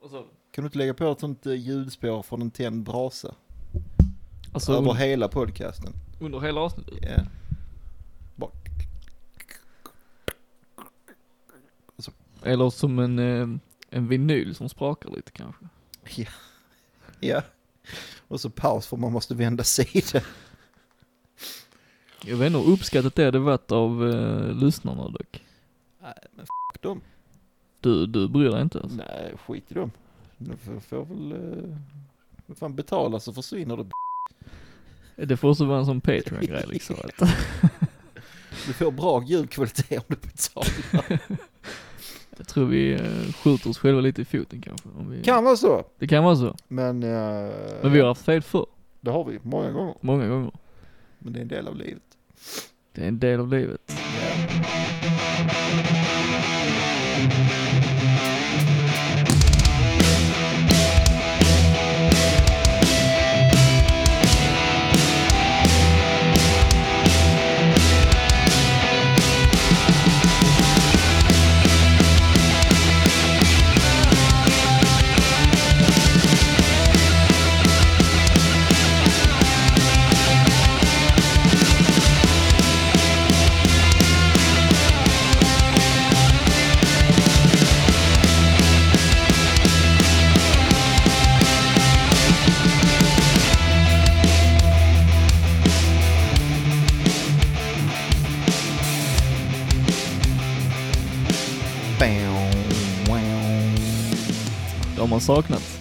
Och så, Kan du inte lägga på ett sånt eh, ljudspår från en tänd brasa? alltså Över under, hela podcasten. under hela avsnittet. Ja. Bara. Eller som en, eh, en vinyl som sprakar lite kanske. Ja. Och så paus för man måste vända sida. Jag vet inte hur uppskattat det hade varit av eh, lyssnarna dock. Nej, men f*** dem. Du, du bryr dig inte alltså. Nej, skit i dem. De får, får väl... eh, Vad fan betala så försvinner det. Det får också vara en sån Patreon-grej liksom. Att, Du får bra ljudkvalitet om du betalar. jag tror vi eh, skjuter oss själva lite i foten kanske. Om vi, Kan vara så. Det kan vara så. Men... eh, Men vi har haft fel förr, Det har vi, många gånger. många gånger. Men det är en del av livet. Det är en del av livet. Bam, wow. Det har man saknat.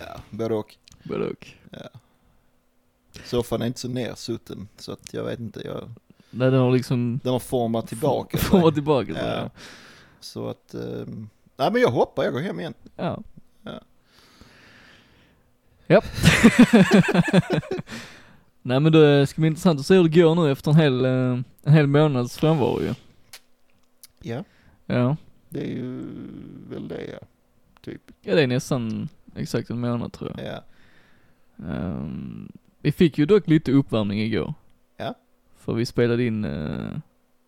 Ja, både och. Både och. Soffan är inte så nersutten så att jag vet inte. Jag, Nej, den har liksom den har format tillbaka. sig. format tillbaka så Ja. ja. Så att, eh, nej men jag hoppar, jag går hem igen. ja. Ja. Japp. Nej men det ska bli intressant att se hur det går nu efter en hel, eh, en hel månads frånvaro ju. Ja, Ja. det är ju väl det ja. Typ. Ja det är nästan exakt en månad tror jag. Ja. Ehm, vi fick ju dock lite uppvärmning igår. Ja. För vi spelade in eh,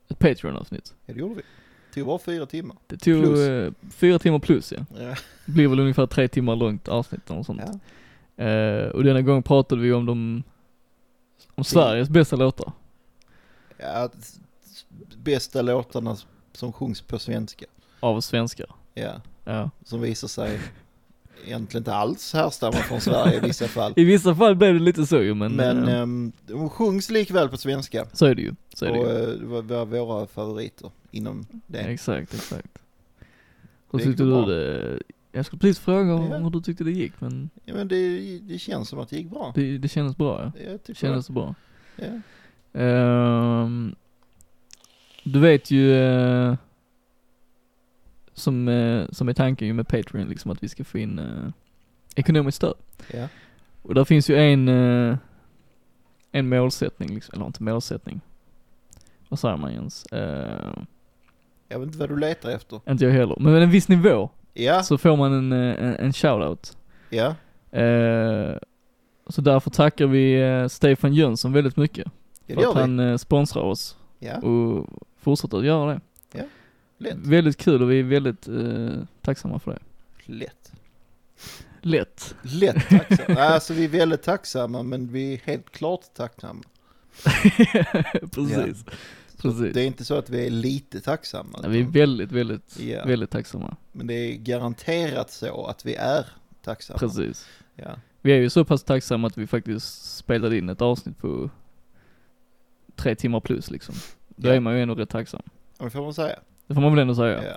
ett Patreon-avsnitt. ja, det gjorde vi. Det tog bara fyra timmar. Det tog Plus. eh, fyra timmar plus ja. Ja. Det blir väl ungefär tre timmar långt avsnitt eller något sånt. Ja. Eh, och denna gång pratade vi om de, om Sveriges bästa låtar. ja, s- s- bästa låtarna som sjungs på svenska. Av svenskar. Ja, Ja. som visar sig egentligen inte alls härstammar från Sverige i vissa fall. I vissa fall blev det lite så ju men, Men eh, ehm, de sjungs likväl på svenska. så är det ju. Så är det Och ju. eh, det var- var våra favoriter inom det. Exakt, exakt. Hur Det tyckte gick du bra. det? Jag skulle precis fråga om Ja. hur du tyckte det gick men Ja, men det, det känns som att det gick bra. det, det kändes bra ja. Jag Det tycker kändes bra. det. Ja. Ehm, du vet ju eh, som, eh, som är tanken ju med Patreon liksom att vi ska få in eh, ekonomiskt stöd. Ja. Och där finns ju en, eh, en målsättning liksom, eller inte målsättning. Vad säger man Jens? Eh, Jag vet inte vad du letar efter. inte jag heller. Men med en viss nivå Ja, så får man en, eh, en, en shoutout. ja. Eh, så därför tackar vi eh, Stefan Jönsson väldigt mycket. Ja, det För att gör vi. han eh, sponsrar oss Ja, och fortsätter att göra det. Ja, lätt. Väldigt kul och vi är väldigt eh, tacksamma för det. lätt. Lätt. Lätt tacksamma. alltså vi är väldigt tacksamma men vi är helt klart tacksamma. Precis. Precis. Det är inte så att vi är lite tacksamma. Ja, vi är utan- väldigt, väldigt, Ja. väldigt tacksamma. Men det är garanterat så att vi är tacksamma. Precis. Ja. Vi är ju så pass tacksamma att vi faktiskt spelade in ett avsnitt på tre timmar plus liksom. Då Ja. är man ju ändå rätt tacksam. Ja, Det får man säga. Det får man väl ändå säga. Ja.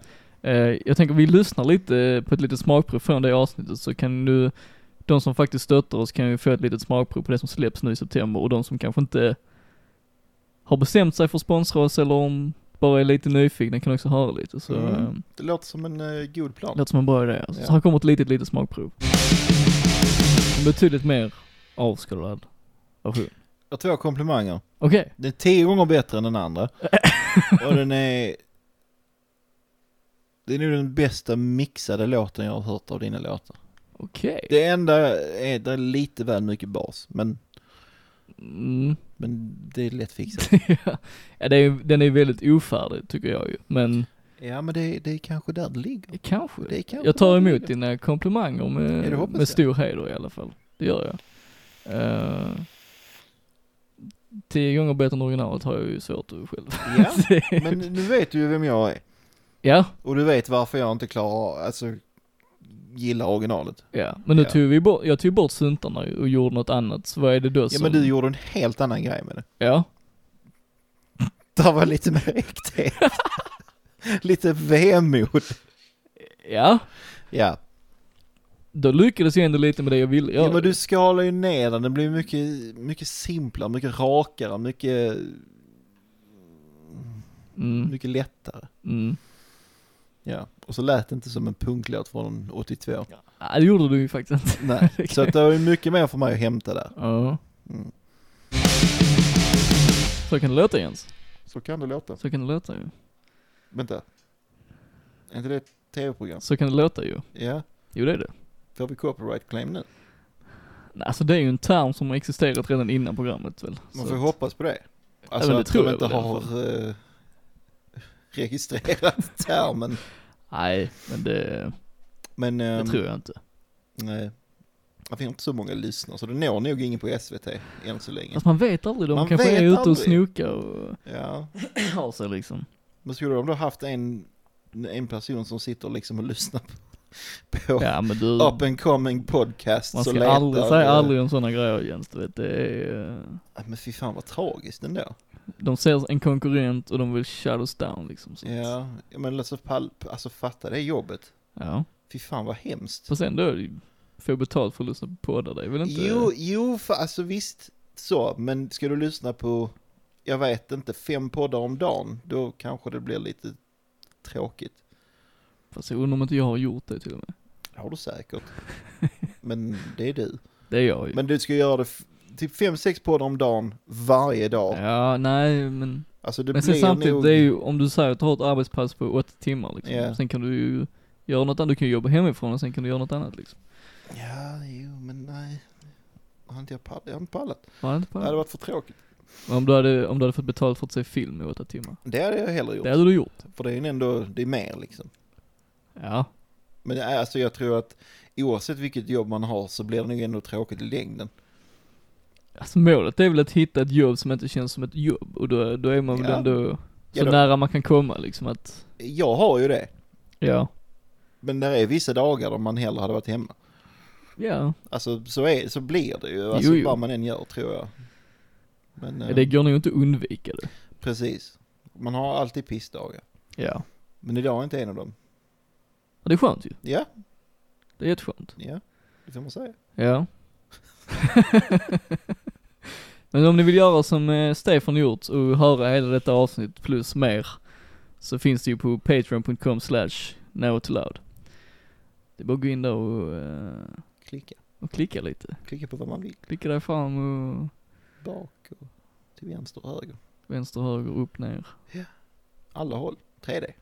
Eh, jag tänker vi lyssnar lite eh, på ett litet smakprov från det avsnittet så kan du, de som faktiskt stöttar oss kan ju få ett litet smakprov på det som släpps nu i september och de som kanske inte har bestämt sig för att sponsra oss eller om bara är lite nyfikna kan också höra lite så Mm. eh, Det låter som en eh, god plan. låter som en bra idé. Alltså. Ja. Så här kommer ett litet, litet smakprov. Betydligt mer avskalad version. Jag har två komplimanger. Okej. Den är tio gånger bättre än den andra. Och den är... Det är nog den bästa mixade låten jag har hört av dina låtar. Okej. Det enda är, det är lite väl mycket bas, men, Mm. men det är lätt fixat. ja, det är, ju- den är ju väldigt ofärdig tycker jag ju. Men Ja men det, det är kanske där det ligger. Kanske. Det är kanske Jag tar där det emot ligger. dina komplimanger Ja, med, det hoppas med jag. stor heder i alla fall. Det gör jag. Eh, tio gånger bättre än originalet har jag ju svårt att själv. Ja, men nu vet du ju vem jag är. ja, Och du vet varför jag inte klarar, alltså, gillar originalet. ja. Men nu Ja. tog vi bort, jag tog bort syntarna och gjorde något annat. Så vad är det då Ja som... men du gjorde en helt annan grej med det. Ja. Det var lite mer äkthet. lite vemod. Ja. Ja. Då lyckades jag ändå lite med det jag ville ja. göra. men du skalar ju ner den, den blir mycket, mycket simplare, mycket rakare, mycket, Mm, mycket lättare. mm. Ja. Och så lät det inte som en punklåt från 82. Ja, det gjorde du ju faktiskt inte. Nej. Så att det var ju mycket mer för mig att hämta där. Ja. Mm. Så kan det låta Jens. Så kan det låta. Så kan det låta ju. Vänta. Är inte det ett tv-program? Så kan det låta ju. Ja. Jo det är det. Får vi copyright claim nu? Nej, Alltså det är ju en term som har existerat redan innan programmet väl? Man Så får ju att- hoppas på det. Alltså men det att tror de jag inte väl i alla har eh, registrerat termen. Nej, men det, Men det ehm, tror jag inte. nej, det finns inte så många lyssnare så det når nog ingen på SVT än så länge. Fast man vet aldrig, de Man kanske vet är ute och aldrig. snokar och Ja, har sig liksom. men skulle de då haft en, en person som sitter liksom och lyssnar på, på Ja men du, up and coming podcast man så ska letar, aldrig säga eh, aldrig om sådana grejer Jens, du vet. Det är, eh, ja, Men fy fan vad tragiskt ändå. de ser en konkurrent och de vill shut us down liksom. Så att- Ja, ja, men alltså, palp, alltså fatta det jobbet. ja. Fy fan vad hemskt. Fast ändå, är det ju- få betalt för att lyssna på poddar, det är väl inte... Jo, jo, för, alltså visst så, men ska du lyssna på, jag vet inte, fem poddar om dagen, då kanske det blir lite tråkigt. Fast jag undrar om inte jag har gjort det till och med. Det har du säkert. Men det är du. Det är jag ju. Men du ska göra det, f- typ fem, sex poddar om dagen varje dag. Ja, nej men... Alltså det Men sen blir samtidigt, nog... det är ju om du säger att du har ett arbetspass på åtta timmar liksom. Ja. Sen kan du ju göra något annat, du kan ju jobba hemifrån och sen kan du göra något annat liksom. Ja, jo, men nej. Har inte jag pallat? Jag har inte pallat. Var det inte på Det hade varit för tråkigt. Men Om du hade, om du hade fått betalt för att se film i åtta timmar. Det hade jag hellre gjort. Det hade du gjort. För det är ju ändå, det är mer liksom. Ja. Men det är- alltså jag tror att oavsett vilket jobb man har så blir det nog ändå tråkigt i längden. Alltså målet är väl att hitta ett jobb som inte känns som ett jobb och då, då är man väl Ja. ändå så Ja, då- nära man kan komma liksom att, Jag har ju det. ja. Men det är vissa dagar då man hellre hade varit hemma. Ja, Alltså så, är, så blir det ju. Alltså Jo, jo. vad man än gör tror jag. Men eh, det går nog inte att undvika det. precis. Man har alltid pissdagar. Ja. Men idag är inte en av dem. Och det är skönt ju. Ja, Det är jätteskönt. ja. Det får man säga. Ja. Men om ni vill göra som eh, Stefan gjort och höra hela detta avsnitt plus mer så finns det ju på patreon.com slash nowtoloud. Det är bara att gå in där och, eh, Klicka. och klicka lite. Klicka på vad man vill. Klicka där fram och Bak och till vänster och höger. vänster, höger, upp, ner. Alla håll. 3D.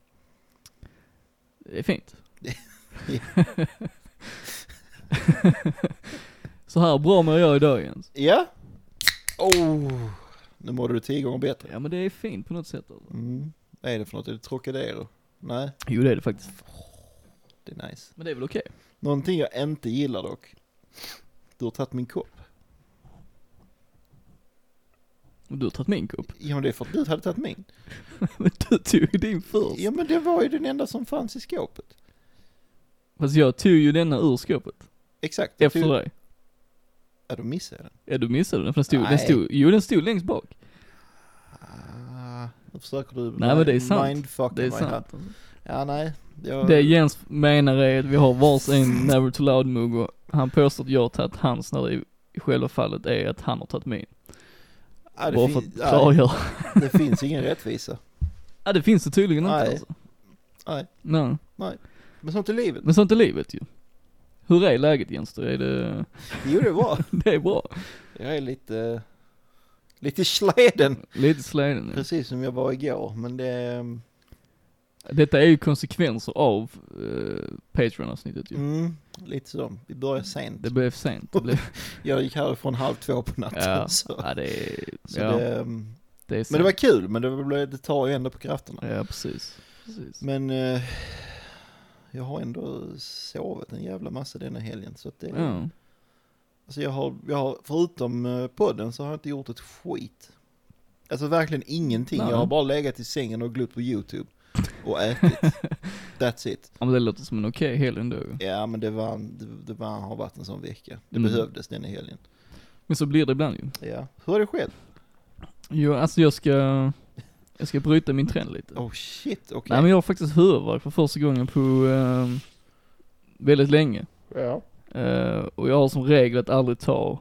Det är fint. Ja. så här bra mår jag idag Jens. Ja. Oh. Nu mådde du tio gånger bättre. Ja men det är fint på något sätt alltså. Mm. Vad är det för något? Är det Trocadero? Nej, Jo det är det faktiskt. det är nice. Men det är väl okej. Någonting jag inte gillar dock. Du har tagit min kopp. Och du har tagit min kopp. Ja men det är för att du hade tagit min. Men du tog ju din först. Ja men det var ju den enda som fanns i skåpet. Fast jag tog ju denna ur skåpet. Exakt. jag Efter tog- dig. Ja då missade jag den. Ja du missade den, för den stod, den Nej. stod, jo den stod längst bak. Ah, nu försöker du Nej, men det är sant. mindfucka Det är mig sant. här. Ja nej. Jag... Det Jens menar är att vi har vars en Never Too Loud mugg och han påstår att jag har tagit hans när det i- i själva fallet är att han har tagit min. ja, det, Bara för att fin- ja, klargöra. det finns ingen rättvisa. Ja det finns det tydligen inte Nej. alltså. Nej. Nej. Men sånt är livet. Men sånt är livet ju. Hur är läget Jens då? Är det, Jo det var. det är bra? Jag är lite, lite släden. Lite släden nu. Precis som jag var igår. Men det, Detta är ju konsekvenser av eh, Patreon-avsnittet ju. mm, lite så. Vi börjar sent. Det blev sent, det blev, Jag gick härifrån halv två på natten. ja, Så, ja det är, så ja, det, mm. det är men det var sant. kul, men det, blev, det tar ju ändå på krafterna. Ja precis. precis. Men eh, jag har ändå sovit en jävla massa denna helgen. Så att det, Ja. alltså jag har, jag har, förutom eh, podden så har jag inte gjort ett skit. Alltså verkligen ingenting. Nej. Jag har bara legat i sängen och glott på YouTube och ätit. That's it. ja, men det låter som en okej helg ändå ju. Ja men det var, en- det, det var, har varit en sån vecka. Det Mm. behövdes denna helgen. Men så blir det ibland ju. Ja. Hur är det själv? Jo, alltså jag ska, jag ska bryta min trend lite. Oh shit, okej. Nej men jag har faktiskt huvudvärk för första gången på ehm, väldigt länge. Ja. Eh, och jag har som regel att aldrig ta,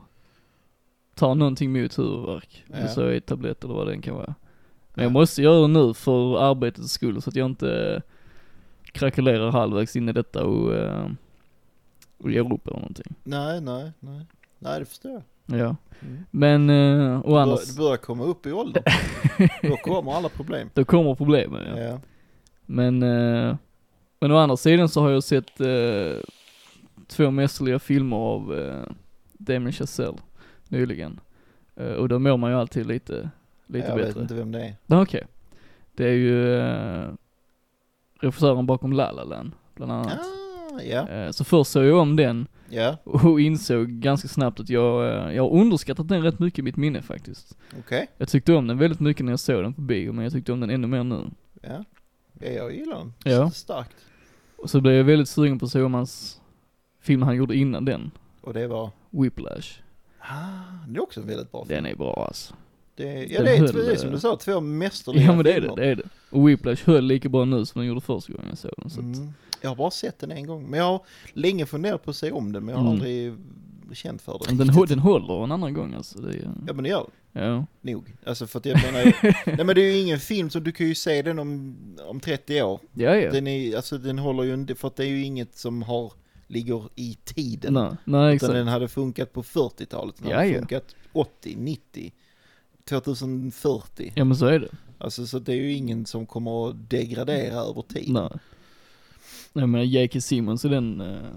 ta någonting mot huvudvärk. Om Ja. det så är tablett eller vad det än kan vara. Men jag Ja. måste göra det nu för arbetets skull så att jag inte krackelerar halvvägs in i detta och, eh, och ger upp eller någonting. Nej, nej, nej. Nej, det förstår jag. Ja. Mm. Men, eh, och Det bör- annars, Det börjar komma upp i åldern. Då kommer alla problem. då kommer problemen ja. Ja. Men, eh, men å andra sidan så har jag sett eh, två mästerliga filmer av eh, Damien Chazelle nyligen. Eh, och då mår man ju alltid lite, lite jag vet bättre. inte vem det är. Ja, Okej. Det är ju eh, regissören bakom La La Land, bland annat. Ah, ja, Eh, så först såg jag om den ja, och insåg ganska snabbt att jag, eh, jag har underskattat den rätt mycket i mitt minne faktiskt. okej. Jag tyckte om den väldigt mycket när jag såg den på bio, men jag tyckte om den ännu mer nu. Ja. ja, jag gillar den. Ja. S- Starkt. Och så blev jag väldigt sugen på att se om hans film han gjorde innan den, Och det var... Whiplash. Ah, det är också en väldigt bra film. Den är bra alltså. Det, ja, den det är, höll, två- det är som eh, du sa, två mästerliga Ja men det är det, filmer. det är det. Och Whiplash höll lika bra nu som den gjorde första gången jag såg den. Så att, Mm. Jag har bara sett den en gång. Men jag har länge funderat på att se om den, men jag har Mm. aldrig känt för det. Men den, hå- riktigt. den håller en annan gång alltså. Det är, Ja, men det gör den. ja. Nog. Alltså för att jag menar, nej men det är ju ingen film som du kan ju se den om, om 30 år. Ja, ja. Den är, alltså den håller ju inte, för att det är ju inget som har, ligger i tiden. Nej, nej Utan exakt. den hade funkat på 40-talet, den Ja, hade ja. funkat 80, 90, 2040. Ja men så är det. Alltså så det är ju ingen som kommer att degradera över tid. Nej. Nej men J.K. Simmons i den, eh,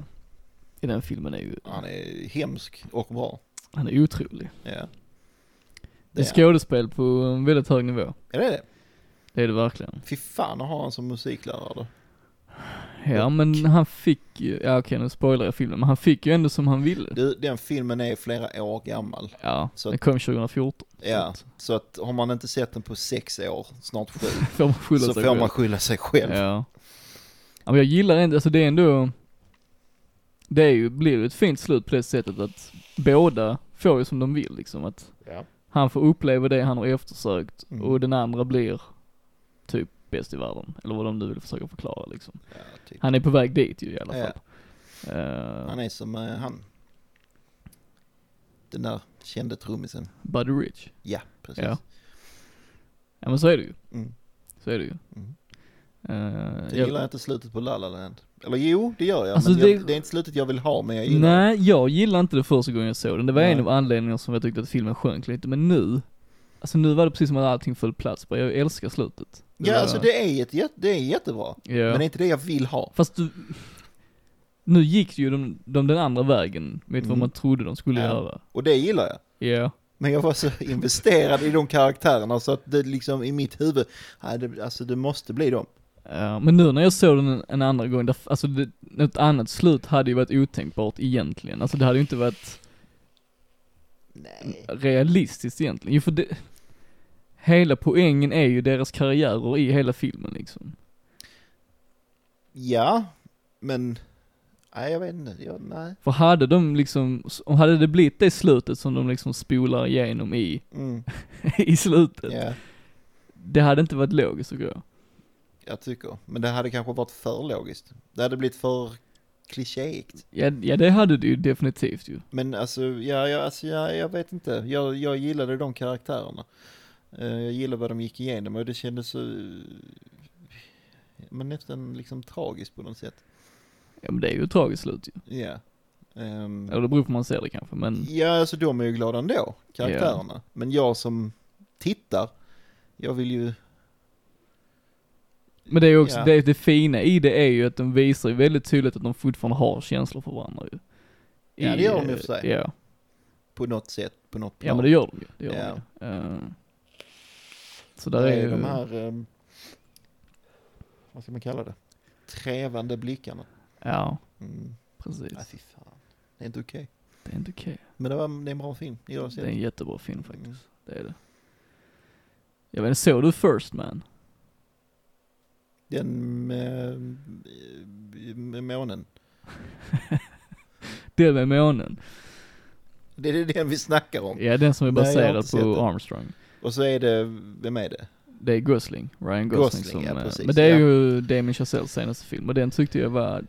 i den filmen är ju, Han är hemsk och bra. han är otrolig. Ja. Det Det är är skådespel på en väldigt hög nivå. Är det det? Det är det verkligen. Fy fan att ha han som musiklärare. Ja men han fick ju, ja okej nu spoilar jag filmen, men han fick ju ändå som han ville. Du, den filmen är flera år gammal. Ja, Så den kom 2014. Ja, Så så att har man inte sett den på sex år, snart sju, att- Får man skylla så sig får själv. man skylla sig själv. Ja. ja men jag gillar ändå, alltså det är ändå, det är ju, blir ju ett fint slut på det sättet att båda får ju som de vill liksom att Ja. han får uppleva det han har eftersökt Mm. och den andra blir typ bäst i världen. Eller vad de nu vill försöka förklara liksom. Ja, typ. Han är på väg dit ju i alla Ja. fall. Eh, Han är som eh, han. Den där kände trummisen. Buddy Rich. Ja, precis. Ja. Ja men så är det ju. Mm. Så är det ju. Mm. Eh, Jag jag- gillar inte slutet på La La Land. Eller jo, det gör jag. Alltså, men jag, det- det... är inte slutet jag vill ha, men jag gillar Nej, jag gillar inte det första gången jag såg den. Det var Nej. en av anledningarna som jag tyckte att filmen sjönk lite, men nu, alltså nu var det precis som att allting föll plats bara. Jag älskar slutet. det. Ja, alltså det är, ett, jätte- det är jättebra. Ja. Men det är inte det jag vill ha. Fast du, nu gick ju de, de den andra vägen mot vad Mm. man trodde de skulle Ja. göra. Och det gillar jag. Ja. Men jag var så investerad i de karaktärerna så att det liksom i mitt huvud, nej, det, alltså det måste bli dem. Ja, Eh, men nu när jag såg den en, en andra gång, där, alltså det, något annat slut hade ju varit otänkbart egentligen. Alltså det hade ju inte varit Nej. realistiskt egentligen. Jo för det, hela poängen är ju deras karriärer i hela filmen liksom. Ja, men, nej jag vet inte, jag, nej. För hade de liksom, om hade det blivit det slutet som de liksom spolar igenom i, Mm, i slutet, ja, det hade inte varit logiskt tycker jag. jag tycker. Men det hade kanske varit för logiskt. Det hade blivit för klichéigt. Ja, ja det hade det ju definitivt ju. Men alltså, ja, ja, alltså ja, jag vet inte. Jag, jag gillade de karaktärerna. Eh, Jag gillade vad de gick igenom och det kändes så... Men nästan liksom tragiskt på något sätt. Ja men det är ju ett tragiskt slut ju. Ja. Ehm, Eller det beror på hur man ser det kanske men, ja, alltså de är ju glada ändå, karaktärerna. Men jag som tittar, jag vill ju... men det är ju också, Ja. det, det fina i det är ju att de visar ju väldigt tydligt att de fortfarande har känslor för varandra ju. Ja, I, det gör de i eh, och för sig. Ja, På något sätt, på något plan. ja men det gör de ju. Det gör Ja. de ju. Eh, så där Där är ju, är de här... ehm, vad ska man kalla det? Trävande blickarna. Ja, Mm. precis. Nej, fy fan. Det är inte okej. Det är inte okej. Men det, var, det är en bra film. Jag Mm. har Det sett är en den. jättebra film faktiskt. Det är det. Jag vet inte, såg du First Man? Den med, med månen. Det med månen. Det är den vi snackar om. Ja, den som är Nej, jag har baserad inte sett på den. Armstrong. Och så är det, vem är det? Det är Gosling, Ryan Gosling, Gosling, som, ja, eh, precis, Men det är ja. ju Damien Chazelles senaste film och den tyckte jag var,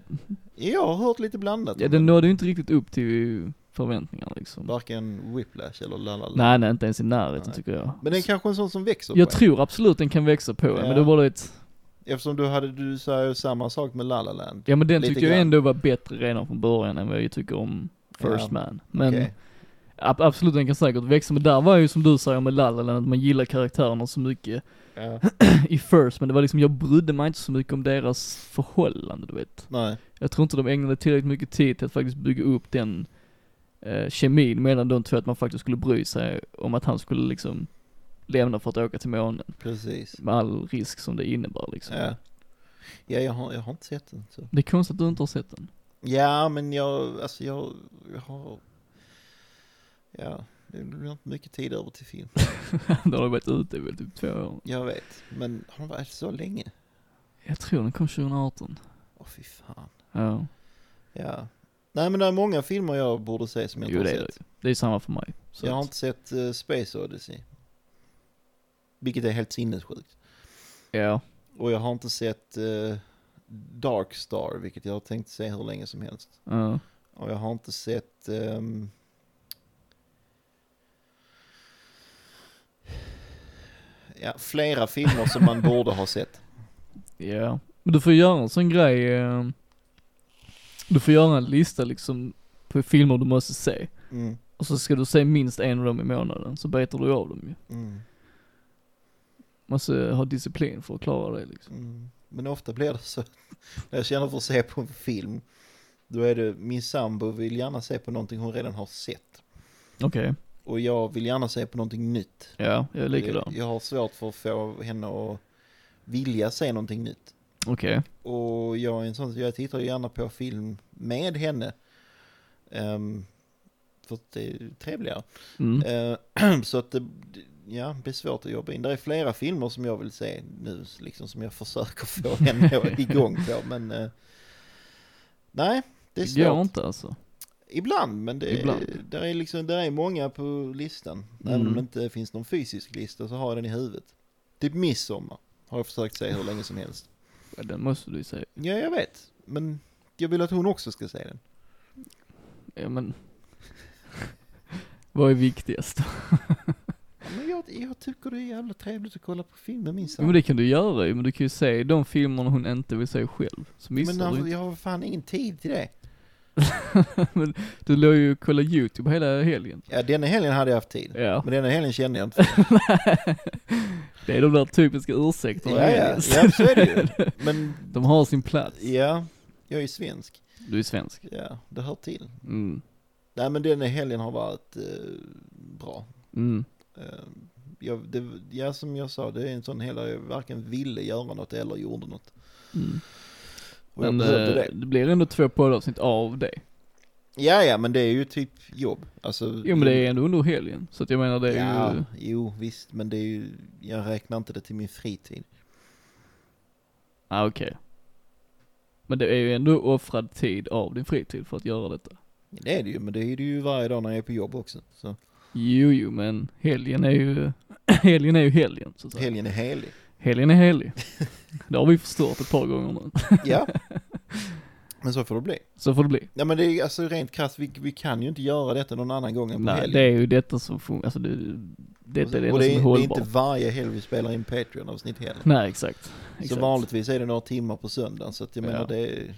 Jag har hört lite blandat. ja om den nådde ju inte riktigt upp till förväntningarna liksom. Varken Whiplash eller La La La. Nej, nej inte ens i närheten Nej. tycker jag. Men det är kanske en sån som växer jag på en. tror absolut den kan växa på en, men Ja. det var bara ett, Eftersom du hade, du sa ju samma sak med La La Land. ja men den Lite tyckte jag grann. ändå var bättre redan från början än vad jag tycker om First Ja, Man. Men Okej. ab- absolut den kan säkert växa, men där var ju som du säger med La La Land, att man gillar karaktärerna så mycket Ja. i First, men det var liksom, jag brydde mig inte så mycket om deras förhållande du vet. Nej. Jag tror inte de ägnade tillräckligt mycket tid till att faktiskt bygga upp den eh, kemin mellan de två, att man faktiskt skulle bry sig om att han skulle liksom lämna för att åka till månen. Precis. Med all risk som det innebär liksom. Ja. Ja, jag har, jag har inte sett den. Så. Det är konstigt att du inte har sett den. Ja, men jag, alltså jag, jag har, ja, det blir inte mycket tid över till film. Då har du varit ute i väl typ två år. Jag vet, men har den varit så länge? Jag tror den kom 2018. Åh fy fan. Ja, Ja. Nej men det är många filmer jag borde se som jag inte jo har det är sett. det. Det är samma för mig. Så jag har att- inte sett eh, Space Odyssey. Vilket är helt sinnessjukt. Ja, Och jag har inte sett eh, Dark Star, vilket jag har tänkt se hur länge som helst. ja. Och jag har inte sett... ehm, Ja, flera filmer som man borde ha sett. Ja, men du får göra en sån grej. eh, Du får göra en lista liksom på filmer du måste se. Mm, Och så ska du se minst en av dem i månaden, så betar du av dem ju. mm, Måste ha disciplin för att klara det liksom. mm. Men ofta blir det så. När jag känner för att se på en film, då är det min sambo vill gärna se på någonting hon redan har sett. Okej. Och jag vill gärna se på någonting nytt. Ja, jag är likadan. Jag, jag har svårt för att få henne att vilja se någonting nytt. Okej. Och jag är en sån, jag tittar ju gärna på film med henne. Ehm, för att det är trevligare. Mm. Eh, så att det, ja, det är svårt att jobba in. Det är flera filmer som jag vill se nu, liksom som jag försöker få henne igång på. Men eh, nej, det är Det går svårt. inte alltså. Ibland, men det, Ibland. Där, är liksom, där är många på listan. Även Mm. om det inte finns någon fysisk lista så har jag den i huvudet. Typ midsommar har jag försökt säga hur länge som helst. Ja, Den måste du ju se. Ja, jag vet. Men jag vill att hon också ska se den. Ja men. Vad är viktigast? Ja, Men jag, jag tycker det är jävla trevligt att kolla på film med min Jo men sambo. det kan du göra ju, men du kan ju se de filmerna hon inte vill se själv. Så Men missar du alltså, inte. jag har fan ingen tid till det. Men du låg ju och kollade YouTube hela helgen. Ja, denna helgen hade jag haft tid. Ja. Men denna helgen kände jag inte. Det är de där typiska ursäkterna. Ja, ja, Elias. ja, så är det ju. Men De har sin plats. ja, jag är ju svensk. Du är svensk. Ja, det hör till. Mm. Nej, men denna helgen har varit eh, bra. Mm. Eh, Jag, det, ja, som jag sa, det är en sån hela, jag varken ville göra något eller gjorde något. Mm. Och jag Men behövde eh, det. det blir ändå två poddavsnitt av det. Ja, ja, men det är ju typ jobb. Alltså, Jo men det är ändå under helgen, så att jag menar det är ja, ju, Jo, visst, men det är ju, jag räknar inte det till min fritid. ah, okej. Men det är ju ändå offrad tid av din fritid för att göra detta. Det är det ju, men det är det ju varje dag när jag är på jobb också. Så Jo jo men helgen är ju, helgen är ju helgen så att säga. helgen är helig. Helgen är helig. Det har vi förstört ett par gånger nu. Ja. Men så får det bli. Så får det bli. Nej men det är alltså rent krasst, vi, vi kan ju inte göra detta någon annan gång än på Nej, helgen. det är ju detta som funkar, alltså det, detta är det och enda som det är, är det är hållbart. inte varje helg vi spelar in Patreon-avsnitt heller. Nej exakt. Så exakt. vanligtvis är det några timmar på söndagen så att jag Ja. menar det är,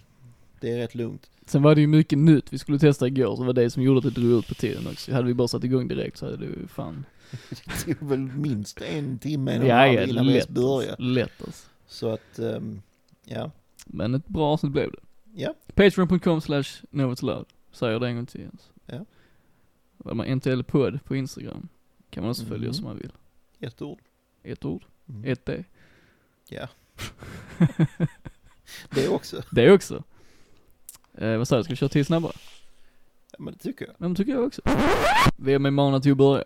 det är rätt lugnt. Sen var det ju mycket nytt vi skulle testa igår, så det var det som gjorde att det drog ut på tiden också. Hade vi bara satt igång direkt så hade det ju fan... Det är väl minst en timme en och en Ja, ja, halv innan vi ens lätt börjar. alltså. Lätt alltså. Så att, ehm, ja. Men ett bra avsnitt blev det. Ja. Patreon.com slash novitsloud. Säger jag det en gång till Jens. Ja. Vad man NTL podd på Instagram. Kan man också följa oss om man vill. Ett ord. Ett ord, Mm. Mm. ett D. Ja. Det också. Det också. Eh, vad sa jag, ska vi köra tio snabbare? Ja, men det tycker jag. Ja, men tycker jag också. Vem är manad till att börja?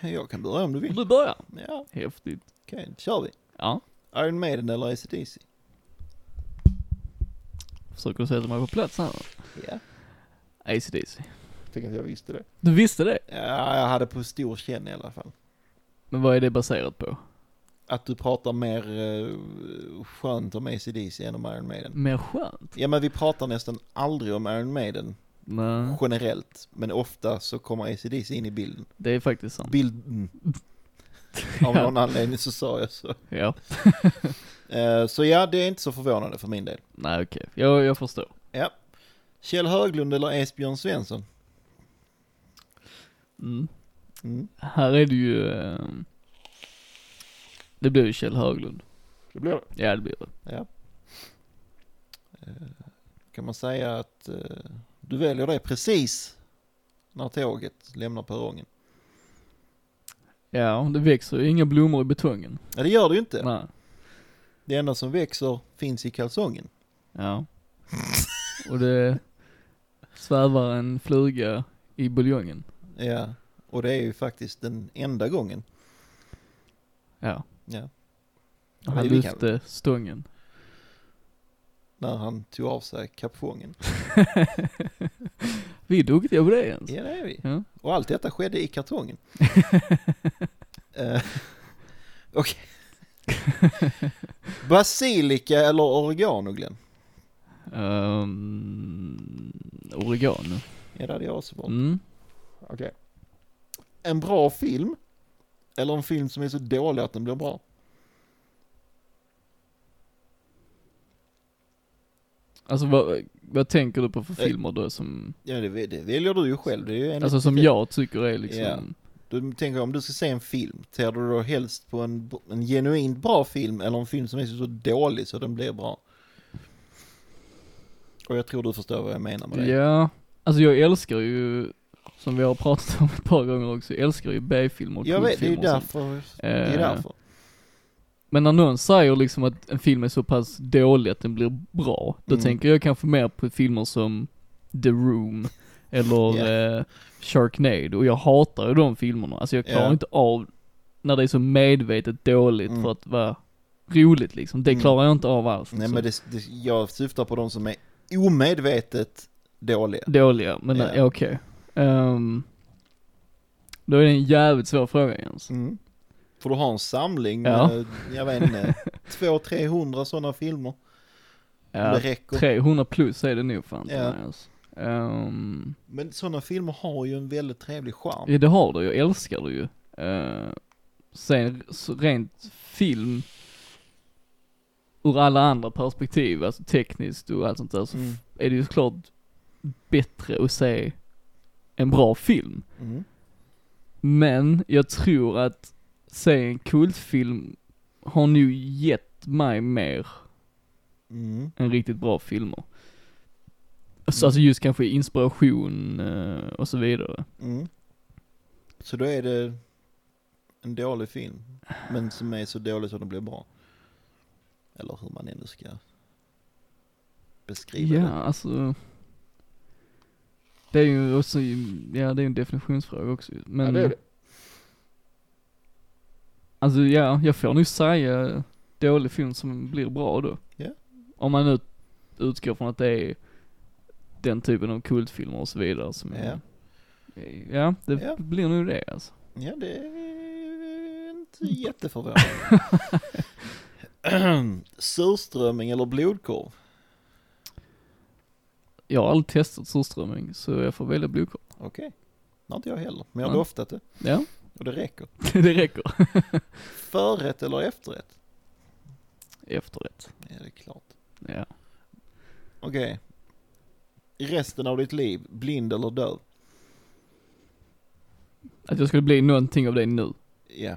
Jag kan börja om du vill. Du börjar. Ja, Häftigt. okej, då kör vi. Ja. Iron Maiden eller ACDC? Försöker du sätta mig på plats här Ja, ACDC. tänk att jag visste det. Du visste det? Ja, jag hade på stor känn i alla fall. Men vad är det baserat på? Att du pratar mer uh, skönt om ACDC än om Iron Maiden. Mer skönt? Ja, men vi pratar nästan aldrig om Iron Maiden Nej, generellt. Men ofta så kommer ACDC in i bilden. det är faktiskt sant. Bilden. Av någon anledning så sa jag så. Ja, Eh, Så ja, det är inte så förvånande för min del. nej okej. Jag, jag förstår. Kjell Höglund eller Esbjörn Svensson? Mm. Mm. Här är det ju... ehm, Det blir ju Kjell Höglund. Det blir det. Ja, det blir det. Ja. Eh, Kan man säga att eh, du väljer det precis när tåget lämnar perrongen? Ja, det växer ju inga blommor i betongen. Nej, det gör det ju inte. Nej. Det enda som växer finns i kalsongen. Ja. Och det svävar en fluga i buljongen. Ja, och det är ju faktiskt den enda gången. Ja. Ja. Och Nej, han vi kan- lyfte stången. När han tog av sig kapfången. Vi är duktiga på det ens. Ja, det är vi. Ja. Och allt detta skedde i kartongen. Eh, Okej. Basilika eller oregano, Glenn? Um, oregano. Ja, det hade jag också valt. Mm. Okej. En bra film? Eller en film som är så dålig att den blir bra? Alltså vad, vad tänker du på för filmer då som, Ja, det, det väljer du ju själv. Eh, Det är ju en alltså som jag tycker är liksom, Ja. Du tänker om du ska se en film, ser du då helst på en, en genuint bra film eller en film som är så dålig så den blir bra? Och jag tror du förstår vad jag menar med det. ja, alltså jag älskar ju, som vi har pratat om ett par gånger också, jag älskar ju B-filmer och jag vet, det är ju kultfilmer och sånt. därför. Det är Eh, därför. Men när någon säger liksom att en film är så pass dålig att den blir bra, då Mm. tänker jag kanske mer på filmer som The Room eller eh, Sharknado, och jag hatar ju de filmerna. Alltså jag klarar Ja. inte av när det är så medvetet dåligt Mm. för att vara roligt liksom. Det Mm. klarar jag inte av alls. Nej Så men det, det, jag syftar på de som är omedvetet dåliga. Dåliga, men eh, Ja. ja. okej. Ehm, då är det en jävligt svår fråga Jens. Mm. För du har en samling Ja. med, jag vet inte, 200-300 sådana filmer. Ja, Det räcker. 300 plus är det nog fan. Ja. Ja. Um, Men sådana filmer har ju en väldigt trevlig charm. Ja det har du, jag älskar det ju. Eh, sen så rent film, ur alla andra perspektiv, alltså tekniskt och allt sånt där, så Mm. är det ju såklart bättre att se en bra film. Mm. Men jag tror att se en kultfilm har nu gett mig mer Mm. än riktigt bra filmer. Alltså, alltså just kanske inspiration eh, och så vidare. Mm. Så då är det en dålig film, men som är så dålig så den blir bra. Eller hur man ännu ska beskriva Ja, alltså. Det är ju också, ja det är en definitionsfråga också ju. Men. Ja, det är det. Alltså ja, jag får nog säga dålig film som blir bra då. Ja. Om man nu utgår från att det är den typen av kultfilmer och så vidare som Ja. är, ja det Ja. blir nog det alltså. det. Ja, det är inte Mm. jätteförvånande. Surströmming eller blodkorv? Jag har aldrig testat surströmming så jag får välja blodkorv. Okej. Det har inte jag heller, men jag har Nej. loftat det. Ja, Och det räcker. det räcker. Förrätt eller efterrätt? Efterrätt. Ja, det är klart. Ja. Okej. Resten av ditt liv, blind eller döv? Att jag skulle bli någonting av det nu. Ja.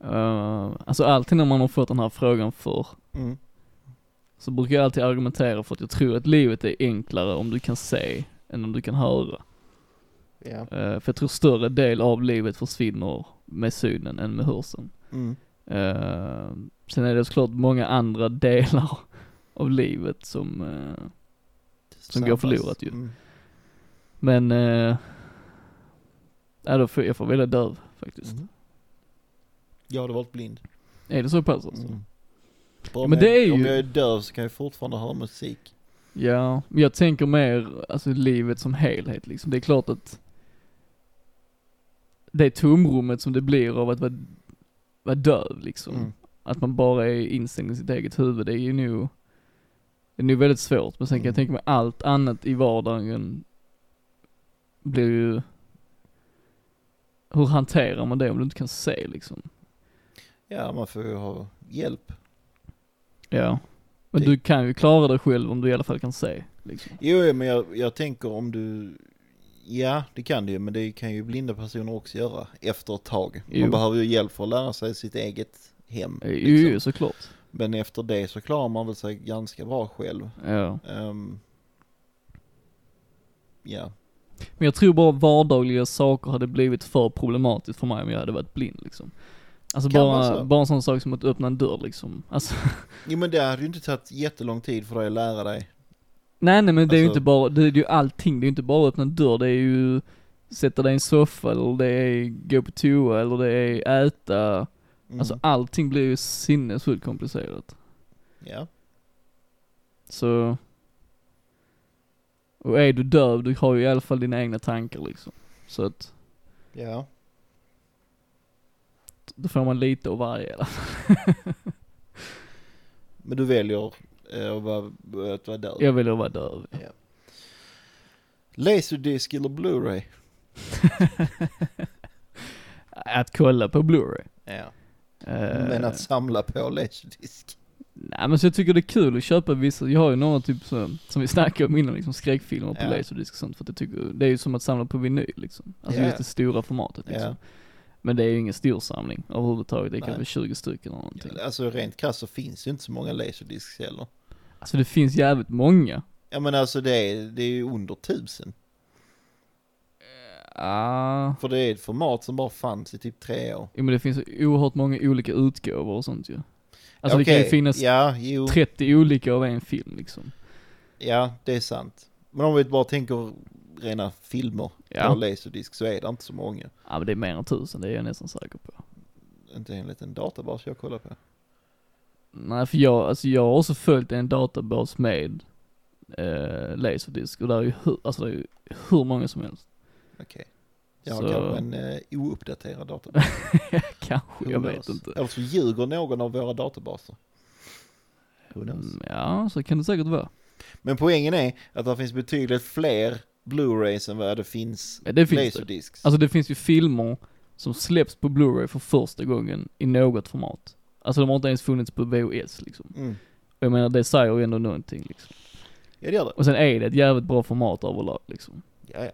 Eh, alltså alltid när man har fått den här frågan för Mm. så brukar jag alltid argumentera för att jag tror att livet är enklare om du kan se än om du kan höra. Ja. Eh, för jag tror större del av livet försvinner med synen än med hörseln. Mm. Eh, sen är det såklart många andra delar av livet som, eh, Som går förlorat ju. Mm. men, eh, ja då får jag får välja döv faktiskt. Mm. Jag hade varit blind. Är det så pass alltså? Mm. Ja, Bara men om jag- det är Om ju- jag är döv så kan jag fortfarande höra musik. Ja, men jag tänker mer, alltså livet som helhet liksom. Det är klart att det tomrummet som det blir av att vara, vara döv liksom. Mm. Att man bara är instängd i sitt eget huvud, det är ju nog, det är nog väldigt svårt. Men sen kan Mm. jag tänka mig allt annat i vardagen blir ju, hur hanterar man det om du inte kan se liksom? Ja, man får ju ha hjälp. Ja. Men Det- du kan ju klara dig själv om du i alla fall kan se liksom. Jo, jo, men jag, jag tänker om du... Ja, det kan du ju, men det kan ju blinda personer också göra efter ett tag. Jo. Eh, Man behöver ju hjälp för att lära sig sitt eget hem. Jo, liksom. jo, såklart. Men efter det så klarar man väl sig ganska bra själv. Ja. Ehm, ja, Men jag tror bara vardagliga saker hade blivit för problematiskt för mig om jag hade varit blind liksom. Alltså Kan vara bara, så. bara en sån sak som att öppna en dörr liksom. Alltså, jo men det hade ju inte tagit jättelång tid för dig att lära dig. nej nej men det är ju Alltså- inte bara, det är ju allting, det är ju inte bara att öppna en dörr, det är ju sätta dig i en soffa eller det är gå på toa eller det är äta. Mm. Alltså allting blir ju sinnessjukt komplicerat. ja. Så... Och är du döv, du har ju i alla fall dina egna tankar liksom. Så att, ja, då får man lite av varje. men du väljer eh, att vara, att vara död. Jag vill ju vara döv. Laserdisc eller Blu-ray? Att kolla på Blu-ray. Ja. Eh, Men att samla på laserdisc? Nej men så jag tycker det är kul att köpa vissa, jag har ju några typ så, som vi snackade om innan, liksom skräckfilmer på Ja. laserdisk och sånt för att jag tycker, det är ju som att samla på vinyl liksom. Alltså Ja. just det stora formatet liksom. Ja. Men det är ju ingen stor samling överhuvudtaget, det är Nej. kanske 20 stycken eller någonting. Alltså rent krasst så finns ju inte så många laserdiscs heller. Alltså det finns jävligt många. Ja men alltså det är, det är ju under tusen. Ah. För det är ett format som bara fanns i typ tre år. Jo men det finns ju oerhört många olika utgåvor och sånt ju. Alltså det kan ju Okej, finnas Ja, jo, 30 olika av en film liksom. ja det är sant. Men om vi bara tänker rena filmer Ja. på laserdisc så är det inte så många. Ja men det är mer än tusen, det är jag nästan säker på. Inte enligt en databas jag kollar på. Nej, för jag, alltså jag har också följt en databas med eh, laserdisk och där är ju hur, alltså det är ju hur många som helst. Jag har Så- kanske en eh, ouppdaterad databas. Kanske, Who jag knows? vet inte. Eller så ljuger någon av våra databaser. Who knows? Mm, Ja, så kan det säkert vara. Men poängen är att det finns betydligt fler Blu-rays än vad det finns Ja, det finns det. laserdiscs. Alltså det finns ju filmer som släpps på Blu-ray för första gången i något format. Alltså de har inte ens funnits på VHS liksom. Mm. Och jag menar det säger ju ändå någonting liksom. Ja, det gör det. Och sen är det ett jävligt bra format överlag liksom. Ja, ja.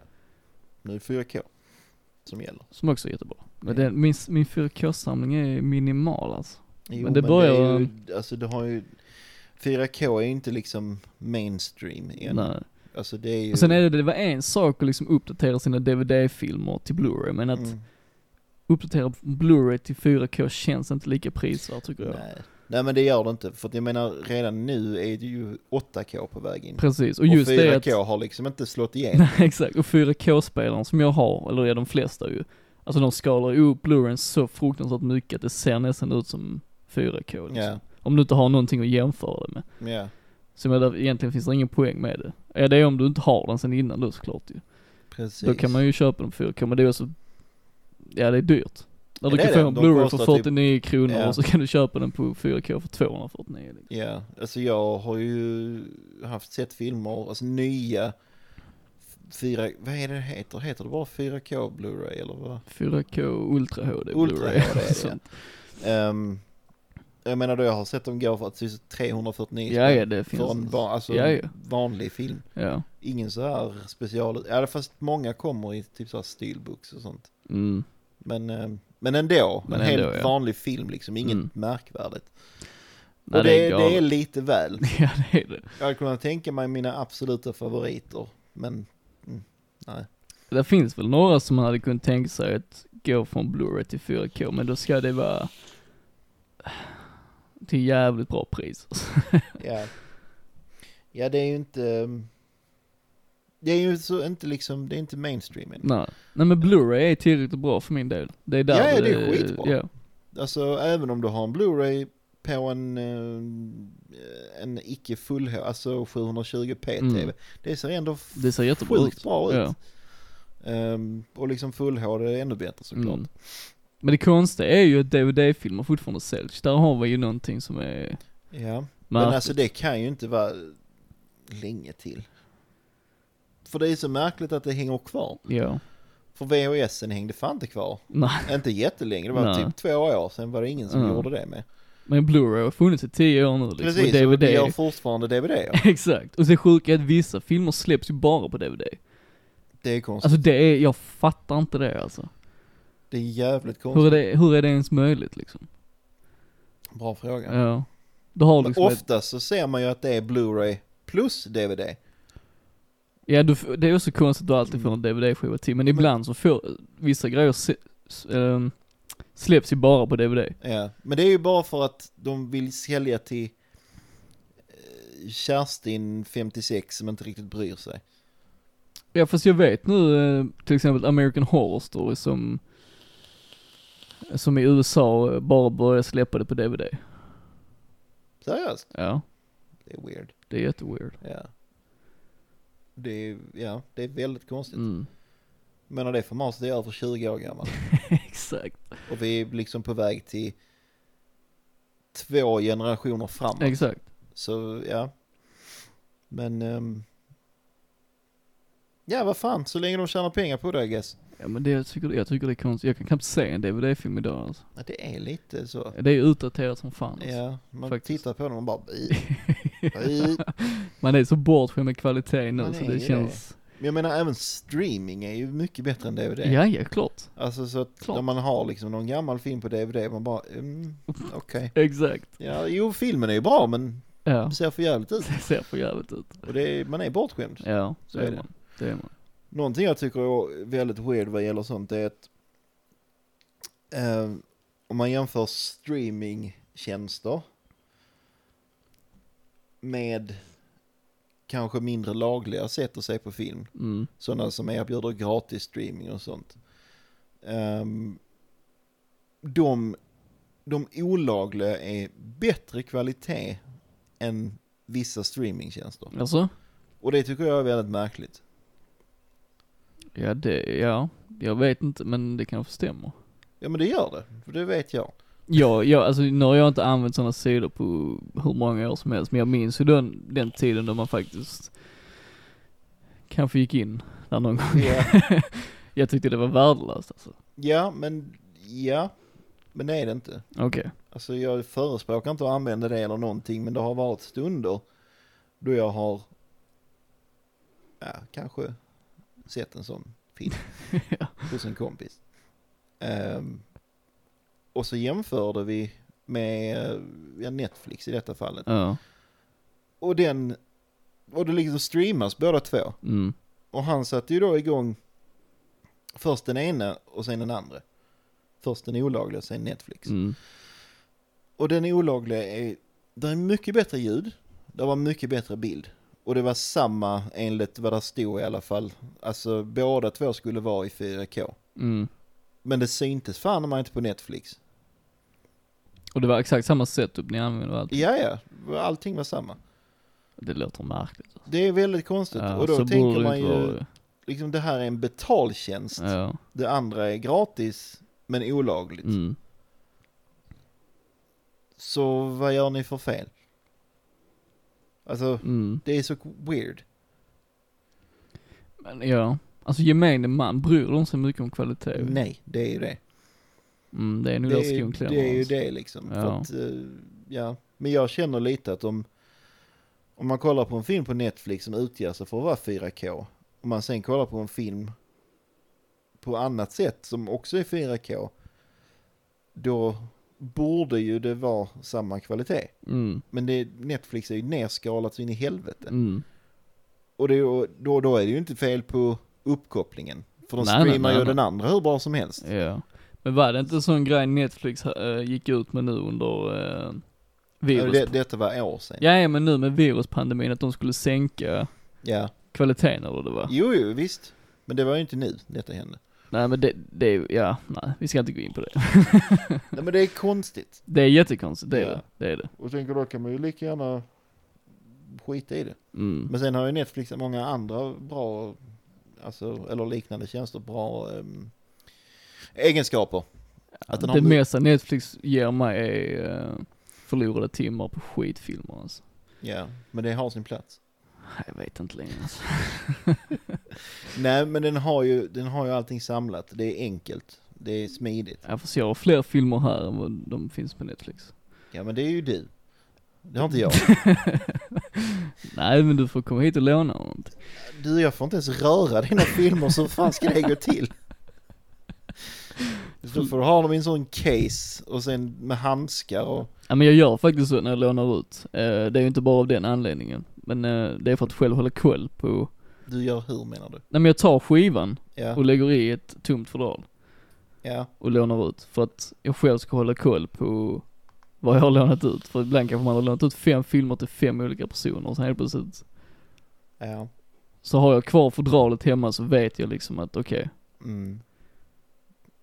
Nu är det 4K som gäller. Som också är jättebra. Men Ja. den, min, min 4K-samling är minimal alltså. Jo, Men det börjar- är ju, alltså det har ju... 4K är ju inte liksom mainstream än. Nej. Alltså det är ju... Och sen är det, det var en sak att liksom uppdatera sina DVD-filmer till Blu-ray, men att Mm, uppdatera Blu-ray till 4K känns inte lika prisvärt tycker jag. nej. nej, men det gör det inte. För att jag menar, redan nu är det ju 8K på väg in. Precis, och just och det 4K att... har liksom inte slått igenom. Nej, exakt, och 4K-spelaren som jag har, eller ja, de flesta ju, alltså de skalar ju upp Blu-rayn så fruktansvärt mycket att det ser nästan ut som 4K liksom. Ja. Om du inte har någonting att jämföra det med. ja, Så jag menar, egentligen finns det ingen poäng med det. Ja, det är om du inte har den sen innan då såklart ju. precis. Då kan man ju köpa den på 4K, men det är också, ja det är dyrt. Där Ja, du det kan är få det. en De Blu-ray för kostar typ- 49 kronor Ja. och så kan du köpa den på 4K för 249 liksom. Ja, alltså jag har ju haft sett filmer, alltså nya 4, vad är det det heter? Heter det bara 4K Blu-ray eller vad? 4K Ultra HD Ultra Blu-ray. HD, och ja. sånt. Ehm, jag menar då jag har sett dem gå för att det är 349 ja, spänn ja det finns. för en va- alltså, Ja, ja. vanlig film. Ja. Ingen så här special, ja fast många kommer i typ så här steelbooks och sånt. Mm. Men, ehm, men ändå, Men en ändå, helt ja. vanlig film liksom, inget Mm. märkvärdigt. Nej, och det, galet. det är lite väl. Ja det är det. Jag hade kunnat tänka mig mina absoluta favoriter, men mm, nej. Det finns väl några som man hade kunnat tänka sig att gå från Blu-ray till 4K, men då ska det vara Till jävligt bra pris. Ja. Ja, det är ju inte... Det är ju så, inte liksom, det är inte mainstream än. Nej. Nej men Blu-ray är tillräckligt bra för min del. Det är där Ja, ja, det är skitbra. Ja. Alltså även om du har en Blu-ray på en, eh, en icke full, alltså 720p Mm. TV. Det ser ändå Det ser jättebra sjukt ut. bra ut. Ja. Ehm, och liksom full HD är ännu bättre såklart. Mm. Men det konstiga är ju att DVD-filmer fortfarande säljs. Där har vi ju någonting som är Ja. Men märkligt. alltså det kan ju inte vara länge till. För det är så märkligt att det hänger kvar. Ja. För VHSen hängde fan inte kvar. Nej. Inte jättelänge, det var Nej. typ två år sedan var det ingen som Ja. gjorde det med. Men Blu-ray har funnits i tio år nu liksom. Precis, och och DVD. vi gör fortfarande DVD. Exakt. Och det sjuka är att vissa filmer släpps ju bara på DVD. Det är konstigt. Alltså det är, jag fattar inte det alltså. det är jävligt konstigt. Hur är det, hur är det ens möjligt liksom? Bra fråga. Ja. Du har Men liksom ett, oftast så ser man ju att det är Blu-ray plus DVD. ja du, f- det är också konstigt att du Mm. alltid får en DVD-skiva till, men ibland så får, vissa grejer se, s, ehm, släpps ju bara på DVD. Ja. Men det är ju bara för att de vill sälja till eh, Kerstin, 56, som inte riktigt bryr sig. Ja fast jag vet nu eh, till exempel American Horror Story som, som i USA eh, bara börjar släppa det på DVD. Seriöst, Ja, det är weird. det är jätteweird. Ja. Det är, ja, det är väldigt konstigt. Mm. Men när det formatet är över 20 år gammalt. Exakt. Och vi är liksom på väg till två generationer framåt. Exakt. Så ja. Men... ehm, ja, vad fan. Så länge de tjänar pengar på det, I guess. Ja men det, jag, tycker, jag tycker det är konstigt, jag kan knappt se en DVD-film idag alltså. Ja, det är lite så. Det är utdaterat som fan alltså. Ja, man faktiskt. tittar på dem och bara... "Ih, ih." Man är så bortskämd med kvaliteten nu Man så är det ju känns... Men jag menar, även streaming är ju mycket bättre än DVD. Ja, ja, klart. Alltså så att Klart. när man har liksom någon gammal film på DVD, man bara... Mm, Okej. Exakt. Ja, jo, filmen är ju bra, men Ja. det ser för jävligt ut. Det ser för jävligt ut. Och det är, man är bortskämd. Ja, Så det är är det. man. Det är man. Någonting jag tycker är väldigt weird vad gäller sånt är att eh, om man jämför streamingtjänster med kanske mindre lagliga sätt att se på film, Mm. sådana som erbjuder gratis streaming och sånt. Ehm, de, de olagliga är bättre kvalitet än vissa streamingtjänster. Alltså? Och det tycker jag är väldigt märkligt. Ja, det, ja. Jag vet inte, men det kanske stämmer. Ja men det gör det, för det vet jag. Ja, ja, alltså nu har jag inte använt sådana sidor på hur många år som helst, men jag minns ju den, den tiden då man faktiskt kanske gick in där någon gång. Ja, Jag tyckte det var värdelöst alltså. ja men ja, men det är det inte. Okej. Alltså jag förespråkar inte att använda det eller någonting men det har varit stunder då jag har ja, kanske sett en sån film hos en kompis. Ehm, och så jämförde vi med eh, ja, Netflix i detta fallet. Ja. Och den, och det liksom streamas båda två. Mm. Och han satte ju då igång först den ena och sen den andra. Först den olagliga och sen Netflix. Mm. Och den olagliga är, det är mycket bättre ljud, det var mycket bättre bild. Och det var samma enligt vad det stod i alla fall. Alltså båda två skulle vara i 4K. Mm. Men det syntes fan om man inte på Netflix. Och det var exakt samma setup ni använde och allt. Ja, ja, allting var samma. Det låter märkligt. alltså. Det är väldigt konstigt. Ja, och då så tänker borde det man ju, inte vara. liksom det här är en betaltjänst. Ja. Det andra är gratis, men olagligt. Mm. Så vad gör ni för fel? Alltså, Mm. det är så weird. Men ja. Alltså gemene man, bryr de sig mycket om kvalitet? Nej, det är ju det. Mm, det är nog det, där är, skon ju- klämmer. det är ju alltså. det liksom. Ja. För att, eh, ja. Men jag känner lite att om, om man kollar på en film på Netflix som utger sig för att vara 4K, och man sen kollar på en film på annat sätt som också är 4K, då borde ju det vara samma kvalitet. Mm. Men det, Netflix är ju nerskalat så in i helvete. Mm. Och det, är ju- då, då är det ju inte fel på uppkopplingen. För de Nej, nej, streamar nej, ju nej. den andra hur bra som helst. Ja. Men var det inte en sån grej Netflix eh, gick ut med nu under eh, virus? Det, detta var år sedan. Ja, ja, men nu med viruspandemin att de skulle sänka Ja. kvaliteten eller vad det var. Jo, jo, visst. Men det var ju inte nu detta hände. Nej men det, det är ju- ja, nej vi ska inte gå in på det. Nej, men det är konstigt. Det är jättekonstigt, det är Ja. det. Det är det. Och tänker då kan man ju lika gärna skita i det. Mm. Men sen har ju Netflix många andra bra, alltså, eller liknande tjänster, bra ehm, egenskaper. Att den har det my- mesta Netflix ger mig är eh, förlorade timmar på skitfilmer alltså. Ja, men det har sin plats. Nej, Jag vet inte längre alltså. Nej, men den har ju, den har ju allting samlat. Det är enkelt. Det är smidigt. Jag får se, jag har fler filmer här än vad de finns på Netflix. Ja, men det är ju du. Det har inte jag. Nej men du får komma hit och låna eller någonting. Du, jag får inte ens röra dina filmer, så hur fan ska det gå till? Då får du ha dem i en sån case och sen med handskar och... Ja men jag gör faktiskt så när jag lånar ut. Eh, det är ju inte bara av den anledningen. Men eh, det är för att själv hålla koll på, Du gör hur menar du? nej men jag tar skivan och Ja, lägger i ett tomt fodral. ja, och lånar ut för att jag själv ska hålla koll på vad jag har lånat ut. För ibland kanske man har lånat ut fem filmer till fem olika personer och sen helt plötsligt ja. så har jag kvar fodralet hemma så vet jag liksom att okej, Mm.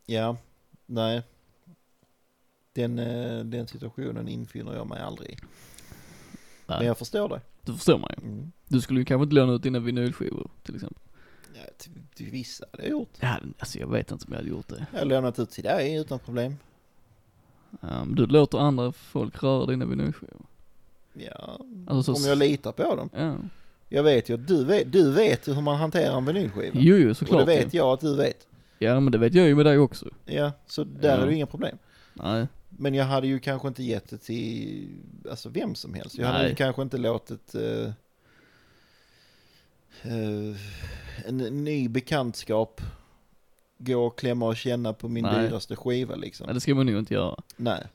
Ja, nej. Den, eh, den situationen infinner jag mig aldrig i. Nej. Men jag förstår dig. du förstår mig. Mm. Du skulle ju kanske inte låna ut dina vinylskivor till exempel. Ja, till, till vissa hade jag gjort. Ja, alltså jag vet inte om jag hade gjort det. Jag har lämnat ut till dig utan problem. Um, du låter andra folk röra dina vinylskivor. Ja, Alltså så... om jag litar på dem. ja. Jag vet ju, att du vet, du vet ju hur man hanterar en vinylskiva. Jo, jo, Och såklart. det vet jag att du vet. ju. Ja, men det vet jag ju med dig också. Ja, så där Ja. är det ju inga problem. Nej. Men jag hade ju kanske inte gett det till alltså vem som helst. Jag hade Nej. ju kanske inte låtit eh, eh, en ny bekantskap gå och klämma och känna på min Nej. dyraste skiva liksom. Nej, det ska man nog inte göra. Nej.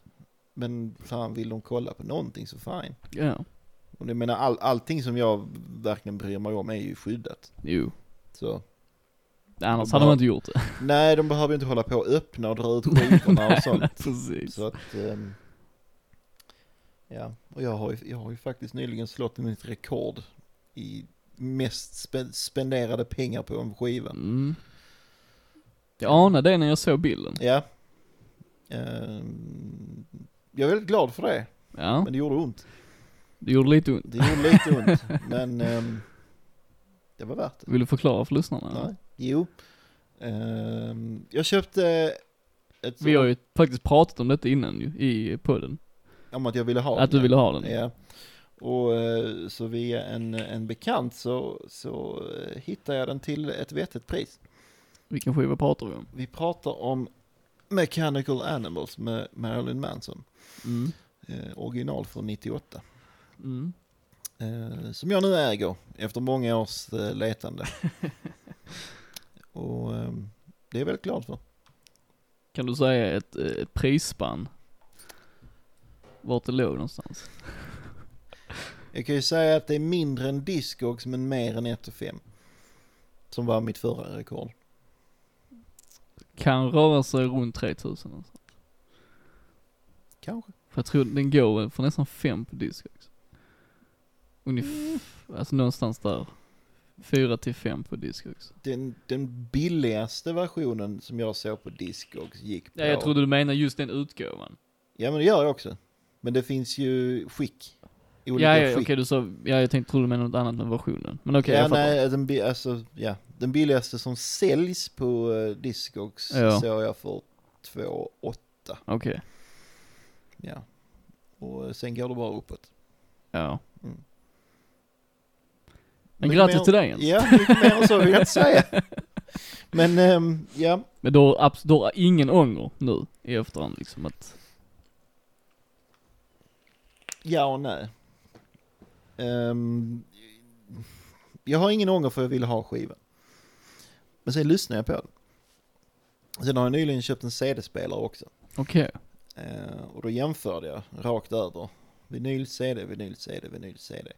Men fan, vill de kolla på någonting så fine. Ja. Och jag menar, all, allting som jag verkligen bryr mig om är ju skyddat. Jo. Så. Annars De hade har- man inte gjort det. Nej, de behöver ju inte hålla på och öppna och dra ut skivorna och sånt. Precis. Så att, ehm, ja, och jag har, ju, jag har ju faktiskt nyligen slått mitt rekord i mest spe, spenderade pengar på en skiva. Mm. Jag anade det när jag såg bilden. Ja. Ehm, jag är väldigt glad för det, Ja, men det gjorde ont. det gjorde lite ont. Det gjorde lite ont, men ehm, det var värt det. Vill du förklara för lyssnarna? Nej, jo. Ehm, jag köpte ett Vi har ju faktiskt pratat om detta innan ju, i podden. om att jag ville ha att du den. ville ha den. Ja. Och eh, så via en, en bekant så, så eh, hittade jag den till ett vettigt pris. Vilken skiva pratar vi om? Vi pratar om Mechanical Animals med Marilyn Manson. Mm. Eh, original från 98. Mm. Eh, som jag nu äger efter många års eh, letande. Och eh, det är jag väldigt glad för. Kan du säga ett, eh, ett prisspann? Vart det låg någonstans? Jag kan ju säga att det är mindre än Discogs men mer än 1 5. Som var mitt förra rekord. Kan röra sig runt 3000 alltså. Kanske. För jag tror den går väl för nästan fem på disk också. Mm. Ungefär, alltså någonstans där. Fyra till fem på disk också. den, den billigaste versionen som jag såg på Discogs gick på... Ja, jag trodde du menade just den utgåvan. Ja, men det gör jag också. Men det finns ju skick. I olika Ja, ja okej skick. du sa, ja jag tänkte, trodde du menade något annat med versionen. Men okej ja, jag fattar. nej, den, bi- alltså, ja. den billigaste som säljs på uh, Discogs Ja. såg jag för 2,8. Okej, Ja. Och eh, sen går det bara uppåt. ja. Mm. Men Mycket grattis mer- till dig ens. Ja, mycket mer än så vill jag inte säga. Men ehm, ja, Men då, har abs- då har ingen ånger nu i efterhand liksom att, ja och nej. Ehm, jag har ingen ånger för jag ville ha skivan. Men sen lyssnar jag på den. Sen har jag nyligen köpt en CD-spelare också. okej. Eh, och då jämförde jag rakt över. Vinyl, CD, vinyl, CD, vinyl, CD.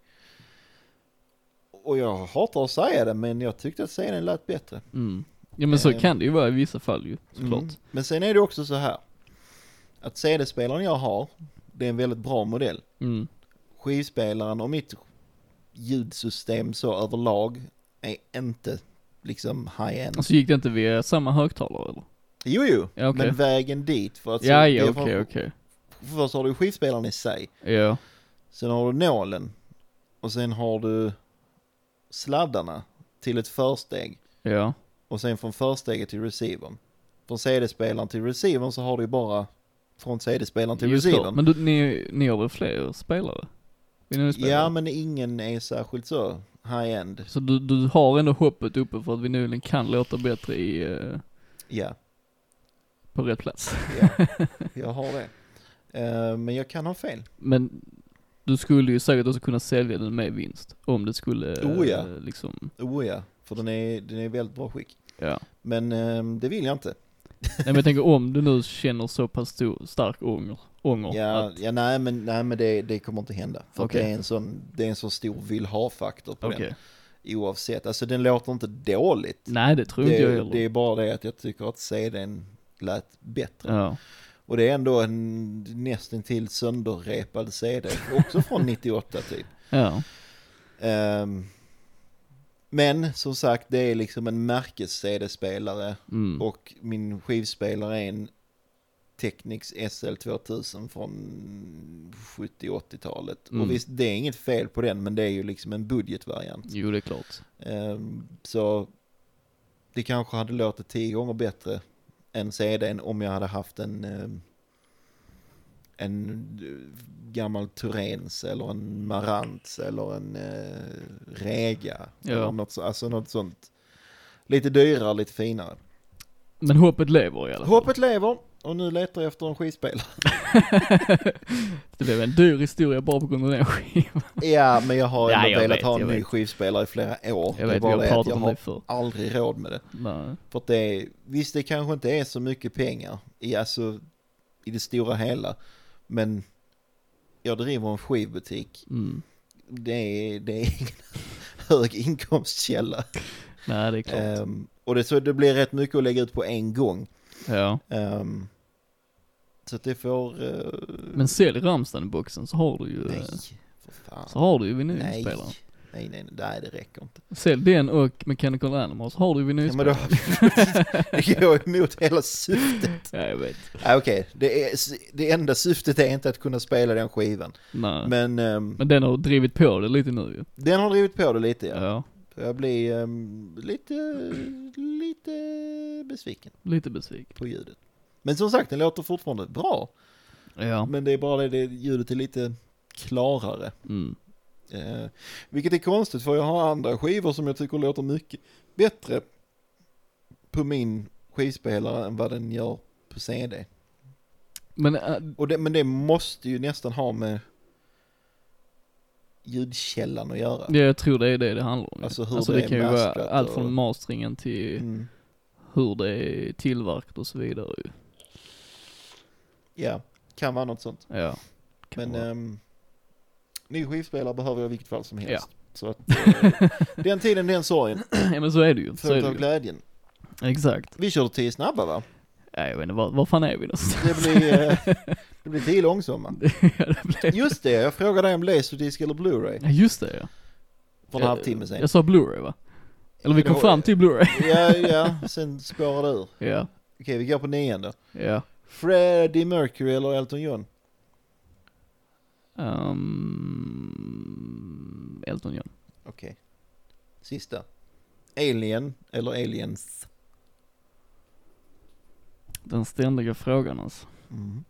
Och jag hatar att säga det, men jag tyckte att CDn lät bättre. Mm. Ja men så Eh. kan det ju vara i vissa fall ju, såklart. Mm. Men sen är det också så här. Att CD-spelaren jag har, det är en väldigt bra modell. Mm. Skivspelaren och mitt ljudsystem så överlag är inte liksom high-end. Och så gick det inte via samma högtalare eller? Jo, jo. Alltså, Ja okej. Men vägen dit för att... ja, ja Alltså, det är okej för- okej. Först har du skivspelaren i sig. Ja. Sen har du nålen. Och sen har du sladdarna till ett försteg. Ja. Och sen från försteget till receivern. Från CD-spelaren till receivern så har du ju bara från CD-spelaren till Just klart. receivern. Men du, ni, ni har väl fler spelare? Vill ni spela? Ja, men ingen är särskilt så high-end. Så du, du har ändå hoppet uppe för att vinylin kan låta bättre i, eh, Ja, på rätt plats. ja. jag har det. Eh, Men jag kan ha fel. Men du skulle ju säkert också kunna sälja den med vinst. Om det skulle, eh, Oh, ja. liksom, Oh ja, för den är, den är i väldigt bra skick. ja. Men eh, det vill jag inte. Nej men jag tänker om du nu känner så pass stor, stark ånger, ånger Ja, att, ja nej men, nej, men det, det kommer inte hända. För Okej. att det, är en sån, det är en sån stor vill ha-faktor på okej. den. Oavsett, alltså den låter inte dåligt. Nej det tror inte jag Det, heller. det är bara det att jag tycker att CDn lät bättre. ja. Och det är ändå en nästintill sönderrepad CD, också från 98 typ. ja. Ehm, men som sagt, det är liksom en märkes-CD-spelare Mm. och min skivspelare är en Technics SL 2000 från 70-80-talet. Mm. Och visst, det är inget fel på den, men det är ju liksom en budgetvariant. Jo det är klart. Ehm, så det kanske hade låtit tio gånger bättre än CDn om jag hade haft en, ehm, en eh, gammal Turens eller en Marantz eller en eh, Rega. Ja. Eller något, så, alltså något sånt. Lite dyrare, lite finare. Men hoppet lever i alla fall. Hoppet lever och nu letar jag efter en skivspelare. Det blev en dyr historia bara på grund av den skivan. ja, men jag har Ja, ändå jag velat vet, ha en jag ny vet. skivspelare i flera år. Jag det är vet, vi bara har det att jag pratat om har det förr. aldrig råd med det. Nej. För att det är, visst det kanske inte är så mycket pengar i, alltså, i det stora hela. Men jag driver en skivbutik. Mm. Det är, det är ingen hög inkomstkälla. Nej det är klart. Ehm, och det, så det blir rätt mycket att lägga ut på en gång. ja. Ehm, så att det får... eh, Men sälj Rammstein-boxen så har du ju, eh, nej, för fan. så har du ju nej. nej, vinylspelaren. nej, nej, nej, det räcker inte. Sälj den och Mechanical Animals, har du Ja, men då, vinylspelaren? det går emot hela syftet. Ja, jag vet. Ah, Okej, det, är- det enda syftet är inte att kunna spela den skivan. Nej. Men, Men ehm, den har drivit på det lite nu ju. den har drivit på det lite ja. Ja. Jag blir ehm, lite, lite besviken Lite besviken. på ljudet. Men som sagt, den låter fortfarande bra. Ja. Men det är bara det, det ljudet är lite klarare. Mm. Eh, vilket är konstigt för jag har andra skivor som jag tycker låter mycket bättre på min skivspelare än vad den gör på CD. Men, äh, Och det, men det måste ju nästan ha med ljudkällan att göra. ja, jag tror det är det det handlar om. Alltså hur alltså det det, är kan ju vara mastrat allt och- från masteringen till Mm. hur det är tillverkat och så vidare ju. Ja, kan vara något sånt. Ja. Kan Men vara. ehm, ny skivspelare behöver jag i vilket fall som helst. Ja. Så att, eh, den tiden, den sorgen. ja men så är det ju. Så är För det av ju. glädjen. Exakt. Vi körde tio snabba va? Ja, jag vet inte, var, var fan är vi någonstans? Det blir, eh, det blir tio långsamma. ja, det blev... Just det, jag frågade dig om Laserdisc eller Blu-ray Ja, just det ja. för en Jag- halvtimme sen. Jag sa Blu-ray va? Eller vi Det kom var- fram till Blu-ray. Ja, ja, sen spårar det ur. ja. Okej, vi går på nian då. Ja. Freddie Mercury eller Elton John? Um, Elton John. Okej. Sista. Alien eller Aliens? Den ständiga frågan alltså. Mm.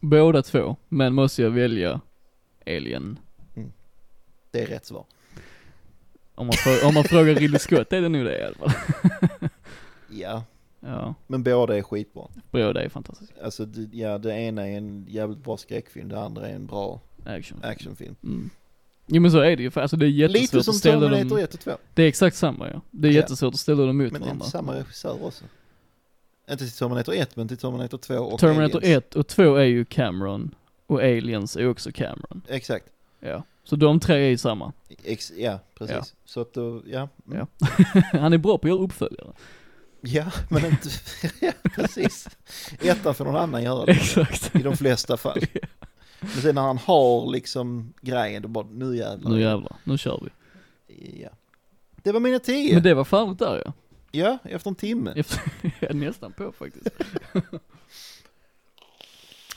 Båda två, men måste jag välja Alien? Det är rätt svar. Om man, frå- om man frågar Ridley Scott är det nu det i alla fall. Ja, Ja, men båda är skitbra. båda är fantastiska. Alltså, det- ja, det ena är en jävligt bra skräckfilm, det andra är en bra Action. actionfilm. Mm. Jo men så är det ju, för alltså det är jättesvårt Lite att som ställa Terminator dem. 1 och 2, Det är exakt samma ja. Det är Ja. jättesvårt att ställa dem mot men inte varandra. samma regissör också. Inte till Terminator 1, men till Terminator 2 och Terminator Aliens. 1 och 2 är ju Cameron, och Aliens är också Cameron. Exakt. Ja. Så de tre är ju samma. Ex, ja, precis. Ja. Så att då, ja. mm. Ja. Han är bra på att göra uppföljare. ja men inte, ja, precis. Ettan får någon annan göra det. Exakt. I de flesta fall. Men sen när han har liksom grejen, då bara nu jävlar. Nu jävlar, nu kör vi. Ja. Det var mina tio. Men det var färdigt där ja. Ja, efter en timme. Efter, jag är nästan på faktiskt.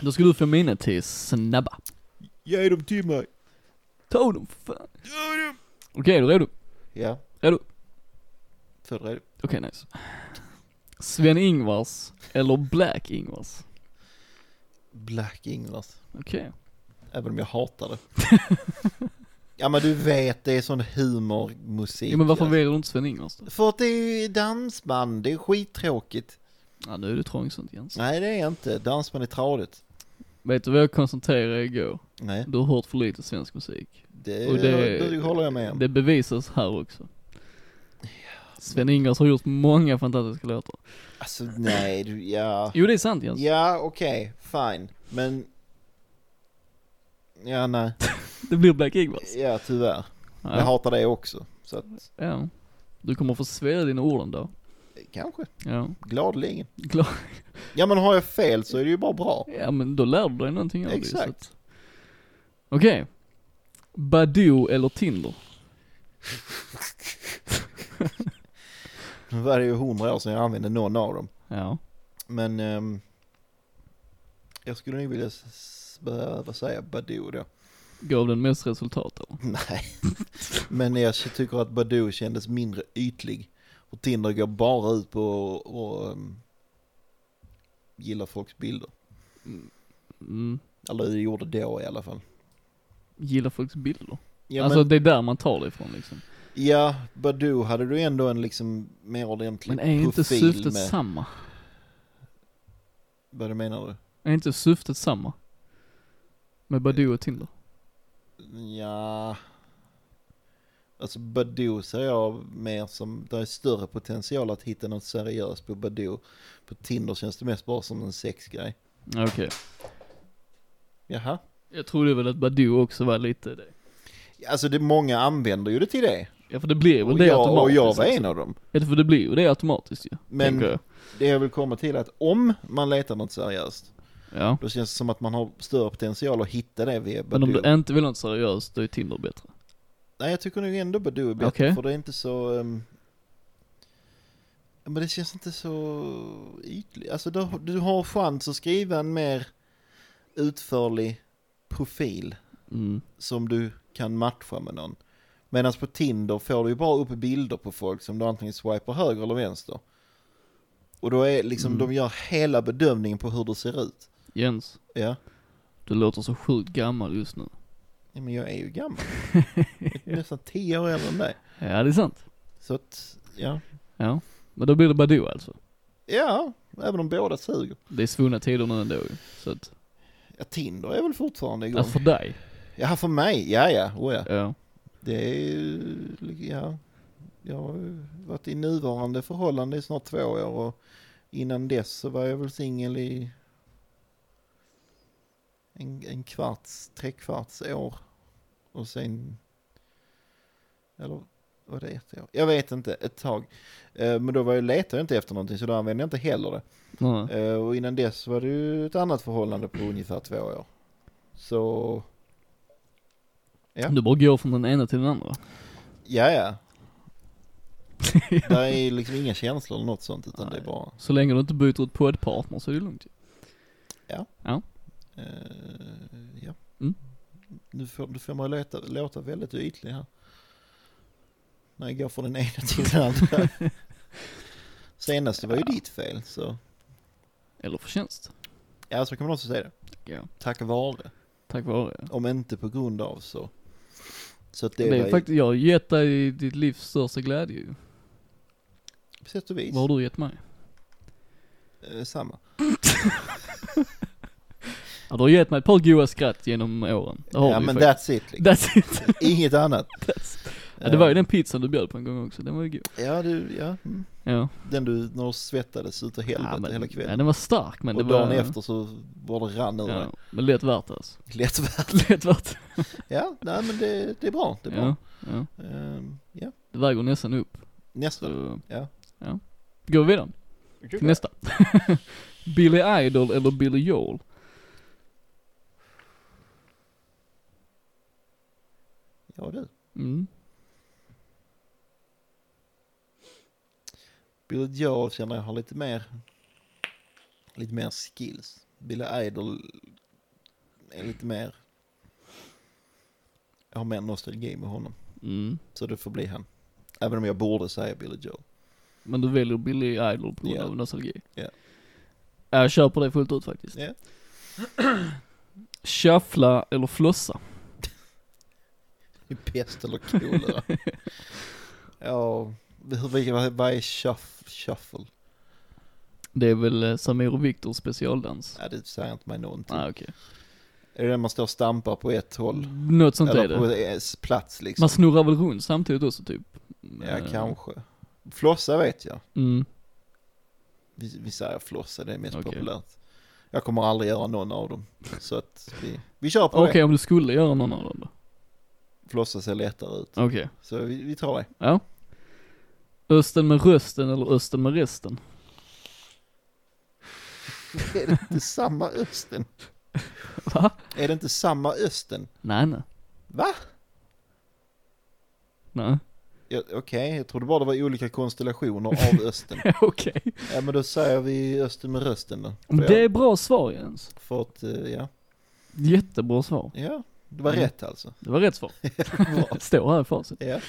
Då ska du få mina till snabba. Ge dem till mig. Ta dem för fan. Okej, är du redo? Ja. Redo? Född redo. Okej, nice. Sven-Ingvars eller Black-Ingvars? Black Ingvars. Okej. Även om jag hatar det. ja men du vet, det är sån humormusik. Ja, men varför alltså. väljer du inte Sven-Ingvars då? För att det är ju dansband, det är skittråkigt. Ja, nu är du trångsynt Jens. Nej det är jag inte, dansband är tradigt. Vet du vad jag konstaterade igår? Nej, Du har hört för lite svensk musik. det, Och det- det, håller jag med om. Det bevisas här också. Sven-Ingvars har gjort många fantastiska låtar. Alltså nej, du, ja. Jo, det är sant Jens. Ja okej, fine. Men... Ja nej, Det blir Black Ingvars. ja tyvärr. Jag Ja. hatar det också. Så att, ja. Du kommer få svälja dina ord en dag. kanske. Ja. Gladeligen. Klar. Ja men har jag fel så är det ju bara bra. Ja, men då lär du dig någonting av det. så Exakt. att- Okej. Badoo eller Tinder? Nu var det ju hundra år sedan jag använde någon av dem. Ja. Men ehm, jag skulle nog vilja s- s- behöva säga Badoo då. Gav den mest resultat eller? Nej, men jag tycker att Badoo kändes mindre ytlig. Och Tinder går bara ut på att och, ehm, gilla folks bilder. Mm. Eller det gjorde då i alla fall. Gillar folks bilder. Ja, alltså men, det är där man tar det ifrån liksom. ja, Badoo hade du ändå en liksom mer ordentlig Men är inte profil syftet med. samma? Vad menar du? Är inte syftet samma? Med Badoo och Tinder? Ja. Alltså Badoo ser jag mer som, det är större potential att hitta något seriöst på Badoo. På Tinder känns det mest bara som en sexgrej. Ja, Okej. Jaha. Jag trodde väl att Badoo också var lite det. Alltså det, många använder ju det till det. Ja för det blir väl Och det jag, och automatiskt. jag var också. en av dem. Ja för det blir ju det automatiskt ju. Men- tänker jag. Det jag vill komma till är att om man letar något seriöst, Ja. då känns det som att man har större potential att hitta det via Men om Badoo. du inte vill ha något seriöst, då är Tinder bättre. Nej, jag tycker nog ändå Badoo är bättre, Okej. för det är inte så... ehm, Men det känns inte så ytligt. Alltså du, du har chans att skriva en mer utförlig profil Mm. som du kan matcha med någon. Medan på Tinder får du ju bara upp bilder på folk som du antingen swipar höger eller vänster. Och då är liksom, Mm. de gör hela bedömningen på hur du ser ut. Jens, Ja, du låter så sjukt gammal just nu. ja men jag är ju gammal. Jag är Nästan tio år äldre än dig. Ja det är sant. Så att, ja. Ja. Men då blir det Badoo alltså. Ja, även om båda suger. Det är svunna tider nu ändå ju. Så att, Ja, Tinder är väl fortfarande igång? alltså för dig. Ja, för mig? Ja, ja, oh, ja. Ja. Det är ju, ja. Jag har ju varit i nuvarande förhållande i snart två år och innan dess så var jag väl singel i en, en kvarts, trekvarts år. Och sen, eller var det ett år? Jag vet inte, ett tag. Eh, Men då var jag, letade jag inte efter någonting så då använde jag inte heller det. Nej. Eh, Och innan dess var det ju ett annat förhållande på ungefär två år. Så, Ja. Du bara går från den ena till den andra. ja ja. Där är liksom inga känslor eller något sånt utan det är Nej. bara... Så länge du inte byter ut poddpartner så är det lugnt ju. eh, ja. Mm. Nu får, nu får man låta, låta väldigt ytlig här. När jag går från den ena till den andra. Senaste var ju ditt fel så... Eller förtjänst. Ja så kan man också säga det. Ja. Tack vare. Tack vare. Om inte på grund av så. Så att det, Det var är ju- faktiskt, jag har gett dig ditt livs största glädje ju. på sätt och vis Vad har du gett mig? eh, samma. Ja, du har gett mig ett par goa skratt genom åren. Det har ja du men ju faktiskt. that's it. Liksom. That's it. Inget annat. Eh, That's Ja, det var ju den pizzan du bjöd på en gång också, den var ju god. Ja, du, ja. Mm. Ja. Den du, när du svettades utav helvete ja, men, hela Ja, kvällen. den var stark men och det var... dagen efter så var det rann ur Ja, ja. men lätt värt det alltså. Lätt värt. Lätt värt. Ja, nej men det, det är bra. Det är bra. Ja, ja. Ehm, ja. Det väger nästan upp. Nästa. Så, Ja. ja. Går vi vidare till nästa. Billy Idol eller Billy Joel? Ja du. Mm. Billy Joel känner jag har lite mer, lite mer skills. Billy Idol är lite mer, jag har mer nostalgi med honom. Mm. Så det får bli han. Även om jag borde säga Billy Joel. Men du väljer Billy Idol på grund Ja. av nostalgi? Ja. Ja, Jag köper det fullt ut faktiskt. Ja. Shuffla eller flossa? Det är Pest eller kolera. ja, hur- vilka- vad vad är shuff, shuffle? Det är väl eh, Samir och Viktors specialdans? Nej, det säger inte mig någonting. Nej ah, okej. Är det när man står och stampar på ett håll? Något sånt är Eller det. på ens plats liksom? Man snurrar väl runt samtidigt också typ? Ja, Eh, kanske. Flossa vet jag. Mm. Vi, vi säger flossa, det är mest Okej. populärt. Jag kommer aldrig göra någon av dem. Så att vi, vi kör på Okej, om du skulle göra någon av dem då? det. Flossa ser lättare ut. Okej. Så vi, vi tar det. Ja. Östen med rösten eller östen med resten? Är det inte samma östen? Va? Är det inte samma östen? Nej, nej. Va? Nej. Ja, Okej, jag trodde bara det var olika konstellationer av östen. Okej. ja men då säger vi östen med rösten då. För, Det är bra svar Jens. för att, eh, ja. Jättebra svar. Ja, det var Mm. rätt alltså. Det var rätt svar. Bra. Står här i facit. Ja.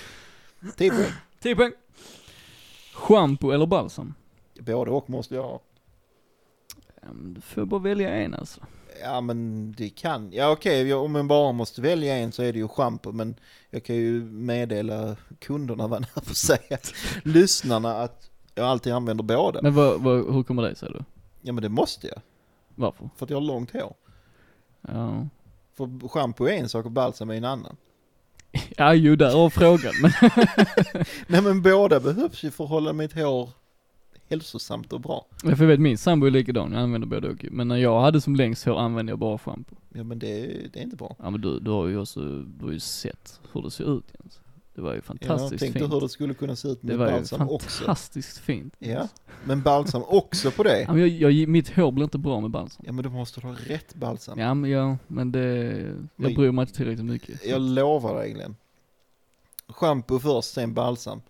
Typ. Tio poäng. 10 poäng. Shampoo eller balsam? Både och måste jag ha. Ja, men Ehm, Du får bara välja en alltså. Ja men det kan, ja okej jag- om man bara måste välja en så är det ju schampo men jag kan ju meddela kunderna vad jag får säga, lyssnarna att jag alltid använder båda. Men vad, vad, hur kommer det sig då? Ja men det måste jag, Varför? för att jag har långt hår. Ja. För schampo är en sak och balsam är en annan. Ja, ju därav frågan. Men Nej men båda behövs ju för att hålla mitt hår hälsosamt och bra. Ja, för jag vet min sambo är likadan, jag använder både och. ju. Men när jag hade som längst hår använde jag bara schampo. Ja men det, det är inte bra. Ja men du, du har ju också, du har ju sett hur det ser ut Jens. Det var ju Jag fantastiskt tänkte fint. hur det skulle kunna se ut det med var ju balsam också. fantastiskt fint. Ja, men balsam också på det. Ja, men jag, jag, mitt hår blir inte bra med balsam. Ja men du måste ha rätt balsam. Ja men jag, men det, jag Men- bryr mig inte tillräckligt mycket. Jag lovar dig Glenn. Shampoo först, sen balsam.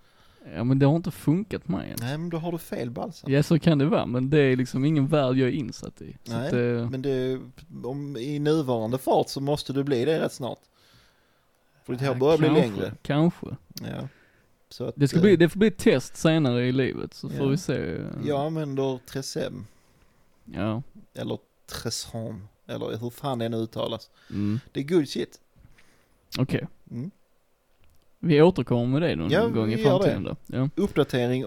Ja men det har inte funkat mig än. Nej men då har du fel balsam. Ja så kan det vara, men det är liksom ingen värld jag är insatt i. Så Nej, att, eh, Men det, om, i nuvarande fart så måste du bli det rätt snart. För ditt hår ja, börjar bli kanske, längre. Kanske. Ja. Så att, Det ska eh, bli, det får bli ett test senare i livet, så Ja. får vi se. eh, Jag använder Tresem, Ja. eller Tresem, eller hur fan det nu uttalas. Mm. Det är good shit. Okej. Mm. Vi återkommer med det någon Ja, gång i vi gör det. framtiden då. Ja, Uppdatering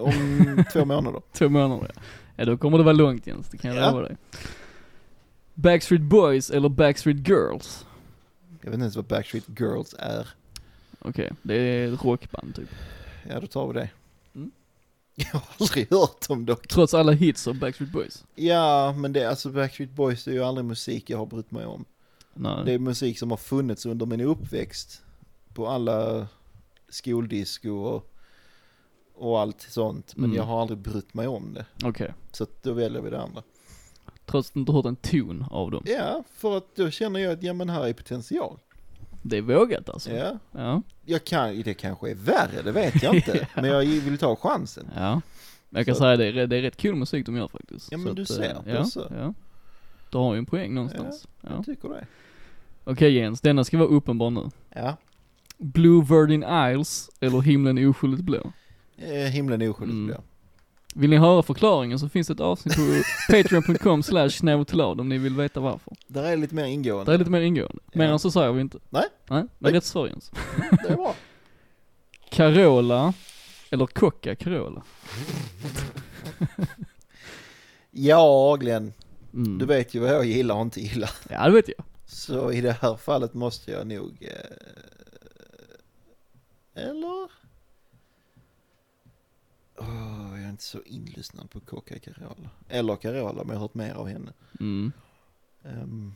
om två månader. två månader ja. ja. då kommer det vara långt Jens, det kan jag Ja. lova dig. Backstreet Boys eller Backstreet Girls? Jag vet inte ens vad Backstreet Girls är. Okej, det är ett rockband typ. Ja, då tar vi det. Mm. Jag har aldrig hört om dock. Trots alla hits av Backstreet Boys? Ja, men det, alltså Backstreet Boys det är ju aldrig musik jag har brytt mig om. Nej. Det är musik som har funnits under min uppväxt. På alla skoldisco och, och allt sånt. Men Mm. jag har aldrig brytt mig om det. Okej. Så att då väljer vi det andra. Trots att du inte hört en ton av dem. Ja, för att då känner jag att ja men här är potential. Det är vågat alltså. Ja. Ja. Jag kan, det kanske är värre, det vet jag inte. Men jag vill ta chansen. ja. Jag kan Så- säga det, är- det är rätt kul musik de gör faktiskt. Ja, men Så att, du eh, ser, alltså. ja, du ser. Ja. Du har ju en poäng någonstans. Ja. Jag tycker det. Okej Jens, denna ska vara uppenbar nu. Ja. Blue Virgin Isles eller Himlen oskyldigt blå? Eh, Himlen är oskyldigt Mm. blå. Vill ni höra förklaringen så finns det ett avsnitt på patreon.com slash snabeltillad om ni vill veta varför. Där är lite mer ingående. Det är lite mer ingående. Mer Ja. än så säger vi inte. Nej. Nej, men Nej. rätt svar Jens. Det är bra. Carola eller Coca Carola? Ja, Glenn. Mm. Du vet ju vad jag gillar och inte gillar. Ja det vet jag. Så i det här fallet måste jag nog... Eh, Eller? Åh, jag är inte så inlyssnad på Coca Carola. Eller Carola, men jag har hört mer av henne. Mm. Ehm,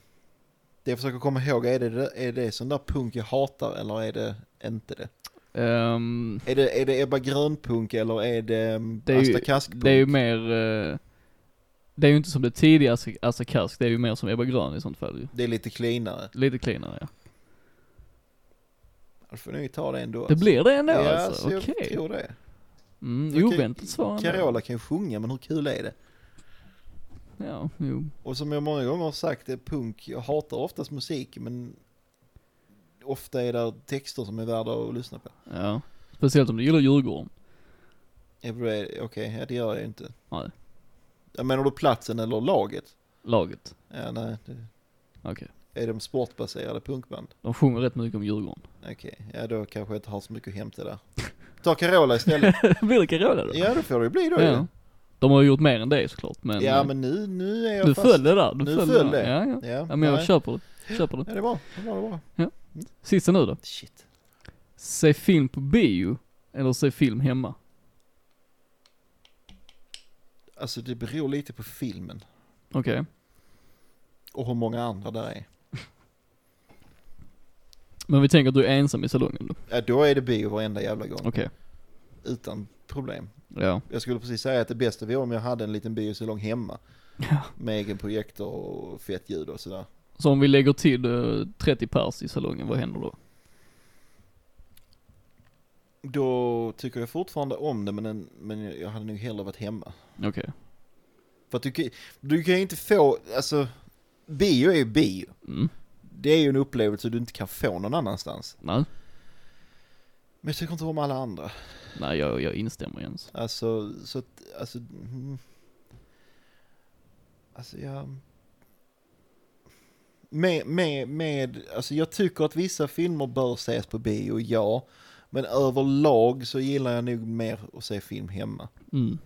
det jag försöker komma ihåg, är det, är det sån där punk jag hatar eller är det inte det? Ehm, Är det, är det Ebba Grön-punk eller är det, um, Det är ju- Asta Kask-punk? det är ju mer, eh, det är ju inte som det tidiga Assa- Assa Kask, det är ju mer som Ebba Grön i sånt fall ju. Det är lite cleanare. Lite cleanare ja. Då får ni ta det ändå. Det blir det ändå ja, alltså, så okej. jag tror det. Mm, Okej, oväntat svar ändå. Carola kan ju sjunga, men hur kul är det? Ja, jo. Och som jag många gånger har sagt, det är punk. Jag hatar oftast musik, men ofta är det texter som är värda att lyssna på. Ja. Speciellt om du gillar Djurgården. Every- Okej, ja, det gör jag ju inte. Nej, Jag menar du platsen eller laget? laget. Ja, nej, det, Okej. är de sportbaserade punkband? De sjunger rätt mycket om Djurgården. Okej, ja då kanske jag inte har så mycket att hämta där. Ta Carola istället. blir det Carola då? Ja, då får det ju bli då ju. Ja. De har ju gjort mer än det såklart men... Ja, eh, men nu, nu är jag du fast. föll det där. Du Nu föll föll där. det. Ja, ja. Ja, ja men jag nej. köper det. Köper det. Ja, det är bra. Det är bra, det är bra. Sista nu då. Shit. Se film på bio. Eller se film hemma. Alltså det beror lite på filmen Okej. och hur många andra där är. Men vi tänker att du är ensam i salongen då. Ja, då är det bio varenda jävla gång. Okej. Utan problem. Ja. Jag skulle precis säga att det bästa vore om jag hade en liten biosalong hemma. Ja. Med egen projektor och fett ljud och sådär. Så om vi lägger till eh, 30 pers i salongen, vad händer då? Då tycker jag fortfarande om det men, en, men jag hade nog hellre varit hemma. Okej. För att du, kan- du kan ju inte få, alltså bio är ju bio. Mm. Det är ju en upplevelse du inte kan få någon annanstans. Nej. Men jag tycker inte om alla andra. Nej, jag, jag instämmer Jens. Alltså, så att, alltså, mm. alltså jag... Med, med, med, alltså jag tycker att vissa filmer bör ses på bio, ja. Men överlag så gillar jag nog mer att se film hemma. Mm.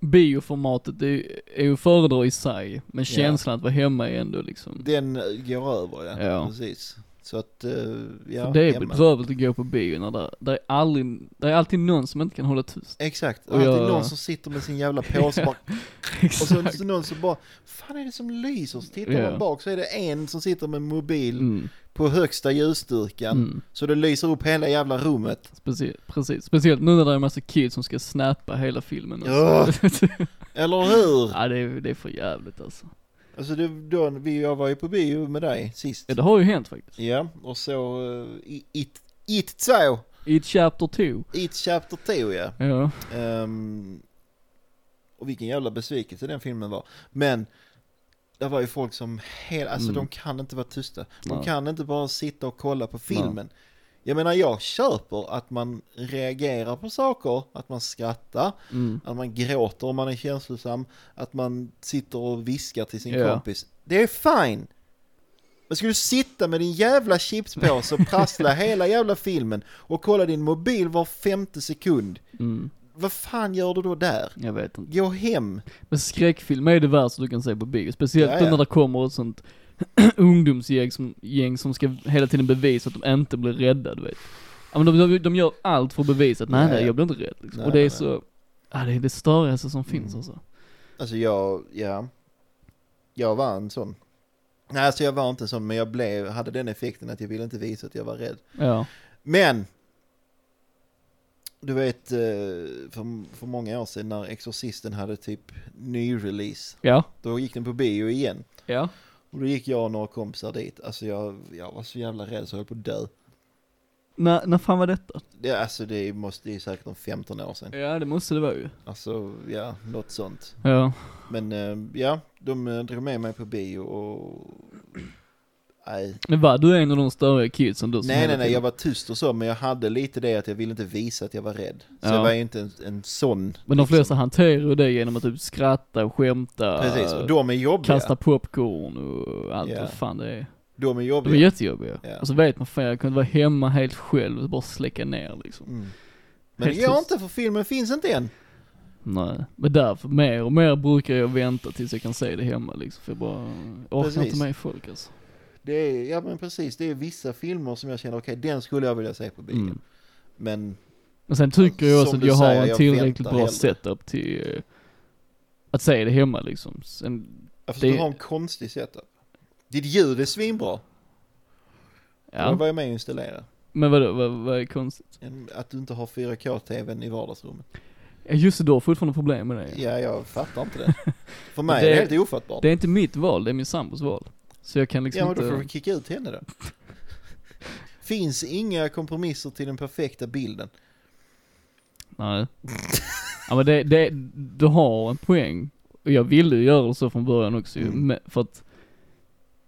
Bioformatet är ju- är ju att föredra i sig, men känslan att vara hemma är ändå liksom... Den eh, går över ja, Ja. precis. Så att, eh, ja, För det är hemma. bedrövligt att gå på bio när det, det är aldrig, det är alltid någon som inte kan hålla tyst. Exakt, och Och jag- alltid någon som sitter med sin jävla påse bara, och så är det någon som bara, fan är det som lyser? Så tittar Ja. man bak så är det en som sitter med mobil Mm. på högsta ljusstyrkan. Mm. Så det lyser upp hela jävla rummet. Precis, precis. Speciellt nu när det är en massa kids som ska snappa hela filmen. Ja. Alltså. Eller hur? ja, det är, det är för jävligt alltså. Alltså det, då, vi, jag var ju på bio med dig sist. Ja, det har ju hänt faktiskt. Ja, och så eh, i It, it so, I chapter 2. It Chapter 2 ja. Ja. Ehm, och vilken jävla besvikelse den filmen var. Men det var ju folk som hela, alltså Mm. de kan inte vara tysta. De Nej. kan inte bara sitta och kolla på filmen. Jag menar jag köper att man reagerar på saker, att man skrattar, Mm. Att man gråter om man är känslosam. Att man sitter och viskar till sin Ja. kompis. Det är fine. Men ska du sitta med din jävla chipspåse och prassla hela jävla filmen och kolla din mobil var femte sekund. Mm. Vad fan gör du då där? Jag vet inte. Gå hem. Men skräckfilm är det värsta du kan se på bio. Speciellt Ja, ja. när det kommer ett sånt ungdomsgäng som, gäng som ska hela tiden bevisa att de inte blir rädda, du vet. Ja, men de, de, de gör allt för att bevisa att nej, Ja, nej, ja. jag blir inte rädd liksom. Nej, Och det nej, är nej. så, ja det är det störigaste som finns Mm. alltså. Alltså jag, ja. Jag var en sån. Nej, alltså jag var inte en sån, men jag blev, hade den effekten att jag ville inte visa att jag var rädd. Ja. Men! Du vet, eh, för, för många år sedan när Exorcisten hade typ ny-release, Ja. då gick den på bio igen. Ja. Och då gick jag och några kompisar dit. Alltså jag, jag var så jävla rädd så jag höll på att dö. När, när fan var detta? Det, alltså det måste det är säkert om 15 år sedan. Ja det måste det vara ju. Alltså ja, något sånt. Ja. Men eh, ja, de eh, drog med mig på bio och... Nej, Men va, du är en av de störiga kidsen du som nej, hela nej, nej, jag tiden- var tyst och så, men jag hade lite det att jag ville inte visa att jag var rädd. Så Ja. jag var ju inte en, en sån. Men de liksom. flesta hanterar ju det genom att typ skratta och skämta. Precis, och de är jobbiga. Kasta popcorn och allt Ja. vad fan det är. De är De är jobbiga. jättejobbiga. Ja. Och så vet man fan, jag kunde vara hemma helt själv och bara släcka ner liksom. Mm. Men det Helt gör tyst. inte för filmen finns inte än. Nej. Men därför, mer och mer brukar jag vänta tills jag kan se det hemma liksom. För jag bara, jag orkar Precis. inte med folk alltså. Det är, ja men precis, det är vissa filmer som jag känner, okej den skulle jag vilja se på bio. Mm. Men Men sen tycker jag också Som att du jag har säger, en jag tillräckligt väntar bra hellre. setup till eh, att säga det hemma liksom. Sen, jag förstår, Det- du har en konstig setup. Ditt ljud är svinbra. Det ja. var jag med och installerade. Men vadå, vad, vad är konstigt? En- Att du inte har 4K-tvn i vardagsrummet. Ja, Just det, du har fortfarande problem med det. ja. Ja, jag fattar inte det. För mig Det- är det helt ofattbart. Det är inte mitt val, det är min sambos val. Så jag kan liksom ja, men då inte... får vi kicka ut henne då. Finns inga kompromisser till den perfekta bilden. Nej. ja men det, det, du har en poäng. Och jag ville ju göra det så från början också ju, Mm. men för att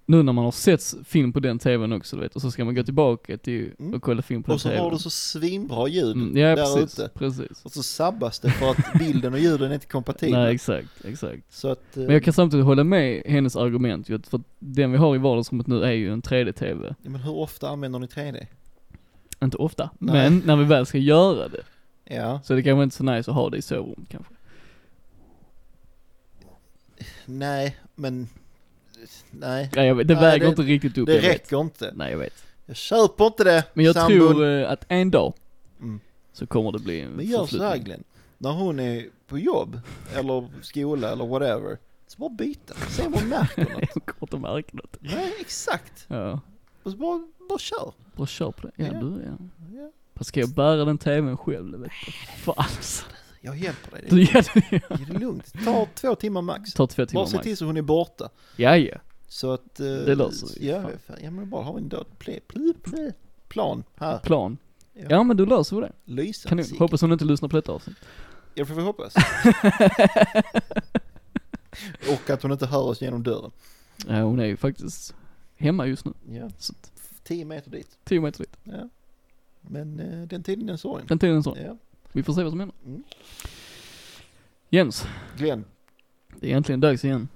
nu när man har sett film på den tvn också du vet, och så ska man gå tillbaka till Mm. och kolla film på Och så den har tvn. du så svinbra ljud mm, ja, där precis, ute. precis. Och så sabbas det för att bilden och ljuden är inte kompatibla. Nej exakt, exakt. så att, eh, Men jag kan samtidigt hålla med hennes argument ju, att för att den vi har i vardagsrummet nu är ju en 3D-tv. eh, ja, men hur ofta använder ni 3D? Inte ofta, Nej. men när vi väl ska göra det. Ja, Så det kanske inte är så nice att ha det i sovrummet kanske. nej, men nej. Ja, jag vet, det Nej, väger det- inte riktigt upp, Det jag vet. räcker inte. Nej jag vet. Jag köper inte det, Men jag sambon. tror eh, att en dag Mm. så kommer det bli en Men gör så här förflyttning. Glenn. När hon är på jobb, eller skola, eller whatever. Så bara byta. Se vad hon märker något. Jag kommer inte märka något. Nej, exakt. Ja, Och så bara, bara kör. bara kör på det. Ja, Ja. du ja. Ja. Fast ska jag bära den tvn själv? Det vet jag. Fan alltså. Jag hjälper dig. Det Du ger den är, det är lugnt. Ta två timmar max. Tar två timmar Bara se till max. så hon är borta. Ja, ja. Så att... eh, Det löser vi. Ja, Fan. fan. ja men bara ha en död ple, ple, ple, plan här. Plan. Ja. Ja men då löser vi det. Lysa. Kan du, hoppas hon inte lyssnar på detta avsnitt. Ja, får vi hoppas. Och att hon inte hör oss genom dörren. Ja, hon är ju faktiskt hemma just nu. Ja, Så att, tio meter dit. tio meter dit. Ja. Men eh, den tiden den sorgen. Den tiden är så. Ja. Vi får se vad som händer. Mm. Jens, Glenn, det är egentligen dags igen.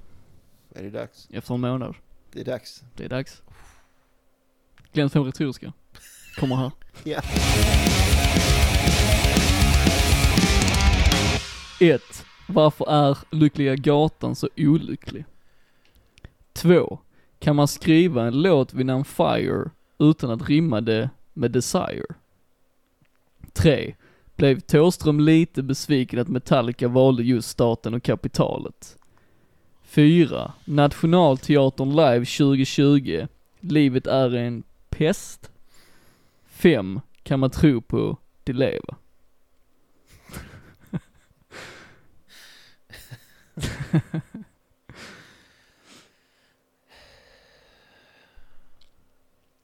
är det dags? Efter en månad. Det är dags. Det är dags. Glenns fem retoriska kommer här. Ja. Ett. Varför är Lyckliga Gatan så olycklig? Två. Kan man skriva en låt vid namn Fire utan att rimma det med Desire? Tre. Blev Thåström lite besviken att Metallica valde just staten och kapitalet? Fyra. Nationalteatern live 2020. Livet är en pest. Fem. Kan man tro på de leva?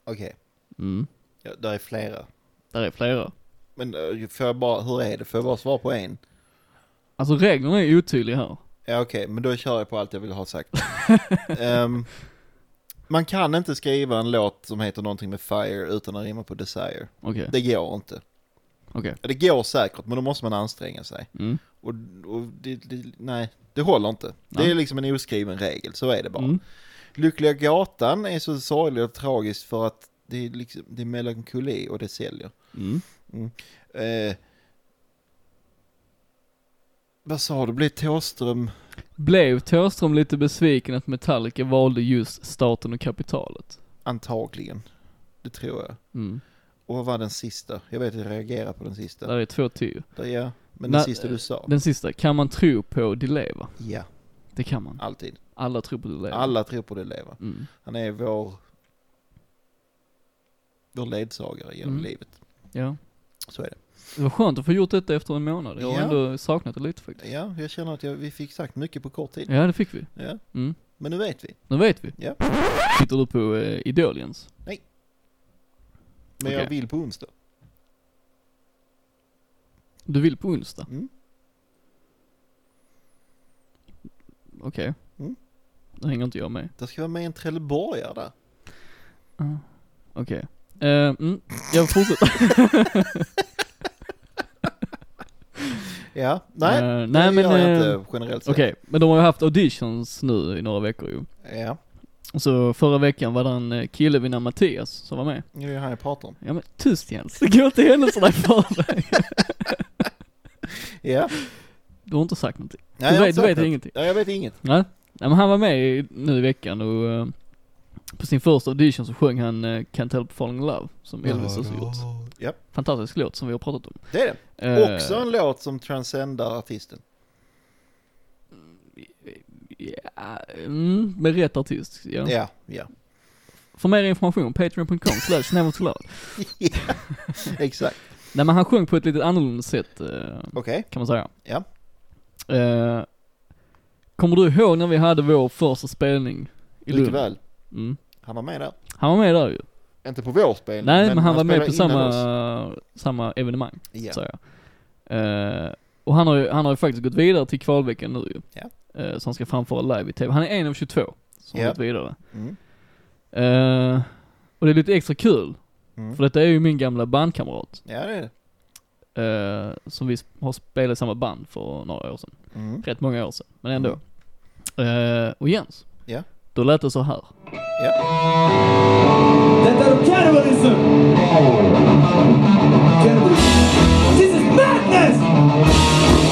Okej, Mm. ja, där är flera. Där är flera. Men eh, får jag bara, hur är det? Får jag bara svara på en? Alltså reglerna är otydliga här. Ja okej, men då kör jag på allt jag vill ha sagt. Ehm, man kan inte skriva en låt som heter någonting med fire utan att rimma på desire. Okej, Det går inte. okej. Det går säkert, men då måste man anstränga sig. Mm. Och, och det, det, nej, det håller inte. Det Nej. är liksom en oskriven regel, så är det bara. Mm. Lyckliga gatan är så sorglig och tragisk för att det är, liksom, det är melankoli och det säljer. Mm. Eh, vad sa du, blev Thåström? Blev Thåström lite besviken att Metallica valde just staten och kapitalet? Antagligen. Det tror jag. Mm. Och vad var den sista? Jag vet att jag reagerar på den sista. Där är två till. Där, ja. Men Nej, den sista du sa? Den sista, kan man tro på de leva? Ja, Det kan man. alltid. Alla tror på de leva. Alla tror på det leva. Mm. Han är vår, vår ledsagare genom Mm. livet. Ja. Så är det. Det var skönt att få gjort detta efter en månad. Jag har Ja. ändå saknat det lite faktiskt. Ja, jag känner att jag, vi fick sagt mycket på kort tid. Ja, det fick vi. Ja. Mm. Men nu vet vi. Nu vet vi. Ja. Tittar du på eh, Idol Jens? Men jag Okej. vill på onsdag. Du vill på onsdag? Mm. Okej. Mm. Då hänger inte jag med. Där ska vara med en trelleborgare där. Ah, Okej. Eh, mm, jag fortsätter. Ja, nej. Eh, nej det men... gör jag eh, inte generellt sett. Okej, men de har ju haft auditions nu i några veckor ju. Ja, Så förra veckan var det en eh, kille vid namn Mattias som var med. nu är det här jag pratar om. Ja men tyst Jens, det går inte händelserna i förväg. Ja. Du har inte sagt någonting. Nej, jag du har vet, inte du sagt vet det. ingenting. Ja, jag vet inget. Nej. Nej men han var med i- nu i veckan och eh, På sin första audition så sjöng han eh, Can't Help Falling in Love, som Elvis också gjort. Ja, Fantastisk låt som vi har pratat om. det är det. Eh, Också en låt som transcendar artisten. Ja, mm, med rätt artist, ja. Ja, ja. För mer information, patreon.com slash nevertolove. Exakt. Nej men han sjöng på ett lite annorlunda sätt, eh, Okej. kan man säga. Ja. Eh, kommer du ihåg när vi hade vår första spelning i Mycket Lund? väl. Mm. Han var med där. Han var med där ju. Inte på vår spelning. Nej men, han var med spelar på innan oss. samma, samma evenemang, Ja. så jag. Eh, och han har, ju, han har ju faktiskt gått vidare till kvalveckan nu ju. Ja. Eh, så han ska framföra live i TV. Han är en av 22 som Ja. har gått vidare. Mm. Eh, och det är lite extra kul, Mm. för detta är ju min gamla bandkamrat. Ja, det är det. eh, som vi sp- har spelat i samma band för några år sedan. Mm. Rätt många år sedan, men ändå. Eh, och Jens, Ja. då lät det så här. Ja. Detta är cannibalism! Cannibalism. This is madness!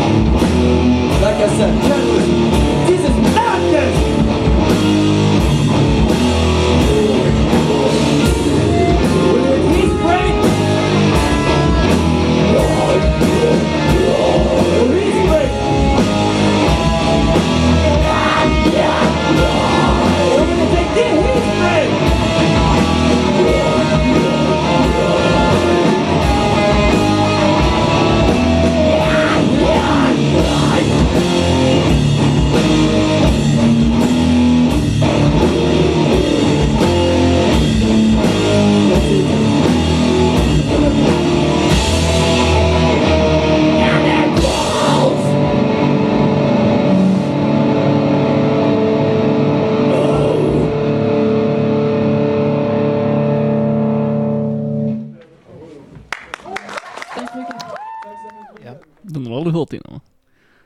Like I said, cannibalism. This is madness! He's great! He's great! We're gonna take this heat break! De har du aldrig hört innan va?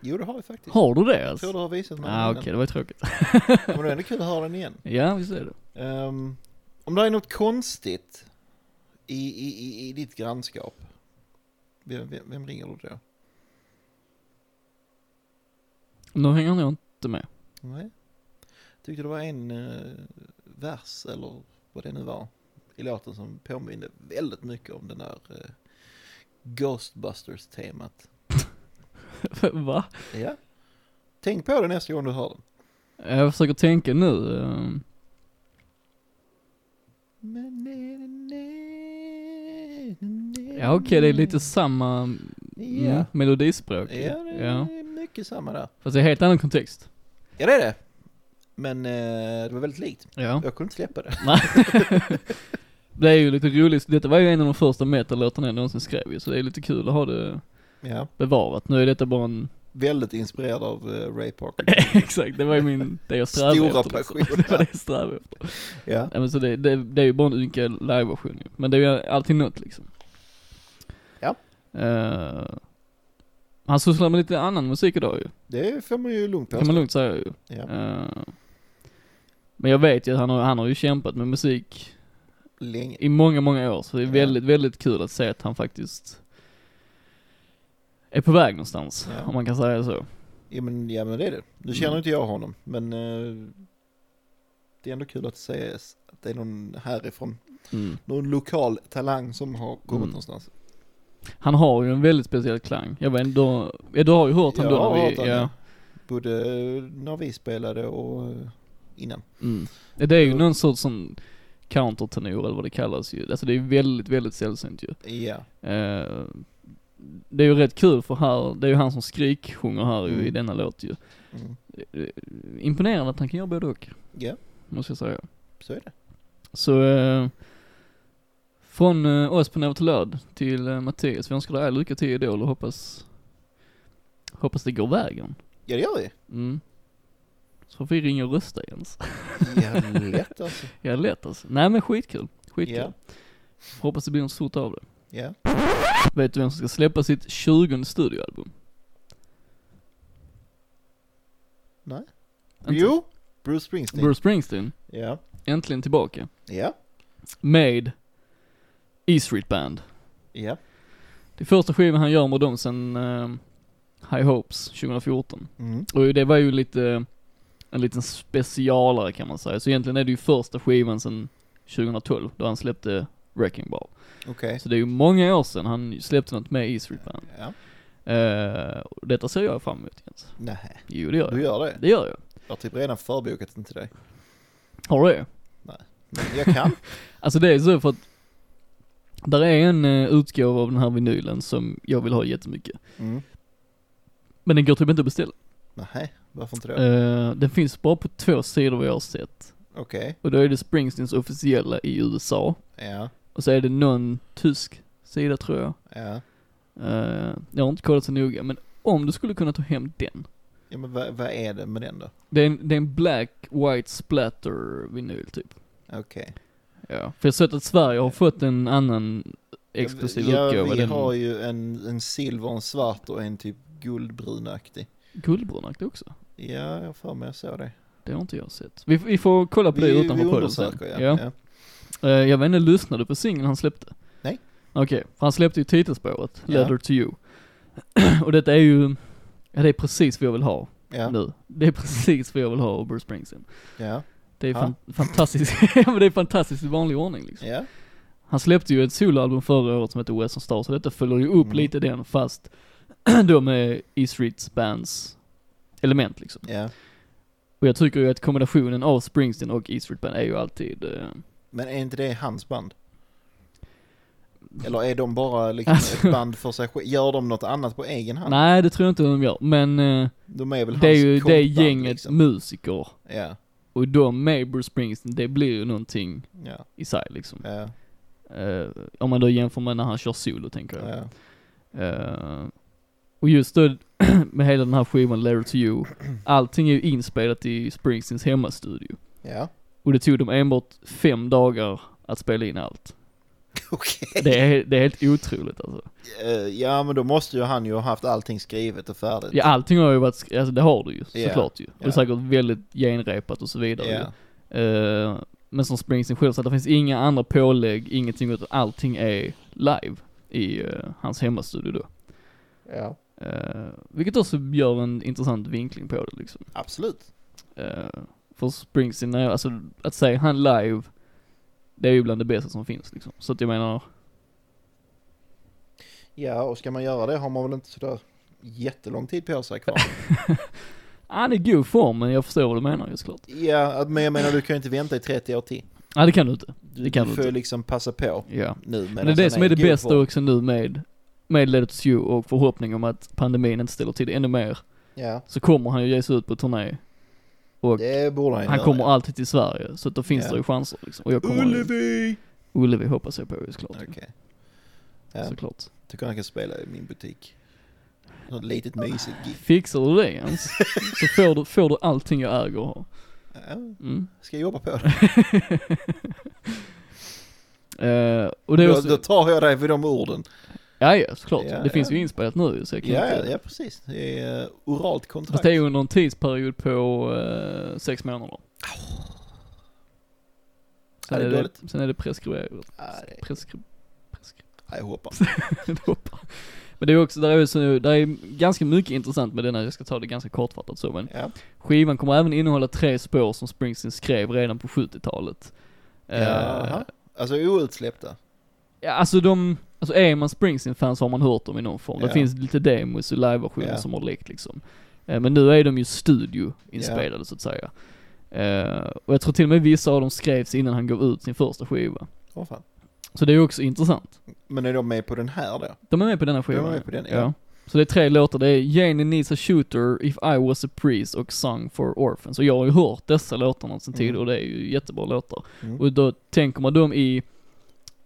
Jo, det har vi faktiskt. Har du det Jag tror alltså? du har visat mig Ah, den Okej, det var ju tråkigt. innan. Men det är ändå kul att höra den igen. ja, visst är det. Ehm, om det är något konstigt i, i, i, i ditt grannskap, vem, vem, vem ringer du då? Nu hänger jag inte med. Nej. Tyckte det var en eh, vers, eller vad det nu var, i låten som påminde väldigt mycket om den där eh, Ghostbusters-temat. Va? Ja. Tänk på det nästa gång du hör den. Jag försöker tänka nu. ehm, Ja okej, det är lite samma mm, Ja, melodispråk. ju. ja det ja. är mycket samma där. Fast det är helt annan kontext. Ja, det är det. Men eh, det var väldigt likt. Ja. Jag kunde inte släppa det. Nej. det är ju lite roligt, detta var ju en av de första metal-låtarna jag någonsin skrev ju, så det är lite kul att ha det Ja. bevarat. Nu är detta bara en, Väldigt inspirerad av eh, Ray Parker. exakt, det var ju min, det jag strävade Stora efter. liksom. passion. det var det jag strävade efter. ja. Ja, men så det, det, det är ju bara en ynka liveversion ju. Men det är ju alltid något liksom. Ja. Eh, han sysslar med lite annan musik idag ju. Det får man ju lugnt Kan man påstå. lugnt säga ju. Ja. Eh, men jag vet ju att han har, han har ju kämpat med musik Länge. i många, många år. Så det är Ja. väldigt, väldigt kul att se att han faktiskt är på väg någonstans, Ja. om man kan säga så. Ja men, ja men det är det. Nu känner Mm. inte jag honom men eh, det är ändå kul att säga s- att det är någon härifrån, Mm. någon lokal talang som har kommit Mm. någonstans. Han har ju en väldigt speciell klang. Jag vet inte, då- ja, du har ju hört honom Jag då? har när vi- hört han, ja. ja. Både eh, när vi spelade och eh, innan. Mm. Det är ju någon sorts sån countertenor eller vad det kallas ju. Alltså det är väldigt, väldigt sällsynt ju. Ja, Eh, det är ju rätt kul för här, det är ju han som skriksjunger här ju Mm. i denna låt ju. mm. Eh, Imponerande att han kan göra både och, ja måste jag säga. så är det. Så, eh, från eh, oss på Never to Loud till eh, Mattias, vi önskar dig all lycka till i Idol och hoppas, hoppas det går vägen. Ja det gör vi. Mm. Så får vi ringa och rösta Jens. Ja lätt alltså. Ja, lätt alltså. Nej men skitkul, skitkul. Ja, Hoppas det blir något stort av det. ja. Vet du vem som ska släppa sitt 20 studioalbum? Nej. Inte. Jo, Bruce Springsteen. Bruce Springsteen, Ja, äntligen tillbaka. ja, Med E Street Band. ja. Det är första skivan han gör med dem sen eh, High Hopes 2014. Mm. Och det var ju lite, en liten specialare kan man säga. Så egentligen är det ju första skivan sen 2012 då han släppte Wrecking Ball. Okej. Så det är ju många år sedan han släppte något med E Street Band. Ja. Eh, och detta ser jag fram emot Jens. Nej, Jo det gör du jag. gör det. Det gör jag. Jag har typ redan förbokat den till dig. Har du det? Men jag kan. Alltså det är så för att där är en eh, utgåva av den här vinylen som jag vill ha jättemycket. Mm. Men den går typ inte att beställa. Nej, varför inte då? Eh, den finns bara på två sidor vad jag har sett. Okej, Och då är det Springsteens officiella i USA. ja, Och så är det någon tysk sida tror jag. ja. Eh, jag har inte kollat så noga men om du skulle kunna ta hem den. Ja men vad, vad är det med den då? Det är en, det är en black white splatter vinyl typ. Okej. Ja. För jag har sett att Sverige har fått en annan exklusiv ja, utgåva. vi den har ju en, en silver, en svart och en typ guldbrunaktig. guldbrunaktig också. Ja, jag har för mig jag såg det. Det har inte jag sett. Vi, vi får kolla på det utanför podden sen. undersöker, Ja. ja. ja. Eh, jag vet inte, lyssnade du på singeln han släppte? Nej. Okej, för han släppte ju titelspåret, Ja. Leather to you. och detta är ju, ja det är precis vad jag vill ha Ja, ja. nu. Det är precis vad jag vill ha av Bruce Springsteen. ja. Det är Ja. fan, fantastiskt, ja men det är fantastiskt i vanlig ordning liksom. ja. Han släppte ju ett soloalbum förra året som heter Western Star, så detta följer ju upp Mm. lite den fast då med E Streets Bands element liksom. Och jag tycker ju att kombinationen av Springsteen och E Street Band är ju alltid eh, Men är inte det hans band? Eller är de bara liksom Mm. Alltså- ett band för sig själv? Gör de något annat på egen hand? Nej, det tror jag inte de gör. Men eh, De är väl det är hans ju det kompband, gänget Mm. Liksom. musiker. Ja, Och de med Bruce Springsteen, det blir ju någonting ja, i sig liksom. ja, Eh, om man då jämför med när han kör solo, tänker jag. ja. Eh, och just då, med hela den här skivan, Letter to You, allting är ju inspelat i Springsteens hemmastudio. ja. Och det tog dem enbart fem dagar att spela in allt. Okej. Det är, det är helt otroligt alltså. Eh, Ja, men då måste ju han ju ha haft allting skrivet och färdigt. Ja, allting har ju varit, sk- alltså det har du ju, Ja, såklart ju. Och det är ja. säkert väldigt genrepat och så vidare ju. Ja. Eh, men som Springsteen själv sa, det finns inga andra pålägg, ingenting utan allting är live i eh, hans hemmastudio då. ja. Eh, vilket också gör en intressant vinkling på det liksom. Absolut. Eh, för Springsteen, när jag- alltså att säga han live, det är ju bland det bästa som finns liksom. Så att jag menar, Ja, och ska man göra det har man väl inte sådär jättelång tid på sig kvar. Ja, det är god form, men jag förstår vad du menar ju såklart. ja, men jag menar du kan ju inte vänta i 30 år till. Ja, det kan du inte. Du, Det kan du du får ju inte. liksom passa på Ja. nu. Men det är det som är det bästa också nu med, med Let It Sue och förhoppning om att pandemin inte ställer till det ännu mer. Ja, Så kommer han ju ge sig ut på turné. Och det borde han ju han göra. kommer alltid till Sverige, så att då finns Ja. det ju chanser liksom. Och jag kommer Ullevi! Ullevi hoppas jag på ju såklart. Okej. Ja, Såklart. tycker han kan spela i min butik. Något litet mysigt gig. Fixar du det ens, så får du, får du allting jag äger och har. Ja, Mm. ska jag jobba på det? Eh, och det är Då, också, då tar jag dig vid de orden. ja, ja såklart. Ja, det finns ja. ju inspelat nu ju, så jag kan Ja, ja, inte... ja precis. Det är eh, oralt kontrakt. Fast det är ju under en tidsperiod på eh, sex månader. Ja, Sen, det är är dåligt. det, sen är det preskriberat. Ja, det är- Preskri- Ja, jag hoppar. preskriberat. men det är också, där är, ju så, där är ganska mycket intressant med denna, jag ska ta det ganska kortfattat så men. Ja. Skivan kommer även innehålla tre spår som Springsteen skrev redan på 70-talet. Eh, Jaha. Alltså outsläppta. ja, alltså de, alltså är man Springsteen-fans har man hört dem i någon form. Ja. Det finns lite demos och liveversioner Ja. som har läckt liksom. Eh, men nu är de ju studioinspelade så att säga. Eh, och jag tror till och med vissa av dem skrevs innan han gav ut sin första skiva. Åh fan. Så det är ju också intressant. Men är de med på den här då? De är med på denna skivan. med på den, ja. Så det är tre låtar, det är Jane Needs a Shooter, If I Was a Priest och Song for Orphans. Och jag har ju hört dessa låtarna sen Mm. tidigare och det är ju jättebra låtar. Mm. Och då tänker man dem i,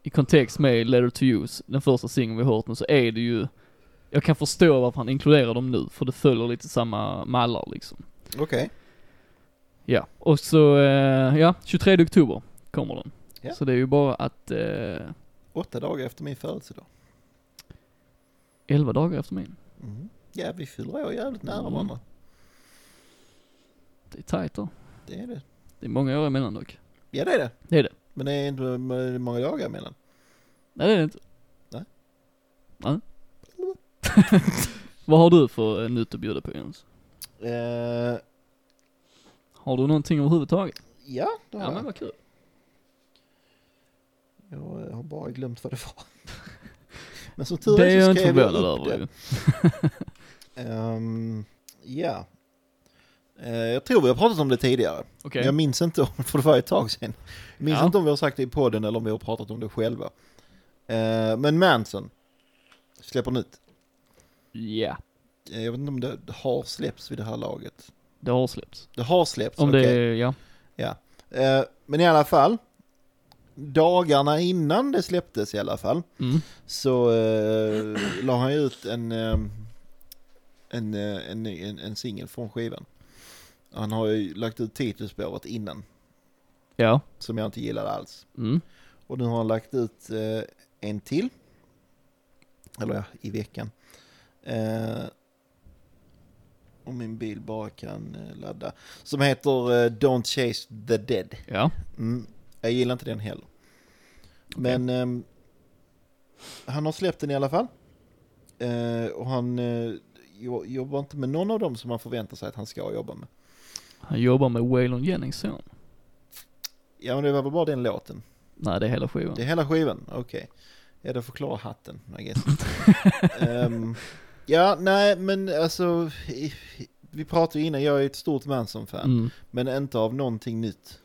i kontext med Letter to Use, den första singeln vi har hört nu, så är det ju, jag kan förstå varför han inkluderar dem nu, för det följer lite samma mallar liksom. Okej. Ja, och så, eh, ja, 23 oktober kommer den. Ja. Så det är ju bara att, eh, Åtta dagar efter min födelsedag. 11 dagar efter min. Mm. Ja, vi fyller år jävligt nära Mm. varandra. Det är tajt då. Det är det. Det är många år emellan dock. Ja, det är det. Det är det. Men det är inte m- många dagar emellan. Nej det är det inte. Nej. Nej. Vad har du för eh, nytt att bjuda på Jens? Eh, Har du någonting överhuvudtaget? ja, det har Ja men jag. vad kul. Jag eh, har bara glömt vad det var. Men som tur Det så är jag inte skrev förvånad upp det. över ju. Ehm, ja. Eh, jag tror vi har pratat om det tidigare. Okej. Jag minns inte, om- för det var ett tag sedan. Jag minns Ja. inte om vi har sagt det i podden eller om vi har pratat om det själva. Eh, men Manson släpper nytt. Ja, Eh, jag vet inte om det har släppts vid det här laget. det har släppts. Det har släppts, Om okej. det är, ja. Ja. Eh, men i alla fall, dagarna innan det släpptes i alla fall, Mm. så eh, la han ju ut en, eh, en, eh, en, ny- en, en singel från skivan. Han har ju lagt ut titelspåret innan, Ja. som jag inte gillade alls. Mm. Och nu har han lagt ut eh, en till. Eller ja, i veckan. Eh, om min bil bara kan eh, ladda. Som heter eh, Don't Chase the Dead. Ja. Mm, jag gillar inte den heller. Men ehm, han har släppt den i alla fall. Eh, och han eh, jo- jobbar inte med någon av dem som man förväntar sig att han ska jobba med. Han jobbar med Waylon Jennings son. Ja, men det var väl bara den låten. Nej, det är hela skivan. Det är hela skivan, okej. Ja, det förklarar hatten, I guess. Ehm, ja, nej, men alltså... i- Vi pratade ju innan, jag är ett stort Manson-fan. Mm. Men inte av någonting nytt.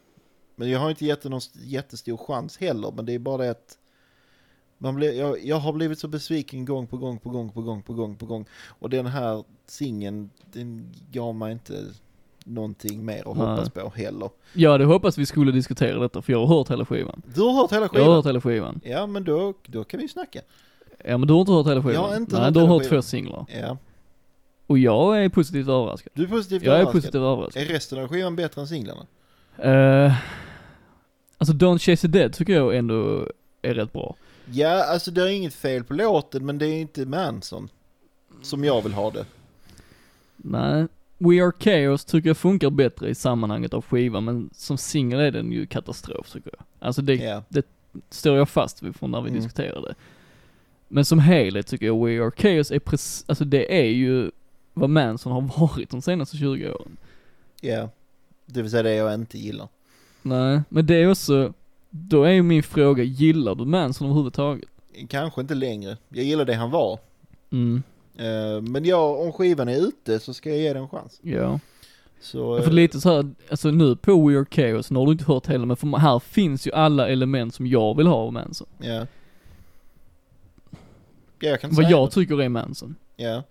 Men jag har inte gett det någon st- jättestor chans heller, men det är bara det att man blir, jag, jag har blivit så besviken gång på gång på gång på gång på gång på gång. Och den här singeln, den gav mig inte någonting mer att Nej. hoppas på heller. Jag hade hoppats vi skulle diskutera detta, för jag har hört hela skivan. Du har hört hela Jag skivan? har hört hela skivan. Ja, men då, då kan vi ju snacka. Ja, men du har inte hört hela skivan? Jag har inte Nej, hört du har hela hört skivan. två singlar. Ja. Och jag är positivt överraskad. Du är positivt Jag är överraskad. Eh. positivt överraskad. Är resten av skivan bättre än singlarna? Uh, alltså Don't Chase the Dead tycker jag ändå är rätt bra. Ja, alltså det är inget fel på låten, men det är inte Manson. Som jag vill ha det. Nej. We Are Chaos tycker jag funkar bättre i sammanhanget av skivan, men som singel är den ju katastrof tycker jag. Alltså det Ja. står jag fast vid från när vi Mm. diskuterade. Men som helhet tycker jag We Are Chaos är precis, alltså det är ju vad Manson har varit de senaste 20 åren. Ja, det vill säga det jag inte gillar. Nej, men det är också, då är ju min fråga, gillar du Manson överhuvudtaget? kanske inte längre. Jag gillar det han var. Mm. Eh, Men ja, om skivan är ute så ska jag ge den en chans. Ja. Så, Ja, För eh, lite så här, alltså nu på We Are Chaos, nu har du inte hört heller, men för här finns ju alla element som jag vill ha av Manson. ja. ja, jag kan inte Vad säga jag något. tycker är Manson. Ja.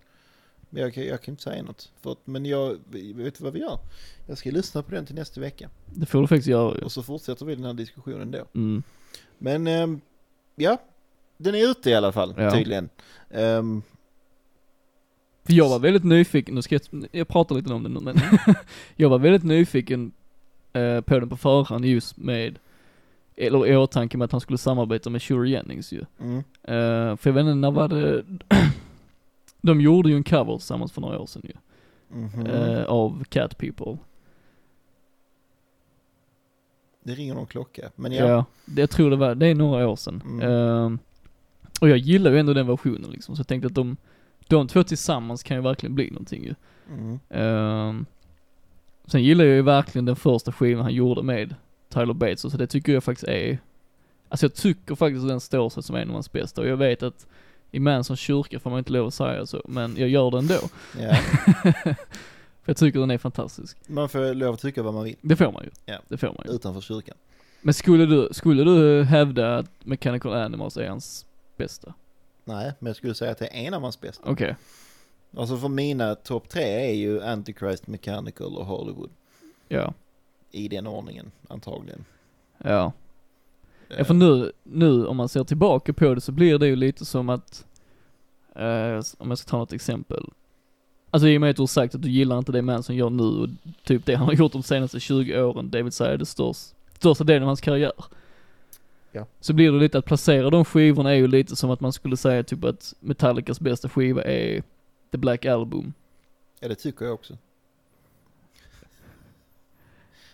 Men jag, kan- jag kan inte säga något. För att, men jag, vi- vet du vad vi gör? Jag ska lyssna på den till nästa vecka. Det får du faktiskt göra ju. Och så fortsätter vi den här diskussionen då. Mm. Men ehm, ja, den är ute i alla fall Ja. tydligen. Ehm, För jag var väldigt nyfiken, nu ska jag, jag pratar lite om det nu men. jag var väldigt nyfiken eh, på den på förhand just med, eller i åtanke med att han skulle samarbeta med Shure Jennings ju. mm, Eh, för jag vet inte, när var det, de gjorde ju en cover tillsammans för några år sedan ju. mhm. Eh, av Cat People. Det ringer någon klocka. Men ja. Ja. det- jag tror det var, det är några år sedan. Mm. Ehm, och jag gillar ju ändå den versionen liksom, så jag tänkte att de, de två tillsammans kan ju verkligen bli någonting ju. Mm, Ehm, sen gillar jag ju verkligen den första skivan han gjorde med Tyler Bates, och så det tycker jag faktiskt är, alltså jag tycker faktiskt att den står sig som en av hans bästa, och jag vet att i Mansons kyrka får man inte lov att säga så, men jag gör det ändå. ja. För jag tycker den är fantastisk. Man får lov att tycka vad man vill Det får man ju. Ja. Det får man ju. utanför kyrkan. Men skulle du, skulle du hävda att Mechanical Animals är hans bästa? Nej, men jag skulle säga att det är en av hans bästa. Okej. Alltså för mina topp tre är ju Antichrist, Mechanical och Hollywood. Ja, I den ordningen, antagligen. ja. Eh, ja för nu, nu om man ser tillbaka på det så blir det ju lite som att, eh, om jag ska ta något exempel. Alltså i och med att du har sagt att du gillar inte det Manson gör nu och typ det han har gjort de senaste 20 åren, det vill säga det största, största delen av hans karriär. Ja. Så blir det lite att placera de skivorna är ju lite som att man skulle säga typ att Metallicas bästa skiva är The Black Album. Ja, det tycker jag också.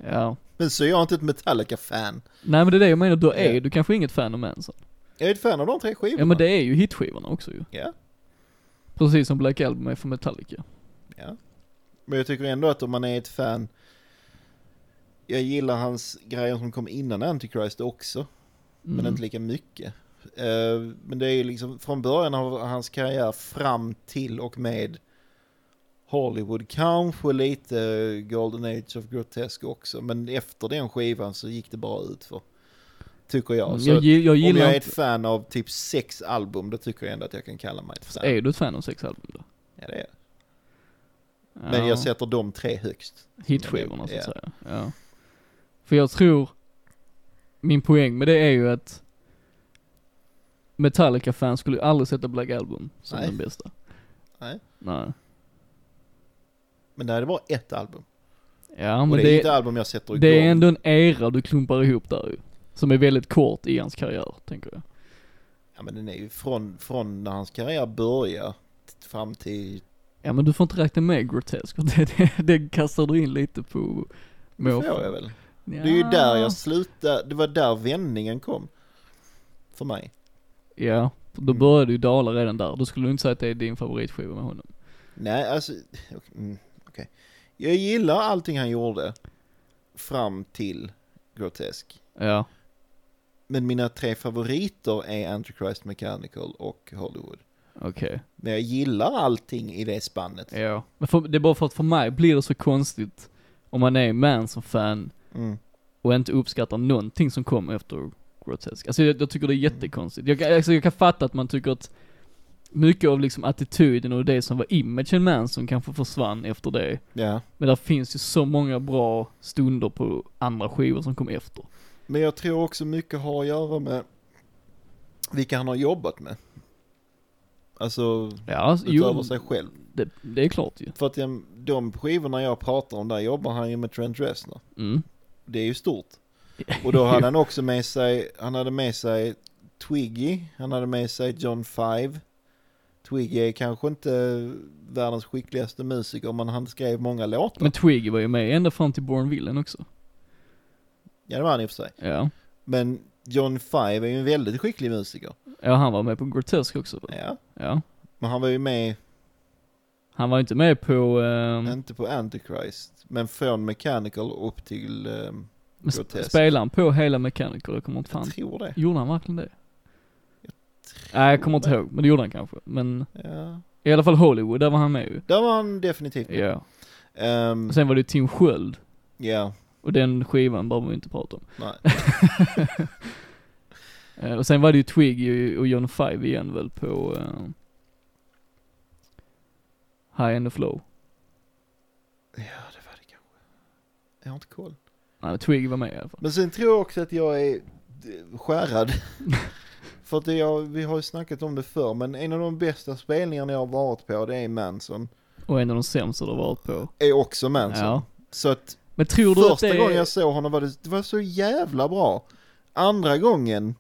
Ja. Men så är jag inte ett Metallica-fan. Nej men det är det jag menar, du är, Ja. du kanske är inget fan av Manson. Jag är ett fan av de tre skivorna. Ja men det är ju hitskivorna också ju. Ja. Precis som Black Album är för Metallica. Ja. Men jag tycker ändå att om man är ett fan, jag gillar hans grejer som kom innan Antichrist också, Mm. men inte lika mycket. Eh, Men det är ju liksom från början av hans karriär fram till och med Hollywood, kanske lite Golden Age of Grotesque också, men efter den skivan så gick det bara ut för tycker jag. Så Mm, jag, gi- jag om gillar jag är ett inte... fan av typ sex album, då tycker jag ändå att jag kan kalla mig ett fan. Är du ett fan av sex album då? Ja, det är. jag. Men jag sätter de tre högst. Hitskivorna så att Ja. säga. Ja. För jag tror, min poäng med det är ju att Metallica-fans skulle ju aldrig sätta Black Album som Nej. den bästa. Nej. Nej. Men det här är bara ett album. Ja och men det, är det, ett album jag sätter igång. det är ändå en era du klumpar ihop där ju. Som är väldigt kort i hans karriär, tänker jag. Ja men den är ju från, från när hans karriär börjar t- fram till... Ja men du får inte räkna med grotesk, för det, det, det kastar du in lite på Det måfå. får jag väl. Det är ju där jag slutade, det var där vändningen kom. För mig. Ja, då Mm. började ju dala redan där. Då skulle du inte säga att det är din favoritskiva med honom. Nej alltså, okej. Mm, okej. Jag gillar allting han gjorde fram till Grotesk. Ja, Men mina tre favoriter är Antichrist Mechanical och Hollywood. okej. Men jag gillar allting i det spannet. Ja. Men för, det är bara för att för mig blir det så konstigt om man är Manson-fan Mm. och inte uppskattar någonting som kom efter Grotesque. Alltså jag, jag tycker det är jättekonstigt. Jag, kan- alltså, jag kan fatta att man tycker att mycket av liksom attityden och det som var imagen Manson kanske försvann efter det. Ja. Men där finns ju så många bra stunder på andra skivor som kom efter. Men jag tror också mycket har att göra med vilka han har jobbat med. Alltså Ja, utöver jo, sig själv. det, det är klart ju. För att de, de skivorna jag pratar om, där jobbar han ju med Trent Reznor. Mm. Det är ju stort. Och då hade han också med sig, han hade med sig Twiggy, han hade med sig John Five. Twiggy är kanske inte världens skickligaste musiker, men han skrev många låtar. Men Twiggy var ju med ända fram till Born Villain också. Ja, det var han i och för sig. Ja. Men John Five är ju en väldigt skicklig musiker. Ja, han var med på Grotesk också. va? Ja, Ja. men han var ju med Han var ju inte med på... ehm, Inte på Antichrist, men från Mechanical upp till... ehm, men sp- Grotesk. spelade han på hela Mechanical? Jag kommer inte fan... Jag tror det. Gjorde han verkligen det? Nej jag kommer inte ihåg, men det gjorde han kanske. Men Ja. i alla fall Hollywood, där var han med ju. Där var han definitivt med. Ja. Ehm, Och sen var det ju Tim Sköld. ja, Och den skivan behöver vi inte prata om. nej. Eh, och sen var det ju Twiggy och John Five igen väl på eh, High and the Flow. Ja, det var det kanske. Jag har inte koll. Nej, men Twiggy var med i alla fall. Men sen tror jag också att jag är eh, skärrad. För att det jag, vi har ju snackat om det förr, men en av de bästa spelningarna jag har varit på det är Manson. Och en av de sämsta du har varit på. Är också Manson. Ja. Så att Men tror du att första det gången är... jag såg honom var det, det var så jävla bra. Andra gången,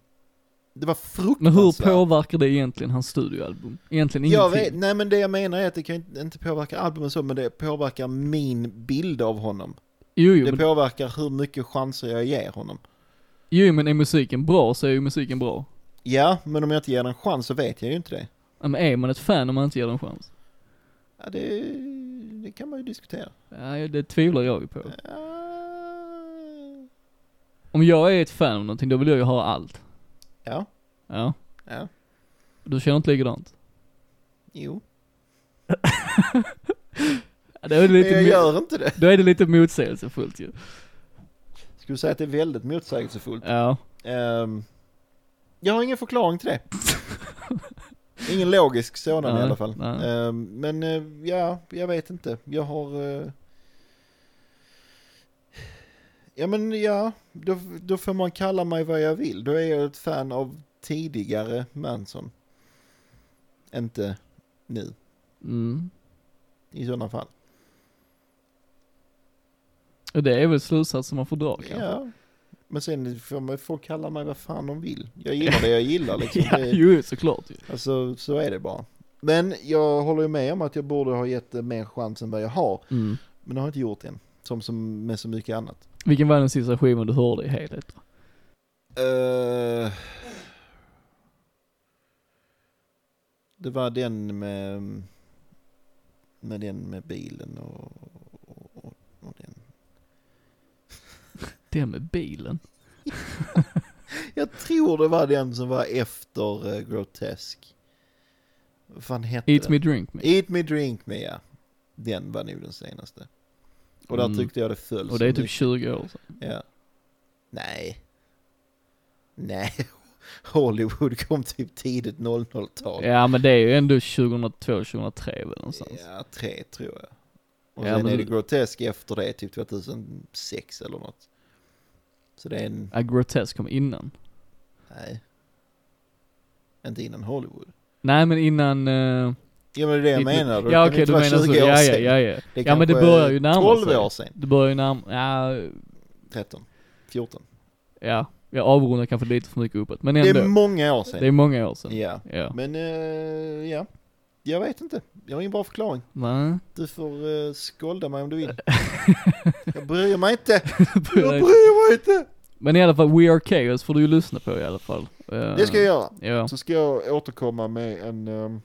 det var fruktansvärt. Men hur påverkar det egentligen hans studioalbum? Egentligen ingenting. Alltså. Jag vet, nej men det jag menar är att det kan ju inte påverka albumen så, men det påverkar min bild av honom. Jo, jo, det men, påverkar hur mycket chanser jag ger honom. jo, men är musiken bra så är ju musiken bra. Ja, men om jag inte ger den en chans så vet jag ju inte det. Ja, Men är man ett fan om man inte ger den en chans? Ja, det, det kan man ju diskutera. Ja, det tvivlar jag ju på. Ja. Om jag är ett fan av någonting, då vill jag ju ha allt. Ja, Ja. ja, Du känner inte likadant? jo. Ja, Det är Men lite, jag mo- gör inte det. då är det lite motsägelsefullt ju. Skulle säga att det är väldigt motsägelsefullt. Ja. Ehm, jag har ingen förklaring till det. Ingen logisk sådan Nej, i alla fall. nej. Ehm, men eh, ja, jag vet inte. Jag har... eh, Ja men ja, då, då får man kalla mig vad jag vill. Då är jag ett fan av tidigare Manson. Inte nu, Mm. i sådana fall. Och det är väl slutsatsen man får dra kanske. Ja. Men sen får man, folk kalla mig vad fan de vill. Jag gillar det jag gillar liksom. Ja, det, jo, såklart ju. Alltså så är det bara. Men jag håller ju med om att jag borde ha gett det mer chans än vad jag har. Mm. Men det har jag inte gjort än. Som, som med så mycket annat. Vilken var den sista skivan du hörde i helhet? Eh, det var den med, med den med bilen och, och, och, och den. Den med bilen. Jag tror det var den som var efter eh, Grotesk. Vad fan hette Eat den? me, drink me. Eat Me Drink Me, ja. Den var nog den senaste. Och där Mm. tyckte jag det föll Och så det är typ mycket. 20 år sedan. Ja. Nej. Nej. Hollywood kom typ tidigt 00-tal. Ja men det är ju ändå 2002, 2003 väl någonstans. ja, tre tror jag. Och Ja, sen men- är det grotesk efter det, typ 2006 eller något. Så det är en, Ja, Grotesque kom innan. nej. Inte innan Hollywood. Nej men innan... eh, Ja men det är det jag Eat Me- menar. Det ja kan okej inte du vara menar så. 20 år Ja, ja, sedan. ja, ja. Det är ja men det kanske börjar ju närma 12 sig. år sedan. Det börjar ju närma, ja, 13, 14. ja. Jag avrundar kanske lite för mycket uppåt. Men Det ändå. är många år Det är sedan. många år sedan. Ja. Ja. Men eh, ja, jag vet inte. Jag har ingen bra förklaring. Nej. Du får uh, skolda mig om du vill. jag bryr mig inte. Jag Nej. bryr mig inte. Men i alla fall, We Are Chaos får du ju lyssna på i alla fall. Eh, Det ska jag göra. Ja, Så ska jag återkomma med en um,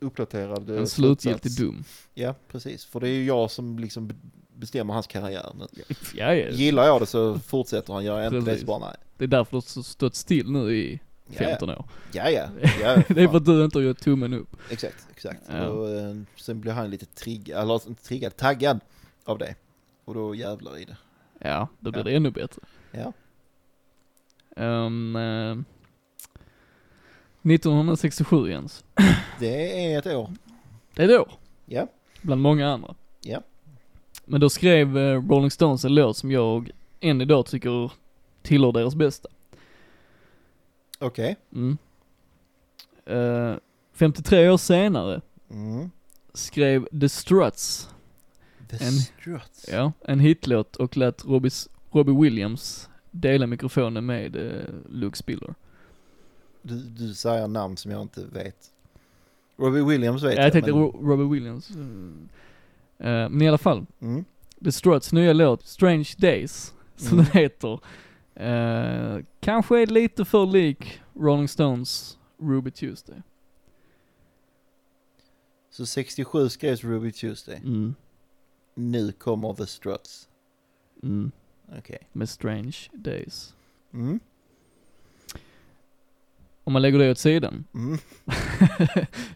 uppdaterad eh, en slutgiltig slutsats. dum. Ja, precis. För det är ju jag som liksom be- bestämmer hans karriär nu. Ja, ja. Gillar jag det så fortsätter han, gör jag inte det Precis. så bara nej. Det är därför du har stått still nu i Ja, 15 år. ja. ja, ja. Det är för fan. att du inte har gjort tummen upp. Exakt, exakt. Ja. Och, eh, sen blir han lite triggad, eller inte triggad, taggad av det. Och då jävlar i det. Ja, då blir Ja. det ännu bättre. Ja. Ehm, eh, 1967 Jens. Det är ett år. Det är då, Ja, bland många andra. Ja. Men då skrev eh, Rolling Stones en låt som jag än idag tycker tillhör deras bästa. okej. Mm. Eh, 53 år senare Mm. skrev The Struts The En- Struts. Ja, en hitlåt och lät Robbie's, Robbie Williams dela mikrofonen med eh, Luke Spiller. Du, du säger namn som jag inte vet. Robbie Williams vet Ja, jag tänkte men... Ro- Robbie Williams. Mm. Eh, men i alla fall, Mm. The Struts nya låt Strange Days, som Mm. den heter, eh, kanske är lite för lik Rolling Stones Ruby Tuesday. Så 67 skrevs Ruby Tuesday. Mm. Nu kommer The Struts. Mm. Okej. Med Strange Days. Mm. om man lägger det åt sidan, Mm.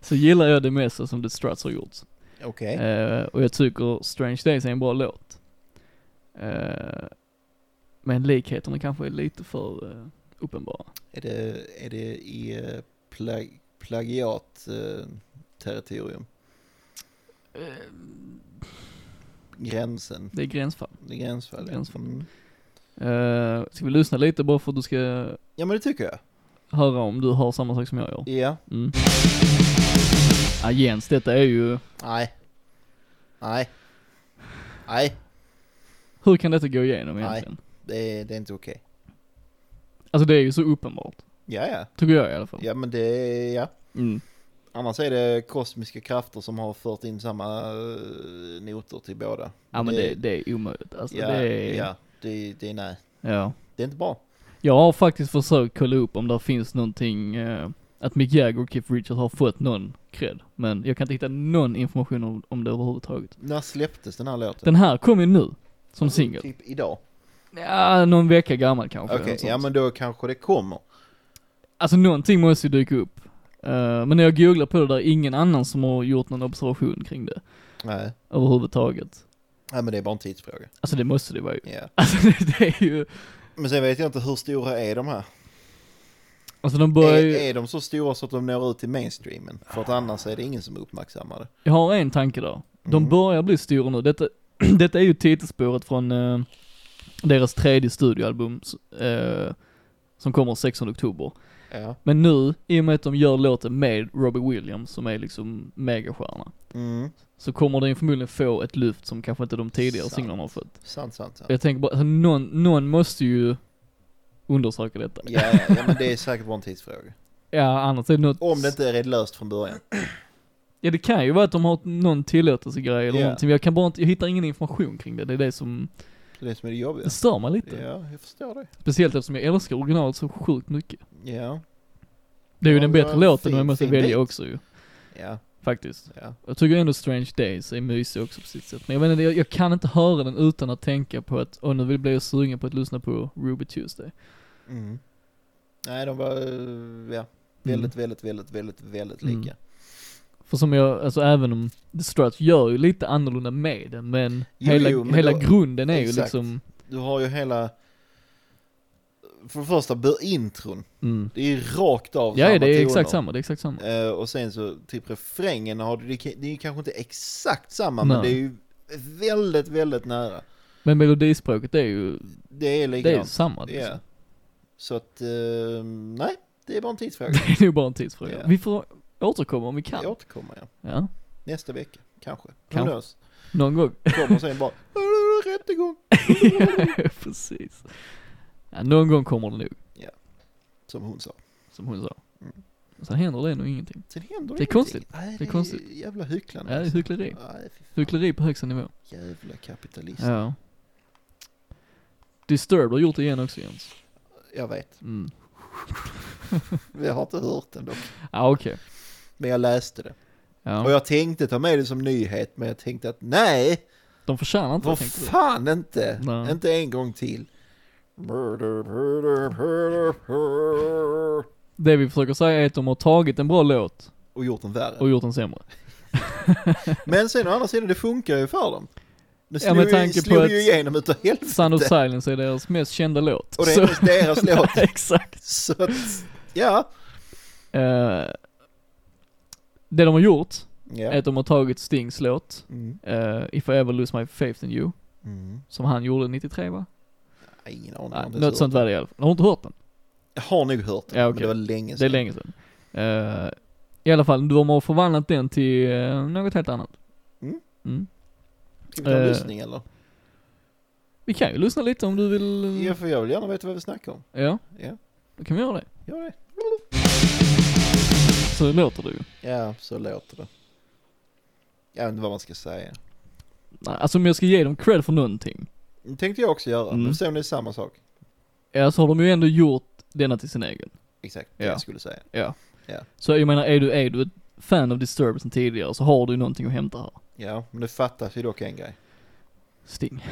så gillar jag det mesta som The Struts har gjort. Okej. Eh, och jag tycker Strange Days är en bra låt. Eh, men likheterna kanske är lite för eh, uppenbara. Är, det, är det i eh, plag, plagiat eh, territorium? Eh. Gränsen. Det är gränsfall. Det är gränsfall. ja. Gränsfall. Mm. Eh, ska vi lyssna lite bara för att du ska Ja men det tycker jag. höra om du har samma sak som jag gör? Ja. Mm. Ja, Jens, detta är ju... Nej. Nej. Nej. Hur kan detta gå igenom Nej. egentligen? Det är, det är inte okej. Alltså det är ju så uppenbart. Ja ja. Tycker jag i alla fall. Ja men det är, ja. Mm. Annars är det kosmiska krafter som har fört in samma eh, noter till båda. Ja men det, det är omöjligt. Alltså ja, det är... ja. Det, det är nej. ja. Det är inte bra. Jag har faktiskt försökt kolla upp om det finns någonting, eh, att Mick Jagger och Keith Richards har fått någon cred. Men jag kan inte hitta någon information om, om det överhuvudtaget. När släpptes den här låten? Den här kom ju nu, som singel. Typ idag. Ja, någon vecka gammal kanske. Okej, eller något ja sånt. men då kanske det kommer. Alltså någonting måste ju dyka upp. Eh, men när jag googlar på det där, är ingen annan som har gjort någon observation kring det Nej, överhuvudtaget. Nej men det är bara en tidsfråga. Alltså det måste det vara ju. Ja. Alltså det, det är ju, Men sen vet jag inte hur stora är de här? alltså de börjar Är, ju, är de så stora så att de når ut till mainstreamen? För att annars är det ingen som uppmärksammar det. jag har en tanke där. De Mm. börjar bli stora nu. Detta, detta är ju titelspåret från eh, deras tredje studioalbum eh, som kommer 16 oktober. Ja. Men nu, i och med att de gör låten med Robbie Williams som är liksom megastjärna, Mm. så kommer den förmodligen få ett lyft som kanske inte de tidigare Sant. singlarna har fått. Sant, sant, sant. Jag tänker bara, alltså, någon, någon måste ju undersöka detta. Ja, ja, ja, men det är säkert bara en tidsfråga. Ja, annars är det något... Om det inte är redlöst från början. Ja, det kan ju vara att de har någon tillåtelsegrej eller Ja. någonting, men jag kan bara inte, jag hittar ingen information kring det. Det är det som, Det är det som är det jobbiga. det stör mig lite. Ja, jag förstår det. Speciellt eftersom jag älskar originalet så sjukt mycket. Ja, Det är ju Ja, den det var bättre en låten fin- men jag måste fin välja bit. också ju, ja, faktiskt. ja. Jag tycker ändå Strange Days är mysig också på sitt sätt. Men jag vet inte, jag, jag kan inte höra den utan att tänka på att, åh nu vill jag bli sugen på att lyssna på Ruby Tuesday. Mm. Nej, de var, eh, ja, väldigt, väldigt, väldigt, väldigt, väldigt Mm. lika. För som jag, alltså även om The Struts gör ju lite annorlunda med den, men Jo, hela, jo, men hela då- grunden är ju exakt. liksom, Du har ju hela, för det första, bör intron. mm. Det är rakt av Ja, samma det är exakt toner. samma, det är exakt samma. Eh, och sen så typ refrängen har du, det kan- det är ju kanske inte exakt samma men Nej. det är ju väldigt, väldigt nära. Men melodispråket är ju, Det är det är ju likadant. samma Det är liksom. Så att, eh, nej, det är bara en tidsfråga. Det är ju bara en tidsfråga. Ja. Vi får återkomma om vi kan. Jag återkommer jag. Ja, Nästa vecka, kanske. Kanske. Who knows? någon gång. Kommer sen bara, "Åh, det var rättegång. Ja, precis. Ja, någon gång kommer det nog, Som hon sa. som hon sa. Mm. Sen händer det nog ingenting. Sen Det händer är ingenting. konstigt. Nej, Det är konstigt. jävla hycklande. Ja, det är hyckleri. Nej, fy fan. Hyckleri på högsta nivå. Jävla kapitalist. Ja. Disturbed har gjort det igen också Jens. Jag vet. Mm. Jag har inte hört den dock. Ja, okej. Men jag läste det. Och Ja. jag tänkte ta med det som nyhet, men jag tänkte att nej, De förtjänar inte Vad att tänka fan inte! Nej. Inte en gång till. Murder, murder, murder, murder. Det vi försöker säga är att de har tagit en bra låt Och gjort den värre. och gjort den sämre. Men sen å andra sidan, det funkar ju för dem. Det Ja, slog, med ju, tanke på slog ju att- igenom utav helvete. Sound of Silence är deras mest kända låt. Och det Så- är inte deras låt. Exakt. Så att, ja. Eh, det de har gjort är ja. att de har tagit Stings låt, Mm. eh, If I Ever Lose My Faith In You, Mm. som han gjorde 93 va? Nej, Ingen aning. Nej, om det är något sånt var det i alla fall. Har du inte hört den? Jag har nog hört det, Ja, men okej. det var länge Det är sedan. länge sedan. Eh, I alla fall, de har förvandlat den till eh, något helt annat. Mm. Mm. Ska vi ta en Eh. lyssning eller? Vi kan ju lyssna lite om du vill... Mm. Ja, för jag vill gärna veta vad vi snackar om. Ja, Ja, då kan vi göra det. gör det. Så låter det ju. Ja, så låter det. Jag vet inte vad man ska säga. Nej, Alltså om jag ska ge dem cred för någonting, Det tänkte jag också göra. Mm. Men sen är det samma sak. ja, så har de ju ändå gjort denna till sin egen. Exakt, Ja. det jag skulle säga. Så jag menar, är du, är du ett fan av Disturbed sen tidigare så har du ju någonting att hämta här. Ja, men det fattas ju dock en grej. Sting.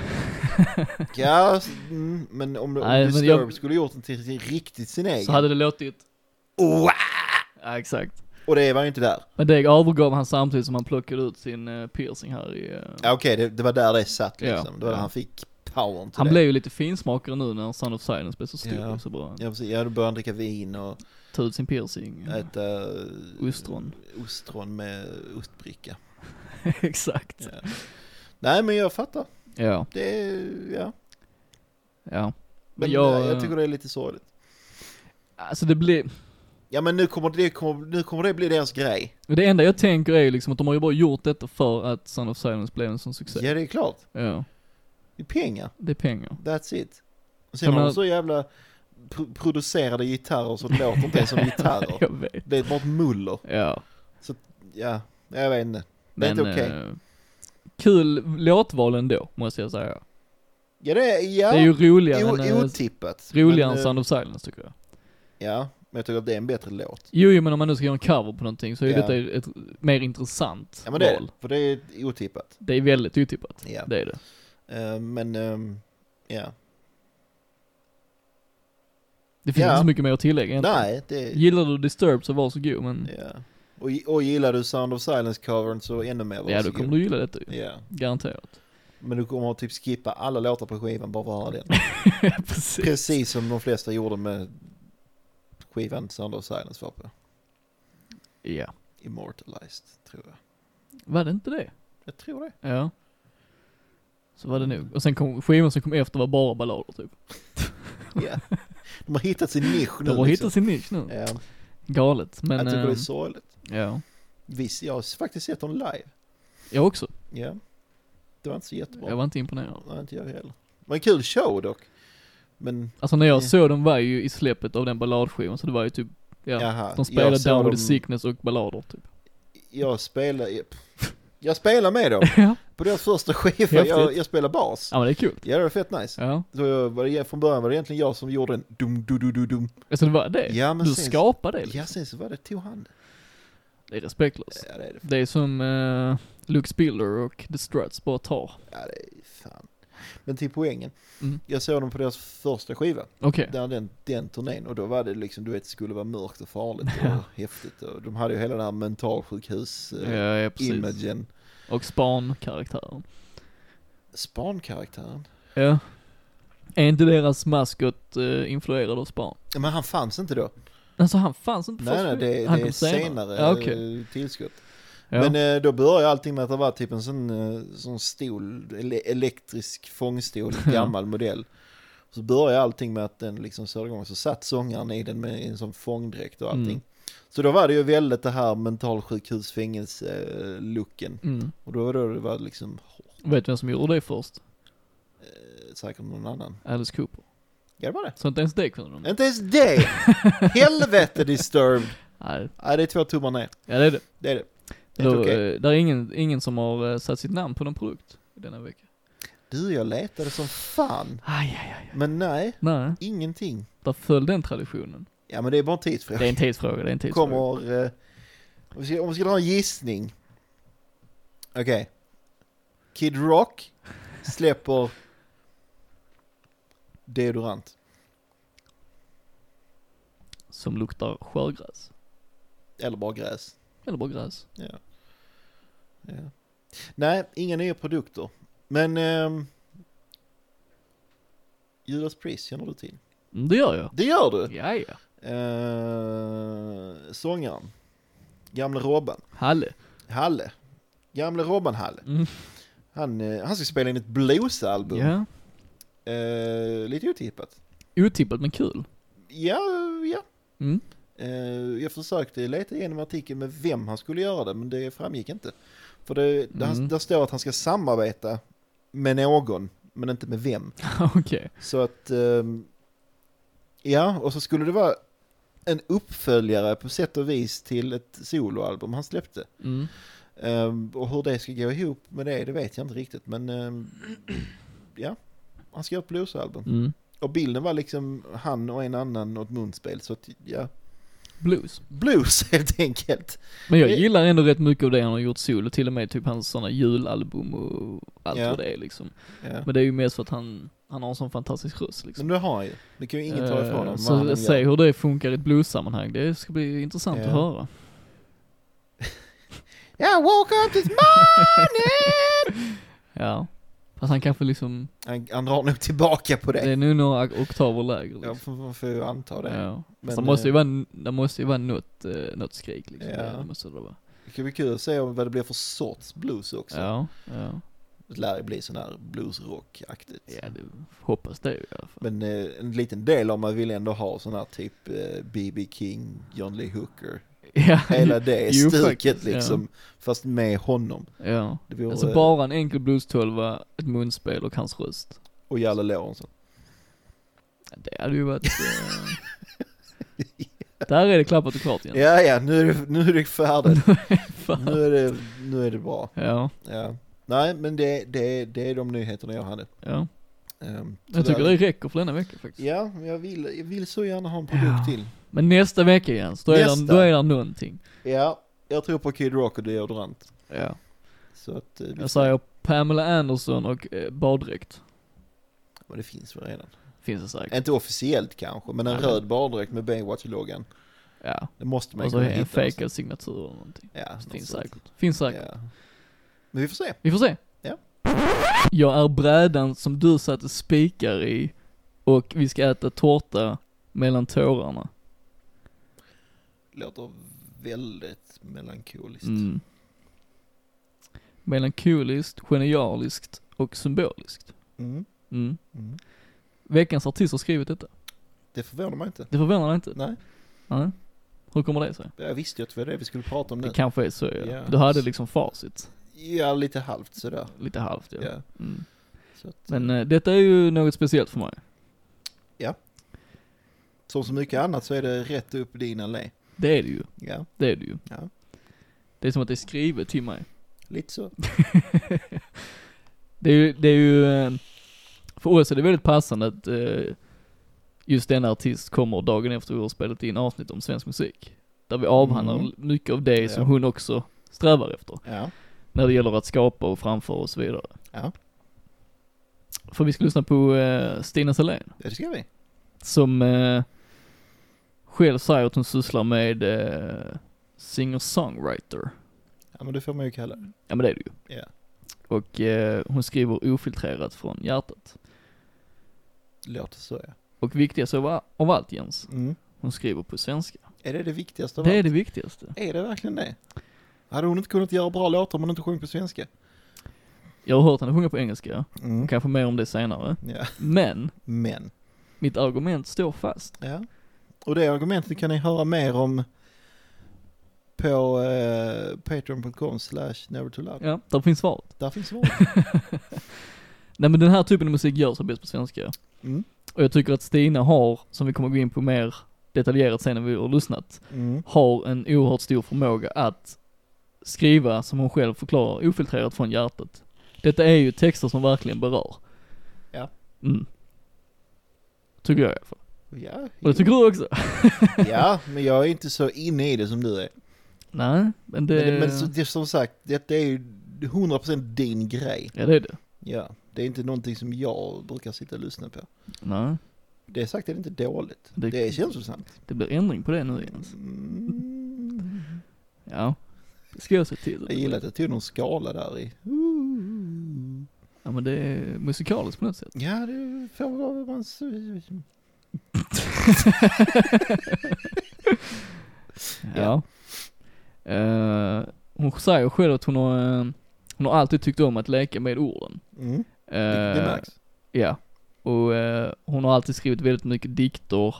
Ja, s- mm, men om, du- om Nej, men Disturbed jag- skulle gjort den till, till riktigt sin egen. Så hade det låtit Oa! Ja, exakt. Och det var ju inte där. Men det övergav han samtidigt som han plockade ut sin eh, piercing här i... eh, Ja, Okej, det, det var där det satt Ja. liksom. Det var där Ja. han fick powern till han det. blev ju lite finsmakare nu när Sound of Silence blev så stor Ja. så bra. Ja, Äh, precis. Ja, då började han dricka vin och Ta ut sin piercing. äta... Ostron. Ostron med ostbricka. exakt. Ja. Nej, men jag fattar. ja. Det är, ja. Ja. Men Men jag, jag, jag tycker det är lite sorgligt. Alltså det blir, Ja men nu kommer det, kommer, nu kommer det bli deras grej. det enda jag tänker är ju liksom att de har ju bara gjort detta för att Sound of Silence blev en sån succé. Ja det är klart. Ja, Det är pengar. det är pengar. That's it. Och Jag sen har de menar- så jävla pro- producerade gitarrer så det låter inte ens som gitarrer. jag vet. Det är bara ett muller. Ja. Ja, jag vet inte. Det är Men, inte okej. eh, kul låtval ändå, måste jag säga. Ja det är, ja. Det är ju roligare o- än, eh, otippat. roligare Men, än eh, Sound of Silence tycker jag. Ja, men jag tycker att det är en bättre låt. Jo, jo, men om man nu ska göra en cover på någonting så är ju Ja. detta ett mer intressant Ja men det är val. det. För det är otippat. Det är väldigt otippat. Ja. Det är det. Eh, men, ehm, ja. Det finns Ja. inte så mycket mer att tillägga egentligen. Nej, det Gillar du Disturbed så varsågod, men Ja. Och, och gillar du Sound of Silence-covern så ännu mer ja, då kommer du gilla detta ju. Ja. Garanterat. Men du kommer att typ skippa alla låtar på skivan bara för att höra den. Precis. Precis som de flesta gjorde med skivan Sound of Silence var på. Ja. Immortalized, tror jag. Var det inte det? Jag tror det. Ja. Så var det Mm. nog. Och sen kom skivan som kom efter var bara ballader typ. Ja. De har hittat sin nisch nu. De har liksom. hittat sin nisch nu. Ja. Galet. Men, Jag tycker det är ehm, sorgligt. ja. Visst, jag har faktiskt sett dem live. Jag också. Ja. Det var inte så jättebra. Jag var inte imponerad. Nej, inte jag heller. Det var en kul show dock. Men, Alltså när jag Ja. såg dem var jag ju i släppet av den balladskivan så det var ju typ, ja. jaha. De spelade jag såg Down with dem- the Sickness och ballader typ. Jag spelade... Jag, jag spelade med dem. ja. På deras första skiva, jag, Häftigt. jag spelade bas. ja men det är kul. Ja, det var fett nice. Ja. Så var det, från början var det egentligen jag som gjorde en dum du du du dum Alltså det var det? Ja, men du sen- skapade det liksom. Ja, sen så var det tog han Det är respektlöst. Ja, det är det. Det är som eh, Luke Spiller och The Struts bara tar. Ja, det är fan. Men till poängen. Mm. Jag såg dem på deras första skiva, Okej. där den, den turnén, och då var det liksom, du vet, det skulle vara mörkt och farligt och häftigt. Och de hade ju hela den här eh, mentalsjukhus-imagen. Ja, ja, precis. Och Span-karaktären. Span-karaktären? Ja. Är inte deras maskot eh, influerad av Span? Ja, Men han fanns inte då. Alltså han fanns inte på Nej, första nej, det, filmen. Han det är kom senare Ja, okej. eh, tillskott. Ja. Men eh, då började allting med att det var typ en sån, eh, sån stol, ele- elektrisk fångstol, gammal modell. Så började allting med att den liksom körde igång, så satt sångaren i den med en sån fångdräkt och allting. Mm. Så då var det ju väldigt det här mentalsjukhusfängelse-looken. Mm. Och då var det, det var liksom hårt, Vet du vem som gjorde det först? eh, säkert någon annan. Alice Cooper. Ja det var det. Så inte ens det kunde de. Inte ens det! Helvete disturbed! Nej. Nej det är två tummar ner. Ja det är det. Det är det. Det är Då, inte okej. eh, där är ingen, ingen som har eh, satt sitt namn på någon produkt denna vecka. Du jag letade som fan. Aj, aj, aj. Men nej, Nej, ingenting. där föll den traditionen. Ja men det är bara en tidsfråga. Det är en tidsfråga, det är en tidsfråga. kommer... Eh, om, vi ska, om vi ska dra en gissning. Okej. Kid Rock släpper deodorant. Som luktar sjögräs. Eller bara gräs. Eller bara gräs. Ja. Ja. Nej, inga nya produkter. Men... ehm, Judas Priest känner du till. Mm, det gör jag. Det gör du! Ja, ja. Eh, sångaren. Gamle Robban. Halle. Halle. Gamle Robban Halle. Mm. Han, eh, han ska spela in ett bluesalbum. Ja. Eh, lite otippat. Otippat men kul. Ja, ja. Mm. Eh, jag försökte leta igenom artikeln med vem han skulle göra det, men det framgick inte. För det, där, Mm. där står att han ska samarbeta med någon, men inte med vem. Okej. Så att, ehm, ja, och så skulle det vara en uppföljare på sätt och vis till ett soloalbum han släppte. Mm. Ehm, och hur det ska gå ihop med det, det vet jag inte riktigt, men ehm, ja, han ska göra ett bluesalbum. Mm. Och bilden var liksom han och en annan och ett munspel. Så att, ja, Blues. Blues helt enkelt. Men jag Det- gillar ändå rätt mycket av det han har gjort solo, till och med typ hans sådana julalbum och allt Ja. vad det är liksom. Ja. Men det är ju mest för att han, han har en sån fantastisk röst liksom. Men det har han ju. Det kan ju ingen ta Eh, ifrån honom. vad han än Så gör. se hur det funkar i ett blues-sammanhang, det ska bli intressant Ja. att höra. Yeah, woke up this morning! Ja. Fast han kanske liksom, han, han drar nog tillbaka på det. det är nu några oktaver lägre liksom. Ja, får- får- får ju anta det. Ja. Men, Fast det måste ju eh, vara, det måste ju vara något, eh, något skrik liksom. Ja. Det måste det vara. Det kan bli kul att se om vad det blir för sorts blues också. Ja, ja. Det lär ju bli sån här bluesrock-aktigt. Ja, det, hoppas det i alla fall. Men eh, en liten del av mig vill ändå ha sån här typ eh, B.B. King, John Lee Hooker. Ja, Hela det Jo, stuket faktiskt, ja. liksom. Fast med honom. ja. Det vore, eh, Alltså bara en enkel blues-tolva, ett munspel och hans röst. Och Jalle Lorentzon. Det hade ju varit... Eh... Där är det klappat och klart igen. Ja, ja, nu är det, nu är det färdigt. Fan. nu, är det, nu är det bra. Ja, Ja. Nej, men det, det, det är de nyheterna jag hade. ja. Ehm, Jag tycker det räcker för denna vecka faktiskt. Ja, men jag vill, jag vill så gärna ha en produkt Ja. till. Men nästa vecka Jens, då är, Nästa. där, då är där någonting. Ja, jag tror på Kid Rock och deodorant. Ja. Så att, eh, vi får- Jag säger Pamela Anderson och eh, baddräkt. Men det finns väl redan. Finns det säkert. Inte officiellt kanske, men en Nej. röd baddräkt med Baywatch-loggan. Ja. Det måste man Och så kunna en hitta. fejkad signatur eller någonting. Ja, Finns något säkert. Finns sånt. säkert. Ja. Men vi får se. Vi får se. Ja. Jag är brädan som du satte spikar i och vi ska äta tårta mellan tårarna. Låter väldigt melankoliskt. Mm. Melankoliskt, genialiskt och symboliskt. Mm. Mm. Mm. Veckans artist har skrivit detta. Det förvånar mig inte. Det förvånar dig inte? Nej, Nej. Hur kommer det sig? jag visste ju att det var det vi skulle prata om nu. Det kanske är så ja. Ja. Du hade liksom facit. Ja, lite halvt sådär. Lite halvt ja. Ja. Mm. Så att, Men eh, detta är ju något speciellt för mig. Som så mycket annat så är det rätt upp din allé. Det är det ju. Ja, Det är det ju. Ja. Det är som att det är skrivet till mig. lite så. Det är ju, det är ju eh, för oss är det väldigt passande att eh, just denna artist kommer dagen efter vi har spelat in avsnitt om svensk musik. Där vi avhandlar Mm. mycket av det som Ja. hon också strävar efter. Ja, När det gäller att skapa och framföra och så vidare. Ja. För vi ska lyssna på eh, Stina Selén. det ska vi. Som eh, själv säger att hon sysslar med eh, singer-songwriter. Ja, men det får man ju kalla det. Ja men det är det ju. Ja. Och eh, hon skriver ofiltrerat från hjärtat. Låter så ja. Och viktigast av, a- av allt Jens, Mm. hon skriver på svenska. Är det det viktigaste av Det är allt? det viktigaste. Är det verkligen det? Hade hon inte kunnat göra bra låtar om hon inte sjöng på svenska? Jag har hört henne sjunga på engelska, Mm. kanske mer om det senare. Ja, Men, men. mitt argument står fast. Ja. Och det argumentet kan ni höra mer om på eh, patreon.com slash nevertolove. Ja, där finns svaret. Där finns svaret. Nej men den här typen av musik görs bäst på svenska. Mm. Och jag tycker att Stina har, som vi kommer gå in på mer detaljerat sen när vi har lyssnat, Mm. har en oerhört stor förmåga att skriva, som hon själv förklarar, ofiltrerat från hjärtat. Detta är ju texter som verkligen berör. Ja. Mm. Tycker jag i alla fall. Ja, Och det tycker du också? ja, men jag är inte så inne i det som du är. Nej, men det... Men, det- men så, det, är som sagt, det, det är ju 100% din grej. Ja, det är det. Ja, det är inte någonting som jag brukar sitta och lyssna på. Nej, Det sagt är det inte dåligt. Det- Det, är känslosamt. det blir ändring på det nu igen. Mm. Ja. Det ska jag se till. Jag gillar att jag tog någon skala där i. Ja, men det är musikaliskt på något sätt. Ja, det får väl vara vad man... Mm, Ja. Eh, hon säger själv att hon har, eh, hon har alltid tyckt om att leka med orden. Mm. Eh, Det, det märks. Ja. Och eh, hon har alltid skrivit väldigt mycket dikter.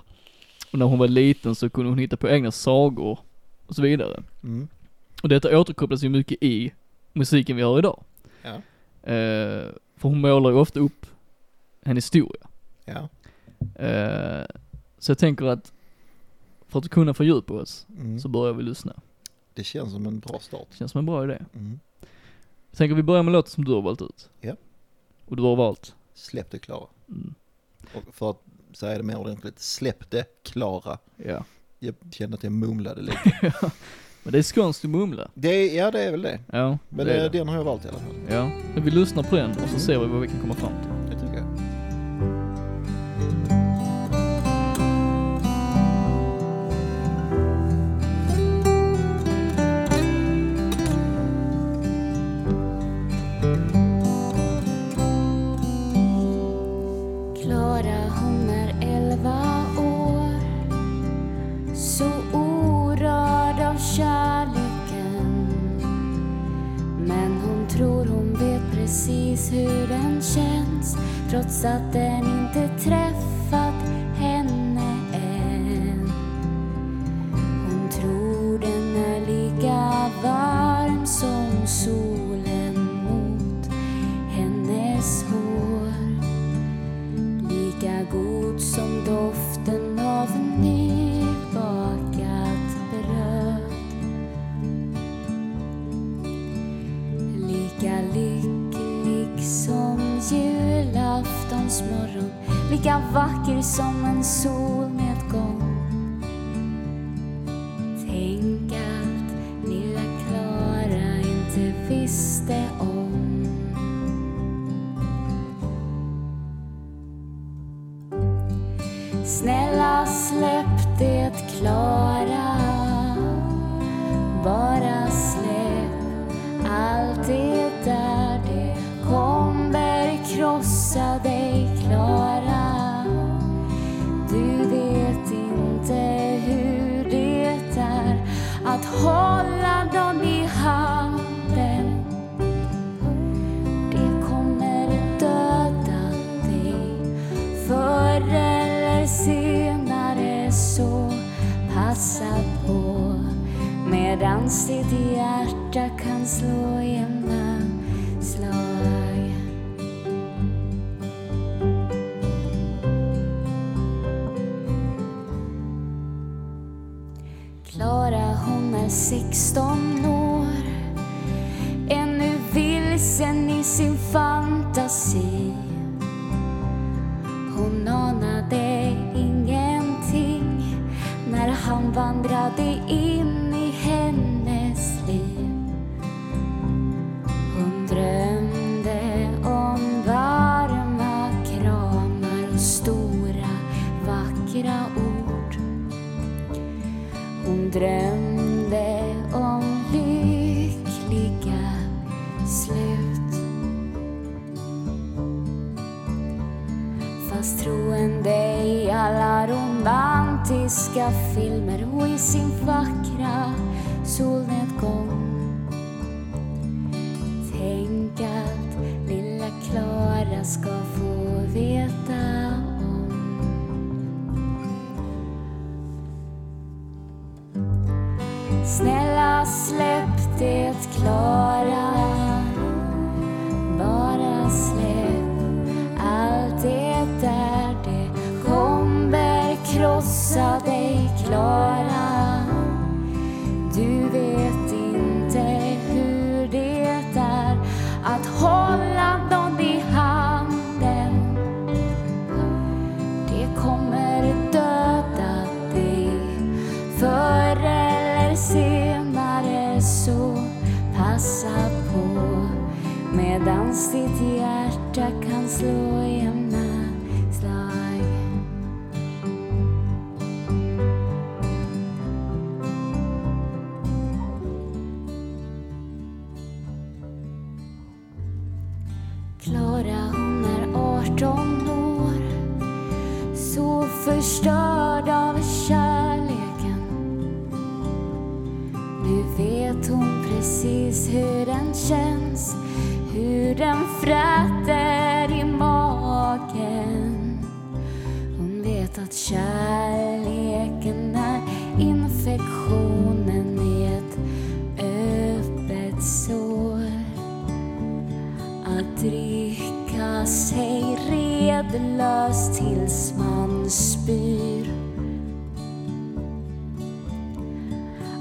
Och när hon var liten så kunde hon hitta på egna sagor och så vidare. Mm. Och detta återkopplas ju mycket i musiken vi har idag. Ja. Eh, för hon målar ju ofta upp en historia. Ja. Eh, så jag tänker att för att kunna fördjupa oss Mm. så börjar vi lyssna. Det känns som en bra start. Det känns som en bra idé. Mm. Jag tänker vi börjar med låten som du har valt ut. Ja. Och du har valt. Släpp det Klara. Mm. Och för att säga det mer ordentligt, släpp det Klara. Ja. jag kände att jag mumlade lite. Men det är skånskt att mumla. Det är, ja, det är väl det. Mm. Ja, Men det eh, är det. den har jag valt i alla fall. Ja. Men vi lyssnar på den och så ser vi vad vi kan komma fram till. Det tycker jag. Klara hon är elva år Så orörd av kärleken Men hon tror hon vet precis hur den känns Trots att den inte träffat henne än Hon tror den är lika varm som solen mot hennes hår lika god som doften av nybakat bröd. Lika lycklig som julaftonsmorgon, lika vacker som en solnedgång. Tänk allt lilla Klara inte visste om Snälla släpp det Klara Bara släpp allt det där Det kommer krossa dig Klara Du vet inte hur det är att hålla dem i handen det kommer döda dig förr eller senare så passa på medans ditt hjärta kan slå jämna slag. Klara hon är 16 år ännu vilsen i sin fantasi. Hon anade ingenting när han vandrade in i hennes liv. Hon drömde om varma kramar och stora vackra ord. Hon drömde om lyckliga slut Fast troende i alla romantiska filmer och i sin vackra solnedgång Tänk att lilla Klara ska få veta om Snälla släpp det Klara Bara släpp allt det där Det kommer krossa dig Klara Du vet inte hur det är att hålla någon i handen det kommer döda dig Förr eller senare så passa på Medans ditt hjärta kan slå jämna slag Klara hon är 18 år så förstörd av kärleken. Nu vet hon precis hur den känns, hur den fräter i magen. Hon vet att kärleken är infektionen i ett öppet sår att dricka sig redlös tills man spyr.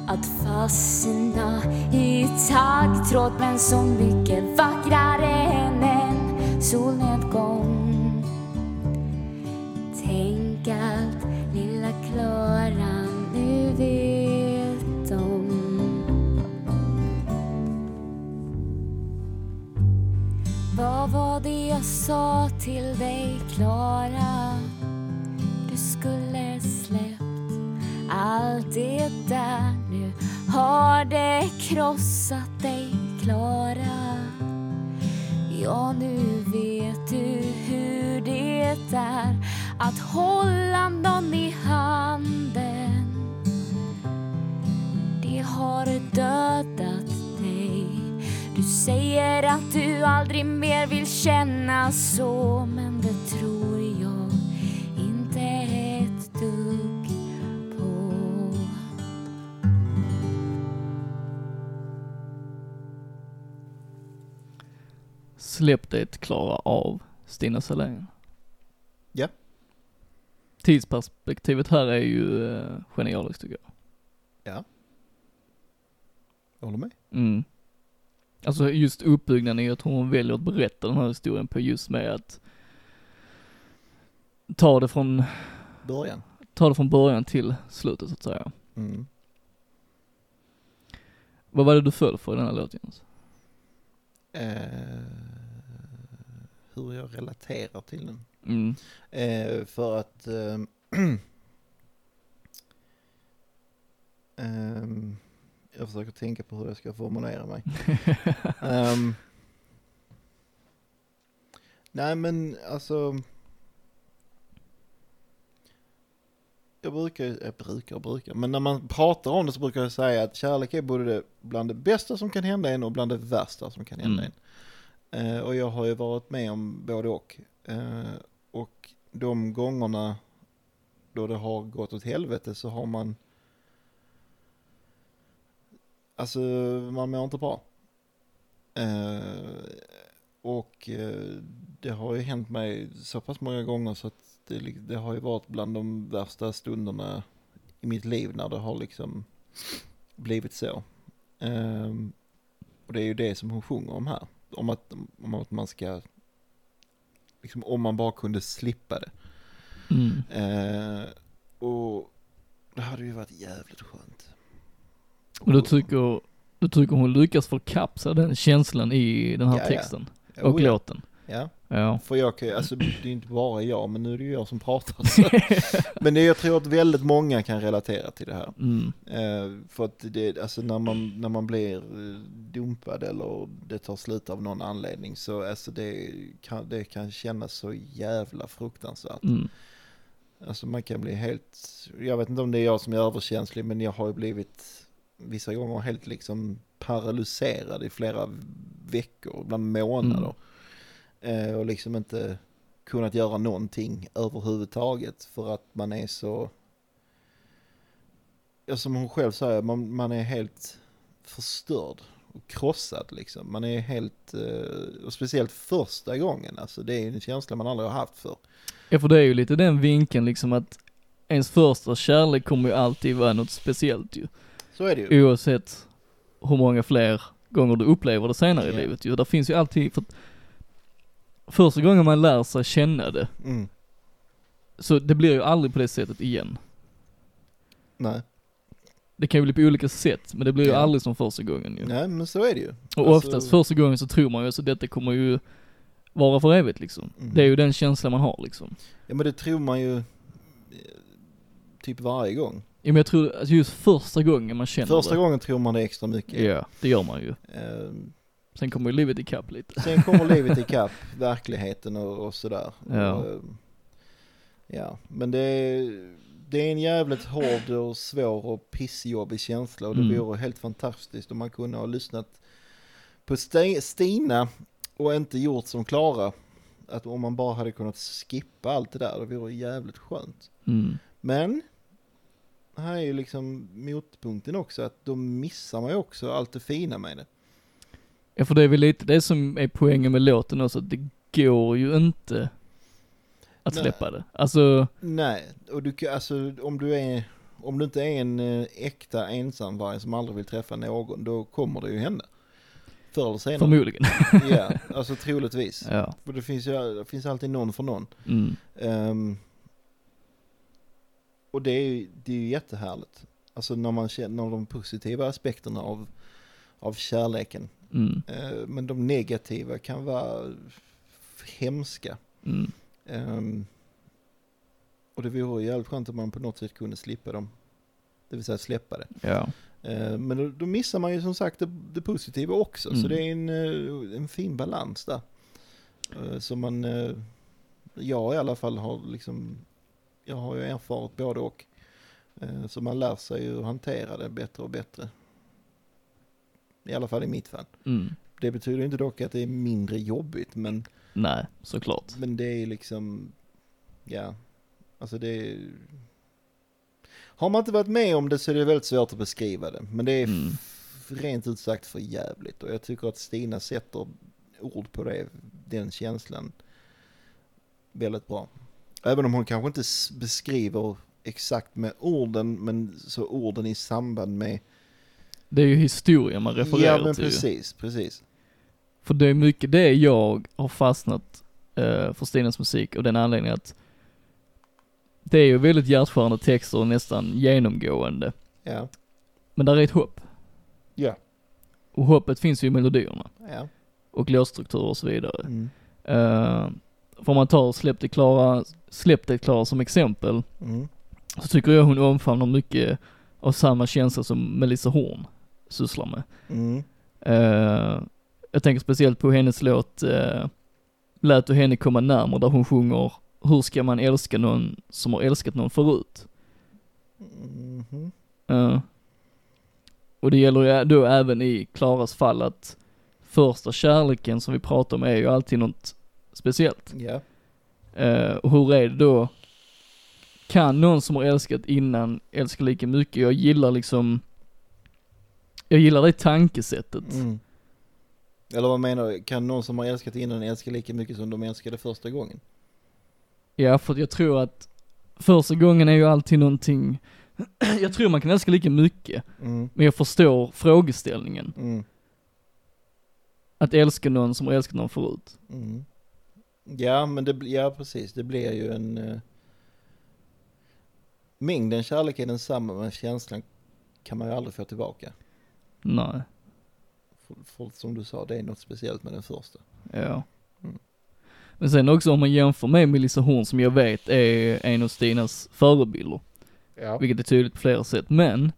Att fastna i taggtråd men så mycket vackrare än en solnedgång. Tänk allt lilla Klara nu jag sa till dig Klara Du skulle släppt allt det där Nu har det krossat dig Klara Ja, nu vet du hur det är att hålla någon i handen det har dödat dig. Du säger att du aldrig mer vill känna så, men det tror jag inte ett dugg på. Släpp det Klara av Stina Salén. Ja. Tidsperspektivet här är ju eh, genialiskt tycker jag. Jag håller med. Mm. Alltså just uppbyggnaden i, jag tror hon väljer att berätta den här historien på just med att ta det från, Början. ta det från början till slutet så att säga. Mm. Vad var det du föll för i den här låten Jens? Eh, hur jag relaterar till den. Mm. Eh, för att... ehm, ehm, jag försöker tänka på hur jag ska formulera mig. Ehm, nej men alltså... Jag brukar, ju- jag brukar, brukar, men när man pratar om det så brukar jag säga att kärlek är både det, bland det bästa som kan hända en och bland det värsta som kan hända Mm. en. Eh, och jag har ju varit med om både och. Eh, och de gångerna då det har gått åt helvete så har man... Alltså, man mår inte bra. Eh, och eh, det har ju hänt mig så pass många gånger så att det, li- det har ju varit bland de värsta stunderna i mitt liv när det har liksom blivit så. Ehm, och det är ju det som hon sjunger om här. Om att, om att man ska, liksom om man bara kunde slippa det. Mm. Eh, och det hade ju varit jävligt skönt. Och du tycker, du tycker hon lyckas förkapsla den känslan i den här Ja, ja. texten Oh, och ja. låten. Ja. Ja. För jag kan ju- alltså det är inte bara jag, men nu är det ju jag som pratar. Så. Men det, jag tror att väldigt många kan relatera till det här. Mm. Eh, för att det, alltså när man, när man blir eh, dumpad eller det tar slut av någon anledning så alltså det kan, det kan kännas så jävla fruktansvärt. Mm. Alltså man kan bli helt, jag vet inte om det är jag som är överkänslig men jag har ju blivit vissa gånger helt liksom paralyserad i flera veckor, ibland månader. Eh, och liksom inte kunnat göra någonting överhuvudtaget för att man är så, ja, som hon själv säger, man, man är helt förstörd och krossad liksom. Man är helt, eh, och speciellt första gången, alltså det är en känsla man aldrig har haft för. ja, för det är ju lite den vinkeln liksom att ens första kärlek kommer ju alltid vara något speciellt ju. Så är det ju. Mm. Oavsett hur många fler gånger du upplever det senare Ja. i livet ju. Där finns ju alltid, för att första gången man lär sig känna det, Mm. så det blir ju aldrig på det sättet igen. Nej. Det kan ju bli på olika sätt, men det blir ju Ja. aldrig som första gången ju. Nej, men så är det ju. Och Alltså- oftast första gången så tror man ju så detta kommer ju vara för evigt liksom. Mm. Det är ju den känslan man har liksom. Ja, men det tror man ju eh, typ varje gång. Ja, men jag tror att just första gången man känner Första det. gången tror man det extra mycket. Ja, det gör man ju. Eh, Sen kommer ju livet ikapp lite. sen kommer livet ikapp verkligheten och, och sådär. Ja. Och, eh, ja, men det är, det är en jävligt hård och svår och pissjobbig känsla och det Mm. vore helt fantastiskt om man kunde ha lyssnat på Ste- Stina och inte gjort som Klara. Att om man bara hade kunnat skippa allt det där, det vore jävligt skönt. Mm. Men här är ju liksom motpunkten också att då missar man ju också allt det fina med det. Ja, för det är väl lite det som är poängen med låten också, att det går ju inte att Nej. släppa det. Alltså, Nej, och du kan, alltså om du är, om du inte är en eh, äkta ensamvarg som aldrig vill träffa någon, då kommer det ju hända. Förr eller senare. förmodligen. Ja, alltså troligtvis. ja. För det finns ju det finns alltid någon för någon. Mm. Ehm, och det är, ju, det är ju jättehärligt. Alltså när man känner de positiva aspekterna av, av kärleken. Mm. Eh, Men de negativa kan vara f- hemska. Mm. Ehm, och det vore jävligt skönt om man på något sätt kunde slippa dem. Det vill säga släppa det. Ja. Ehm, men då, då missar man ju som sagt det, det positiva också. Så Mm. det är en, eh, en fin balans där. Eh, som man, eh, jag i alla fall har liksom, jag har ju erfarit både och. Eh, så man lär sig ju att hantera det bättre och bättre. I alla fall i mitt fall. Mm. Det betyder inte dock att det är mindre jobbigt, men Nej, såklart. men det är liksom, ja, alltså det är... Har man inte varit med om det så är det väldigt svårt att beskriva det. Men det är Mm. f- rent ut sagt för jävligt. Och jag tycker att Stina sätter ord på det, den känslan väldigt bra. Även om hon kanske inte s- beskriver exakt med orden, men så orden i samband med... Det är ju historia man refererar ja, men till ju. precis, precis. För det är mycket det jag har fastnat eh, för Stinas musik och den anledningen att det är ju väldigt hjärtskärande texter och nästan genomgående. Ja, Men där är ett hopp. Ja. Och hoppet finns ju i melodierna ja. och låtstrukturer och så vidare. Mm. Eh, för om man tar Släpp det klara, Släpp det klara som exempel Mm. så tycker jag hon omfamnar mycket av samma känsla som Melissa Horn sysslar med. Mm. Eh, jag tänker speciellt på hennes låt eh, Lät du henne komma närmare där hon sjunger Hur ska man älska någon som har älskat någon förut? Mhm. Eh, och det gäller ju då även i Klaras fall att första kärleken som vi pratar om är ju alltid något speciellt. Ja. Eh, och hur är det då? Kan någon som har älskat innan älska lika mycket? Jag gillar liksom, jag gillar det tankesättet. Mm. Eller vad menar du? Kan någon som har älskat innan älska lika mycket som de älskade första gången? Ja, för att jag tror att första gången är ju alltid någonting, jag tror man kan älska lika mycket, Mm. men jag förstår frågeställningen. Mm. Att älska någon som har älskat någon förut. Mm. Ja, men det, bli- ja, precis. Det blir ju en... eh, Mängden kärlek är densamma, men känslan kan man ju aldrig få tillbaka. Nej, För, för, som du sa, det är något speciellt med den första. ja. Mm. Men sen också om man jämför med Melissa Horn som jag vet är en av Stinas förebilder, Ja. vilket är tydligt på flera sätt, men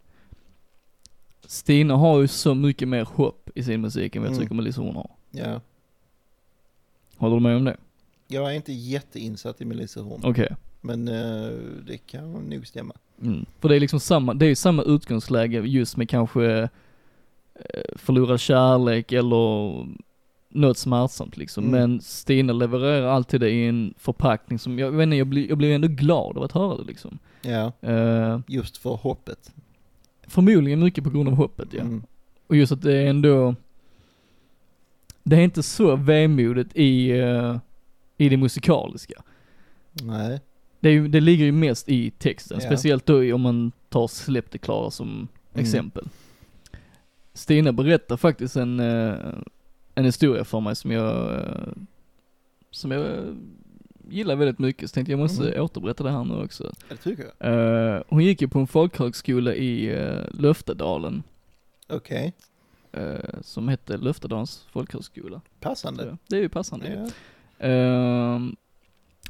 Stina har ju så mycket mer hopp i sin musik än vad jag Mm. tycker Melissa Horn har. ja. Håller du med om det? Jag är inte jätteinsatt i Melissa Horn, Okej. men eh, det kan nog stämma. Mm. För det är liksom samma, det är ju samma utgångsläge just med kanske eh, förlorad kärlek eller något smärtsamt liksom. Mm. Men Stina levererar alltid det i en förpackning som, jag vet inte, jag blir, jag blir ändå glad av att höra det liksom. Ja, Eh, just för hoppet. förmodligen mycket på grund av hoppet ja. Mm. Och just att det är ändå, det är inte så vemodigt i, eh, i det musikaliska. Nej. Det, är, ju- det ligger ju mest i texten, Ja. Mm. speciellt då i- om man tar Släpp det klara som exempel. Stina berättar faktiskt en, eh, en historia för mig som jag, eh, som jag eh, gillar väldigt mycket, så tänkte jag måste Mhm. återberätta det här nu också. Det tycker jag. Eh, hon gick ju på en folkhögskola i eh, Löftedalen, Okej. eh, som hette Löftedalens folkhögskola. Passande. Så Det är ju passande. ju. Ja. Ehm,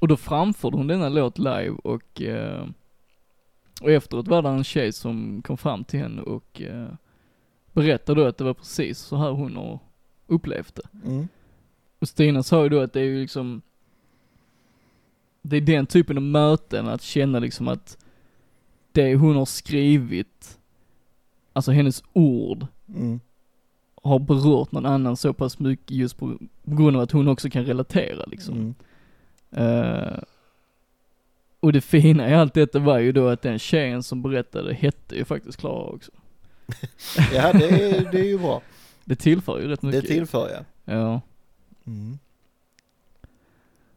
och då framförde hon denna låt live och, eh, och efteråt var det en tjej som kom fram till henne och eh, berättade då att det var precis så här hon har upplevt det. Mm. Och Stina sa ju då att det är ju liksom, det är den typen av möten, att känna liksom att det hon har skrivit, alltså hennes ord, Mm. har berört någon annan så pass mycket just på, på grund av att hon också kan relatera liksom. Mm. Eh, och det fina i allt detta var ju då att den tjejen som berättade hette ju faktiskt Klara också. Ja, det är, det är ju bra. Det tillför ju rätt Det mycket. tillför jag. Mm. Ja,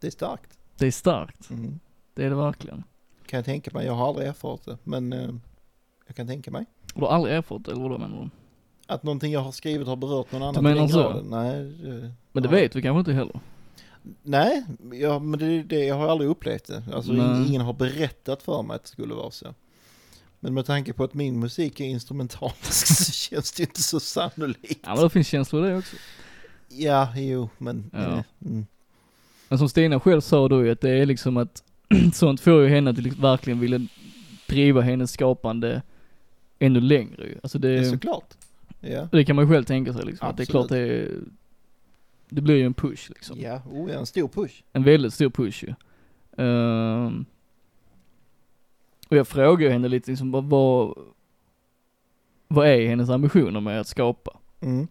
Det är starkt. det är starkt. Det är det verkligen. Mm. Kan jag tänka mig. Jag har aldrig erfarit det, men eh, jag kan tänka mig. Och du har aldrig erfarit eller vadå menar du? Att någonting jag har skrivit har berört någon annan. menar till den så? graden. Nej, det- Men det Ja. vet du kanske inte heller? nej ja, men det, det, jag har aldrig upplevt det. Alltså, Nej. ingen har berättat för mig att det skulle vara så. Men med tanke på att min musik är instrumental så känns det ju inte så sannolikt. Ja men det finns känslor i det också. Ja, jo, men... Ja. eh, Mm. Men som Stina själv sa då ju att det är liksom att sånt får ju henne att liksom verkligen vilja driva hennes skapande ännu längre ju. Alltså Ja, det, såklart. Ja. det kan man ju själv tänka sig liksom. Att det är klart Absolut. det, är- det blir ju en push liksom. Ja, oh, ja, en stor push. En väldigt stor push ju. Ehm, och jag frågar ju henne lite liksom vad, vad, vad är hennes ambitioner med att skapa? Mm.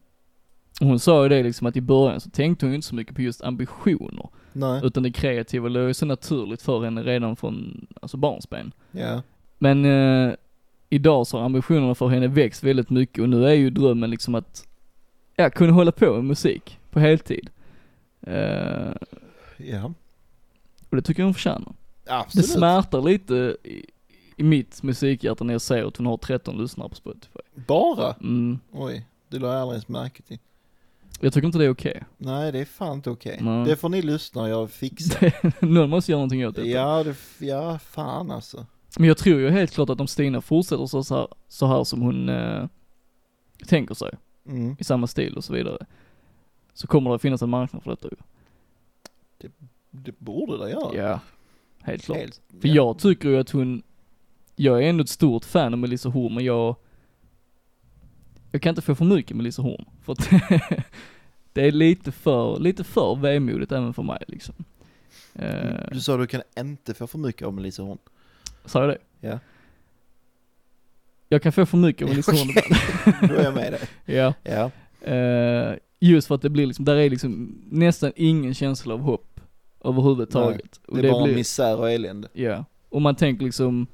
Och Hon sa ju det liksom att i början så tänkte hon ju inte så mycket på just ambitioner. Nej. Utan det kreativa låg ju så naturligt för henne redan från, alltså barnsben. Ja. Men eh, idag så har ambitionerna för henne växt väldigt mycket och nu är ju drömmen liksom att, ja, kunna hålla på med musik på heltid. Eh, Ja. och det tycker jag hon förtjänar. Det Absolut. smärtar lite i, i mitt musikhjärta när jag ser att hon har 13 lyssnare på Spotify. Bara? Mm, Oj, det la jag aldrig ens märke till. jag tycker inte det är okej. Nej, det är fan inte okej. Nej. Det får ni lyssna och jag fixar. Någon måste göra någonting åt detta. Ja, det, ja, fan alltså. Men jag tror ju helt klart att om Stina fortsätter så så här, så här som hon eh, tänker sig, Mm. i samma stil och så vidare, så kommer det finnas en marknad för detta ju. Det borde det göra. Helt klart. Helt- För ja. jag tycker ju att hon, jag är ändå ett stort fan av Melissa Horn, men jag, jag kan inte få för mycket Melissa Horn. För att det är lite för, lite för vemodigt även för mig liksom. Eh, Mm. Du sa du kan inte få för mycket av Melissa Horn. sa jag det? Ja. Jag kan få för mycket av Melissa Horn ibland. Då är jag med dig. Ja. Ja. Eh, just för att det blir liksom, där är liksom nästan ingen känsla av hopp överhuvudtaget. Det är bara misär och elände. Ja, och man tänker liksom,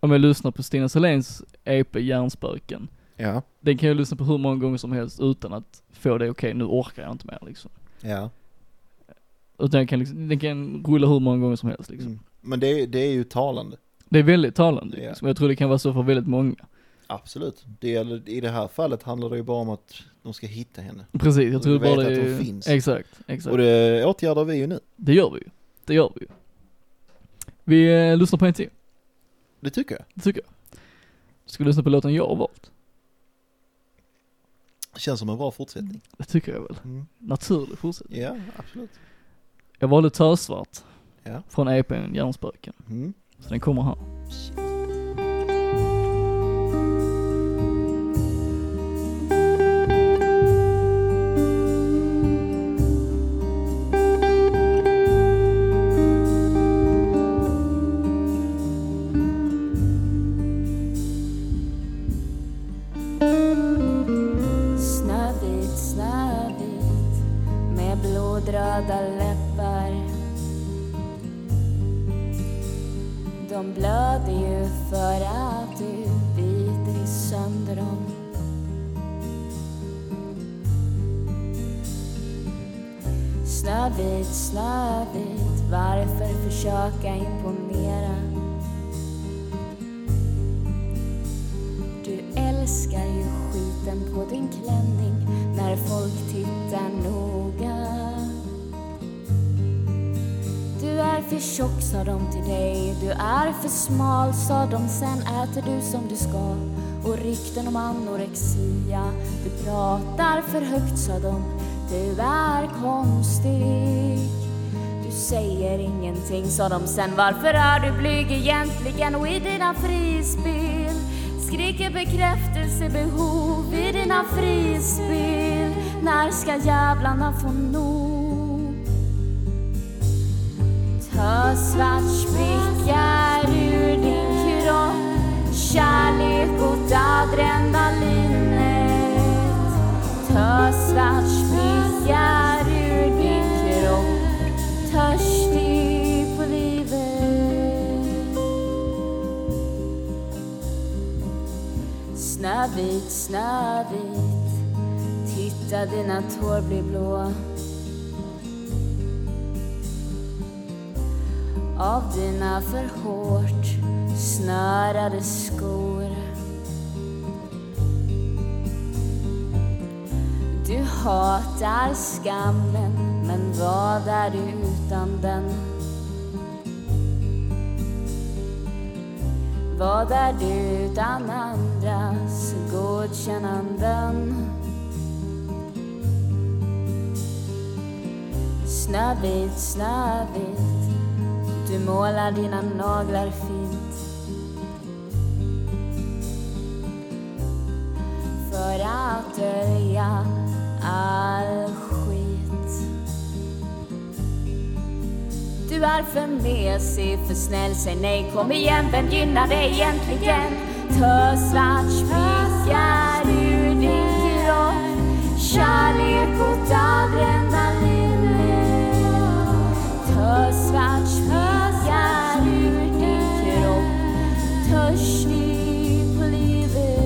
om jag lyssnar på Stina Saléns EP Hjärnspöken, Ja. den kan jag lyssna på hur många gånger som helst utan att få det, okej nu orkar jag inte mer liksom. Ja. Utan jag kan liksom, den kan rulla hur många gånger som helst liksom. Mm. Men det, är- det är ju talande. Det är väldigt talande Ja. liksom. jag tror det kan vara så för väldigt många. Absolut. Det gäller, I det här fallet handlar det ju bara om att de ska hitta henne. Precis, jag Och tror du vet bara det att är... de finns. Exakt, exakt. Och det åtgärdar vi ju nu. Det gör vi ju. Det gör vi ju. Vi eh, lyssnar på en till, Det tycker jag. det tycker jag. Ska vi lyssna på låten jag har valt? Det känns som en bra fortsättning. Det tycker jag väl. Mm. Naturlig fortsättning. Ja, absolut. Jag valde Törsvart. Ja. Från E EPn Järnspöken. Mm. Så den kommer här. Snövit, Snövit med blodröda läppar De blöder ju för att du biter sönder dem Snövit, Snövit, varför försöka imponera? Du älskar ju skiten på din klänning när folk tittar noga. Du är för tjock sa de till dig, du är för smal sa de sen äter du som du ska och rykten om anorexia. Du pratar för högt sa de, du är konstig. Du säger ingenting sa de sen Varför är du blyg egentligen och i dina frispel Skriker bekräftelsebehov i dina frispel När ska jävlarna få nog? Tösvart sprickar ur din kropp Kärlek och adrenalinet Tösvart sprickar ur din kropp Törstig på livet Snövit, Snövit Titta dina tår blir blå av dina för hårt snörade skor. Du hatar skammen, men vad är du utan den? Vad är du utan andras godkännanden? Snövit, Snövit, du målar dina naglar fint. För att dölja all skit. Du är för mesig, för snäll, säg nej, kom igen, vem gynnar dig egentligen? Tösvart spikar ur din kropp, kärlek och adrenalin. Tösvart spikar ur din kropp, törstig på livet.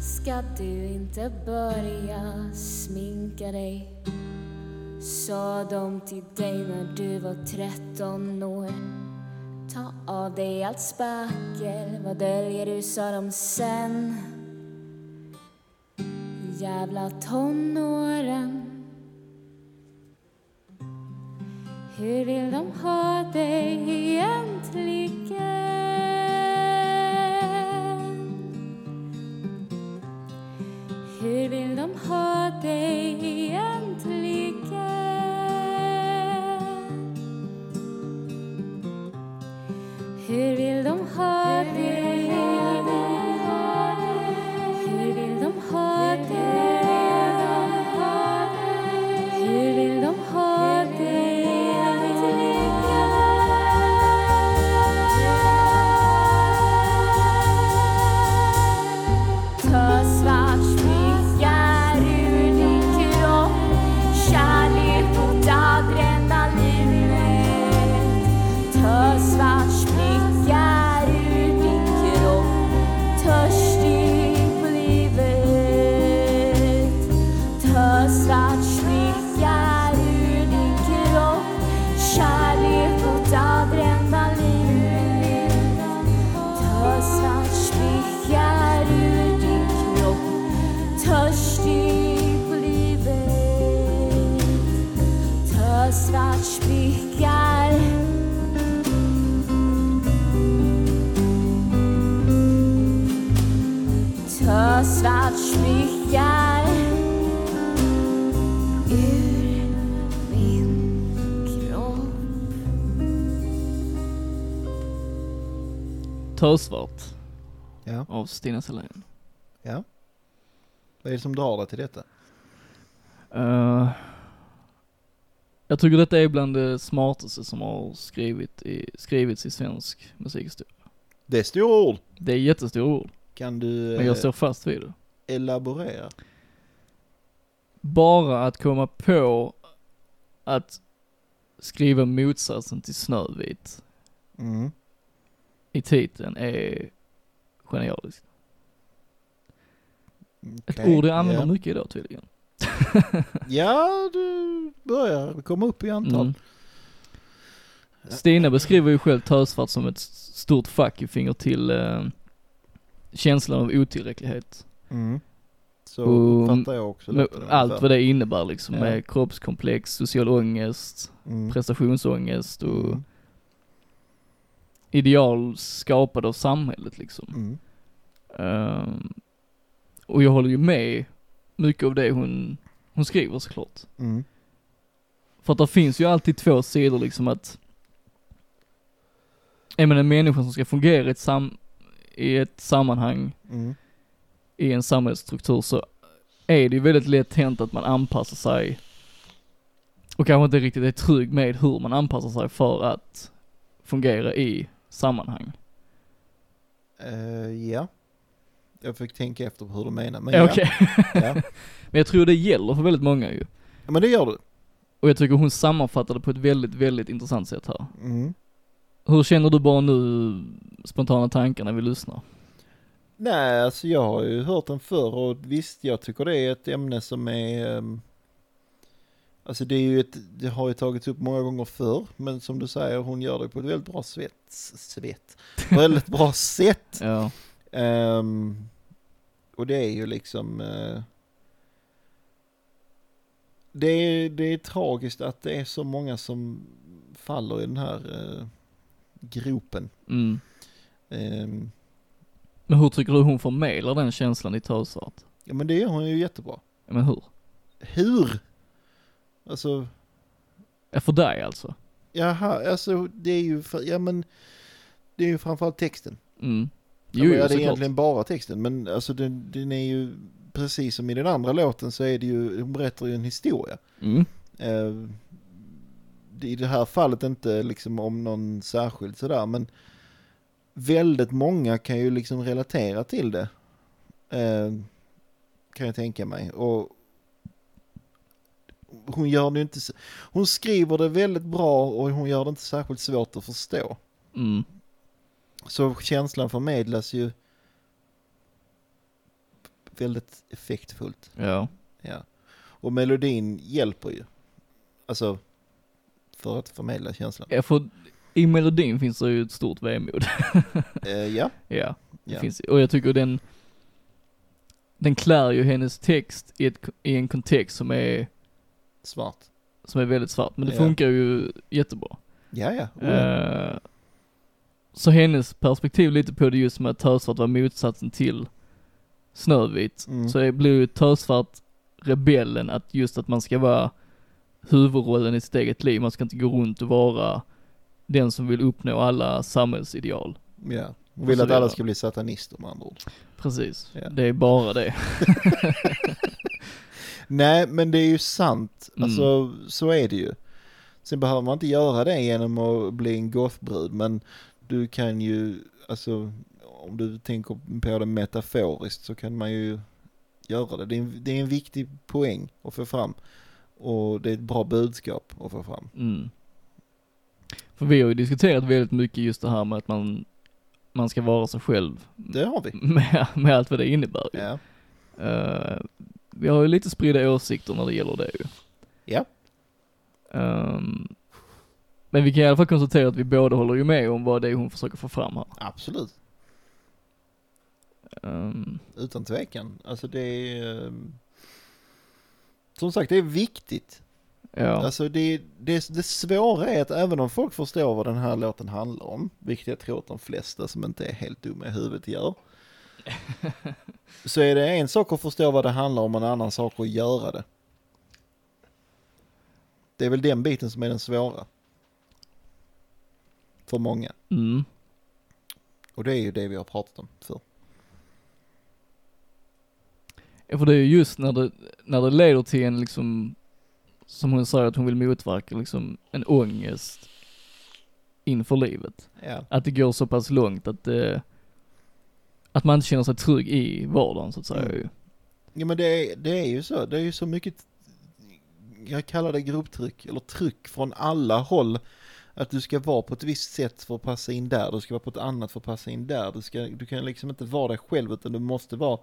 Ska du inte börja sminka dig? Sa de till dig när du var 13 år. Ta av dig allt spackel, vad döljer du? Sa de sen. Jävla tonåren. Hur vill de ha dig egentligen? Hur vill de ha dig egentligen? Hur vill de ha dig? Hur vill de ha dig? Hur vill de ha dig egentligen? Tösvart spricker ur din kropp Kärlek mot adrenalinet Tösvart spricker ur din kropp Törstig på livet Tösvart spricker ur din kropp Kärlek mot adrenalinet Tösvart spricker ur din kropp Törstig på livet Tösvart spricker Tösvart spricker ur min kropp Tösvart Ja, av Stina Selén. ja. Vad är det som drar dig till detta? Eh, jag tycker detta är bland det smartaste som har skrivit i, skrivits i svensk musikhistoria. Det är stora ord. Det är jättestora ord, Kan du men jag eh, står fast vid det. elaborera? Bara att komma på att skriva motsatsen till Snövit Mm. i titeln är genialiskt. Ett Okej, ord jag använder ja. mycket idag tydligen. Ja, du börjar komma upp i antal. Mm. Stina beskriver ju själv tösvart som ett stort fuck-finger till eh, känslan av otillräcklighet. Mm. Så Um, uppfattar jag också Med detta allt ungefär. vad det innebär liksom Ja. med kroppskomplex, social ångest, Mm. prestationsångest och Mm. ideal skapade av samhället liksom. Mm. Ehm, och jag håller ju med mycket av det hon, hon skriver såklart. Mm. För att det finns ju alltid två sidor liksom att, är man en människa som ska fungera i ett, sam- i ett sammanhang Mm. i en samhällsstruktur så är det ju väldigt lätt hänt att man anpassar sig och kanske inte riktigt är trygg med hur man anpassar sig för att fungera i sammanhang. Eh, ja. Jag fick tänka efter på hur du menar. Men, Eh, Okej, ja. Ja. men jag tror det gäller för väldigt många ju. ja, men det gör du. Och jag tycker hon sammanfattade på ett väldigt, väldigt intressant sätt här. Mm. Hur känner du bara nu spontana tankar när vi lyssnar? Nej, alltså jag har ju hört den förr och visst, jag tycker det är ett ämne som är... ehm, Alltså det är ju ett, det har ju tagits upp många gånger förr, men som du säger, hon gör det på ett väldigt bra svett, svett, på ett väldigt bra sätt. Ja, Eh, Ehm, och det är ju liksom... eh, det, är, det är tragiskt att det är så många som faller i den här eh, gropen. Mm. Ehm, Men hur tycker du hon förmedlar den känslan i Tösart? ja men det gör hon ju jättebra. Ja, Men hur? Hur? Alltså, Ja, för dig alltså? jaha, alltså det är ju, för, ja men, det är ju framförallt texten. Mm. Jo, Jo, ja, jo det är såklart. egentligen bara texten, men alltså den, den är ju, precis som i den andra låten så är det ju, hon berättar ju en historia. Mm. Eh, det- I det här fallet inte liksom om någon särskild sådär, men väldigt många kan ju liksom relatera till det. Eh, kan jag tänka mig. Och hon gör det ju inte, s- hon skriver det väldigt bra och hon gör det inte särskilt svårt att förstå. Mm. Så känslan förmedlas ju väldigt effektfullt. Ja. Ja. Och melodin hjälper ju. Alltså, för att förmedla känslan. ja, för i melodin finns det ju ett stort vemod. Eh, ja. ja, det ja. finns Och jag tycker den, den klär ju hennes text i, ett, i en kontext som är, Svart. som är väldigt svart. Men det Ja. funkar ju jättebra. Ja, ja. Oh, ja. Eh, så hennes perspektiv lite på det just med att Tösvart var motsatsen till Snövit. Mm. Så det blir ju Tösvart rebellen att just att man ska vara huvudrollen i sitt eget liv. Man ska inte gå runt och vara den som vill uppnå alla samhällsideal. ja. Hon vill Och så att alla vidare. ska bli satanister med andra ord. Precis. Ja. Det är bara det. Nej, men det är ju sant. Mm. Alltså, så är det ju. Sen behöver man inte göra det genom att bli en gothbrud, men du kan ju, alltså, om du tänker på det metaforiskt så kan man ju göra det. Det är en, det är en viktig poäng att få fram. Och det är ett bra budskap att få fram. Mm. För vi har ju diskuterat väldigt mycket just det här med att man, man ska vara sig själv Det har Mm. vi. med, med allt vad det innebär. ju. Ja. Eh, vi har ju lite spridda åsikter när det gäller det ju. Ja. Ehm, men vi kan i alla fall konstatera att vi båda håller ju med om vad det är hon försöker få fram här. Absolut. Ehm, Utan tvekan. Alltså det är... eh, Som sagt, det är viktigt. ja. Alltså det, det, det svåra är att även om folk förstår vad den här låten handlar om, vilket jag tror att de flesta som inte är helt dumma i huvudet gör, så är det en sak att förstå vad det handlar om och en annan sak att göra det. Det är väl den biten som är den svåra. För många. Mm. Och det är ju det vi har pratat om för. Ja, För det är ju just när det, när det leder till en liksom, som hon säger att hon vill motverka liksom, en ångest inför livet. Ja, Att det går så pass långt att det, att man inte känner sig trygg i vardagen så att säga Mm. ju. ja men det är, det är ju så. Det är ju så mycket, jag kallar det grupptryck, eller tryck från alla håll. Att du ska vara på ett visst sätt för att passa in där, du ska vara på ett annat för att passa in där. Du, ska, du kan liksom inte vara dig själv utan du måste vara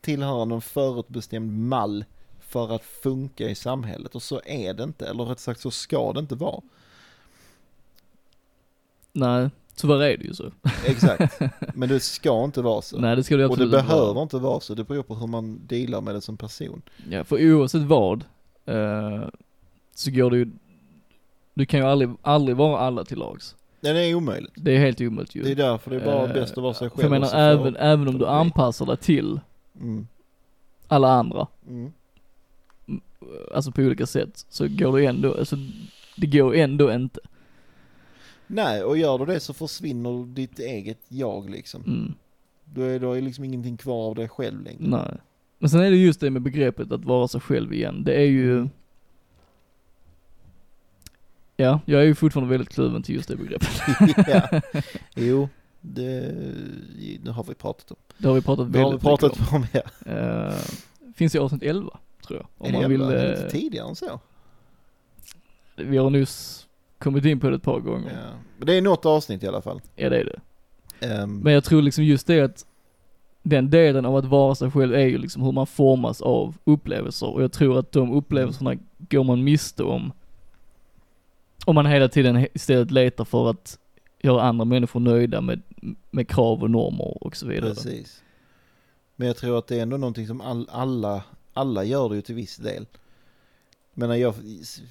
tillhöra någon förutbestämd mall för att funka i samhället. Och så är det inte, eller rätt sagt så ska det inte vara. Nej, tyvärr är det ju så. Exakt, men det ska inte vara så. Nej det ska du Och absolut det inte vara. behöver inte vara så, det beror på hur man dealar med det som person. Ja, för oavsett vad eh, så går det ju, du kan ju aldrig, aldrig vara alla till lags. Nej, det är omöjligt. Det är helt omöjligt ju. Det är därför det är bara Eh, bäst att vara sig För själv. jag menar och så får- även, även om du okej. anpassar dig till Mm. alla andra, Mm. alltså på olika sätt, så går det ändå, alltså det går ändå inte. Nej, och gör du det så försvinner ditt eget jag liksom. Mm, Då är det liksom ingenting kvar av dig själv längre. nej. Men sen är det just det med begreppet att vara sig själv igen, det är Mm. ju Ja, jag är ju fortfarande väldigt kluven till just det begreppet. ja. Jo, det, det har vi pratat om. Det har vi pratat Det har vi väldigt mycket om. pratat om, ja. Eh, finns i avsnitt 11, tror jag. Om är det man vill, jävla- är det eh, lite tidigare än så? vi har nyss kommit in på det ett par gånger. Ja, Ja. Men det är något avsnitt i alla fall. det är det. Ehm, Men jag tror liksom just det att den delen av att vara sig själv är ju liksom hur man formas av upplevelser och jag tror att de upplevelserna går man miste om om man hela tiden he- istället letar för att göra andra människor nöjda med med krav och normer och så vidare. Precis. Men jag tror att det är ändå någonting som all, alla, alla gör det ju till viss del. Men jag,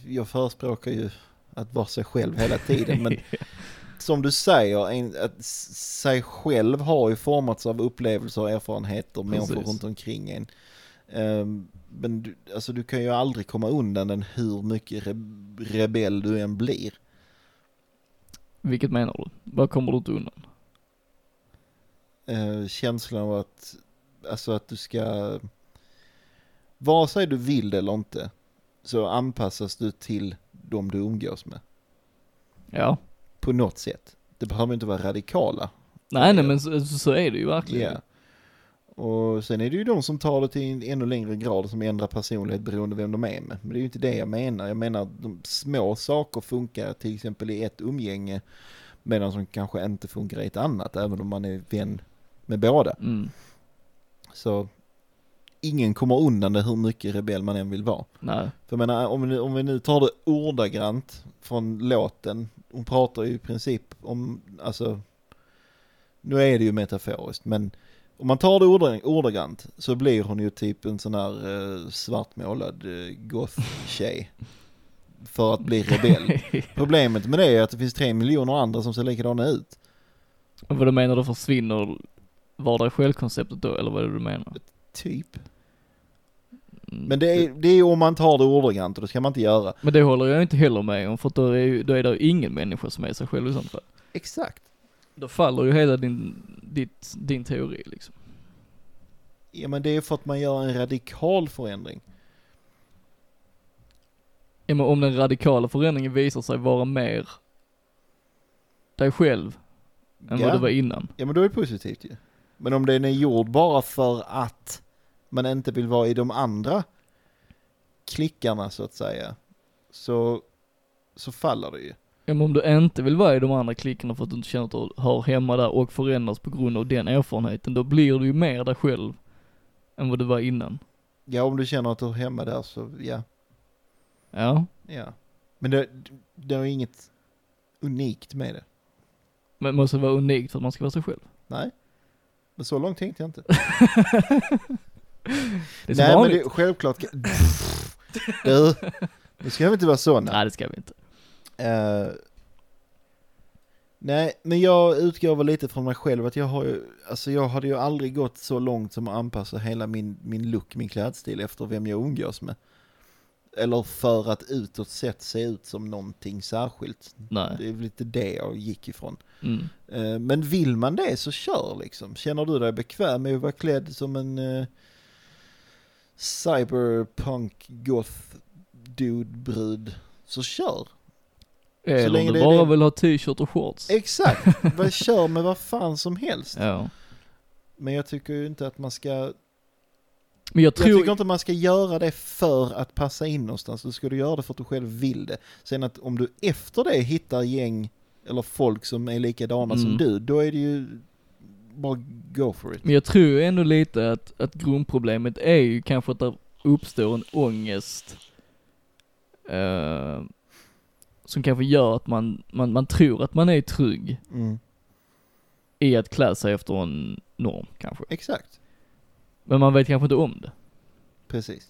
jag förespråkar ju att vara sig själv hela tiden, men som du säger, en, att s- sig själv har ju formats av upplevelser och erfarenheter, människor Precis. runt omkring en. Ehm, men du, alltså du kan ju aldrig komma undan den hur mycket re, rebell du än blir. Vilket menar du? Vad kommer du inte undan? eh, känslan av att, alltså att du ska, vare sig du vill det eller inte, så anpassas du till de du umgås med. Ja. På något sätt. Det behöver inte vara radikala. Nej, nej men så, så är det ju verkligen. Ja. Och sen är det ju de som tar det till en ännu längre grad som ändrar personlighet beroende på vem de är med. Men det är ju inte det jag menar. Jag menar att de små saker funkar till exempel i ett umgänge medan som kanske inte funkar i ett annat även om man är vän med båda. Mm. Så ingen kommer undan det hur mycket rebell man än vill vara. Nej. För jag menar, om vi, nu- om vi nu tar det ordagrant från låten, hon pratar ju i princip om, alltså, nu är det ju metaforiskt, men om man tar det ordag- ordagrant så blir hon ju typ en sån här eh, svartmålad eh, goth-tjej. För att bli rebell. Problemet med det är att det finns tre miljoner andra som ser likadana ut. Och vad du menar, då försvinner var det självkonceptet då, eller vad är det du menar? Mm. Typ. Men det är, det är ju om man tar det ordagrant och det ska man inte göra. Men det håller jag inte heller med om, för att då är, ju- då är det ju ingen människa som är sig själv i sånt fall. Exakt. Då faller ju hela din, ditt, din teori liksom. Ja men det är för att man gör en radikal förändring. Ja, men om den radikala förändringen visar sig vara mer dig själv än vad Ja. du var innan. Ja men då är det positivt ju. Men om den är gjord bara för att man inte vill vara i de andra klickarna så att säga. Så, så faller det ju. Ja, men om du inte vill vara i de andra klickarna för att du inte känner att du hör hemma där och förändras på grund av den erfarenheten, då blir du ju mer dig själv än vad du var innan. Ja om du känner att du är hemma där så ja. Ja, ja. Men det, det är inget unikt med det. men det måste vara unikt för att man ska vara sig själv. Nej. Men så långt tänkte jag inte. Det är som Nej vanligt. men det, självklart. kan- Du, nu ska vi inte vara sådana. Nej, det ska vi inte. Eh, nej, men jag utgår väl lite från mig själv att jag har ju, alltså jag hade ju aldrig gått så långt som att anpassa hela min, min look, min klädstil efter vem jag umgås med. Eller för att utåt sett se ut som någonting särskilt. Nej. Det är väl lite det jag gick ifrån. Mm. Eh, Men vill man det så kör liksom. Känner du dig bekväm med att vara klädd som en eh, cyberpunk goth dude brud så kör. Eller om länge du det är bara det- vill ha t-shirt och shorts. Exakt, vad kör med vad fan som helst. Ja. Men jag tycker ju inte att man ska, jag, Men jag tror, tycker inte man ska göra det för att passa in någonstans. Du ska du göra det för att du själv vill det. Sen att om du efter det hittar gäng eller folk som är likadana som Mm. du, då är det ju bara go for it. men jag tror ju ändå lite att, att grundproblemet är ju kanske att det uppstår en ångest. Eh, som kanske gör att man, man, man tror att man är trygg Mm. i att klä sig efter en norm kanske. Exakt, Men man vet kanske inte om det. precis.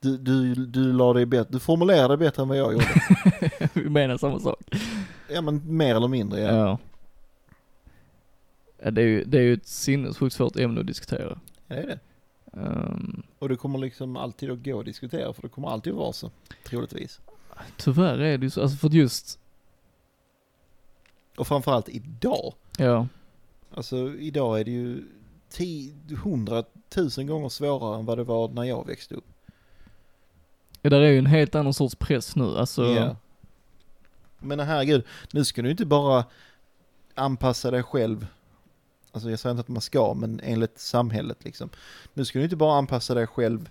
Du, du, du, la dig bättre, du formulerade bättre än vad jag gjorde. Vi menar samma sak. ja men mer eller mindre ja. Ja. ja det, är ju, det är ju ett sinnessjukt svårt ämne att diskutera. Det är det. Ehm, Och det kommer liksom alltid att gå att diskutera för det kommer alltid att vara så, troligtvis. tyvärr är det ju så, alltså för att just, Och framförallt idag. ja. Alltså idag är det ju ti- hundratusen gånger svårare än vad det var när jag växte upp. Ja, där är ju en helt annan sorts press nu, alltså. Ja. Men herregud, nu ska du inte bara anpassa dig själv. Alltså jag säger inte att man ska, men enligt samhället liksom. Nu ska du inte bara anpassa dig själv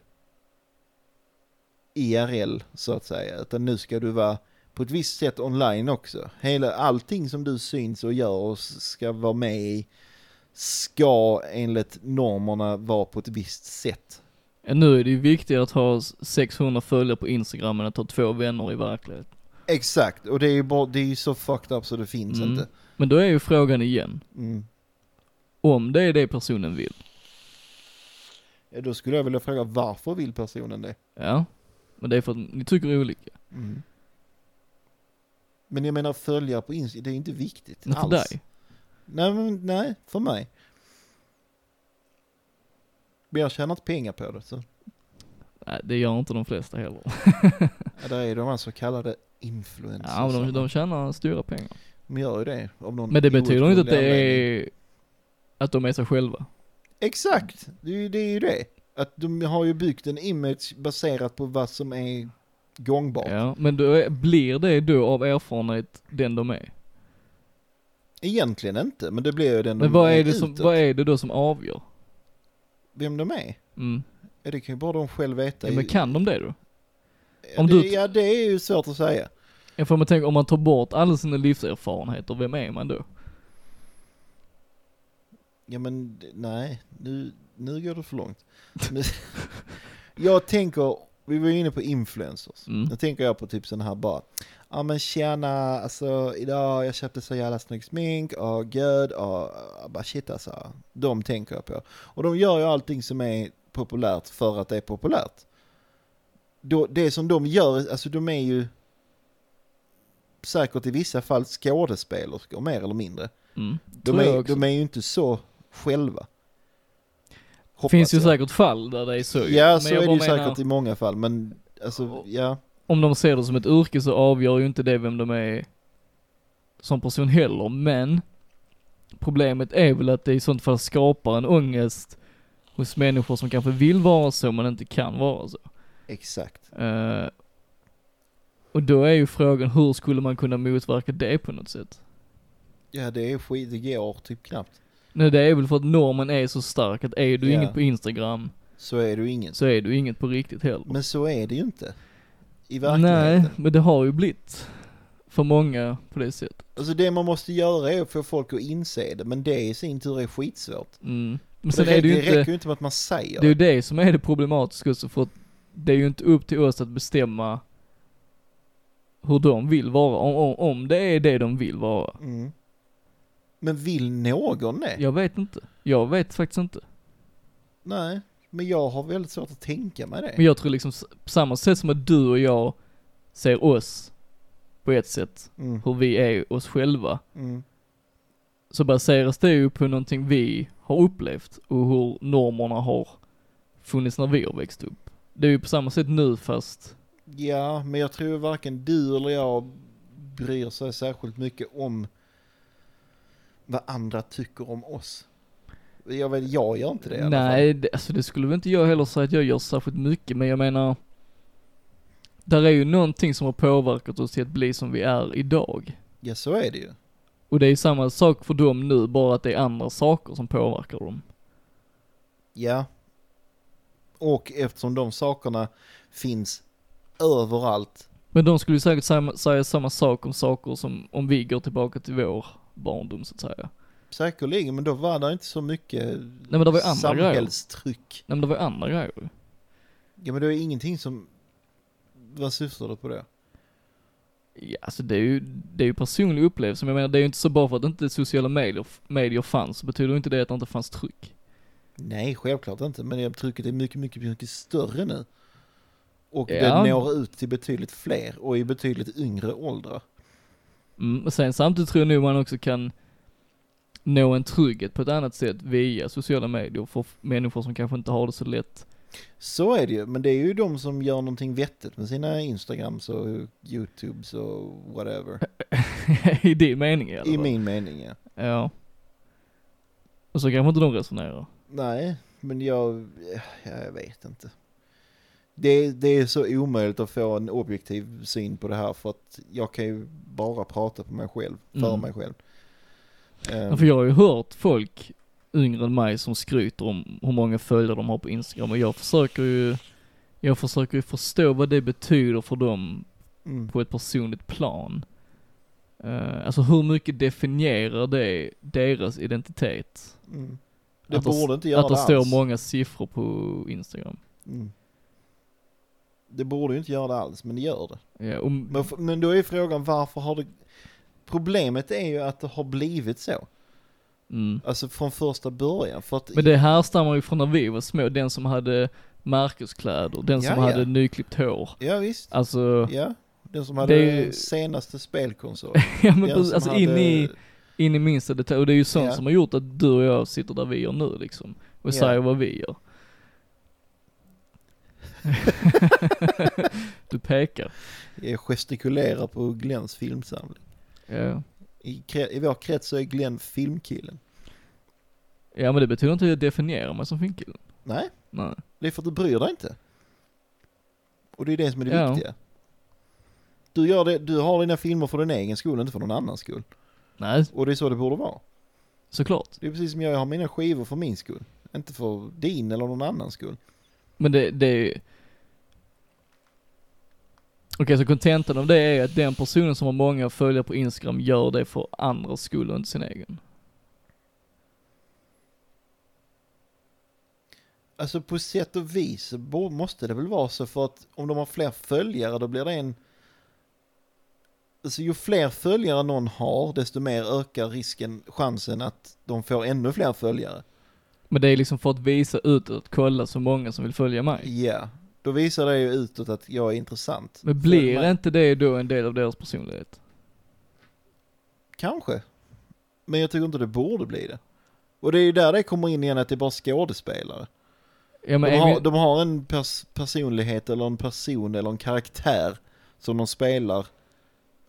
IRL så att säga, utan nu ska du vara på ett visst sätt online också. Hela, allting som du syns och gör och s- ska vara med i ska enligt normerna vara på ett visst sätt. Ja, Nu är det ju viktigare att ha 600 följare på Instagram än att ha två vänner i verkligheten. Exakt, och det är ju, bara, det är ju så fucked up så det finns Mm. inte. Men då är ju frågan igen, Mm. om det är det personen vill. Ja, då skulle jag vilja fråga varför vill personen det? Ja. Men det är för att ni tycker olika. Mm. Men jag menar följa på Instagram, det är ju inte viktigt Men för alls. dig. Nej, men, nej, för mig. Men jag tjänar inte pengar på det. Så. Nej, det gör inte de flesta heller. Ja, där är de här så kallade influencers. Ja, men de, de tjänar stora pengar. de gör ju det. Av någon Men det betyder inte att det outgrundlig anledning. är, att de är sig själva. Exakt, det är, ju- det är ju det. Att de har ju byggt en image baserat på vad som är gångbart. Ja, men då är, blir det då av erfarenhet den de är. Egentligen inte, men det blir ju den Men de vad är det som, utåt. vad är det då som avgör? Vem de är? Mm. Ja, det kan ju bara de själv veta. Ja, men kan de det då? Ja, om det, du- ja, det är ju svårt att säga. Jag får man tänka, om man tar bort alla sina livserfarenheter, vem är man då? Ja men d- nej, nu, nu går det för långt. Nu- jag tänker, vi var ju inne på influencers. Mm. Nu tänker jag på typ sån här bara, ja men tjena, alltså idag jag köpte så jävla snygg smink, och gud, och ja, bara shit alltså. De tänker jag på. Och de gör ju allting som är populärt för att det är populärt. Då, det som de gör, alltså de är ju säkert i vissa fall skådespelerskor mer eller mindre. Mm. De Tror jag är, också. de är ju inte så själva. Hoppas Finns ju jag. säkert fall där det är så ju. Ja, så jag är det bara ju menar, säkert i många fall, men alltså, ja. Om de ser det som ett yrke så avgör ju inte det vem de är som person heller, men problemet är väl att det i sånt fall skapar en ångest hos människor som kanske vill vara så men inte kan vara så. Exakt. Eh, och då är ju frågan, hur skulle man kunna motverka det på något sätt? Ja, det är skit, det går typ knappt. Nej, det är väl för att normen är så stark att är du Ja. inget på Instagram Så är du ingen. så är du inget på riktigt heller. Men så är det ju inte. Nej, I verkligheten. Nej. men det har ju blivit för många på det sättet. Alltså det man måste göra är att få folk att inse det, men det i sin tur är skitsvårt. Mm. Men Det, sen är det ju räcker inte, ju inte med att man säger det är ju det. det som är det problematiska också för att det är ju inte upp till oss att bestämma hur de vill vara, om, om, om det är det de vill vara. Mm. Men vill någon det? Jag vet inte. Jag vet faktiskt inte. Nej, men jag har väldigt svårt att tänka mig det. Men jag tror liksom, s- på samma sätt som att du och jag ser oss på ett sätt, Mm. hur vi är oss själva, Mm. så baseras det ju på någonting vi har upplevt och hur normerna har funnits när vi har växt upp. Det är ju på samma sätt nu fast, Ja, men jag tror varken du eller jag bryr sig särskilt mycket om vad andra tycker om oss. Jag, vet, jag gör inte det i alla fall. nej, det, alltså det skulle väl inte jag heller säga att jag gör särskilt mycket, men jag menar, där är ju någonting som har påverkat oss till att bli som vi är idag. Ja, så är det ju. Och det är ju samma sak för dem nu, bara att det är andra saker som påverkar dem. Ja. Och eftersom de sakerna finns överallt. Men de skulle ju säkert sam- säga samma sak om saker som, om vi går tillbaka till vår barndom så att säga. Säkerligen, men då var det inte så mycket men det var ju andra samhällstryck. Nej men det var ju andra grejer ju. Ja, men det är ingenting som... Vad syftar du på det? Ja, alltså det är ju, det är ju personlig upplevelse, men jag menar det är ju inte så bara för att inte sociala medier, medier fanns, så betyder ju inte det att det inte fanns tryck. Nej, självklart inte. Men det trycket är mycket, mycket, mycket större nu. Och Ja. det når ut till betydligt fler och i betydligt yngre åldrar. Mm, och sen samtidigt tror jag nog man också kan nå en trygghet på ett annat sätt via sociala medier för f- människor som kanske inte har det så lätt. Så är det ju, men det är ju de som gör någonting vettigt med sina Instagrams och YouTubes och whatever. I din mening i alla I fall. min mening ja. Ja. Och så kanske inte de resonerar. Nej, men jag, ja, jag vet inte. Det, det är så omöjligt att få en objektiv syn på det här för att jag kan ju bara prata på mig själv, för Mm. mig själv. Ja, Ehm, för jag har ju hört folk yngre än mig som skryter om hur många följare de har på Instagram och jag försöker ju, jag försöker ju förstå vad det betyder för dem mm. på ett personligt plan. Eh, alltså hur mycket definierar det deras identitet? Mm. Det Att det- borde inte göra att det det står alls. många siffror på Instagram. Mm. Det borde ju inte göra det alls, men det gör det. Ja, och, Men, f- men då är frågan varför har det... Problemet är ju att det har blivit så. Mm. Alltså från första början. För att Men det härstammar ju från när vi var små, den som hade Marcuskläder, den som Ja, ja. hade nyklippt hår. Ja visst. Alltså, Ja. Den som hade Det är ju- senaste spelkonsol. ja men Den precis, som alltså hade- in i, in i minsta detalj. Och det är ju sånt Ja. som har gjort att du och jag sitter där vi gör nu liksom. Och Ja. säger vad vi gör. du pekar. Jag gestikulerar på Glens filmsamling. Ja. I, kre- I vår krets så är Glenn filmkillen. ja men det betyder inte att jag definierar mig som finkillen. Nej, Nej. det är för att du bryr dig inte. Och det är det som är det Ja. viktiga. Du, gör det, du har dina filmer för din egen skull, inte för någon annans skull. Nej, Och det är så det borde vara. såklart. Det är precis som jag, jag har mina skivor för min skull. Inte för din eller någon annans skull. Men det, det är ju... Okej, så kontentan av det är att den personen som har många följare på Instagram gör det för andras skull och inte sin egen. Alltså på sätt och vis så bo- måste det väl vara så för att om de har fler följare då blir det en... Alltså ju fler följare någon har desto mer ökar risken, chansen att de får ännu fler följare. Men det är liksom för att visa ut att kolla så många som vill följa mig. Ja, då visar det ju utåt att jag är intressant. Men blir Följ mig. inte det då en del av deras personlighet? Kanske. Men jag tycker inte det borde bli det. Och det är ju där det kommer in igen att det är bara skådespelare. Ja men de, Amy- har, de har en pers personlighet eller en person eller en karaktär som de spelar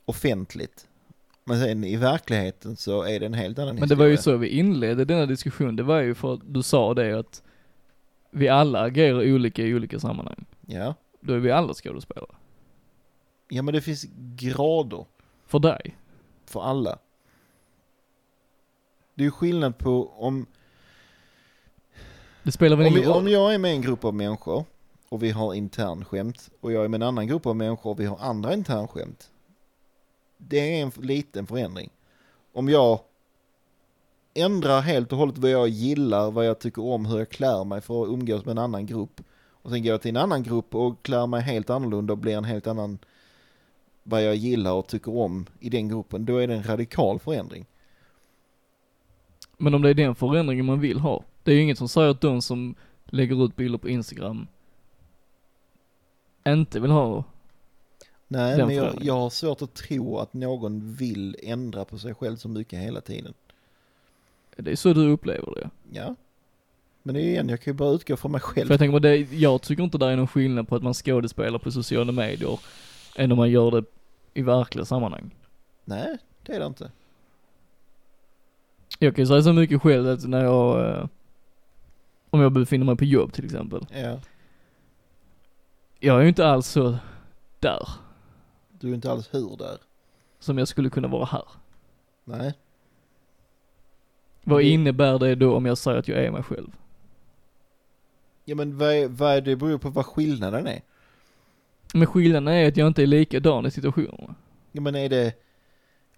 offentligt. Men sen i verkligheten så är det en helt annan Men det var ju så vi inledde denna diskussion, det var ju för att du sa det att vi alla agerar olika i olika sammanhang. Ja. Då är vi alla skådespelare. ja, men det finns grader För dig. för alla. Det är ju skillnad på om, Det spelar väl om, ingen vi- roll? om jag är med i en grupp av människor och vi har internskämt och jag är med en annan grupp av människor och vi har andra internskämt. Det är en f- liten förändring. Om jag ändrar helt och hållet vad jag gillar, vad jag tycker om, hur jag klär mig för att umgås med en annan grupp. Och sen går jag till en annan grupp och klär mig helt annorlunda och blir en helt annan vad jag gillar och tycker om i den gruppen. Då är det en radikal förändring. Men om det är den förändringen man vill ha. Det är ju inget som säger att de som lägger ut bilder på Instagram inte vill ha. Nej, Den men jag, förändringen. jag har svårt att tro att någon vill ändra på sig själv så mycket hela tiden. Det är så du upplever det. Ja. Men det är ju igen, jag kan ju bara utgå från mig själv. För jag tänker på det, jag tycker inte det är någon skillnad på att man skådespelar på sociala medier än om man gör det i verkliga sammanhang. Nej, det är det inte. Jag kan ju säga så mycket själv att när jag, eh, om jag befinner mig på jobb till exempel. Ja. Jag är ju inte alls så där Du är inte alls hur där. som jag skulle kunna vara här. Nej. Vad Det- innebär det då om jag säger att jag är mig själv? Ja men vad, är- vad är det beror på vad skillnaden är. Men skillnaden är att jag inte är likadan i situationerna. Ja men är det,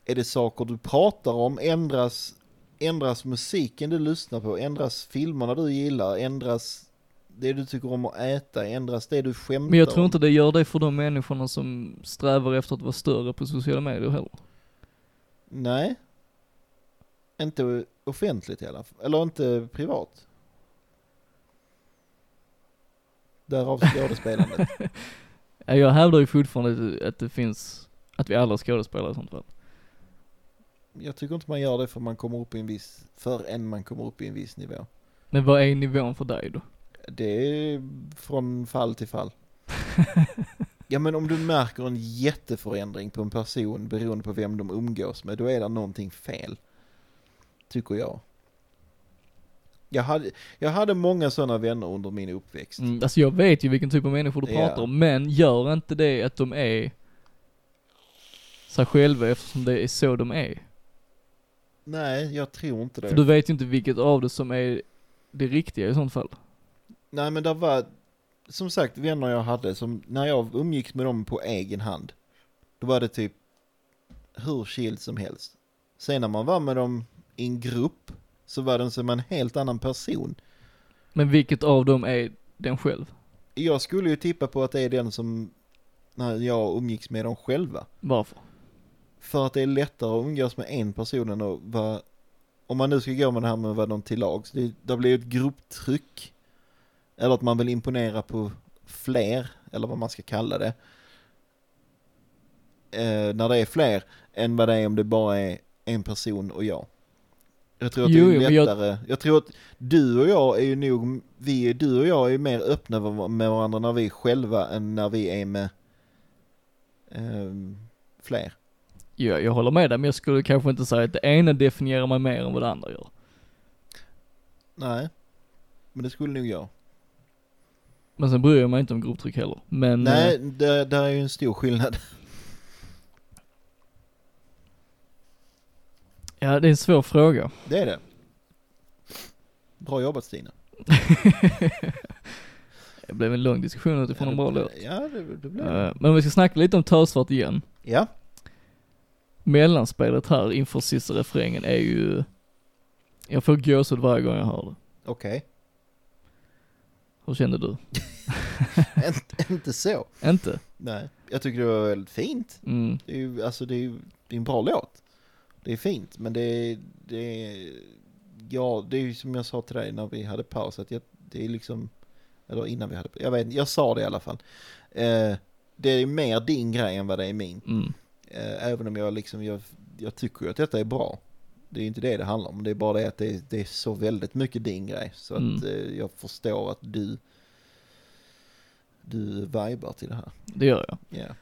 är det saker du pratar om, ändras, ändras musiken du lyssnar på, ändras filmerna du gillar, ändras det du tycker om att äta, ändras det du skämtar Men jag tror om. inte det gör det för de människorna som strävar efter att vara större på sociala medier heller. Nej. Inte offentligt i alla fall. Eller inte privat. Därav skådespelandet. Ja, Jag hävdar ju fortfarande att- att det finns, att vi alla är skådespelare i sånt fall. Jag tycker inte man gör det för man kommer upp i en viss, förrän man kommer upp i en viss nivå. Men vad är nivån för dig då? Det är från fall till fall. ja men om du märker en jätteförändring på en person beroende på vem de umgås med, då är det någonting fel. Tycker jag. Jag hade, jag hade många sådana vänner under min uppväxt. Mm, alltså jag vet ju vilken typ av människor du Ja. pratar om, men gör inte det att de är sig själva eftersom det är så de är. Nej, jag tror inte det. För du vet ju inte vilket av det som är det riktiga i sånt fall. Nej, men det var, som sagt, vänner jag hade som, när jag umgicks med dem på egen hand, då var det typ hur chill som helst. Sen när man var med dem i en grupp så var den som en helt annan person. Men vilket av dem är den själv? Jag skulle ju tippa på att det är den som, när jag umgicks med dem själva. Varför? För att det är lättare att umgås med en person än att vara, om man nu ska gå med det här med vad de till lags, det, det blir ju ett grupptryck. Eller att man vill imponera på fler, eller vad man ska kalla det. Eh, när det är fler, än vad det är om det bara är en person och jag. Jag tror att Jo, det jo, är men jag- lättare. Jag... tror att du och jag är ju nog, vi, är- du och jag är ju mer öppna var- med varandra när vi är själva än när vi är med ehm, fler. Ja, jag håller med dig, men jag skulle kanske inte säga att det ena definierar mig mer än vad det andra gör. Nej, men det skulle nog jag. Men sen bryr jag mig inte om grupptryck heller. Men, Nej, eh, det, där är ju en stor skillnad. ja det är en svår fråga. Det är det. Bra jobbat Stina. Det blev en lång diskussion utifrån en bra låt. Ja, det, det blev det. Eh, Men vi ska snacka lite om Tösvart igen. Ja, Mellanspelet här inför sista refrängen är ju, jag får gåshud varje gång jag hör det. okej. Hur kände du? Inte- Inte så. Inte? Nej, jag tycker det var väldigt fint. Mm. Det är ju, alltså det är ju det är en bra låt. Det är fint, men det är, det är, ja, det är ju som jag sa till dig när vi hade paus, att jag, det är liksom, eller innan vi hade, jag vet inte, jag sa det i alla fall. Eh, det är mer din grej än vad det är min. Mm. Eh, Även om jag liksom, jag, jag tycker ju att detta är bra. Det är ju inte det det handlar om, det är bara det att det är, det är så väldigt mycket din grej. Så att Mm. eh, jag förstår att du, du vibar till det här. Det gör jag. Ja.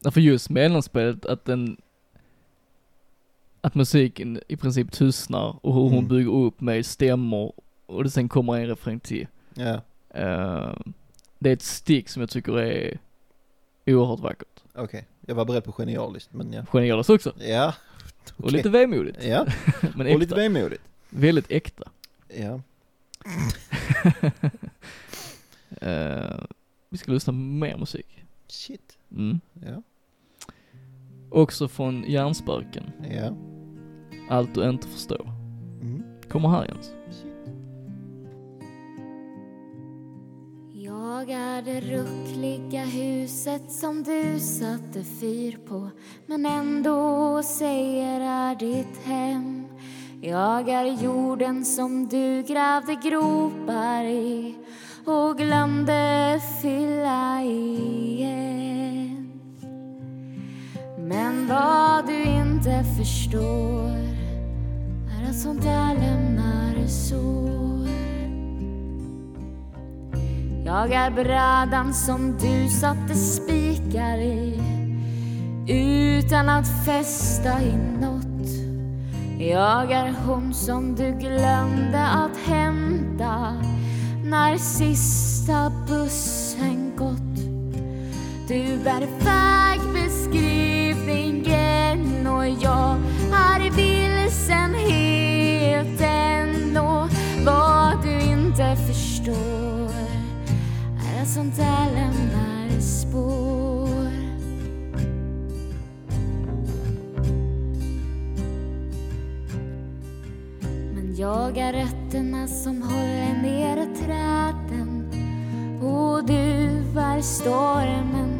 Ja, För just mellanspelet, att den, att musiken i princip tystnar och hur Mm. hon bygger upp med stämmor och det sen kommer en refräng till. Ja, Eh, det är ett stick som jag tycker är oerhört vackert. okej. Jag var beredd på genialiskt, men ja. Genialiskt också. Ja, Och lite vemodigt. ja. Men och äkta. lite vemodigt. Väldigt äkta. Ja, Eh, vi ska lyssna på mer musik. shit. Mm. Ja, Också från Hjärnspöken. ja. Allt du inte förstår. Mm. Kommer här Jens. Shit. Jag är det ruckliga huset som du satte fyr på men ändå säger är ditt hem Jag är jorden som du grävde gropar i och glömde fylla igen Men vad du inte förstår är att sånt där lämnar sår jag är brädan som du satte spikar i utan att fästa i något. Jag är hon som du glömde att hämta när sista bussen gått. Du bär vägbeskrivningen och jag är vilsenheten och vad du inte förstår är att sånt där lämnar spår. Men jag är rötterna som håller nere träden och du är stormen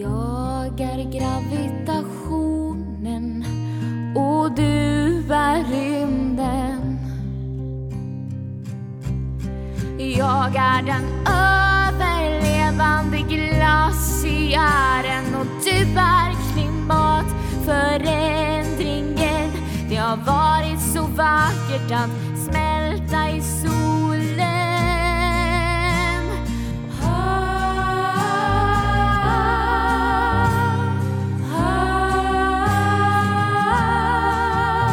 Jag är gravitationen och du är rymden Jag är den överlevande glaciären och du är klimatförändringen. Det har varit så vackert att smälta i solen.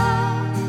ah, ah.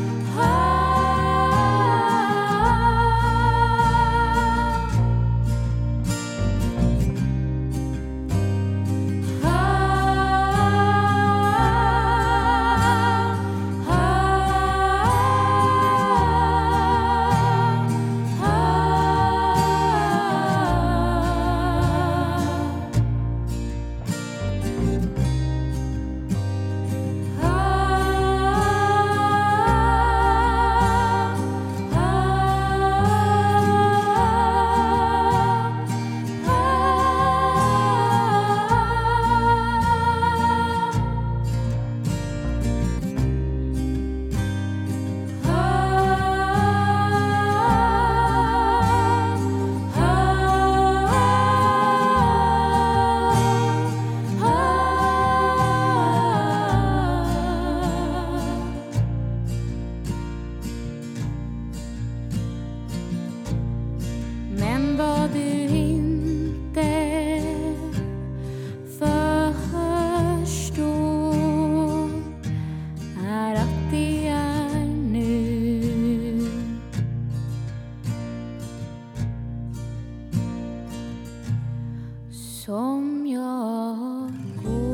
Ah, ah, ah, ah, som jag går.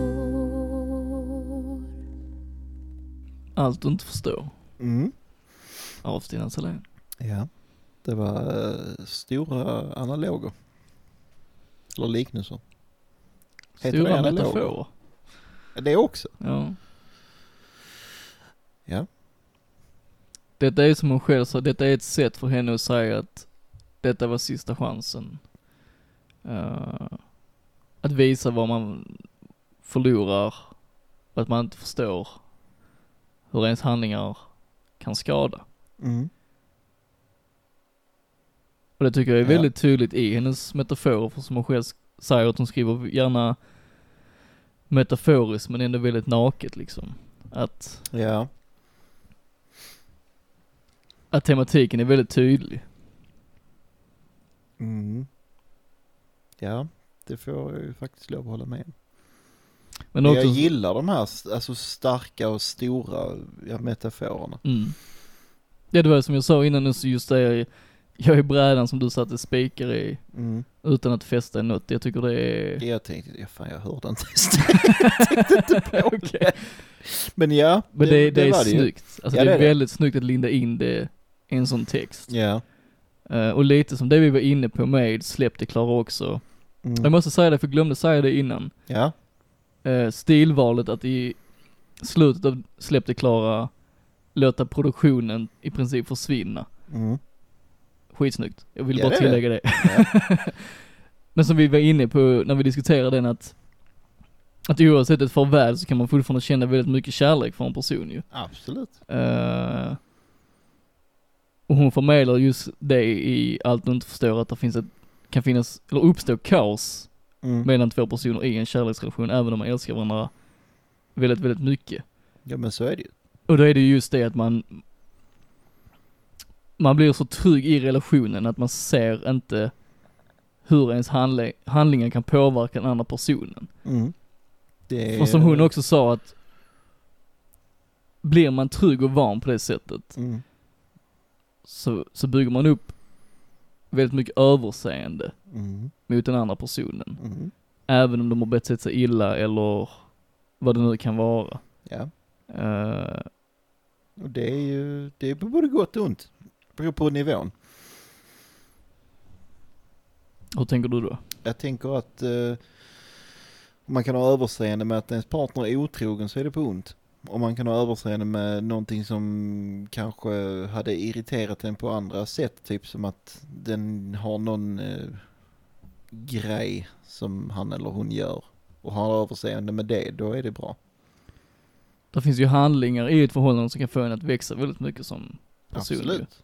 Allt du inte förstår Mm. av Stina Salén. Ja. Det var eh, stora analoger. Eller liknelser. Heter det Stora analoger? metaforer. Det också. Ja. Ja. Detta är som hon själv sa, detta är ett sätt för henne att säga att detta var sista chansen. Eh, att visa vad man förlorar och att man inte förstår hur ens handlingar kan skada. Mm. Och det tycker jag är Ja. väldigt tydligt i hennes metaforer, för som hon själv säger att hon skriver gärna metaforiskt men ändå väldigt naket liksom. Att Ja. att tematiken är väldigt tydlig. Mm. Ja, det får jag ju faktiskt lov att hålla med om. Men Men också, jag gillar de här s- alltså, starka och stora ja, metaforerna. Mm. Ja, det var som jag sa innan nu, så just det, jag, jag är brädan som du satte spikar i Mm. utan att fästa i något. Jag tycker det är... Det jag tänkte, ja, fan jag hörde inte ens det. Jag tänkte inte på det. Men ja, Men det, det, är var ju. snyggt. Alltså Ja, det det är är det. väldigt snyggt att linda in det i en sån text. Ja. Eh, och lite som det vi var inne på med Släpp det Klara också. Jag Mm. måste säga det, för jag glömde säga det innan. Ja. Eh, stilvalet att i slutet av Släpp det Klara låta produktionen i princip försvinna. Mm. Skitsnyggt. Jag vill bara Ja, det är det. tillägga det. Men som vi var inne på när vi diskuterade den att att oavsett ett farväl så kan man fortfarande känna väldigt mycket kärlek för en person ju. Absolut. Eh, och hon förmedlar just det i allt du inte förstår att det finns ett, kan finnas, eller uppstå kaos Mm. mellan två personer i en kärleksrelation även om man älskar varandra väldigt, väldigt mycket. Ja men så är det ju. Och då är det ju just det att man man blir så trygg i relationen att man ser inte hur ens handle- handlingar kan påverka den andra personen. Mm. Det är- Och som hon också sa att blir man trygg och van på det sättet Mm. så, så bygger man upp väldigt mycket överseende Mm. mot den andra personen. Mm. Även om de har betett sig illa eller vad det nu kan vara. Ja. Eh, Och det är ju, det är på både gott och ont. Beror på nivån. hur tänker du då? Jag tänker att eh, man kan ha överseende med att ens partner är otrogen så är det på ont. Och man kan ha överseende med någonting som kanske hade irriterat en på andra sätt. Typ som att den har någon eh, grej som han eller hon gör. Och har överseende med det, då är det bra. Det finns ju handlingar i ett förhållande som kan få en att växa väldigt mycket som person. ju. Absolut.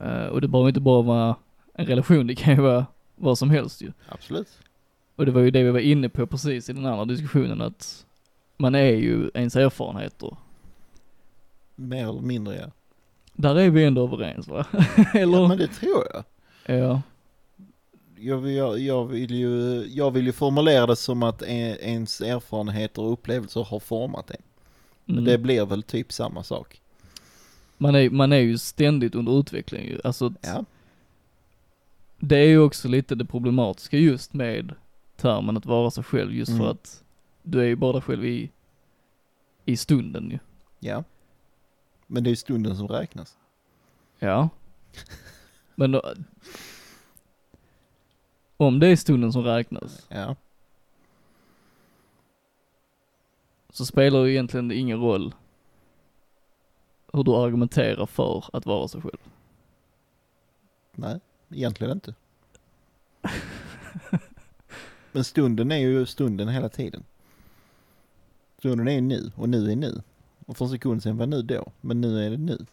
Eh, och det behöver inte bara vara en relation, det kan ju vara vad som helst ju. Absolut. Och det var ju det vi var inne på precis i den andra diskussionen att man är ju ens erfarenheter. Mer eller mindre ja. Där är vi ändå överens va? ja Eller? men det tror jag. Ja. Jag vill, jag, jag, vill ju, jag vill ju formulera det som att en- ens erfarenheter och upplevelser har format en. Men det Mm. blir väl typ samma sak. Man, är, man är ju ständigt under utveckling ju. Alltså att Ja. det är ju också lite det problematiska just med termen att vara sig själv just Mm. för att du är ju bara dig själv i, i stunden ju. ja. Men det är ju stunden som räknas. Ja. Men då, om det är stunden som räknas Ja. så spelar det egentligen ingen roll hur du argumenterar för att vara sig själv. Nej, egentligen inte. Men stunden är ju stunden hela tiden. Stunden är nu och nu är nu. Och för en sekund sedan var nu då, men nu är det nu.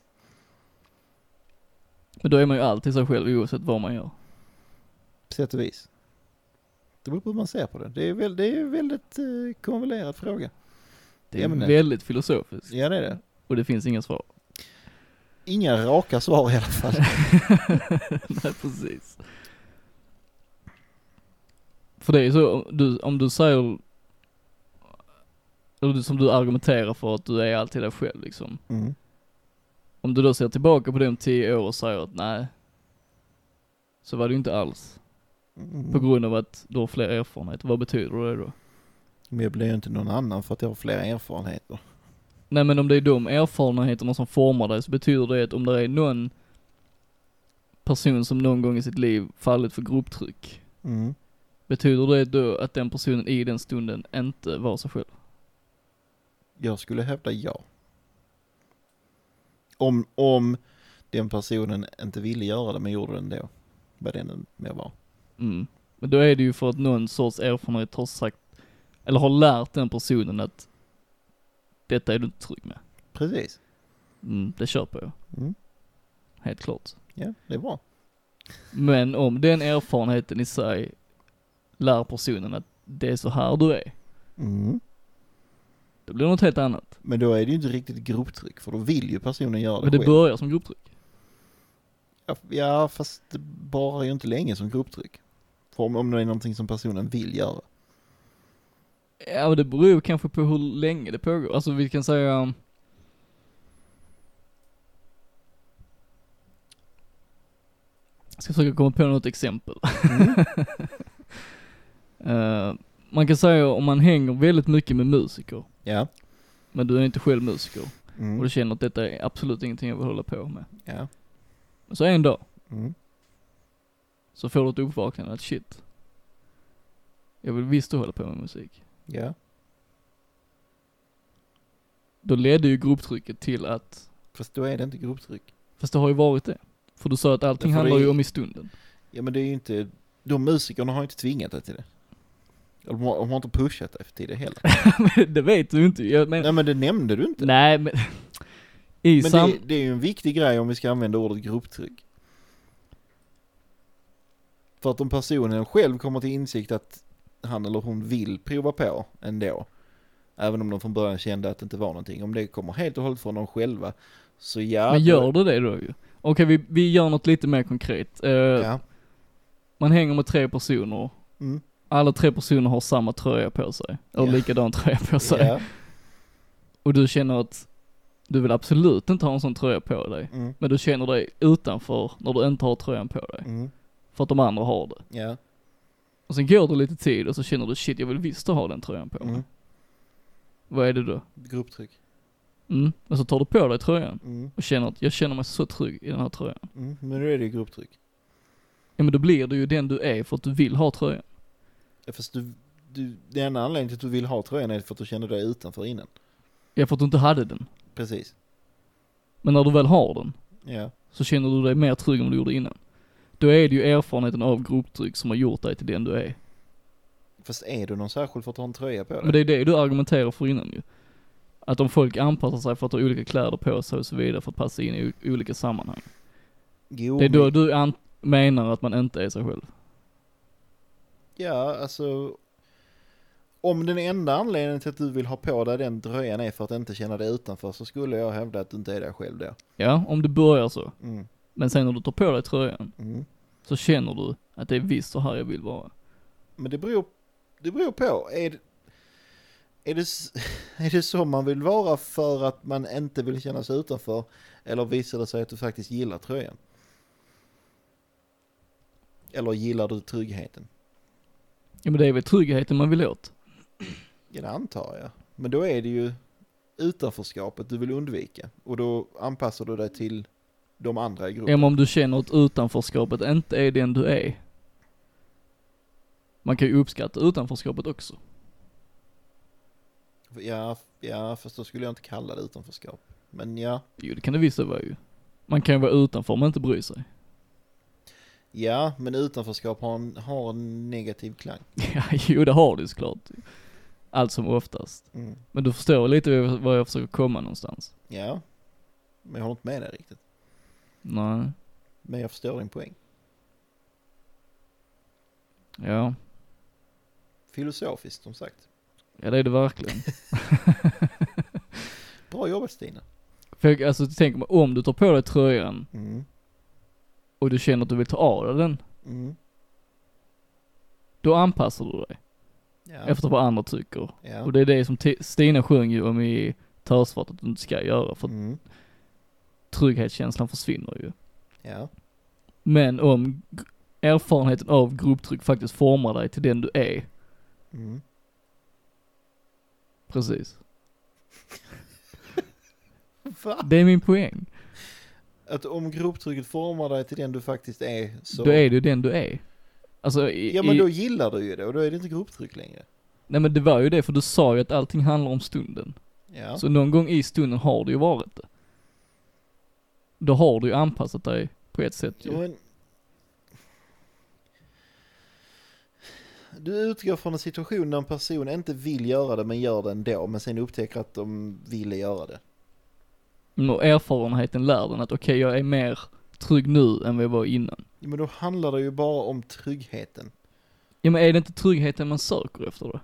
Men då är man ju alltid sig själv oavsett vad man gör. På sätt och vis. Det beror på hur man ser på det. Det är, väl, det är en väldigt eh, konvolerad fråga. Det är Ämnet. väldigt filosofiskt Ja, det är det. och det finns inga svar. Inga raka svar i alla fall. Nej, precis. För det är ju så, om du, om du säger, eller du- som du argumenterar för att du är alltid dig själv liksom. Mm. Om du då ser tillbaka på det om tio år och säger att nej, så var det ju inte alls. Mm. På grund av att du har fler erfarenhet. Vad betyder det då? Men jag blir ju inte någon annan för att jag har fler erfarenheter. Nej men om det är de erfarenheterna som formar dig så betyder det att om det är någon person som någon gång i sitt liv fallit för grupptryck. Mm. Betyder det då att den personen i den stunden inte var sig själv? Jag skulle hävda ja. Om, om den personen inte ville göra det men gjorde det ändå. Vad det nu mer var. Mm. Men då är det ju för att någon sorts erfarenhet har sagt, eller har lärt den personen att detta är du inte trygg med. Precis. Mm, det köper jag, Mm. helt klart. Ja, det är bra. Men om den erfarenheten i sig lär personen att det är så här du är, Mm. då blir det något helt annat. Men då är det ju inte riktigt grupptryck för då vill ju personen göra det Men det själv. börjar som grupptryck. Ja, f- Ja, fast det bara ju inte länge som grupptryck. För om, om det är någonting som personen vill göra. Ja, men det beror ju kanske på hur länge det pågår. Alltså vi kan säga... um, Jag ska försöka komma på något exempel. Eh, man kan säga om man hänger väldigt mycket med musiker, Ja. men du är inte själv musiker och Mm. du känner att detta är absolut ingenting jag vill hålla på med. Ja. Men Så en dag Mm. så får du ett uppvaknande att shit, jag vill visst hålla på med musik. Ja. Då ledde ju grupptrycket till att, Fast då är det inte grupptryck. fast det har ju varit det. För du sa att allting Därför handlar det- ju om i stunden. Ja men det är ju inte, de musikerna har inte tvingat dig till det. De har, de har inte pushat dig till det heller. Men det vet du inte jag men, Nej men det nämnde du inte. Nej men, i Men sam... det, det är ju en viktig grej om vi ska använda ordet grupptryck. För att om personen själv kommer till insikt att han eller hon vill prova på ändå, även om de från början kände att det inte var någonting, om det kommer helt och hållet från dem själva, så ja. men gör du det då ju? Okej vi, vi gör något lite mer konkret. Eh, Ja. Man hänger med tre personer, Mm. alla tre personer har samma tröja på sig, eller Ja. likadan tröja på sig. Ja. Och du känner att du vill absolut inte ha en sån tröja på dig. Mm. Men du känner dig utanför när du inte har tröjan på dig. Mm. För att de andra har det. Ja. Och sen går det lite tid och så känner du shit jag vill visst ha den tröjan på mig. Mm. Vad är det då? Grupptryck. Mm. Och så tar du på dig tröjan Mm. och känner att jag känner mig så trygg i den här tröjan. Mm. Men då är det ju grupptryck. Ja men då blir du ju den du är för att du vill ha tröjan. Ja, Fast du, du, den enda anledningen till att du vill ha tröjan är för att du kände dig utanför innan. Ja för att du inte hade den. Precis. Men när du väl har den Ja. så känner du dig mer trygg än vad du gjorde innan. Då är det ju erfarenheten av grupptryck som har gjort dig till den du är. Fast är du någon särskild för att ha en tröja på dig? Men det är det du argumenterar för innan ju. Att om folk anpassar sig för att ha olika kläder på sig och så vidare för att passa in i o- olika sammanhang. jo, Det är då men- du an- menar att man inte är sig själv. Ja, alltså. Om den enda anledningen till att du vill ha på dig den tröjan är för att inte känna dig utanför så skulle jag hävda att du inte är dig själv då. Ja, om du börjar så. Mm. Men sen när du tar på dig tröjan Mm. så känner du att det är visst så här jag vill vara. Men det beror, det beror på. Är det, är, det, s- är det så man vill vara för att man inte vill känna sig utanför? Eller visar det sig att du faktiskt gillar tröjan? Eller gillar du tryggheten? Ja men det är väl tryggheten man vill åt. Ja, det antar jag. Men då är det ju utanförskapet du vill undvika. Och då anpassar du dig till de andra i Ja gruppen. men om du känner att utanförskapet inte är den du är. Man kan ju uppskatta utanförskapet också. Ja, ja, fast då skulle jag inte kalla det utanförskap. Men ja, Jo det kan det visst vara ju. Man kan ju vara utanför men inte bry sig. ja, men utanförskap har en, har en negativ klang. Ja, jo det har du såklart. Allt som oftast. Mm. Men du förstår lite var jag försöker komma någonstans. Ja, men jag håller inte med dig riktigt. Nej, Men jag förstår din poäng. ja. Filosofiskt som sagt. Ja det är det verkligen. Bra jobbat Stina. För jag, alltså tänk mig, om du tar på dig tröjan Mm. och du känner att du vill ta av dig den, Mm. då anpassar du dig Ja. efter vad andra tycker. ja. Och det är det som T- Stina sjöng ju om i Törsvart att du inte ska göra, för Mm. trygghetskänslan försvinner ju. Ja. Men om g- erfarenheten av grupptryck faktiskt formar dig till den du är. Mm. Precis. Va? Det är min poäng. Att om grupptrycket formar dig till den du faktiskt är så... Då är du den du är. Alltså, i, Ja men då i, gillar du ju det och då är det inte grupptryck längre. nej men det var ju det för du sa ju att allting handlar om stunden. Ja. Så någon gång i stunden har det ju varit det. Då har du ju anpassat dig på ett sätt Ja, ju. men... Du utgår från en situation där en person inte vill göra det men gör det ändå men sen upptäcker att de ville göra det. Mm, Och erfarenheten lär den att okej, jag är mer trygg nu än vad jag var innan. Ja, Men då handlar det ju bara om tryggheten. Ja men är det inte tryggheten man söker efter då?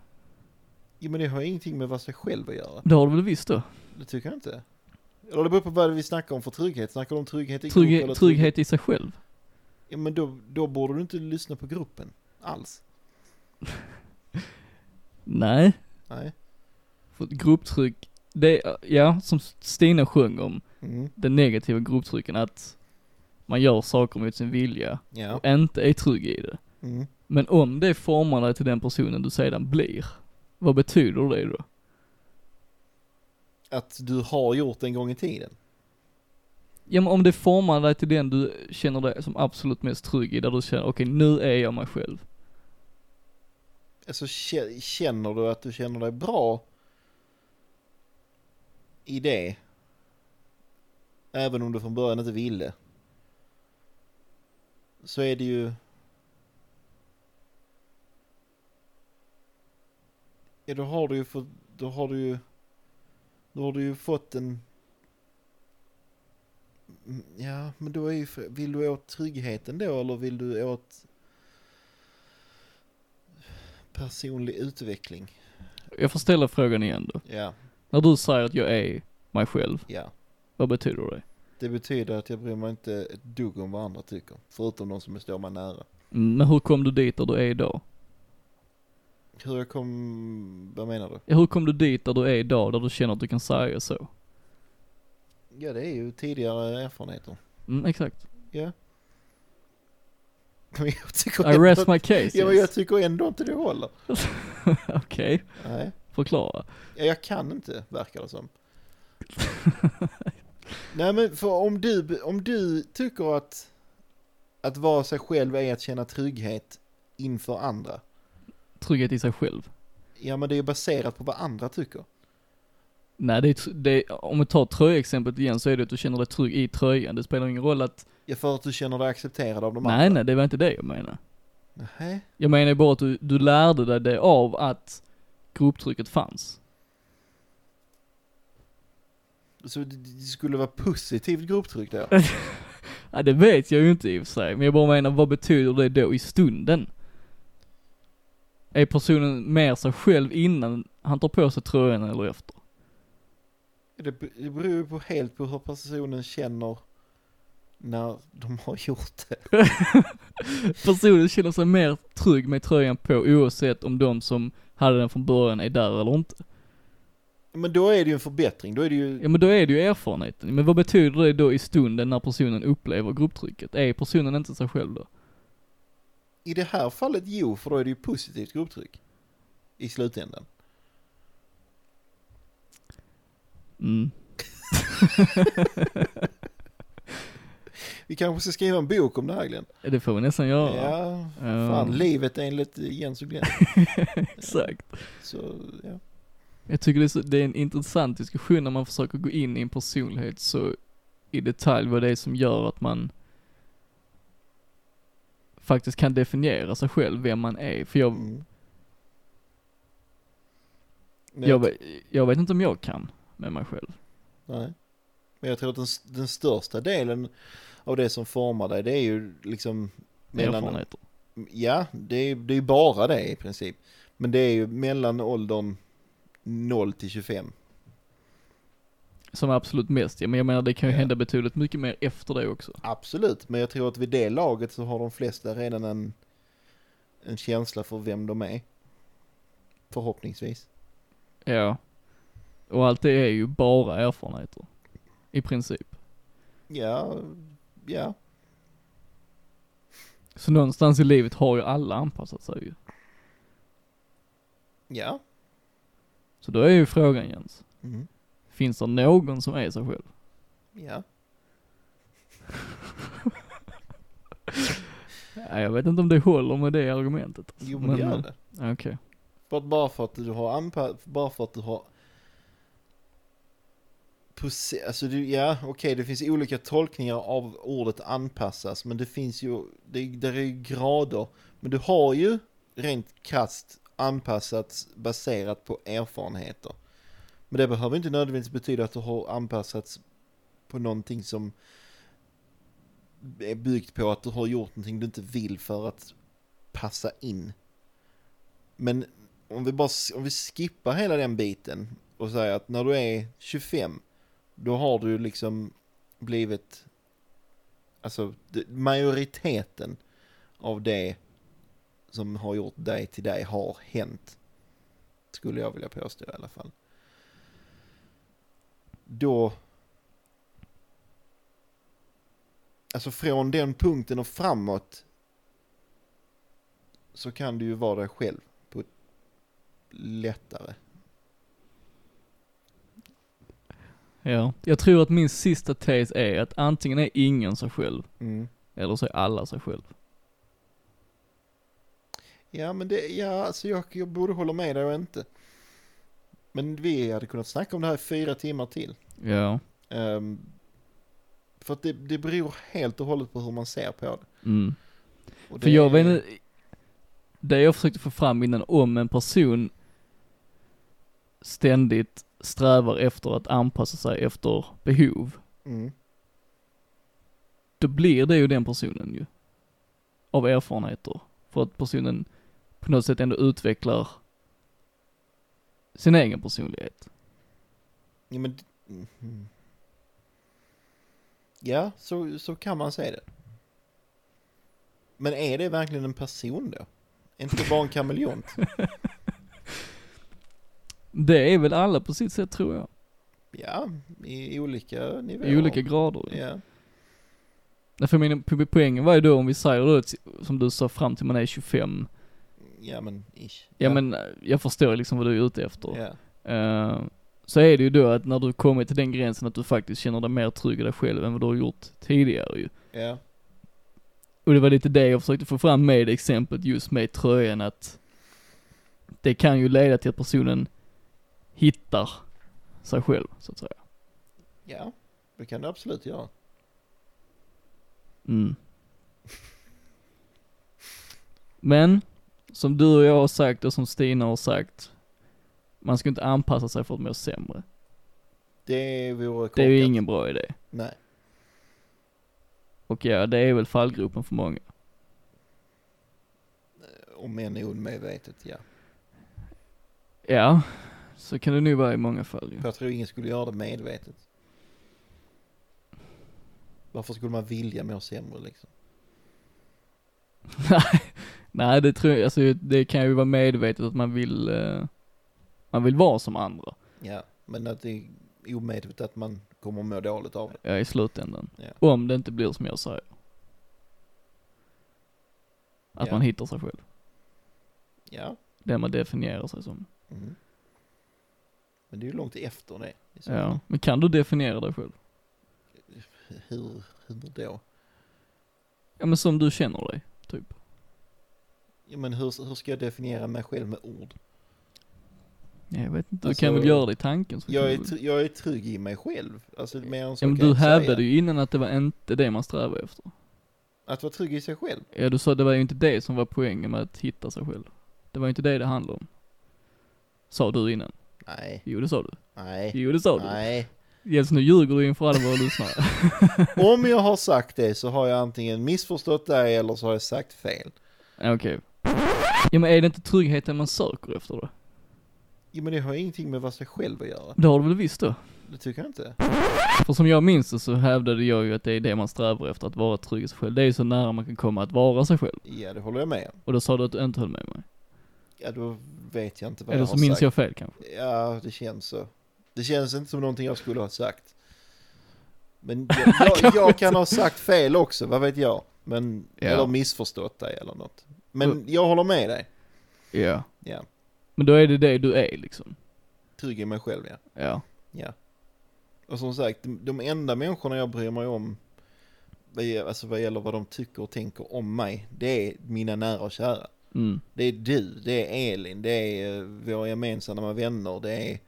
Jo men det har ju ingenting med vad sig själv att göra. Det har du väl visst då? Det tycker jag inte. Eller det beror på vad vi snackar om för trygghet. Snackar du om trygghet i grupp eller Trygg, trygg- trygghet i sig själv? Ja men då, då borde du inte lyssna på gruppen. Alls. Nej. Nej. För grupptryck, det, ja, som Stina sjöng om, Mm. den negativa grupptrycken att man gör saker mot sin vilja Ja. och inte är trygg i det. Mm. Men om det formar dig till den personen du sedan blir, vad betyder det då? Att du har gjort det en gång i tiden. Ja men om det formar dig till den du känner dig som absolut mest trygg i, där du känner okej nu är jag mig själv. Alltså kä- känner du att du känner dig bra i det? Även om du från början inte ville. Så är det ju... Ja, då har du ju fått... Då har du ju... Då har du ju fått en... Mm, Ja, men då är ju... fr- Vill du åt tryggheten då eller vill du åt personlig utveckling? Jag får ställa frågan igen då. Ja, När du säger att jag är mig själv, ja. vad betyder det? Det betyder att jag bryr mig inte ett dugg om vad andra tycker. Förutom de som står mig nära. Mm, Men hur kom du dit där du är idag? Hur jag kom... Vad menar du? Ja, hur kom du dit där du är idag, där du känner att du kan säga så? Ja, det är ju tidigare erfarenheter. Mm, exakt. Ja. Men jag tycker I ändå, rest my case. ja, men jag Yes. tycker ändå inte det håller. Okej, Nej. förklara. Ja, jag kan inte, verkar det som. Nej, men för om du, om du tycker att, att vara sig själv är att känna trygghet inför andra. Trygghet i sig själv. Ja, men det är ju baserat på vad andra tycker. Nej, det är, tr- det är, om vi tar tröjexemplet igen så är det att du känner dig trygg i tröjan. Det spelar ingen roll att, Ja, för att du känner dig accepterad av de nej andra. nej, det var inte det jag menar. Nej, nej. Jag menar bara att du, du lärde dig det av att grupptrycket fanns. Så det- det skulle vara positivt grupptryck där. Ja, det vet jag ju inte i och för sig, men jag bara menar vad betyder det då i stunden? Är personen mer sig själv innan han tar på sig tröjan eller efter? Det be- det beror ju på helt på hur personen känner när de har gjort det. Personen känner sig mer trygg med tröjan på oavsett om de som hade den från början är där eller inte. Men då är det ju en förbättring. Då är det ju... Ja men då är det ju erfarenheten. Men vad betyder det då i stunden när personen upplever grupptrycket? Är personen inte sig själv då? I det här fallet jo, för då är det ju positivt grupptryck. I slutändan. Mm. Vi kanske ska skriva en bok om det här Glenn. Det får vi nästan göra. Ja, Ja. fan. Livet enligt Jens och Glenn. Exakt. Så, ja. Jag tycker det är, så, det är en intressant diskussion när man försöker gå in i en personlighet så i detalj vad det är som gör att man faktiskt kan definiera sig själv, vem man är. För jag, Mm. Men jag, vet- jag vet inte om jag kan med mig själv. Nej. Men jag tror att den, den största delen av det som formar dig, det är ju liksom... Erfarenheter. ja, det är ju det är bara det i princip. Men det är ju mellan åldern 0 till 25. Som absolut mest, ja, men jag menar det kan ju Ja. hända betydligt mycket mer efter det också. Absolut, men jag tror att vid det laget så har de flesta redan en, en känsla för vem de är. Förhoppningsvis. Ja. Och allt det är ju bara erfarenheter. I princip. Ja, ja. Så någonstans i livet har ju alla anpassat sig ju. Ja. Så då är ju frågan Jens, Mm. finns det någon som är sig själv? Ja. Nej, jag vet inte om det håller med det argumentet. alltså. Jo, men det gör eh, det. Okej. För att bara för att du har anpassat, bara för att du har... Posi- alltså du, ja okej det finns olika tolkningar av ordet anpassas men det finns ju, det, där är ju grader. Men du har ju rent krasst anpassats baserat på erfarenheter. Men det behöver inte nödvändigtvis betyda att du har anpassats på någonting som är byggt på att du har gjort någonting du inte vill för att passa in. Men om vi bara om vi skippar hela den biten och säger att när du är 25 då har du liksom blivit alltså d- majoriteten av det som har gjort dig till dig har hänt. Skulle jag vilja påstå i alla fall. Då Alltså från den punkten och framåt så kan du ju vara dig själv lättare. Ja. Jag tror att min sista tes är att antingen är ingen sig själv, eller så är alla sig själv. Ja, men det, ja, alltså jag, jag borde hålla med dig och inte. Men vi hade kunnat snacka om det här i fyra timmar till. Ja. Ehm, för att det, det beror helt och hållet på hur man ser på det. Mm. Och det För jag är- vet inte, det jag försökte få fram innan om en person ständigt strävar efter att anpassa sig efter behov, Mm, då blir det ju den personen ju. Av erfarenheter. För att personen på något sätt ändå utvecklar sin egen personlighet. ja, men, mhm. ja så, så kan man säga det. Men är det verkligen en person då? Är Inte bara en kameleont? Det är väl alla på sitt sätt tror jag. ja, i i olika nivåer. I olika grader. ju. Ja. Nej, för min po- poängen var ju då om vi säger då, att- som du sa, fram till man är 25. ja, men ish. Ja, men eh, jag förstår liksom vad du är ute efter. Ja. Eh, så är det ju då att när du kommer till den gränsen att du faktiskt känner dig mer trygg i dig själv än vad du har gjort tidigare ju. Ja, Och det var lite det jag försökte få fram med exemplet just med tröjan att det kan ju leda till att personen hittar sig själv så att säga. ja, det kan du absolut göra. Mm. Men, som du och jag har sagt och som Stina har sagt, man ska inte anpassa sig för att må sämre. Det vore korkat. Det är ju ingen bra idé. Nej, Och ja, det är väl fallgropen för många. om än omedvetet, ja. Mm. Ja, så kan det nu vara i många fall ju. För jag tror ingen skulle göra det medvetet. Varför skulle man vilja må sämre liksom? Nej, det tror jag, alltså det kan ju vara medvetet att man vill, eh, man vill vara som andra, Ja, men att det är omedvetet att man kommer att må dåligt av det. ja i slutändan. Ja. Om det inte blir som jag säger. Att Ja. man hittar sig själv, Ja. det man definierar sig som. Mhm. Men det är ju långt efter det. i så Ja, men kan du definiera dig själv? fall. Hur, hur då? Ja men som du känner dig, typ. Ja, men hur, hur ska jag definiera mig själv med ord? Ja, Jag vet inte, du Alltså, kan väl göra det i tanken? Så Jag kan är, du... tr- jag är trygg i mig själv. Alltså, mer än så ja, men kan jag du inte säga. hävdade ju innan att det var inte det man strävade efter. Att vara trygg i sig själv. Ja du sa det var ju inte det som var poängen med att hitta sig själv. Det var ju inte det det handlade om. Sa du innan. Nej, Jo det sa du. nej. Jo det sa du. Nej. Jens nu ljuger du inför alla våra lyssnare. Om jag har sagt det så har jag antingen missförstått dig eller så har jag sagt fel. Ja, Okej. Ja men är det inte tryggheten man söker efter då? Jo men det har ju ingenting med vad sig själv att göra. Det har du väl visst då? Det tycker jag inte. För som jag minns det så hävdade jag ju att det är det man strävar efter, att vara trygg i sig själv. Det är ju så nära man kan komma att vara sig själv. Ja det håller jag med om. Och då sa du att du inte höll med mig. Ja då vet jag inte vad Eller jag så har minns sagt. jag fel kanske. Ja det känns så. Det känns inte som någonting jag skulle ha sagt. Men jag, jag, Kanske jag kan ha sagt fel också, vad vet jag? Men, Ja. eller missförstått dig eller något. Men jag håller med dig. Ja. Ja. Men då är det det du är liksom. Trygg i mig själv, ja. Ja. ja. Och som sagt, de- de enda människorna jag bryr mig om, vad gäller- alltså vad gäller vad de tycker och tänker om mig, det är mina nära och kära. Mm. Det är du, det är Elin, det är eh, våra gemensamma vänner, det är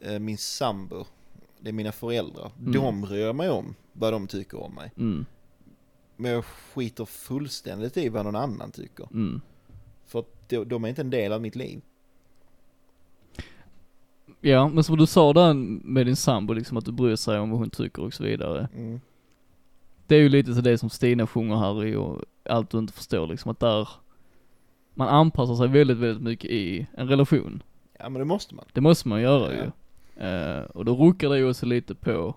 eh, min sambo, det är mina föräldrar. Mm. De bryr jag mig om vad de tycker om mig. Mm. Men jag skiter fullständigt i vad någon annan tycker. Mm. För att de, de är inte en del av mitt liv. Ja, men som du sa där med din sambo liksom att du bryr sig om vad hon tycker och så vidare. Mm. Det är ju lite så det som Stina sjunger här i och allt du inte förstår liksom att där man anpassar sig väldigt, väldigt mycket i en relation. Ja men det måste man. Det måste man göra Ja. ju. Eh, och då ruckar det ju också lite på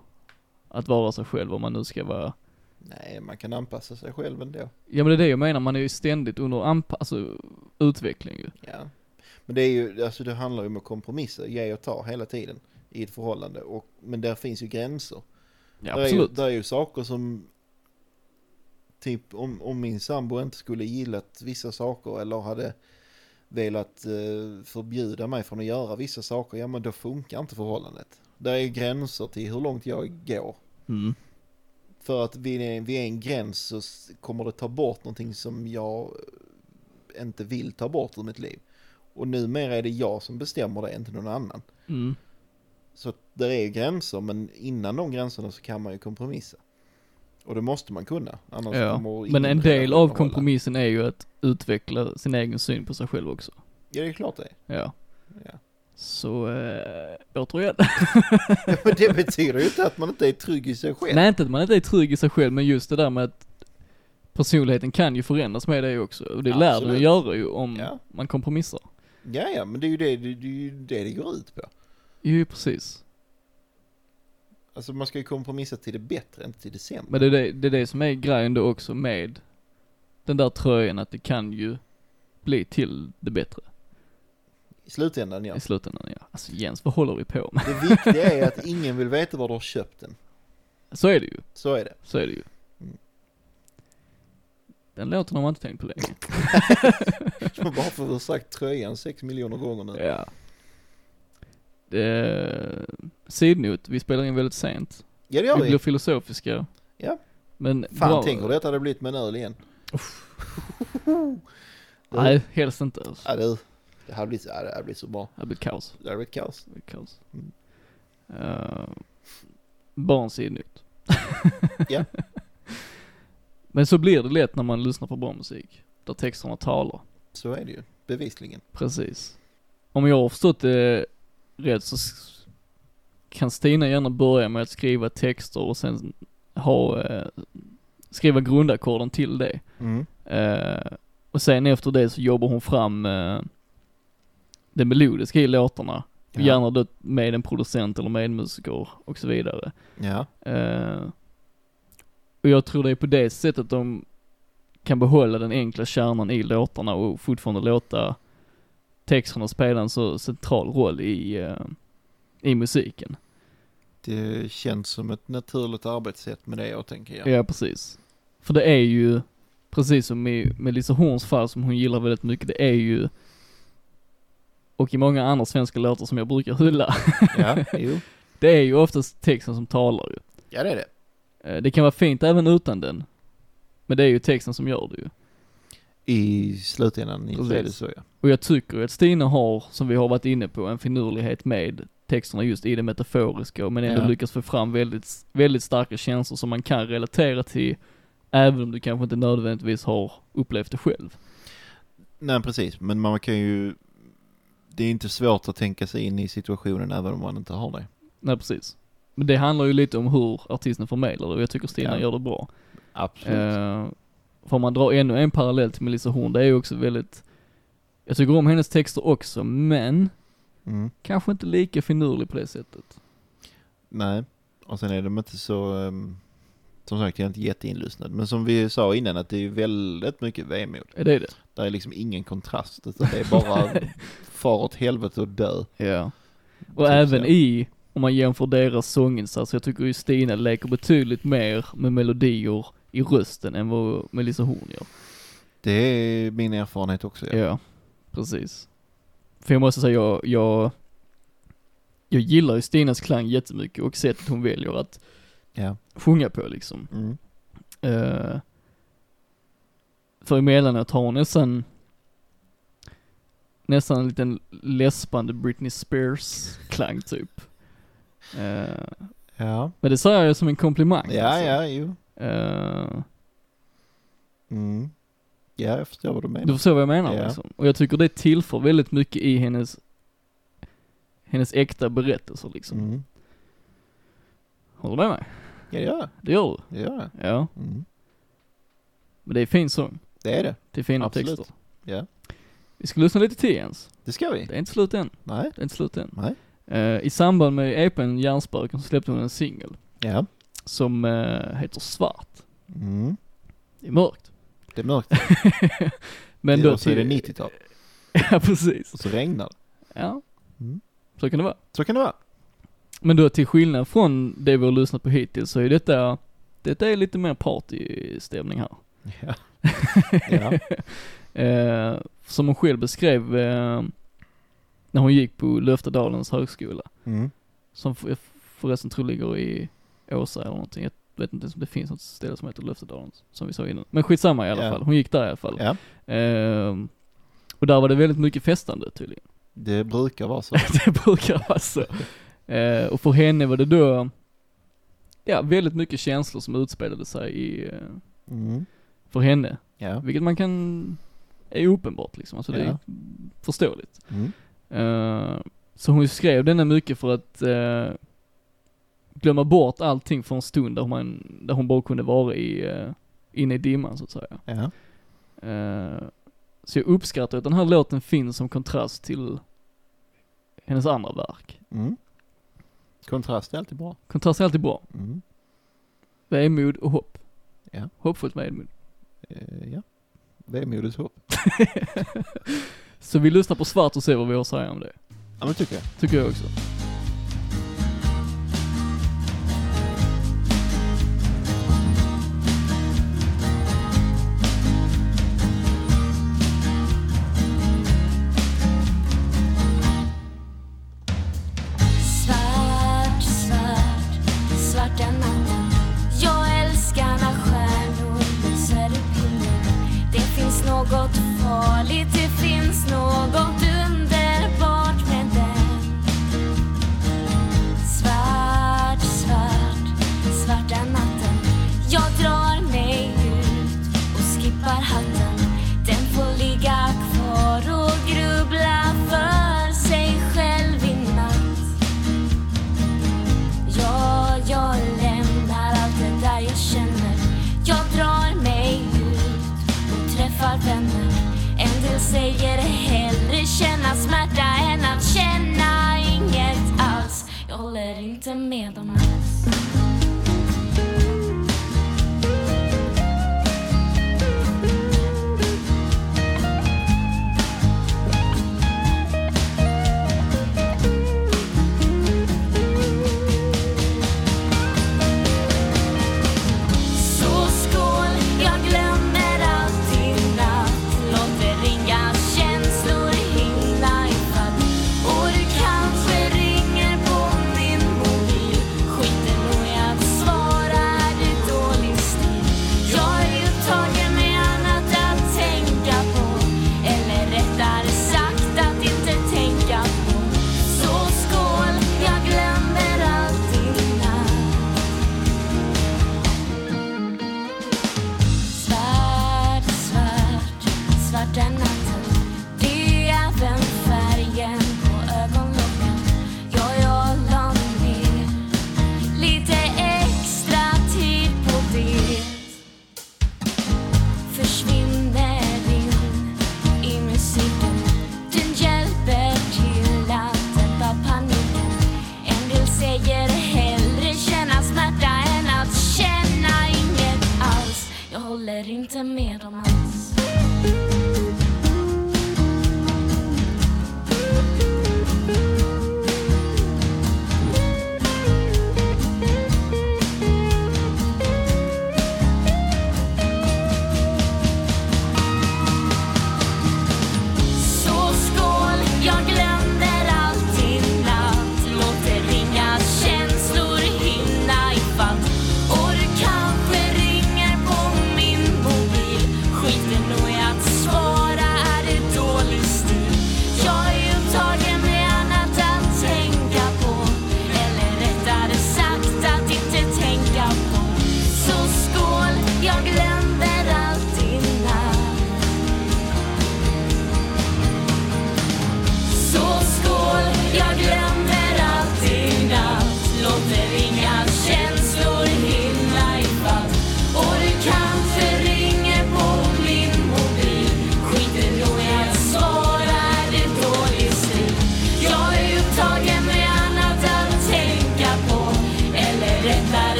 att vara sig själv om man nu ska vara Nej, man kan anpassa sig själv ändå. Ja men det är det jag menar, man är ju ständigt under anpass, alltså utveckling ju. Ja. Men det är ju, alltså det handlar ju om att kompromissa, ge och ta hela tiden i ett förhållande. Och, men där finns ju gränser. Ja där, är ju, absolut. där är ju saker som, typ om, om min sambo inte skulle gillat vissa saker eller hade velat eh, förbjuda mig från att göra vissa saker, ja men då funkar inte förhållandet. Där är ju gränser till hur långt jag går. Mm. För att vid en, vid en gräns så s- kommer det ta bort någonting som jag eh, inte vill ta bort ur mitt liv. Och numera är det jag som bestämmer det, inte någon annan. Mm. Så att där är ju gränser, men innan de gränserna så kan man ju kompromissa. Och det måste man kunna, annars Ja. kommer ingen Men en del relation av att hålla. kompromissen är ju att utveckla sin egen syn på sig själv också. Ja, det är klart det är. Ja. Ja. Så, eh, återigen. Ja, Men det betyder ju inte att man inte är trygg i sig själv. Nej inte att man inte är trygg i sig själv, men just det där med att personligheten kan ju förändras med det också. Och det lär du Absolut. ju göra ju om Ja. man kompromissar. Ja, ja, men det är ju det det, det, är ju det det går ut på. Jo precis. Alltså man ska ju kompromissa till det bättre, inte till det sämre. Men det är det, det är det som är grejen då också med den där tröjan, att det kan ju bli till det bättre. I slutändan, ja. i slutändan. Ja. Alltså Jens, vad håller vi på med? Det viktiga är att ingen vill veta var du har köpt den. Så är det ju, Så är det. så är det ju. Mm. Den låten har man inte tänkt på länge. Bara för att du har sagt tröjan sex miljoner gånger nu. Ja. Eh, Sidnot, vi spelar in väldigt sent. Ja det Vi gör blir vi. filosofiska. Ja. Men Fan bra. tänk hur detta hade blivit med en öl igen. Nej, helst inte. Alltså. Ja du. Det hade blivit, ja, det hade blivit så bra. Det blir kaos. Det hade blivit kaos. Det blir kaos. Mm. Eh, barn Sidnot. Ja. Men så blir det lätt när man lyssnar på bra musik. Där texterna talar. Så är det ju. Bevisligen. Precis. Om jag har förstått det rätt så s- kan Stina gärna börja med att skriva texter och sen ha, eh, skriva grundackorden till det. Mm. Eh, och sen efter det så jobbar hon fram eh, det melodiska i låtarna. Ja. Gärna då med en producent eller med en musiker och så vidare. Ja. Eh, och jag tror det är på det sättet de kan behålla den enkla kärnan i låtarna och fortfarande låta texterna spela en så central roll i, eh, i musiken. Det känns som ett naturligt arbetssätt med det jag tänker Ja. precis. För det är ju, precis som i Melissa Horns fall som hon gillar väldigt mycket, det är ju och i många andra svenska låtar som jag brukar hylla, Ja, jo. det är ju oftast texten som talar ju. ja det är det. Eh, Det kan vara fint även utan den. Men det är ju texten som gör det ju. I slutändan så är det Precis. så ja. Och jag tycker ju att Stina har, som vi har varit inne på, en finurlighet med texterna just i det metaforiska, men ändå Ja. lyckas få fram väldigt, väldigt starka känslor som man kan relatera till, även om du kanske inte nödvändigtvis har upplevt det själv. Nej precis, men man kan ju... Det är inte svårt att tänka sig in i situationen även om man inte har det. Nej, precis. Men det handlar ju lite om hur artisten förmedlar det och jag tycker Stina Ja. gör det bra. Absolut. Eh, får man dra ännu en parallell till Melissa Horn, det är ju också väldigt, jag tycker om hennes texter också, men Mm. kanske inte lika finurlig på det sättet. Nej, och sen är de inte så... ehm, Som sagt, jag är inte jätteinlyssnad. Men som vi sa innan, att det är ju väldigt mycket vemod. Är det det? Där är liksom ingen kontrast, utan det är bara far åt helvete och dö. Ja. Och Typ även så. i, alltså om man jämför deras sånginsats, jag tycker ju Stina leker betydligt mer med melodier i rösten än vad Melissa Horn gör. Det är min erfarenhet också. Ja, precis. För jag måste säga, jag, jag, jag gillar ju Stinas klang jättemycket och sättet hon väljer att Ja. sjunga på liksom. Mm. Uh, för emellanåt har hon nästan, nästan en liten läspande Britney Spears-klang typ. Eh, Ja. men det säger jag som en komplimang. Ja, alltså. ja, jo. Eh, Mm. Ja, jag förstår vad du menar. Du förstår vad jag menar Ja. liksom. Och jag tycker det tillför väldigt mycket i hennes, hennes äkta berättelser liksom. Mm. Håller du med mig? Ja, ja, Det gör det gör jag. du? Ja. Mm. Men det är fin sång. Det är det. Det är fina Absolut. texter. Ja. Vi ska lyssna lite till Jens. Det ska vi. Det är inte slut än. Nej. Det är inte slut än. Nej. Eh, I samband med EPn Hjärnspöken så släppte hon en singel Ja. som eh, heter Svart. Mm. Det är mörkt. Det är mörkt. Men det, då och så är det till- 90-tal. ja, precis. Och så regnar det. Ja. Mm. Så kan det vara. Så kan det vara. Men då till skillnad från det vi har lyssnat på hittills så är detta, detta är lite mer partystämning här. Ja. ja. Eh, som hon själv beskrev eh, när hon gick på Löftedalens högskola. Mm. Som f- jag förresten tror ligger i Åsa eller någonting. Jag vet inte ens om det finns något ställe som heter Löftedalen som vi sa innan. Men skitsamma i alla Ja. fall, hon gick där i alla fall. ja. Ehm, och där var det väldigt mycket festande tydligen. Det brukar vara så. det brukar vara så. alltså. Eh, och för henne var det då, ja väldigt mycket känslor som utspelade sig i, eh, Mm. för henne. Ja. Vilket man kan, är uppenbart liksom, alltså det är Ja. förståeligt. Mm. Eh, så hon skrev denna mycket för att eh, glömma bort allting för en stund där, man, där hon bara kunde vara i, eh, inne i dimman så att säga. Ja. Eh, så jag uppskattar att den här låten finns som kontrast till hennes andra verk. Mm. Kontrast är alltid bra. Kontrast är alltid bra. Mm. Vemod och hopp. Ja. Hoppfullt vemod. Eh, ja. Vemodigt hopp. Så vi lyssnar på svart och ser vad vi har att säga om det. Ja, men det tycker jag. Tycker jag också. Svart, svart, svarta natten Jag älskar när stjärnor lyser upp himlen Det finns något farligt, det finns något underbart med den Svart, svart, svarta natten Jag drar mig ut och skippar hatten Den får ligga kvar och grubbla för sig själv i natt Ja, jag lämnar allt det där jag känner Jag drar mig ut och träffar vänner En del säger hellre känna smärta än att känna inget alls Jag håller inte med dem alls Så skål, jag glömmer allt i natt Låter inga känslor hinna ifatt Och du kanske ringer på min mobil Skit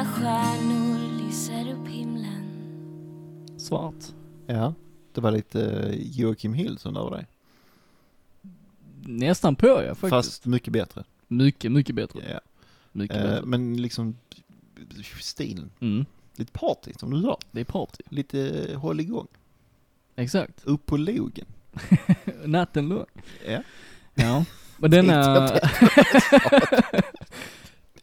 stjärnor lyser upp himlen. Svart. Ja, det var lite eh, Joakim Hillson över dig. Nästan på ja faktiskt. Fast mycket bättre. Mycket, mycket bättre. Ja. Mycket Eh, bättre. men liksom stilen, Mm. lite party som du sa. Det är party. Lite eh, håll igång. Exakt. Upp på logen. Natten lång. Ja. Ja. Men denna...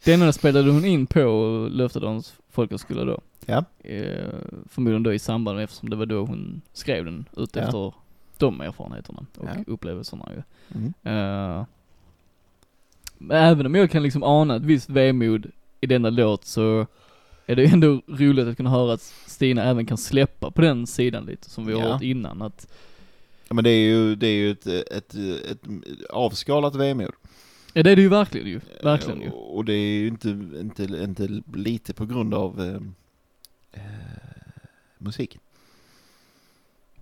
denna spelade hon in på Löftedalens folkhögskola då. Ja. Eh, förmodligen då i samband med, eftersom det var då hon skrev den Ja. utefter de erfarenheterna och Ja. upplevelserna ju. Mm. Eh, men även om jag kan liksom ana ett visst vemod i denna låt så är det ju ändå roligt att kunna höra att Stina även kan släppa på den sidan lite som vi har Ja. hört innan. Att, Ja, men det är ju, det är ju ett, ett, ett avskalat vemod. Eh, ja det är det ju verkligen ju, verkligen ju. Och det är ju inte, inte, inte lite på grund av eh, eh, musiken.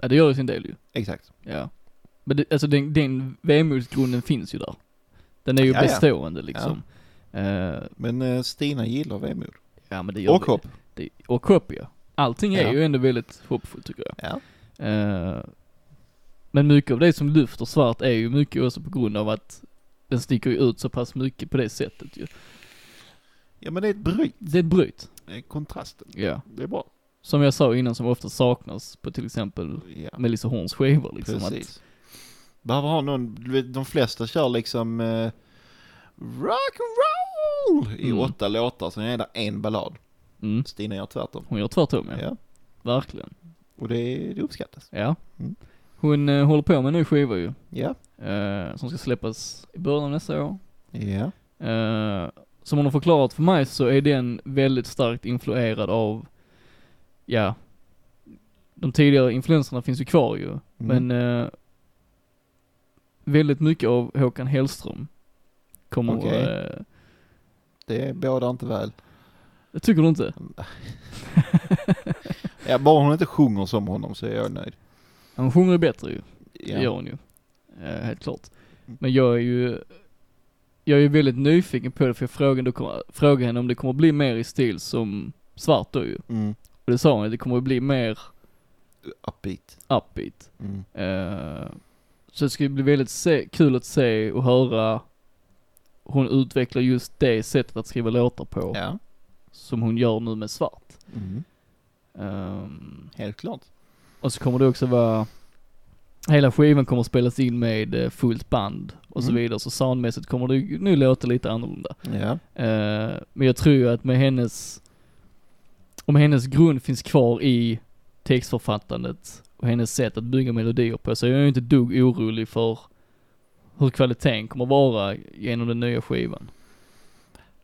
Ja det gör ju sin del ju, Exakt. ja. Men det, alltså den, den vemodsgrunden finns ju där. Den är ju Ja, ja. bestående liksom. Ja. Men eh, Stina gillar vemod. ja men det gör Och vi. hopp. Det, och hopp ja. Allting är Ja. ju ändå väldigt hoppfullt tycker jag. Ja. Eh, Men mycket av det som lyfter svart är ju mycket också på grund av att den sticker ju ut så pass mycket på det sättet ju. ja, men det är ett bryt. Det är ett bryt. Det är kontrasten. Ja. Det är bra. Som jag sa innan som ofta saknas på till exempel Ja, Melissa Horns skivor liksom. Att, precis. Behöver ha någon, du vet, de flesta kör liksom eh, rock'n'roll i Mm. åtta låtar, sen är det en ballad. mm, Stina gör tvärtom. hon gör tvärtom ja. Ja. Verkligen. Och det, det uppskattas. Ja. Mm. Hon eh, håller på med en ny skiva ju. Ja. eh, som ska släppas i början av nästa år. Ja. Eh, som hon har förklarat för mig så är den väldigt starkt influerad av, ja, de tidigare influenserna finns ju kvar ju, Mm. men eh, väldigt mycket av Håkan Hellström kommer, Okej. eh, Det bådar inte väl. det tycker du inte? Ja, bara hon inte sjunger som honom så är jag nöjd. Han sjunger ju bättre ju, det gör Ja. Mm. hon ju. Eh, helt klart. Men jag är ju, jag är ju väldigt nyfiken på det för jag frågade, då kom- frågade henne om det kommer bli mer i stil som Svart då ju. Mm. Och det sa hon, det kommer bli mer Upbeat. upbeat. Mm. Eh, Så det ska bli väldigt se- kul att se och höra hon utvecklar just det sättet att skriva låtar på Ja. som hon gör nu med Svart. Mm. Ehm, Helt klart. och så kommer det också vara, hela skivan kommer spelas in med eh, fullt band och så Mm. vidare, så soundmässigt kommer det ju nu låta lite annorlunda. Ja. Eh, men jag tror ju att med hennes, om hennes grund finns kvar i textförfattandet och hennes sätt att bygga melodier på så är jag ju inte ett dugg orolig för hur kvaliteten kommer vara genom den nya skivan.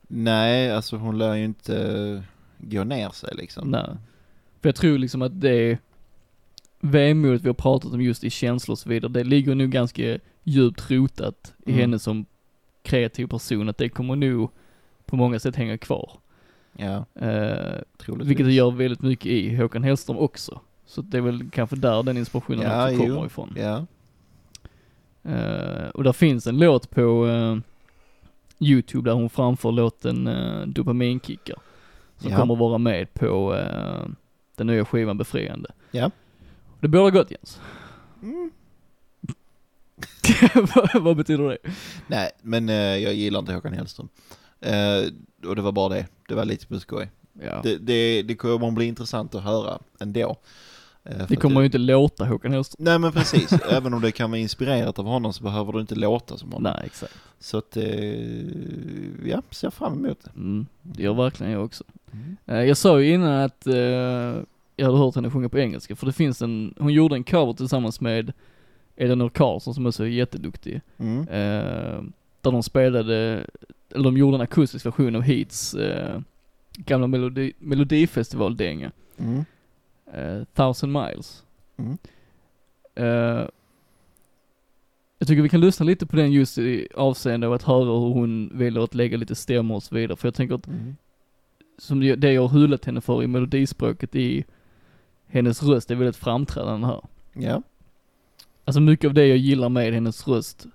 Nej, alltså hon lär ju inte gå ner sig liksom. Nej. För jag tror liksom att det vemodet vi har pratat om just i känslor och så vidare, det ligger nog ganska djupt rotat i Mm. henne som kreativ person, att det kommer nog på många sätt hänga kvar. Ja, Eh, troligtvis. Vilket det gör väldigt mycket i Håkan Hellström också. Så det är väl kanske där den inspirationen Ja, också jo. kommer ifrån. Ja. Eh, och där finns en låt på eh, YouTube där hon framför låten uh, Dopaminkickar. Som Ja. kommer att vara med på eh, den nya skivan Befriande. Ja. Det bådar gott Jens. vad, vad betyder det? Nej, men eh, jag gillar inte Håkan Hellström. Eh, och det var bara det. Det var lite på skoj. Ja. Det, Det, det, det kommer bli intressant att höra ändå. Eh, för att kommer ju inte låta Håkan Hellström. Nej men precis, även om det kan vara inspirerat av honom så behöver du inte låta som honom. Nej, exakt. Så att, eh, ja, ser fram emot det. Mm, det gör verkligen jag också. Mm. Eh, Jag sa ju innan att eh, jag hade hört henne sjunga på engelska, för det finns en, hon gjorde en cover tillsammans med Eleanor Karlsson som också är jätteduktig. Mm. Eh, där de spelade, eller de gjorde en akustisk version av Heats eh, gamla melodi, melodifestivaldänga, Mm. eh, Thousand Miles. Mm. Eh, jag tycker vi kan lyssna lite på den just i avseende av att höra hur hon väljer att lägga lite stämmor och så vidare, för jag tänker att Mm. som det det jag har hyllat henne för i melodispråket i hennes röst är väldigt framträdande här. Ja, Alltså mycket av det jag gillar med hennes röst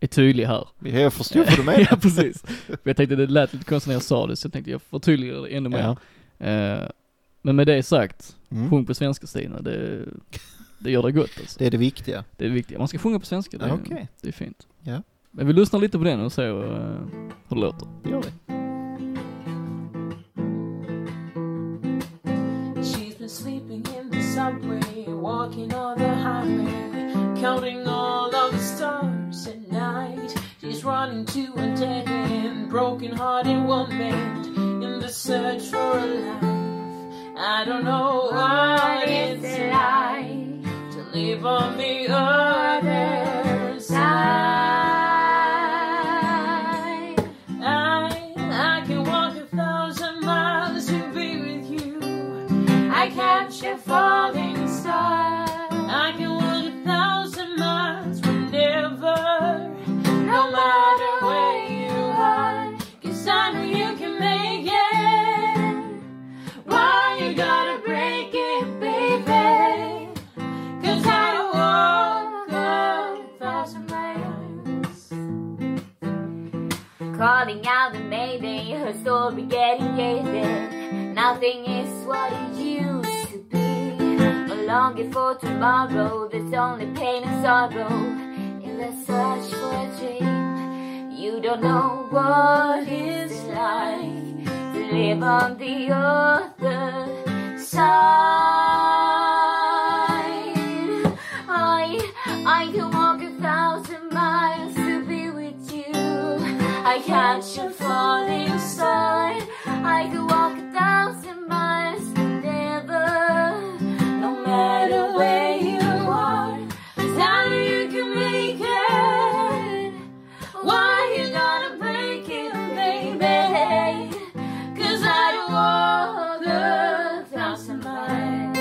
är tydlig här. jag förstod vad du menar. ja, precis. För jag tänkte det lät lite konstigt när jag sa det, så jag tänkte jag förtydligar det ännu mer. Ja. Eh, men med det sagt, Mm. sjung på svenska Stina, det, det gör det gott alltså. Det är det viktiga. Det är viktigt. Man ska sjunga på svenska, det, är- Okej. det är fint. Ja. Men vi lyssnar lite på den och ser eh, hur det låter. Det gör vi. She's been sleeping in the subway, walking on the highway, counting all of the stars at night. She's running to a dead end, broken hearted woman in the search for a life. I don't know what it's like to live on the other side. I, I can walk a thousand miles to be with you. I catch a falling star. I can walk a thousand miles whenever, no matter where you are. Cause I know you can make it. Why you gotta break it, baby? Cause I walk a thousand miles. Calling out the mayday, her story getting dated. Nothing is what it used to be. A longing for tomorrow, there's only pain and sorrow. In the search for a dream, you don't know what it's like to live on the other side. I, I can walk a thousand miles to be with you. I catch a falling star. I could walk a thousand miles never, no matter where you are. 'Cause I know you can make it. Why you gotta break it, baby? Cause I'd walk a thousand miles.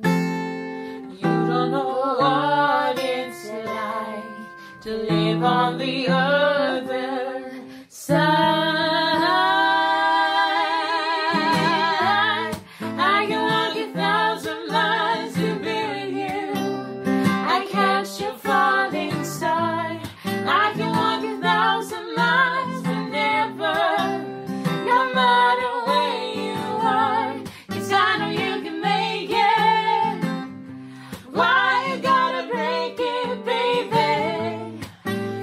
You don't know what it's like to live on the other side. I can walk a thousand miles to be with you. I catch your falling star. I can walk a thousand miles whenever, no matter where you are. 'Cause I know you can make it. Why you gotta break it, baby?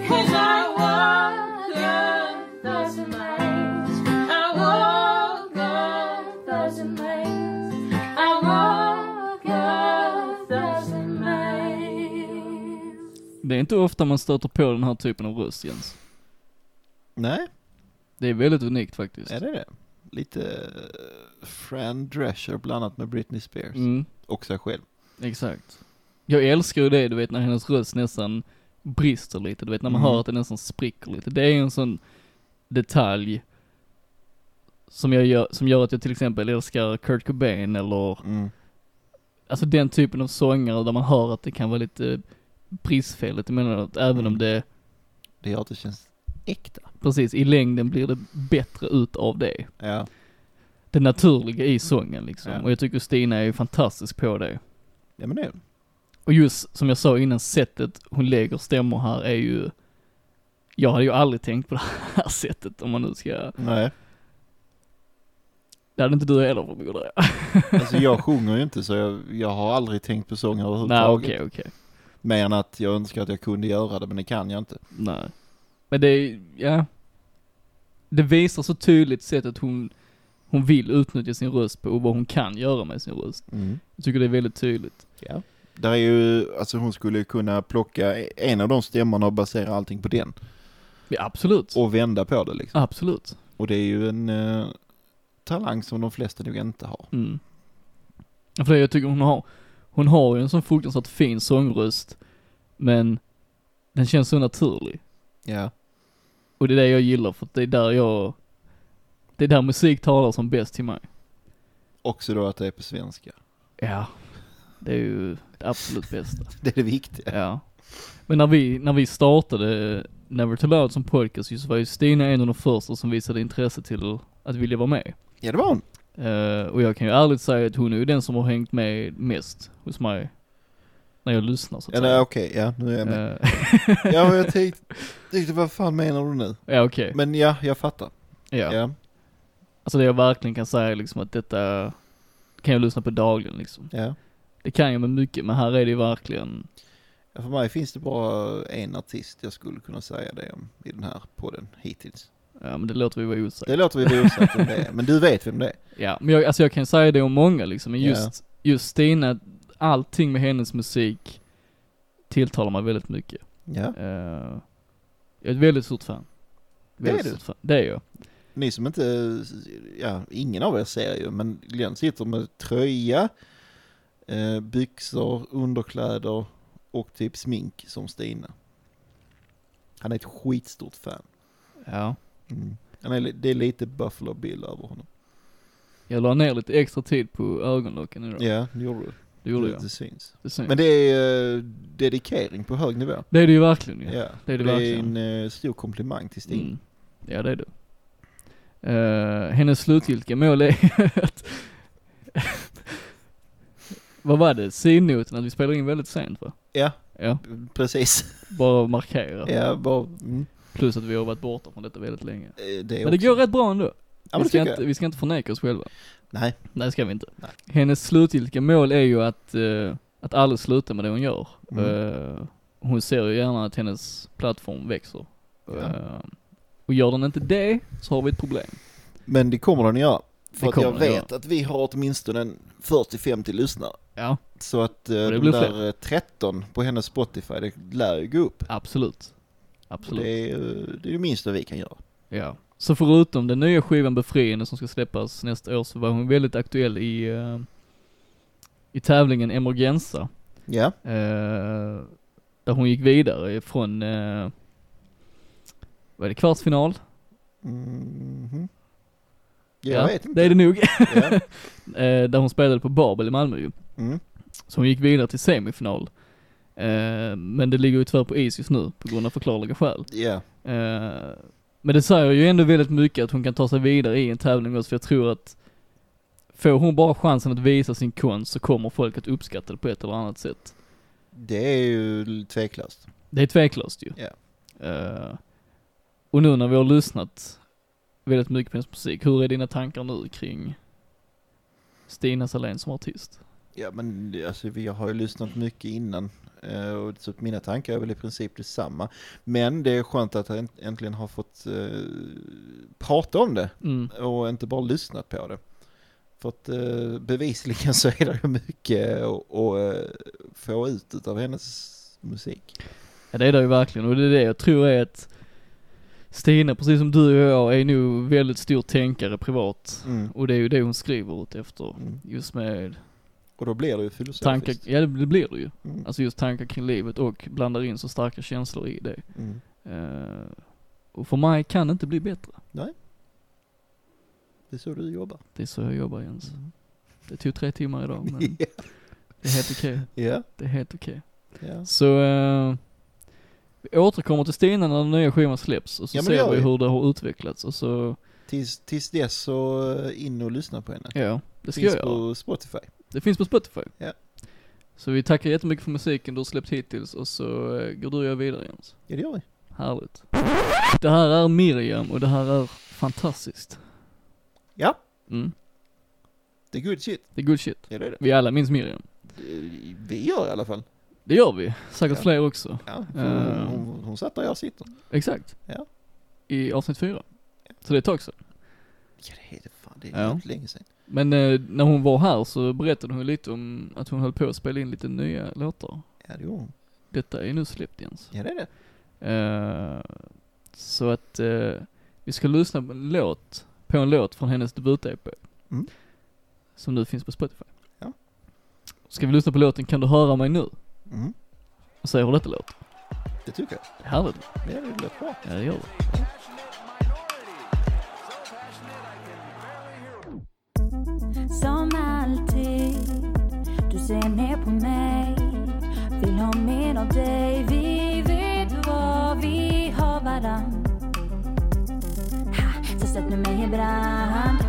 Cause I walk a thousand miles. I walk a thousand miles. I walk a thousand miles. Det är inte ofta man stöter på den här typen av röst Jens. Nej, Det är väldigt unikt faktiskt. är det det? Lite eh, Fran Drescher blandat med Britney Spears. Mm, Och sig själv. exakt. Jag älskar ju det, du vet när hennes röst nästan brister lite, du vet när man Mm. hör att den nästan spricker lite. Det är en sån detalj som jag gör, som gör att jag till exempel älskar Kurt Cobain eller, Mm. alltså den typen av sångare där man hör att det kan vara lite bristfel lite emellanåt, även om det, Det gör att det känns Mm. äkta. precis, i längden blir det bättre ut av det. Ja. Det naturliga i sången liksom. Mm. Ja. Och jag tycker Stina är ju fantastisk på det. ja, men det är det. Och just som jag sa innan, sättet hon lägger stämmor här är ju, jag hade ju aldrig tänkt på det här sättet om man nu ska, Nej, det hade inte du heller förmodar jag. alltså jag sjunger ju inte så jag, jag har aldrig tänkt på sång Nej överhuvudtaget. okej, okej. Mer än att jag önskar att jag kunde göra det men det kan jag inte. Nej. Men det, är- ja. Det visar så tydligt sättet hon, hon vill utnyttja sin röst på och vad hon kan göra med sin röst. Mm. Jag tycker det är väldigt tydligt. Ja. Där är ju, alltså hon skulle ju kunna plocka en av de stämmorna och basera allting på den. Ja absolut. Och vända på det liksom. Absolut. Och det är ju en eh, talang som de flesta nog inte har. Mm. Ja, För det jag tycker hon har, hon har ju en sån fruktansvärt fin sångröst, men den känns så naturlig. Ja. Och det är det jag gillar för att det är där jag, det är där musik talar som bäst till mig. Också då att det är på svenska. Ja. Det är ju det absolut bästa. Det är det viktiga. Ja. Men när vi, när vi startade Never Too Loud som podcast just var ju Stina en av de första som visade intresse till att vilja vara med. Ja, det var hon. Eh, och jag kan ju ärligt säga att hon är ju den som har hängt med mest hos mig när jag lyssnar så att Eller okej, ja nu är jag med. säga. Eh, Ja men jag tänkte, tänkte, vad fan menar du nu? ja okej, Men ja, jag fattar. ja. Ja. Alltså det jag verkligen kan säga är liksom att detta kan jag lyssna på dagligen liksom. ja. Det kan jag med mycket, men här är det ju verkligen, Ja, För mig finns det bara en artist jag skulle kunna säga det om i den här podden hittills. ja men det låter vi vara osagt. Det låter vi bli osagt om det är, men du vet vem det är. Ja, men jag, alltså jag kan säga det om många liksom, men Ja. just, just Stina, allting med hennes musik tilltalar mig väldigt mycket. Ja. Eh, jag är ett väldigt stort fan. Det är Väldigt du. stort fan. Det är jag. Ni som inte, ja, ingen av er ser ju, men Glenn sitter med tröja, eh, byxor, underkläder och typ smink som Stina. Han är ett skitstort fan. Ja. Mm. Han är, li- det är lite Buffalo Bill över honom. Jag la ner lite extra tid på ögonlocken idag. Ja, det gjorde du. Det gjorde det, jag. det syns. Det syns. Men det är eh, dedikering på hög nivå. det är det ju verkligen ju. Ja, det är det verkligen. en eh, stor komplimang till Stina. Mm. Ja, det är du. Eh, hennes slutgiltiga mål är att... Vad var det? C-noten, att vi spelar in väldigt sent va? Ja, Ja, precis. bara markera. Ja, bara, mm, Plus att vi har varit borta från detta väldigt länge. eh, det Men det också. går rätt bra ändå. Ja, men vi, det ska tycker inte, jag. vi ska inte förneka oss själva. Nej, Nej, det ska vi inte. Nej. Hennes slutgiltiga mål är ju att, eh, att aldrig sluta med det hon gör. Mm. Eh, hon ser ju gärna att hennes plattform växer. Ja. Eh, och gör den inte det, så har vi ett problem. men det kommer den göra. För Det att jag kommer den vet att vi har åtminstone en 40-50 lyssnare. Ja, Så att eh, det de blir där eh, 13 på hennes Spotify, det lär ju gå upp. absolut. Och Absolut. det är eh, det är det minsta vi kan göra. Ja. Så förutom den nya skivan Befriande som ska släppas nästa år så var hon väldigt aktuell i, eh, i tävlingen Emergenza. Ja, Eh, där hon gick vidare från, eh, vad är det, kvartsfinal? mhm. Ja, jag vet inte. Det är det nog. Ja. Eh, där hon spelade på Babel i Malmö ju. Mm. Så hon gick vidare till semifinal. Eh, men det ligger ju tyvärr på is just nu på grund av förklarliga skäl. ja. Eh, men det säger ju ändå väldigt mycket att hon kan ta sig vidare i en tävling också, för jag tror att får hon bara chansen att visa sin konst så kommer folk att uppskatta det på ett eller annat sätt. Det är ju tveklöst. Det är tveklöst ju. Ja. Eh, och nu när vi har lyssnat väldigt mycket på hennes musik, hur är dina tankar nu kring Stina Sahlén som artist? Ja men alltså vi har ju lyssnat mycket innan eh, och så att mina tankar är väl i princip detsamma. Men det är skönt att jag änt- äntligen har fått eh, prata om det Mm. och inte bara lyssnat på det. För att eh, bevisligen så är det ju mycket att att, eh, få ut av hennes musik. Ja det är det ju verkligen och det är det jag tror är att Stina, precis som du och jag, är nog väldigt stor tänkare privat. Mm. Och det är ju det hon skriver ut efter. Mm. Just med Och då blir det ju tankar, filosofiskt. ja det det blir det ju. Mm. Alltså just tankar kring livet och blandar in så starka känslor i det. Mm. Eh, och för mig kan det inte bli bättre. Det är så du jobbar. Det är så jag jobbar Jens. Mm. Det tog tre timmar idag men det är helt okej. Ja, Det är helt okej. ja. Så, eh, vi återkommer till Stina när den nya skivan släpps och så Ja, men det ser gör vi vi. hur det har utvecklats och så, Tills, tills dess så eh, in och lyssna på henne. ja, det ska jag Finns göra. på Spotify. Det finns på Spotify. Ja. Så vi tackar jättemycket för musiken du har släppt hittills och så eh, går du och jag vidare Jens. Ja det gör vi. Härligt. Det här är Miriam och det här är fantastiskt. Ja, Mm. det är good shit. Det är good shit. Ja det är det. Vi alla minns Miriam. Vi gör i alla fall. Det gör vi. Säkert Ja. fler också. Ja, Eh. hon, hon, hon satt där jag sitter. Exakt. Ja. I avsnitt fyra. Så det är ett tag sedan. Ja det är det fan, det Ja. är inte länge sedan. Men eh, när hon var här så berättade hon lite om att hon höll på att spela in lite nya låtar. Ja det gjorde hon. Detta är nu släppt Jens. Ja det är det. Eh, så att eh, vi ska lyssna på en låt, på en låt från hennes debut-EP. Mm. Som nu finns på Spotify. Ja. Ska vi lyssna på låten Kan du höra mig nu? Mm, Och säga hur detta låter. det tycker jag. Det är härligt. Ja det lät bra. Ja, det gör vi. Som alltid, du ser ner på mig Vill ha mer av dig Vi vet vad vi har varann ha, Så sätt nu mig i brand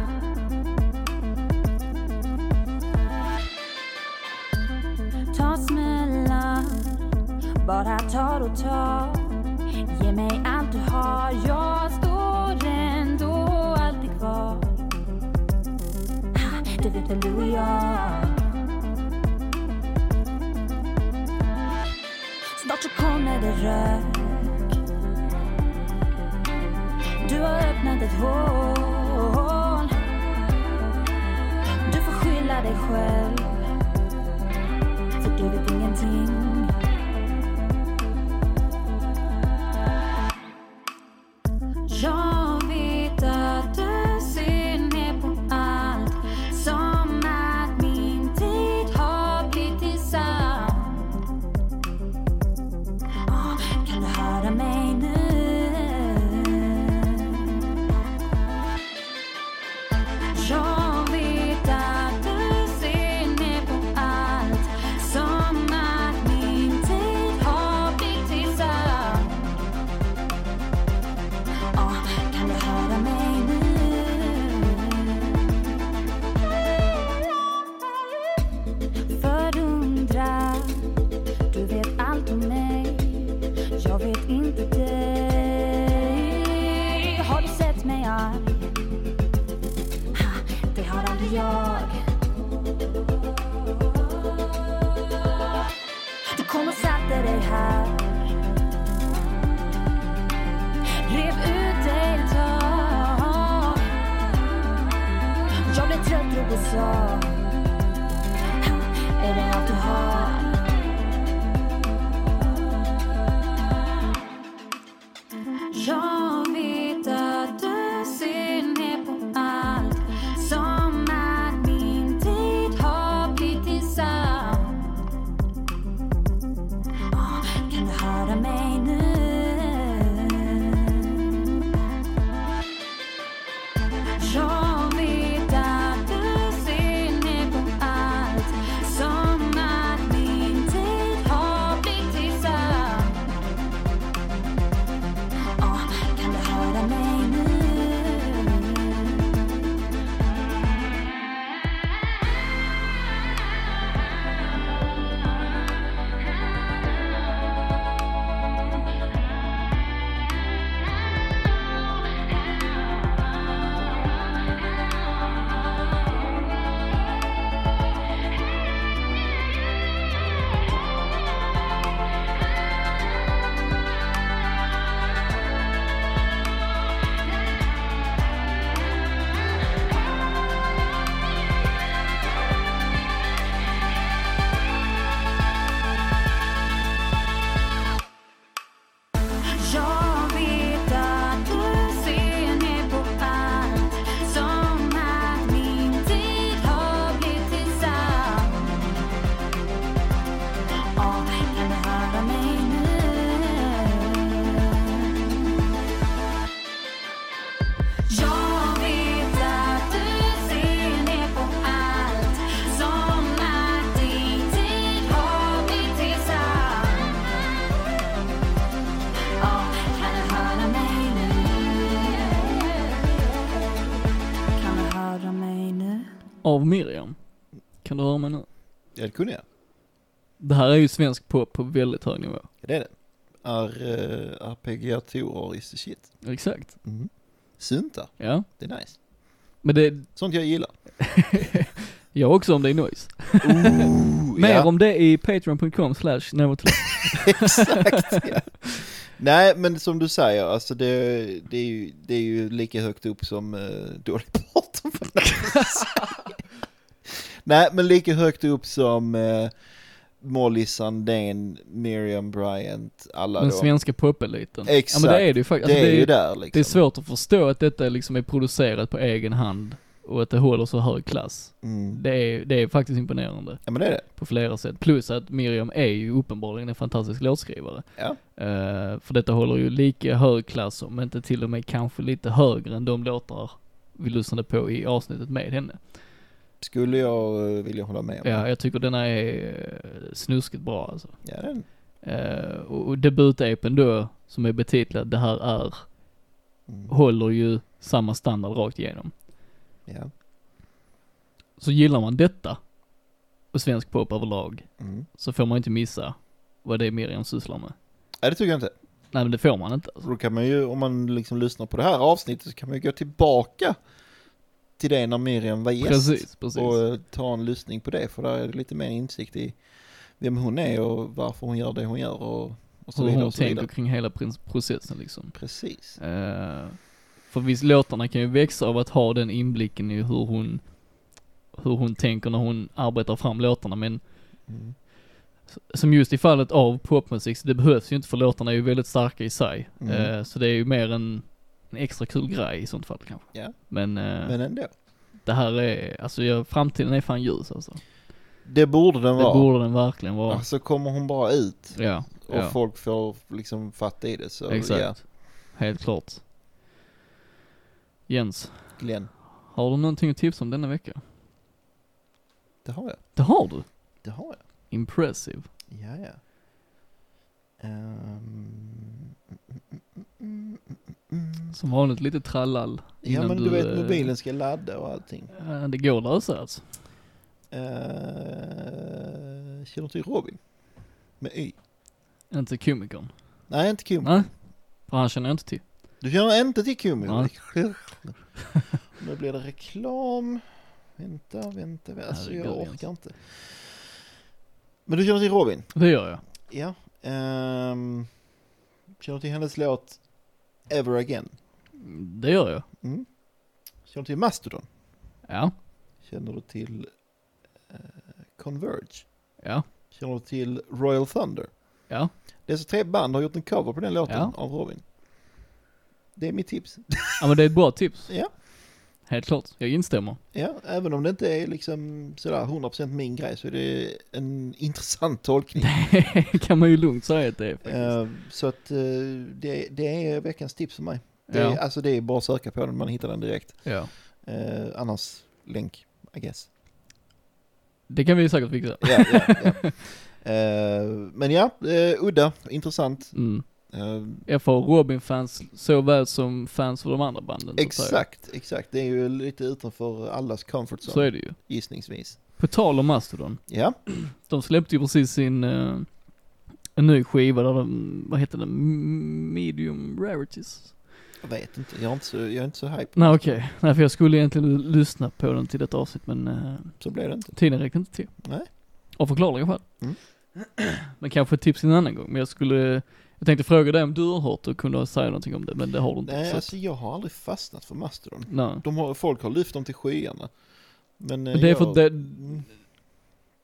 Ta smällar bara tar och tar Ge mig allt du har, jag står ändå alltid kvar ha, Det vet väl du och jag Snart så kommer det rök Du har öppnat ett hål Du får skylla dig själv För du vet ingenting Jag vet att du ser ner på allt Som att min tid har blivit sand Ah, Kan du höra mig nu? Jag vet att du ser ner på allt Som att min tid har blivit sand Ah, Kan du höra mig nu? Förundra, du vet allt om mig Jag vet inte dig Har du sett mig arg? Ha, det har aldrig jag Du kom och satte dig här Rev ut dig ett tag Jag blev trött och besatt Ha, Är det allt du har? Jag vet att du ser ner på allt Som att min tid har blivit sand Ah, Kan du höra mig nu? Jag vet att du ser ner på allt Som att min tid har blivit sand Ah, Kan du höra mig nu? Jag vet att du ser ner på allt Som att min tid har blivit sand Åh, kan du höra mig nu? Jag vet att du ser ner på allt Som att din tid har blivit sand Ja, kan du höra mig nu? Kan du höra mig nu? Av Miriam. Kan du höra mig nu? Ja, det kunde jag. Det här är ju svensk pop på väldigt hög nivå. Ja, det är det. Ar, uh, arpeggiatorer is the shit. Exakt. Syntar, Ja. det är nice. Men det, Sånt jag gillar. jag också om det är noise. Ooh, Mer ja. om det i patreon.com slash nevertheless. Exakt, ja. Nej, men som du säger, alltså det, det, är, ju, det är ju lika högt upp som uh, dålig port. Nej, men lika högt upp som eh, Molly Sandén, Miriam Bryant, alla Den då. svenska popeliten. Exakt. Ja men det är det ju faktiskt. det, Alltså, är ju där liksom. det är svårt att förstå att detta liksom är producerat på egen hand och att det håller så hög klass. Mm. Det är, det är faktiskt imponerande Ja, men det är det. på flera sätt. Plus att Miriam är ju uppenbarligen en fantastisk låtskrivare. Ja. Eh, för detta håller ju lika hög klass, om inte till och med kanske lite högre än de låtar vi lyssnade på i avsnittet med henne. Skulle jag eh, vilja hålla med om. Ja, jag tycker denna är eh, snuskigt bra alltså. Ja, den. Eh, och och debutepen då, som är betitlad Det här är, Mm. håller ju samma standard rakt igenom. Ja. Så gillar man detta och svensk pop överlag Mm. så får man inte missa vad det är Miriam sysslar med. Nej, det tycker jag inte. Nej men det får man inte alltså. Då kan man ju, om man liksom lyssnar på det här avsnittet så kan man ju gå tillbaka till det när Miriam var gäst. Precis, precis. Och eh, ta en lyssning på det, för där är det lite mer insikt i vem hon är och varför hon gör det hon gör och, och så Hur vidare. hon Och så tänker vidare. kring hela prins- processen liksom. Precis. Eh, för visst, låtarna kan ju växa av att ha den inblicken i hur hon, hur hon tänker när hon arbetar fram låtarna men Mm. som just i fallet av popmusik, så det behövs ju inte för låtarna är ju väldigt starka i sig. Mm. Eh, så det är ju mer en, en extra kul grej i sånt fall kanske. Ja. Men, eh, Men ändå. det här är, alltså jag, framtiden är fan ljus alltså. Det borde den Det vara. borde den verkligen vara. Alltså kommer hon bara ut Ja, och ja folk får liksom fatta i det så exakt. ja, Helt klart. Jens, Glenn, har du någonting att tipsa om denna vecka? det har jag. Det har du! Det har jag. Impressive. Ja, ja. Ehm, mm, mm, mm. Som vanligt lite trallall. Ja innan men du vet eh, mobilen ska ladda och allting. ja, Eh, det går att lösa alltså. Uh, känner du till Robin? Med Y? Inte komikern. Nej inte Kumi. Nej, för han känner jag inte till. Du känner inte till Kumi? Nej. nu blir det reklam. Vänta, vänta, vänta. Alltså jag Herregud, orkar inte. Men du känner till Robin? Det gör jag. Ja. ehm, känner du till hennes låt Ever Again? Det gör jag. Mm. Känner du till Mastodon? Ja, Känner du till eh, Converge? ja, Känner du till Royal Thunder? ja. Dessa tre band har gjort en cover på den låten Ja. av Robin. Det är mitt tips. Ja men det är ett bra tips. Ja. Helt klart, jag instämmer. Ja, även om det inte är liksom sådär 100% min grej så är det en intressant tolkning. kan man ju lugnt säga att det är faktiskt. Eh, så att eh, det, det är veckans tips för mig. Det är, Ja. Alltså det är bara att söka på den, man hittar den direkt. ja. Eh, annars länk, I guess. Det kan vi säkert fixa. Ja, ja, ja. Eh, men ja, eh, udda, intressant. Mm. Eh, FH Robin-fans såväl som fans för de andra banden. så att säga. exakt, exakt. Det är ju lite utanför allas comfort Så, zone, är det ju. gissningsvis. På tal om Mastodon, Ja, de släppte ju precis sin eh, en ny skiva där de, vad heter den, M- medium rarities? jag vet inte, jag är inte så, jag är inte så hype. Nej okej, nej för jag skulle egentligen l- lyssna på den till detta avsnitt men eh, Så blev det inte. tiden räckte inte till. Nej. Av förklarliga skäl. Mm. Men kanske ett tips en annan gång, men jag skulle, jag tänkte fråga dig om du har hört och kunde säga någonting om det, men det har du inte. Nej, så att- alltså jag har aldrig fastnat för Mastodon. nej. De har, folk har lyft dem till skyarna. Men eh, Det är för jag, att det- Mm.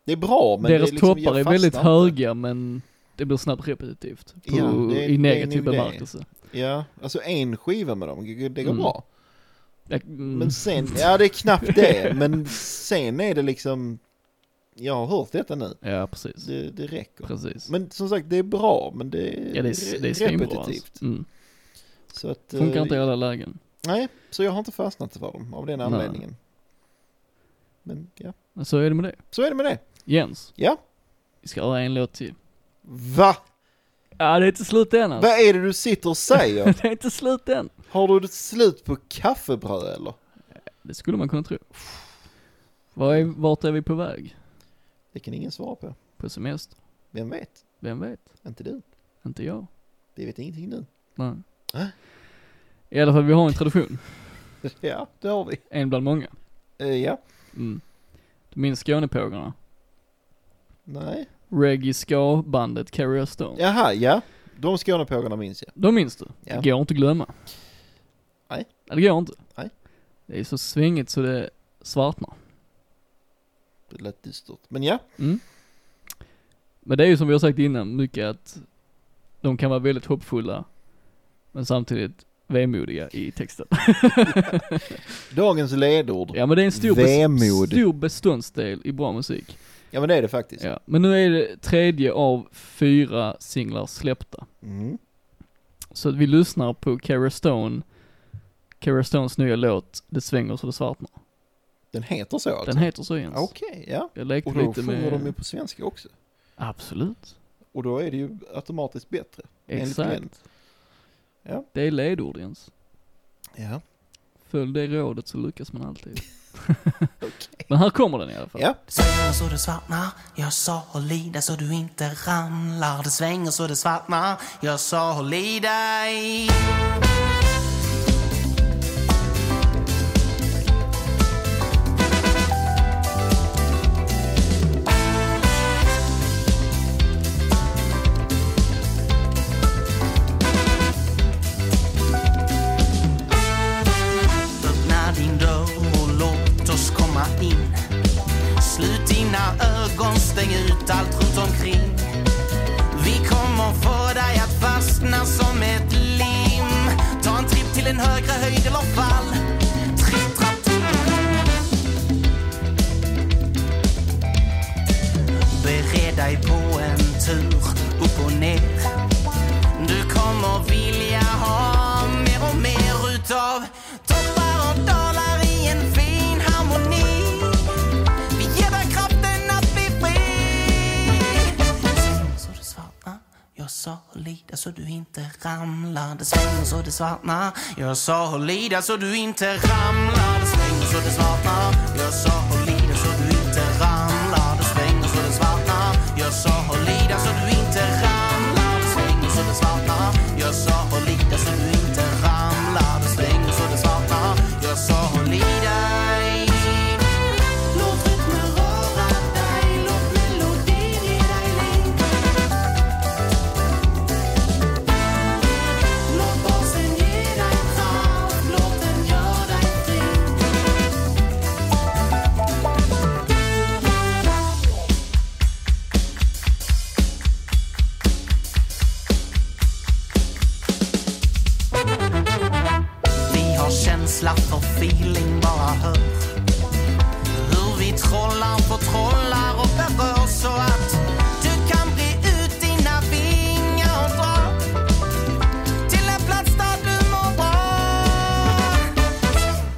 det är bra, men Deras det är liksom, jag toppar är fastnar väldigt inte. höga men det blir snabbt repetitivt. På, Ja, det I är- det är negativ nog det. bemärkelse. Ja, alltså en skiva med dem, det går Mm. bra. Jag, mm, Men sen, ja det är knappt det, men sen är det liksom, jag har hört detta nu. ja precis. Det, det räcker. Precis. Men som sagt, det är bra, men det är, ja det re- är, det är svinbra repetitivt. alltså. mm. Så att, eh, Funkar inte i alla lägen. Nej, så jag har inte fastnat för dem av den Nej. anledningen. Men ja, Men så är det med det. så är det med det. Jens, Ja, vi ska höra en låt till. va? Ja det är inte slut än alltså. Vad är det du sitter och säger? Det är inte slut än. Har du ett slut på kaffebröd eller? Det skulle man kunna tro. Var är, vart är vi på väg? Det kan ingen svara på. På semester? Vem vet? Vem vet? Inte du. Inte jag. Vi vet ingenting nu. Nej. Äh? I alla fall vi har en tradition. Ja, det har vi. En bland många. Eh, ja. Mm. Du minns Skånepågarna? Nej. Reggae ska-bandet Carrier Stone. Jaha, ja. De Skånepågarna minns jag. De minns du? Ja. Det går inte att glömma. Nej. Det går inte. Nej. Det är så svängigt så det svartnar. Det lät dystert. Men ja. Mm. Men det är ju som vi har sagt innan mycket att de kan vara väldigt hoppfulla men samtidigt vemodiga i texten. Dagens ledord. Ja, ja men det är en stor, bes- Vemod. stor beståndsdel i bra musik. men det är det faktiskt. Ja. Men nu är det tredje av fyra singlar släppta. Mm. Så att vi lyssnar på Cara Stone, Cara Stones nya låt Det svänger så det svartnar. Den heter så alltså? Den heter så Jens. Okej, ja. Jag lekte Och då lite sjunger med... de ju på svenska också. Absolut. Och då är det ju automatiskt bättre. Enligt Glenn. Exakt. Ja. Det är ledord Jens. Ja. Följ det rådet så lyckas man alltid. Men här kommer den i alla fall. Ja, Det svänger så det svartnar, jag sa håll i dig så du inte ramlar. Det svänger så det svartnar, jag sa håll i dig. Öppna din dörr och låt oss komma in. Slut dina ögon, stäng ut allt runt omkring. Vi kommer få dig att fastna som ett lim. Ta en tripp till en högre höjd eller fall. Tripp, trapp, tripp. Bered dig på en tur upp och ner. Du kommer vilja ha mer och mer utav toppar och dalar i en fin harmoni. Vi ger dig kraften att bli fri. Det svänger så det svartnar. Jag sa håll i dig så du inte ramlar. Det svänger så det svartnar. Jag sa håll i dig så du inte ramlar. Det svänger så det svartnar. Jag sa håll i dig så du inte ramlar. Det svänger så det svartnar. Jag sa håll i dig så du inte ramlar. Det svänger så det svartnar. Jag sa håll i dig så du inte ramlar. Det svänger så det svartnar. Jag sa håll i dig. Låt rytmen röra dig, låt melodin ge dig lugn. Låt basen ge dig kraft, låt den göra dig fri. Vi har känsla för feeling, bara hör. Hur vi trollar, förtrollar och berör så att du kan bli ut dina vingar och dra till en plats där du mår bra.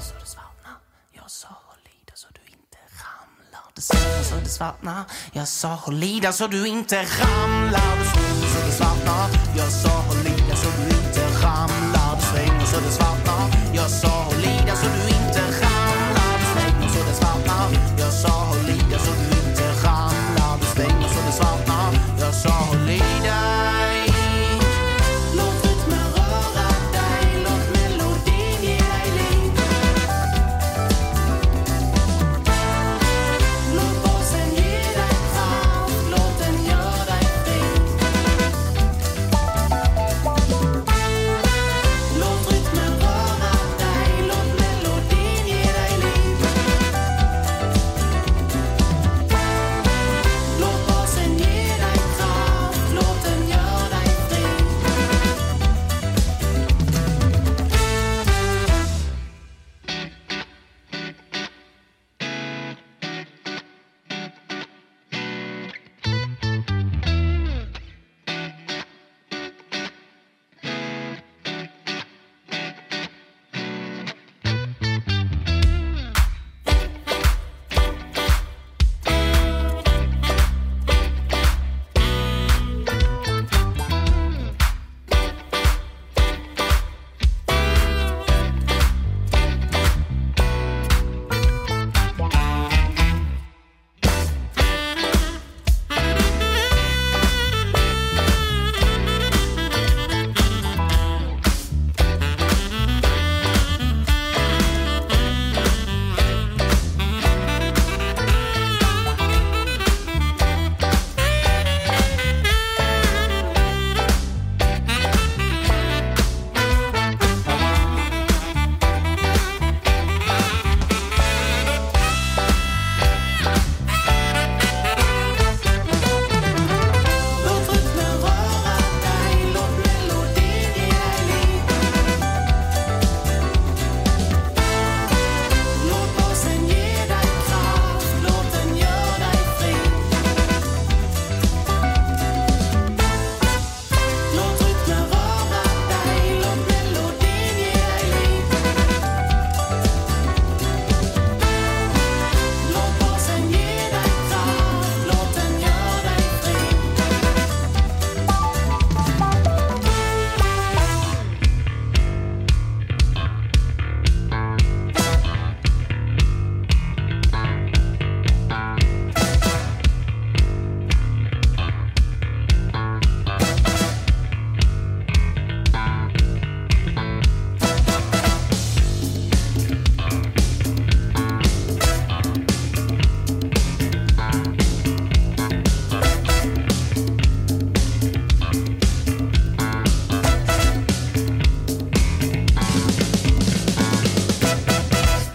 Så det svartnar, jag sa håll i dig så du inte ramlar. Det svänger så det svartnar, jag sa håll i dig så du inte ramlar. Det svänger så det svartnar, jag sa håll i dig så du inte ramlar. Det svänger så det svartnar, jag sa håll i dig så du inte ramlar. Det svänger så det svartnar, jag sa håll i dig så du inte ramlar. Det svänger så det svartnar, jag sa håll i dig. Låt rytmen röra dig, låt melodin ge dig liv. Låt basen ge dig kraft, låt den göra dig fri.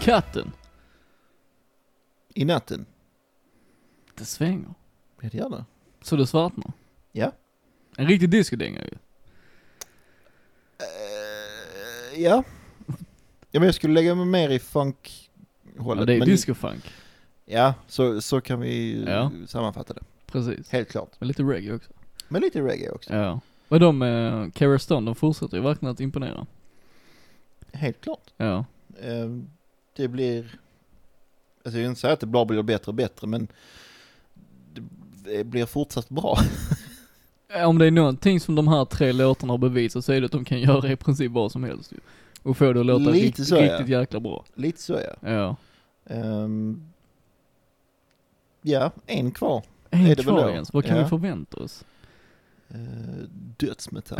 Katten, I natten? det svänger. Ja, det gör det. Så det svartnar. Ja. En riktig discodänga ju. Eh, ja. Ja, men jag skulle lägga mig mer i funk-hållet. Ja, det är men- discofunk. Ja, så, så kan vi eh, Ja. sammanfatta det. Precis. Helt klart. Men lite reggae också. Men lite reggae också. Ja. Men de, eh, Cara Stone, de fortsätter ju verkligen att imponera. Helt klart. Ja. Eh, Det blir... Alltså jag vill inte säga att det bara blir bättre och bättre, men det blir fortsatt bra. Eh, Om det är någonting som de här tre låtarna har bevisat så är det att de kan göra i princip vad som helst ju. Och få det att låta Lite rikt, så, ja. riktigt jäkla bra. Lite så ja. Ja. Ehm, ja, en kvar. En Är det väl kvar då? Jens, vad kan Ja. vi förvänta oss? Uh, dödsmetall.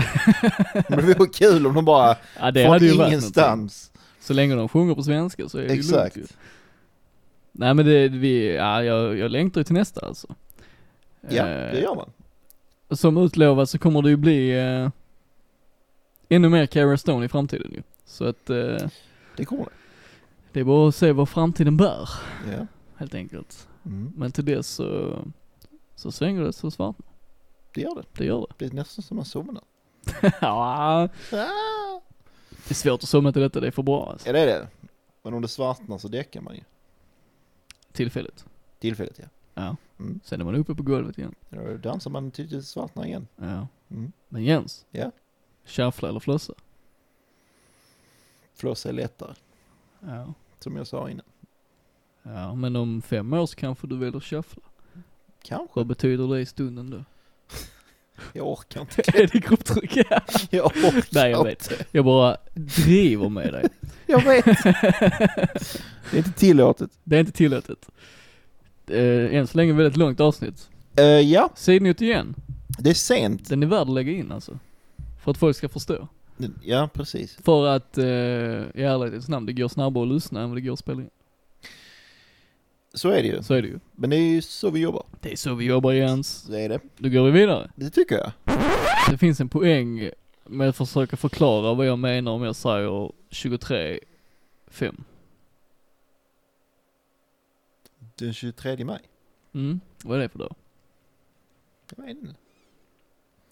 Men det vore kul om de bara, Ja det hade från ju varit någonting. ingenstans. Så länge de sjunger på svenska så är det ju lugnt ju. Exakt. Nej men det, vi, ja, jag, jag längtar ju till nästa alltså. Ja, Eh, det gör man. Som utlovat så kommer det ju bli eh, ännu mer Cara Stone i framtiden ju. Så att eh, Det kommer det. det är bara att se vad framtiden bär, Ja. helt enkelt. Mm. Men till dess så, så svänger det så svart. Det gör det. Det gör det. Det är nästan som man somnar. ja, Ah! det är svårt att somna till detta, det är för bra alltså. Ja, det är det. Men om det svartnar så däckar man ju. Tillfället. Tillfället ja. Sen är man uppe på golvet igen. Då dansar man tills det svartnar igen. Ja. Mm. Men Jens, Ja. shuffla eller flossa? Flås är lättare, Ja. som jag sa innan. Ja, men om fem år så kanske du väljer shuffla. Kanske. Vad betyder det i stunden då? Jag orkar inte. är det grupptryck? Ja. Jag orkar Nej, jag inte. Vet. Jag bara driver med dig. Jag vet. det är inte tillåtet. Det är inte tillåtet. Äh, än så länge väldigt långt avsnitt. Eh, ja, Sidnytt igen. det är sent. Den är värd att lägga in alltså. För att folk ska förstå. Ja, precis. För att, eh, i ärlighetens namn, det går snabbare att lyssna än vad det går att spela in. Så är det ju. Så är det ju. Men det är ju så vi jobbar. Det är så vi jobbar Jens. Så är det. Då går vi vidare. Det tycker jag. Det finns en poäng med att försöka förklara vad jag menar om jag säger 23.5. Den 23 maj. Mm, vad är det för dag? Jag vet inte.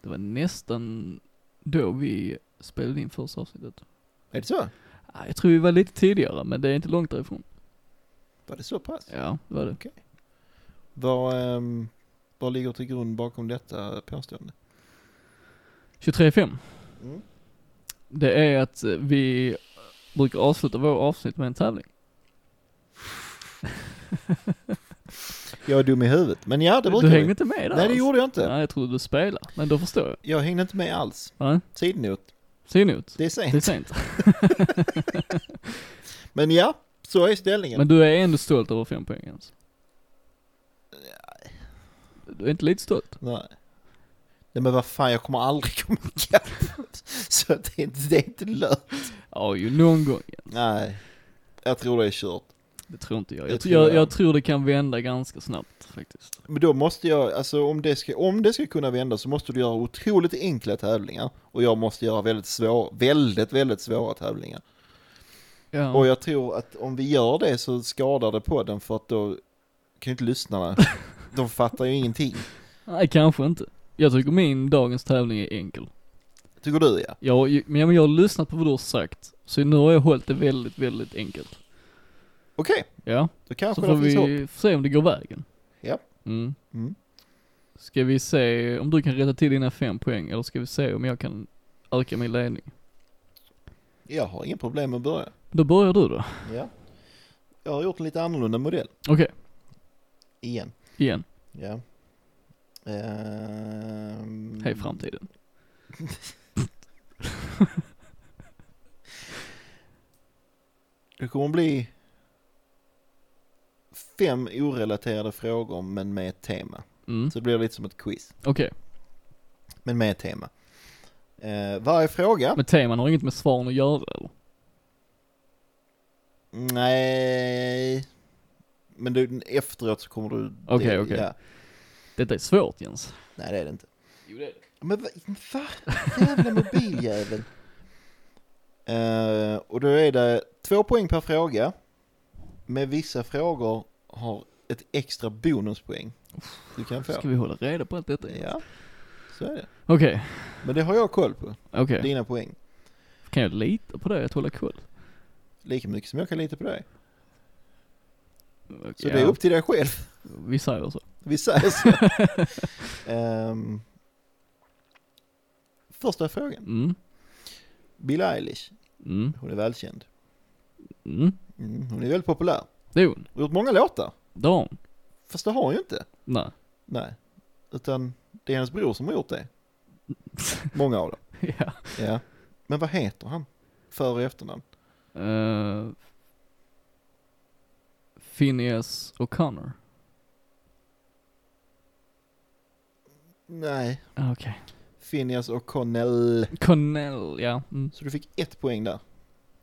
Det var nästan då vi spelade in första avsnittet. Är det så? Ah, Jag tror vi var lite tidigare, men det är inte långt därifrån. Var det så pass? Ja, det var det. Vad, ehm, vad ligger till grund bakom detta påstående? 23.5. Mm. Det är att eh, vi brukar avsluta vår avsnitt med en tävling. Jag är dum i huvudet. Men ja, det brukar du vi. hängde inte med där Nej, det gjorde jag inte. Nej, jag trodde du spelade, men då förstår jag. Jag hängde inte med alls. Nej, Sidnot. Säg emot. Det Det är är sent. sent. Men ja, så är ställningen. Men du är ändå stolt över fem poäng Jens. Du är inte lite stolt? Nej. Nej men vad fan, jag kommer aldrig komma ikapp. Så det är inte, det är inte lönt. Ja, ju någon gång. Nej. Jag tror det är kört. Det tror inte jag. Det Jag, tror jag, jag. jag tror det kan vända ganska snabbt faktiskt. Men då måste jag, alltså om det ska, om det ska kunna vända så måste du göra otroligt enkla tävlingar. Och jag måste göra väldigt svåra, väldigt, väldigt svåra tävlingar. Ja. Och jag tror att om vi gör det så skadar det på den för att då kan ju inte lyssnarna, de fattar ju ingenting. Nej, kanske inte. Jag tycker min dagens tävling är enkel. Tycker du ja? Jag, men jag, men jag har lyssnat på vad du har sagt, så nu har jag hållit det väldigt, väldigt enkelt. Okej, Ja, då kanske så får det finns hopp. vi se om det går vägen. Ja. Mm. Mm. Ska vi se om du kan rätta till dina fem poäng, eller ska vi se om jag kan öka min ledning? Jag har inga problem med att börja. Då börjar du då. Ja. Jag har gjort en lite annorlunda modell. Okej, Igen. igen. Ja. Ehm, Hej framtiden. Det kommer bli fem orelaterade frågor men med ett tema. Mm. Så det blir lite som ett quiz, Okej, men med ett tema. Eh, varje fråga... men teman har inget med svaren att göra eller? Nej... Men du, efteråt så kommer du... Okej, det- okej. Ja. Detta är svårt Jens. Nej, det är det inte. Jo det är det. Men vad... Va? Jävla mobiljävel. Eh, och då är det två poäng per fråga. med vissa frågor har ett extra bonuspoäng du kan få. Ska vi hålla reda på allt detta? Ja, så är det. Okej, Men det har jag koll på, okej. dina poäng. Kan jag lita på dig att hålla koll? Lika mycket som jag kan lita på dig. Så Ja, det är upp till dig själv. Vi säger så. Vi säger så. Ehm, första frågan. Mm, Billie Eilish, mm, hon är välkänd. mm. Mm, hon är väldigt populär. Det är hon. Hon har gjort många låtar, Det har hon. fast det har hon ju inte. Nej. Nej, utan det är hennes bror som har gjort det. Många av dem. ja. Ja. Men vad heter han? För och efternamn? Uh, Phineas O'Connor. Nej, Ah, Okej. Phineas och Connell. Connell, ja. Mm. Så du fick ett poäng där.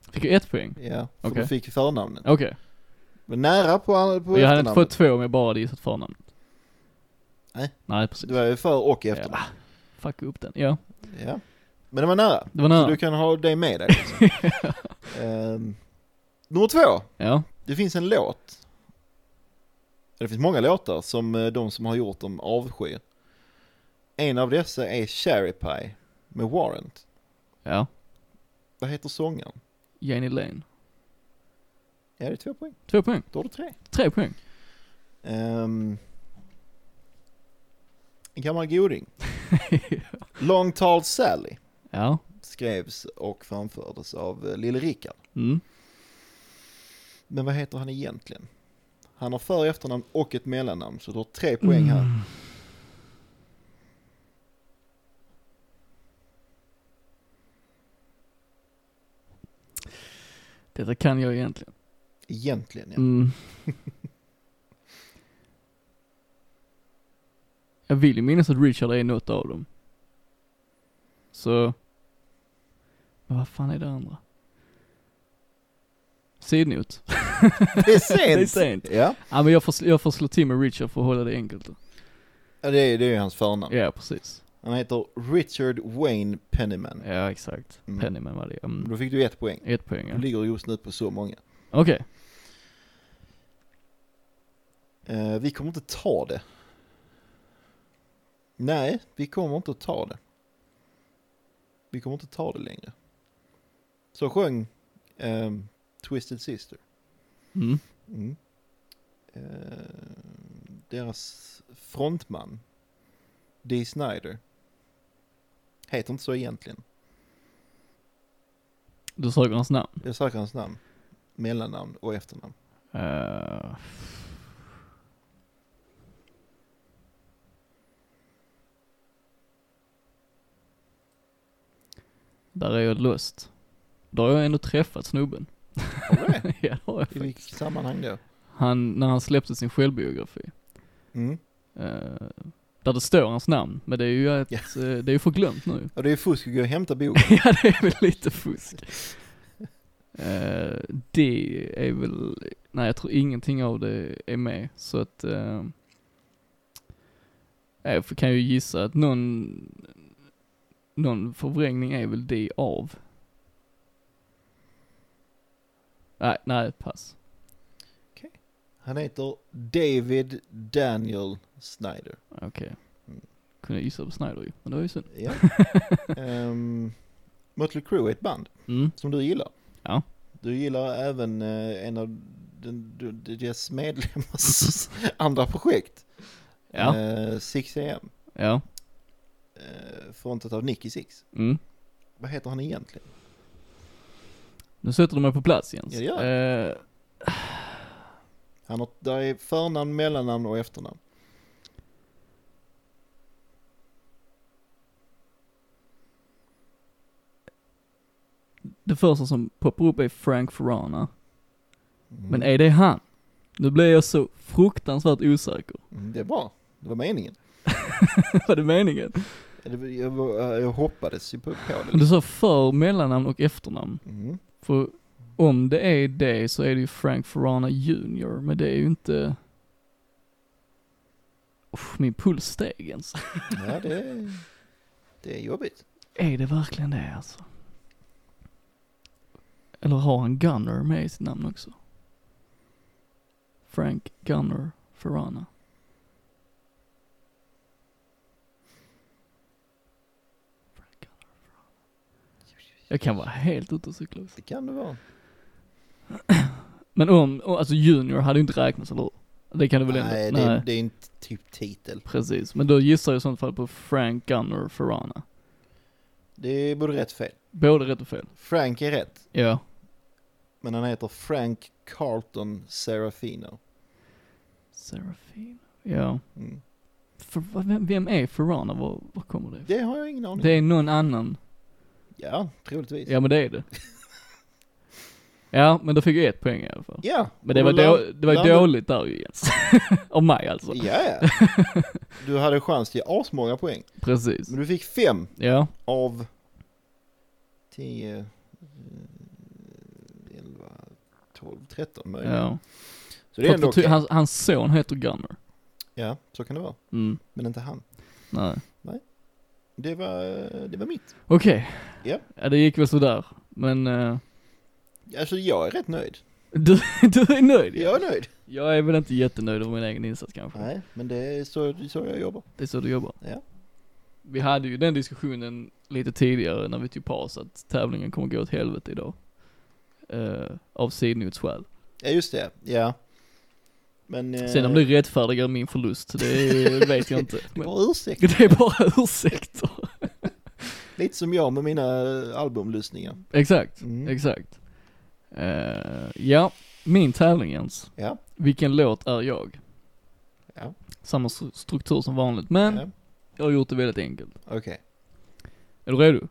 Fick jag ett poäng? Ja, för Okej. du fick förnamnet. Okej. Men nära på, på Jag hade inte efternamnet. fått två om jag bara hade gissat förnamnet. Nej. Nej, precis. Du var ju för och efternamn. Fuck upp den. Ja, Ja. Men det var nära. det var Så nära. du kan ha det med dig. också. Ehm, nummer två. Ja. Det finns en låt. Det finns många låtar som eh, de som har gjort dem avskyr. En av dessa är Cherry Pie med Warrant. Ja. Vad heter sångaren? Janie Lane. Ja, det är två poäng. Två poäng. Då har du tre. Tre poäng. Ehm, en gammal goding. Long Tall Sally Ja. skrevs och framfördes av eh, Lille Rickard. Mm. Men vad heter han egentligen? Han har för och efternamn och ett mellannamn, så du har tre poäng Mm. här. Detta kan jag egentligen. Egentligen, ja. Mm. jag vill ju minnas att Richard är något av dem. Så... Men vad fan är det andra? Sidnot. Det är sent! Det är sent. Ja, Ja men jag får, jag får slå till med Richard för att hålla det enkelt. då. Ja, det är, det är ju hans förnamn. Ja precis. Han heter Richard Wayne Pennyman. Ja exakt. Mm. Pennyman var det mm. Då fick du ett poäng. Ett poäng ja. Du ligger just nu på så många. Okej. Eh, vi kommer inte ta det. Nej, vi kommer inte att ta det. Vi kommer inte ta det längre. Så sjöng ehm, Twisted Sister. Mm. Mm. Eh, deras frontman, Dee Snyder, heter inte så egentligen. Du söker hans namn. Jag söker hans namn, mellannamn och efternamn. Eh, Där är jag lost. Då har jag ändå träffat snubben. Har du det? ja, det har jag I faktiskt. vilket sammanhang då? Han, när han släppte sin självbiografi. Mm. eh, där det står hans namn, men det är ju ett, Ja. eh, det är ju förglömt nu. Ja, det är fusk att gå och hämta boken. ja, det är väl lite fusk. Eh, det är väl, nej jag tror ingenting av det är med, så att eh, jag får- kan ju gissa att någon, någon förvrängning är väl det av. Nej, nej, pass. Han heter David Daniel Snyder. Okej. Mm. Kunde gissa på Snyder ju, men det var ju synd. Ja. Ehm, Mötley Crüe är ett band Mm. som du gillar. Ja. Du gillar även eh, en av den- du- deras medlemmars andra projekt. Ja, Eh, 6 AM. ja. Eh, frontat av Nicky Six. Mm. Vad heter han egentligen? Nu sätter du mig på plats Jens. Ja, det Eh, Han har, där är förnamn, mellannamn och efternamn. det första som poppar upp är Frank Ferrana. Mm. Men är det han? Nu blir jag så fruktansvärt osäker. Mm, det är bra. Det var meningen. Var det meningen? Det var- Jag, var- eh, jag hoppades ju på, på det. Du sa för, mellannamn och efternamn. Mm. För om det är det så är det ju Frank Ferrana Jr. Men det är ju inte... Uff, min puls steg ens. Ja, det, är- det är jobbigt. Är det verkligen det alltså? Eller har han Gunner med i sitt namn också? Frank Gunner Ferrana. Frank Gunner Ferrana. Jag kan vara helt ute och cykla. Det kan det vara. Men om, och alltså junior hade ju inte räknats, eller hur? Det kan du väl ändå? Nej, det, är- det är en t- typ titel. Precis, men då gissar jag i sånt fall på Frank Gunner Ferrana. Det är både rätt och fel. Både rätt och fel. Frank är rätt, Ja. men han heter Frank Carlton Serafino. Serafin. Ja. Mm. För, vad- vem, vem är Ferrana? Var, var kommer det ifrån? Det har jag ingen aning om. Det är någon annan. Ja, troligtvis. Ja men det är det. Ja, men då fick jag ett poäng i alla fall. Ja, Men det var, och då då, det var landade- dåligt där ju Jens. Av mig alltså. Ja, ja. Du hade chans till asmånga poäng. Precis. Men du fick fem Ja, av tio, eh, elva, tolv, tretton möjligen. ja. Så det är ändå Fast det- okej. hans, hans son heter Gunner. Ja, så kan det vara. Mm, Men inte han. nej. Det var, det var mitt. Okej. Ja. Ja, det gick väl sådär. Men, eh, Alltså jag är rätt nöjd. du, du är nöjd? Jag är nöjd. Jag är väl inte jättenöjd över min egen insats kanske. Nej, men det är så, det är så jag jobbar. Det är så du jobbar. Ja. Vi hade ju den diskussionen lite tidigare när vi tog paus att tävlingen kommer gå åt helvete idag. Eh, av sidnotsskäl. Ja, just det. Ja. Men... eh, Sen om det rättfärdigar min förlust, det vet jag inte. det Men var ursäkt. det är bara ursäkter. Lite som jag med mina albumlyssningar. Exakt, Mm. exakt. Eh, ja, min tävling Jens. Ja. Vilken låt är jag? Ja. Samma stru- struktur som vanligt, men Ja. jag har gjort det väldigt enkelt. Okej. Är du redo?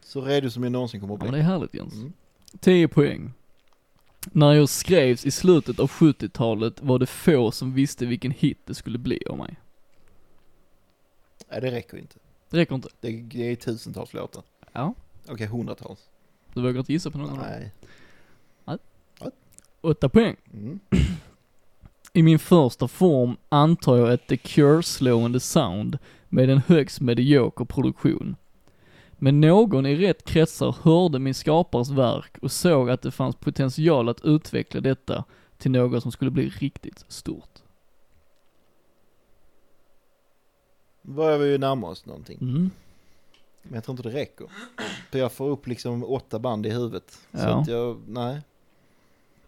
Så redo som jag någonsin kommer att Ja, men bli. det är härligt Jens. Mm. 10 poäng. När jag skrevs i slutet av 70-talet var det få som visste vilken hit det skulle bli av mig. Nej, det räcker inte. Det räcker inte. Det, det är tusentals låtar. Ja. Mm. Okej, hundratals. Du vågar inte gissa på någon av dem? Nej. 8 poäng. Mm. I min första form antar jag ett The Cure-slående sound med en högst medioker produktion. Men någon i rätt kretsar hörde min skapares verk och såg att det fanns potential att utveckla detta till något som skulle bli riktigt stort. Börjar vi ju närma oss någonting. Mm. Men jag tror inte det räcker. För jag får upp liksom åtta band i huvudet. Så Ja. att jag, nej.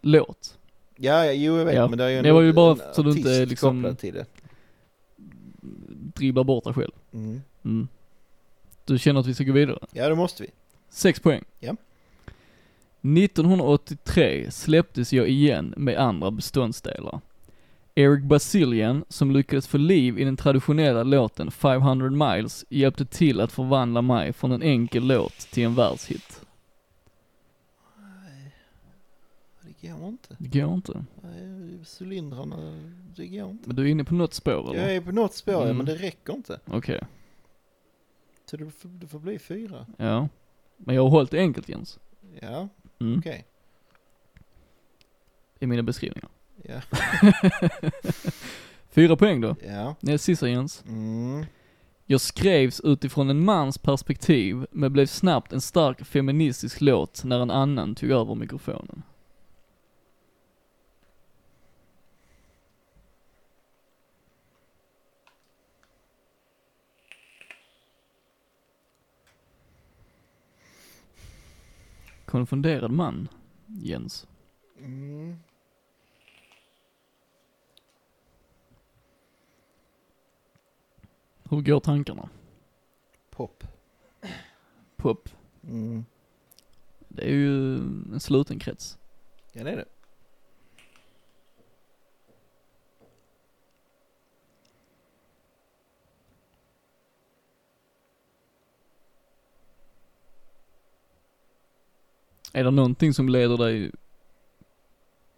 Låt. Ja, ja, jo jag vet. Ja. Men det är ju en, Det var ju en bara så du artist inte liksom- kopplad till det. dribblar bort dig själv. Mm. Mm. Du känner att vi ska gå vidare? Ja, det måste vi. Sex poäng. Ja. 1983 släpptes jag igen med andra beståndsdelar. Eric Basilian, som lyckades få liv i den traditionella låten 500 miles, hjälpte till att förvandla mig från en enkel låt till en världshit. Det går inte. Det går inte. Nej, Cylindrarna, det går inte. Men du är inne på något spår eller? Jag är på något spår, ja, Mm. men det räcker inte. Okej, Så det får, det får bli fyra. ja. Men jag har hållit det enkelt Jens. Ja, Mm. okej. I mina beskrivningar. Ja. Fyra poäng då. Ja. Det är sista Jens. Mm. Jag skrevs utifrån en mans perspektiv, men blev snabbt en stark feministisk låt när en annan tog över mikrofonen. Konfunderad man, Jens. Mm. Hur går tankarna? Pop. Pop. Mm. Det är ju en sluten krets. Ja, det är det. Är det någonting som leder dig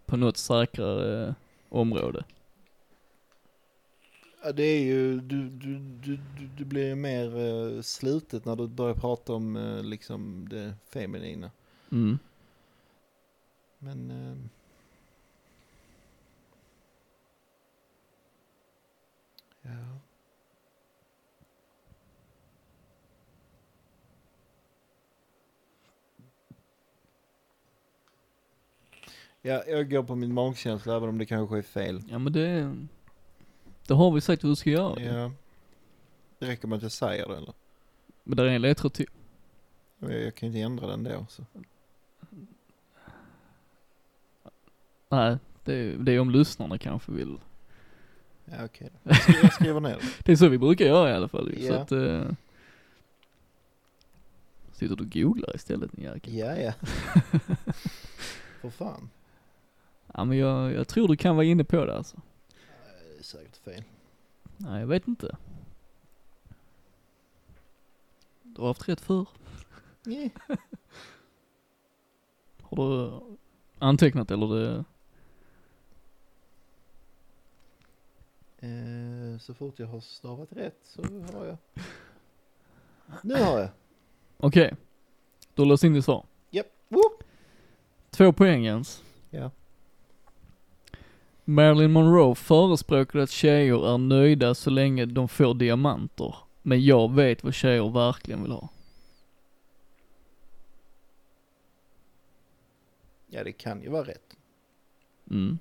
på något säkrare eh, område? Ja, det är ju, du, du, du, du, du blir ju mer eh, slutet när du börjar prata om eh, liksom det feminina. Mm. Men... ehm, ja. Ja, jag går på min magkänsla även om det kanske är fel. Ja men det, det har vi sagt hur vi ska göra. Ja. Det räcker med att jag säger det eller? Men där är en ledtråd till. Eh, Jag, jag kan inte ändra den då. Så. Nej, det, är- det är om lyssnarna kanske vill. Ja, okej då. Jag skriver, jag skriver ner det. Det är så vi brukar göra i alla fall ju, så Ja. att... eh, sitter du och googlar istället din jäkel? Ja, ja. För fan. Ja men jag, jag tror du kan vara inne på det alltså. Det är säkert fel. Nej jag vet inte. Du har haft rätt förr. Nej. Har du antecknat eller det... Eh, så fort jag har stavat rätt så har jag. Nu har jag. Okej. Du har låst in ditt svar. Japp. Woop. Två poäng Jens. Ja. Marilyn Monroe förespråkade att tjejer är nöjda så länge de får diamanter. Men jag vet vad tjejer verkligen vill ha. Ja, det kan ju vara rätt. Mm.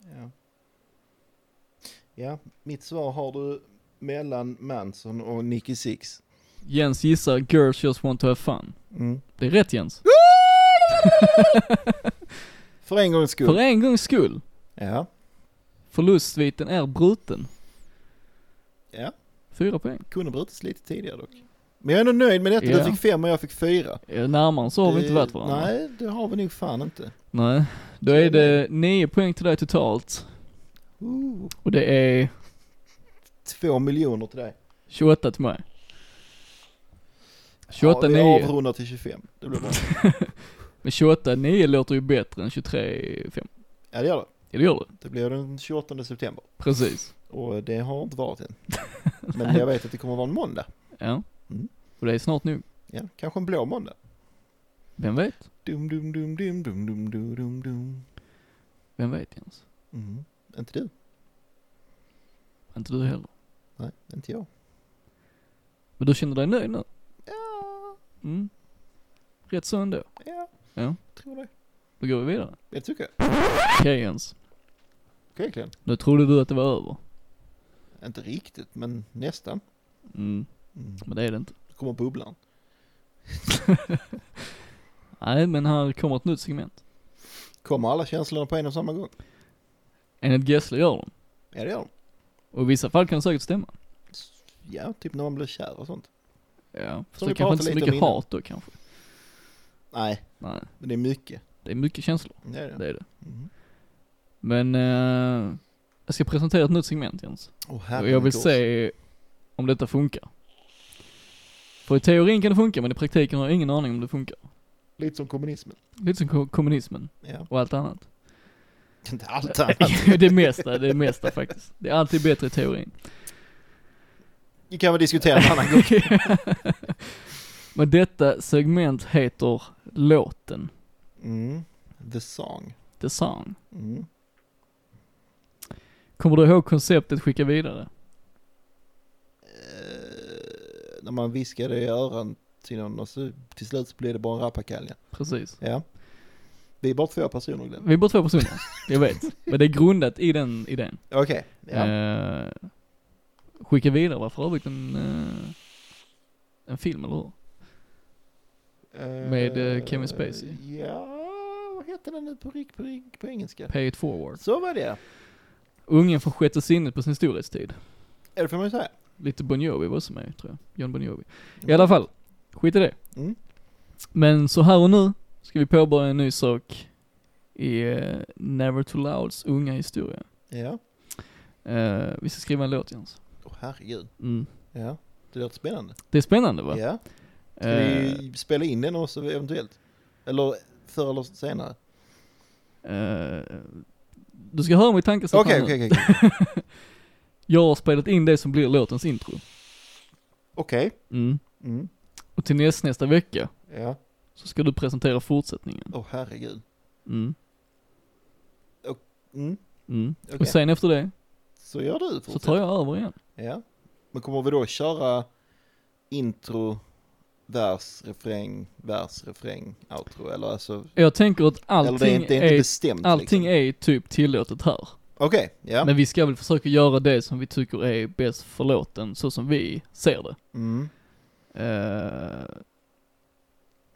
Ja. Ja, mitt svar har du mellan Manson och Nicky Six. Jens gissar “Girls just want to have fun”. Mm. Det är rätt Jens. För en gångs skull. För en gångs skull. Ja. Förlustsviten är bruten. Ja. Fyra poäng. Kunde brutits lite tidigare dock. Men jag är ändå nöjd med detta. Ja. Du fick fem och jag fick fyra. Eh, Närmare så har vi Det- inte varit varandra. Nej, det har vi nog fan inte. Nej. Då är det nio poäng till dig totalt. Ooh. Och det är Två miljoner till dig. 28 till mig. 28 ja, 9. Vi avrundar till 25. Det blir bra. Men 28 9 låter ju bättre än 23 5. ja, det gör det. Ja det gör det. Det blir den 28 september. Precis. Och det har inte varit än. Men jag vet att det kommer vara en måndag. Ja. Mm. Och det är snart nog. Ja, kanske en blå måndag. Vem vet? Dum, dum, dum, dum, dum, dum, dum, dum, dum. Vem vet Jens? Mm. Inte du? Inte du heller. Nej, inte jag. Men du känner dig nöjd nu? Ja, Mm. Rätt så ändå. ja. Ja. Tror det. Då går vi vidare. Det tycker jag. Okej Jens. Okej, Glenn. Nu trodde du att det var över. Inte riktigt, men nästan. Mm. Mm. Men det är det inte. Då kommer bubblan. Nej men här kommer ett nytt segment. Kommer alla känslorna på en och samma gång? Enligt Gessle gör de. Ja, det gör de. Och i vissa fall kan det säkert stämma. Ja, typ när man blir kär och sånt. Ja. Fast Som det kanske vi inte pratade så lite mycket om innan. hat då kanske. Nej, Nej. men det är mycket. Det är mycket känslor. Det är Det det. är det. Mm. Men eh, jag ska presentera ett nytt segment Jens. Åh, Och herregud. jag vill se om detta funkar. För i teorin kan det funka, men i praktiken har jag ingen aning om det funkar. Lite som kommunismen. Lite som ko- kommunismen Ja. och allt annat. Inte allt annat. det mesta, det mesta faktiskt. Det är alltid bättre i teorin. Det kan vi diskutera en annan gång. men detta segment heter låten, Mm. The song. the song. Mm. Kommer du ihåg konceptet skicka vidare? Eh, när man viskade i öron till någon och så till slut så blev det bara en rappakalja. Precis. Ja. Vi är bara två personer Glenn. Vi är bara två personer, jag vet. Men det är grundat i den idén. Okej. Ja. Eh, skicka vidare var för övrigt en, eh, en film, eller hur? med, eh, Kevin Spacey. Ja, vad heter den nu på, rik, på, rik, på engelska? Pay it forward. Så var det E Ungen från sjätte sinnet på sin storhetstid. ja. Det får man ju säga. Lite Bon Jovi var också med, tror jag. John Bon Jovi. I alla fall, skit i det. Mm. Men så här och nu ska vi påbörja en ny sak i eh, Never Too Louds unga historia. Ja. Eh, vi ska skriva en låt Jens. Åh herregud. Mm. Ja. Det låter spännande. Det är spännande va? Ja. Ska Eh, vi spela in den också eventuellt? Eller förr eller senare? eh, du ska höra mitt tankesätt här Okej, nu. okej, okej. Jag har spelat in det som blir låtens intro. Okej. Mm. Mm. Och till näst, nästa vecka Ja. så ska du presentera fortsättningen. Åh herregud. Mm. Mm. Mm. Okej. Och sen efter det Så gör du så fortsätt. tar jag över igen. Ja. Men kommer vi då köra intro vers, refräng, vers, refräng, outro eller alltså. Jag tänker att allting eller det är inte, det är inte bestämt allting liksom. är typ tillåtet här. Okej, ja. Men vi ska väl försöka göra det som vi tycker är bäst för låten, så som vi ser det. Mm. Eh,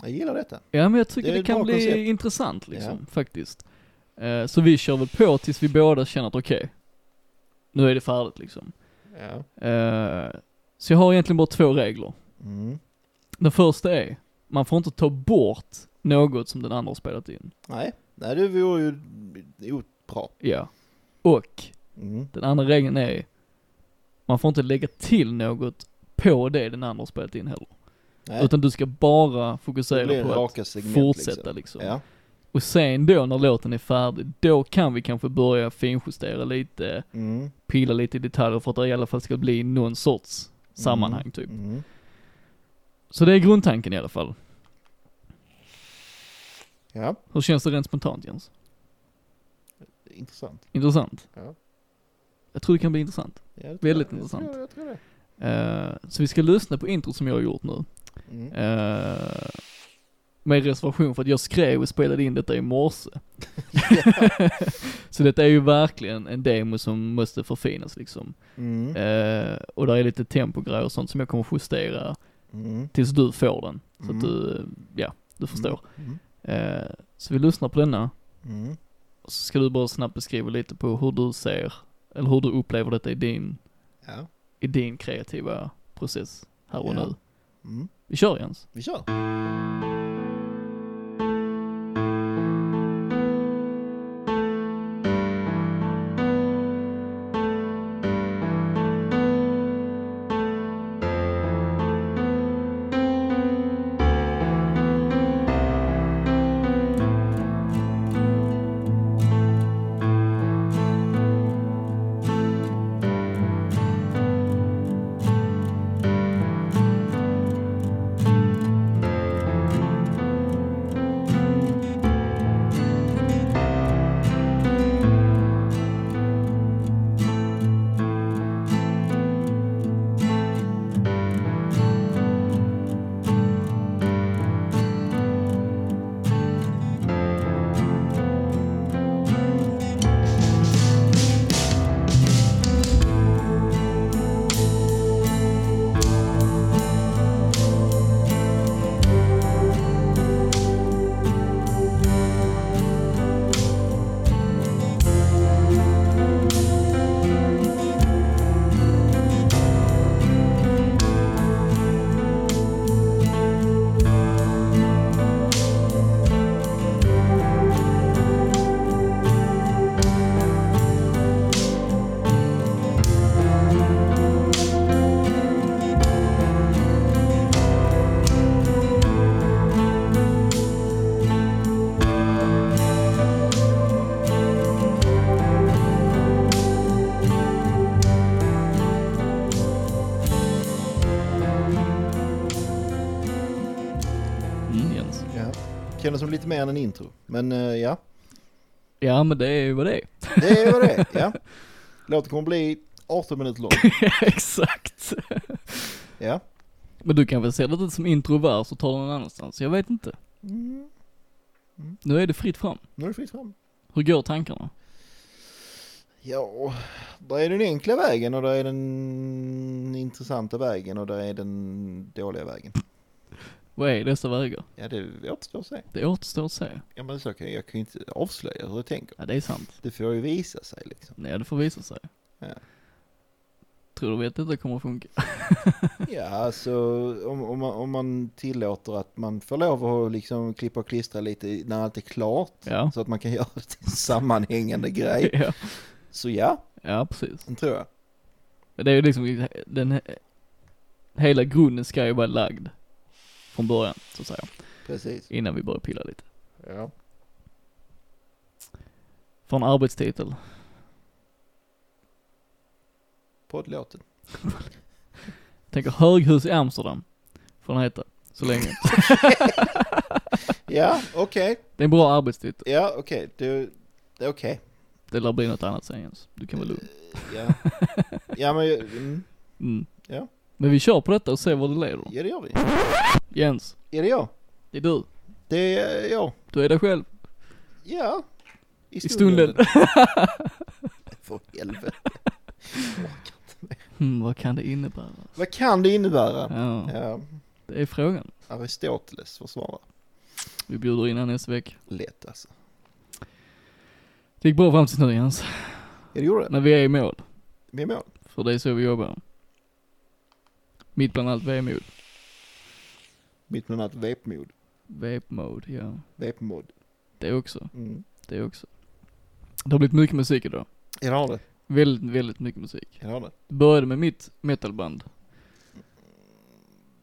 Jag gillar detta. ja men jag tycker Det är det, ett kan bra bli koncept. intressant liksom, faktiskt. Eh, så vi kör väl på tills vi båda känner att okej, nu är det färdigt liksom. Ja. Eh, så jag har egentligen bara två regler. Mm. Den första är, man får inte ta bort något som den andra har spelat in. Nej, nej det vore ju o- bra. Ja. Och Mm. den andra regeln är, man får inte lägga till något på det den andra har spelat in heller. Nej, Utan du ska bara det blir fokusera på att raka segment fortsätta liksom. liksom. Ja. Och sen då när låten är färdig, då kan vi kanske börja finjustera lite, Mm. pilla lite i detaljer för att det i alla fall ska bli någon sorts sammanhang typ. Mm. Så det är grundtanken i alla fall. Ja, Hur känns det rent spontant Jens? intressant. Intressant? Ja. Jag tror det kan bli intressant. Ja, det tror Väldigt jag. Jag tror- intressant. Jag tror det. Eh, så vi ska lyssna på intro som jag har gjort nu. Mm. Eh, med reservation för att jag skrev och spelade in detta i morse. så detta är ju verkligen en demo som måste förfinas liksom. Mm. Eh, och där är lite tempogrejer och sånt som jag kommer justera Mm. tills du får den. Så Mm. att du, ja, du förstår. Mm. Eh, så vi lyssnar på denna. Mm. Och så ska du bara snabbt beskriva lite på hur du ser, eller hur du upplever detta i din, Ja. i din kreativa process här och Ja. nu. Mm. Vi kör Jens. Vi kör. Mm, Jens. Ja. Kändes som lite mer än en intro. Men eh, ja, Ja men det är ju vad det är. det är vad det är. Ja. Låten kommer bli 18 minuter lång. Exakt. Ja. Men du kan väl se det som intro och vers och ta det någon annanstans? Jag vet inte. Mm. Nu är det fritt fram. Nu är det fritt fram. Hur går tankarna? Ja, där är den enkla vägen och där är den intressanta vägen och där är den dåliga vägen. Vad är dessa vägar? Ja, det återstår att se. Det återstår att se. Ja, men så kan jag, jag kan ju inte avslöja hur jag tänker. Ja det är sant. Det får ju visa sig liksom. Nej det får visa sig. Ja. Tror du att detta kommer att funka? Ja, alltså om, om, man, om man tillåter att man får lov att liksom klippa och klistra lite när allt är klart. Ja. Så att man kan göra det till en sammanhängande grej. ja. Så ja, Ja precis. den tror jag. Men det är ju liksom den hela grunden ska ju vara lagd från början så att säga. Precis. Innan vi börjar pilla lite. Ja. För en arbetstitel. Poddlåten. Tänker höghus i Amsterdam. Får den heta. Så länge. Ja, okej. Det är en bra arbetstitel. Ja, okej. Du, Det är okej. Det lär bli något annat sen Jens. Du kan vara lugn. Ja. ja, men... Mm. Mm. Ja. Men vi kör på detta och ser var det leder. Ja, det gör vi. Jens, Är det jag? det är du. Det är jag. Du är dig själv. Ja. I stunden. För helvete. Hmm, vad kan det innebära? Vad kan det innebära? Ja, Ja, det är frågan. Aristoteles får svara. Vi bjuder in han nästa vecka. Lätt alltså. Det gick bra fram tills nu Jens. Ja, det gjorde det. Men vi är i mål. Vi är i mål. För det är så vi jobbar. Mitt bland allt vemod. Mitt bland annat vepmod. Vepmod, ja. Vepmod. Det också. Mm. Det också. Det har blivit mycket musik idag. Ja, det har det. Väldigt, väldigt mycket musik. Ja, det har det. Det började med mitt metalband.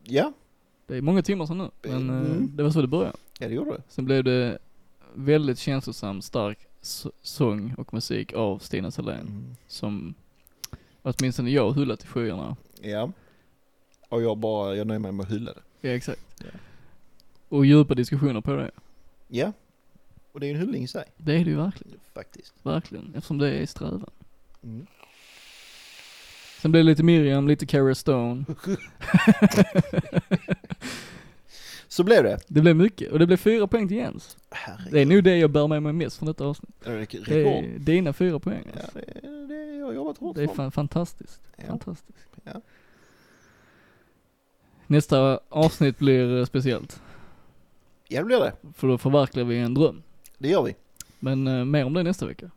Ja, Det är många timmar sedan nu, men eh, Mm. det var så det började. ja det gjorde det. Sen blev det väldigt känslosam, stark s- sång och musik av Stina Selén. Mm. Som åtminstone jag hyllat i skyarna. Ja. Och jag bara, jag nöjer mig med att hylla det. Ja, exakt. Ja. Och djupa diskussioner på det. Ja. Och det är ju en hyllning i sig. Det är det ju verkligen, Faktiskt. verkligen. Eftersom det är strävan. Mm. Sen blev det lite Miriam, lite Cara Stone. Så blev det. Det blev mycket, och det blev fyra poäng till Jens. Det är Herregud. nog det jag bär med mig mest från detta avsnitt. Det är rek- Det rekord. är dina fyra poäng Ja, alltså. det är, det är, jag har jobbat hårt Det är för. fan fantastiskt. Ja. Fantastiskt. Ja. Nästa avsnitt blir eh, speciellt. Ja, det blir det. För då förverkligar vi en dröm. Det gör vi. Men eh, mer om det nästa vecka.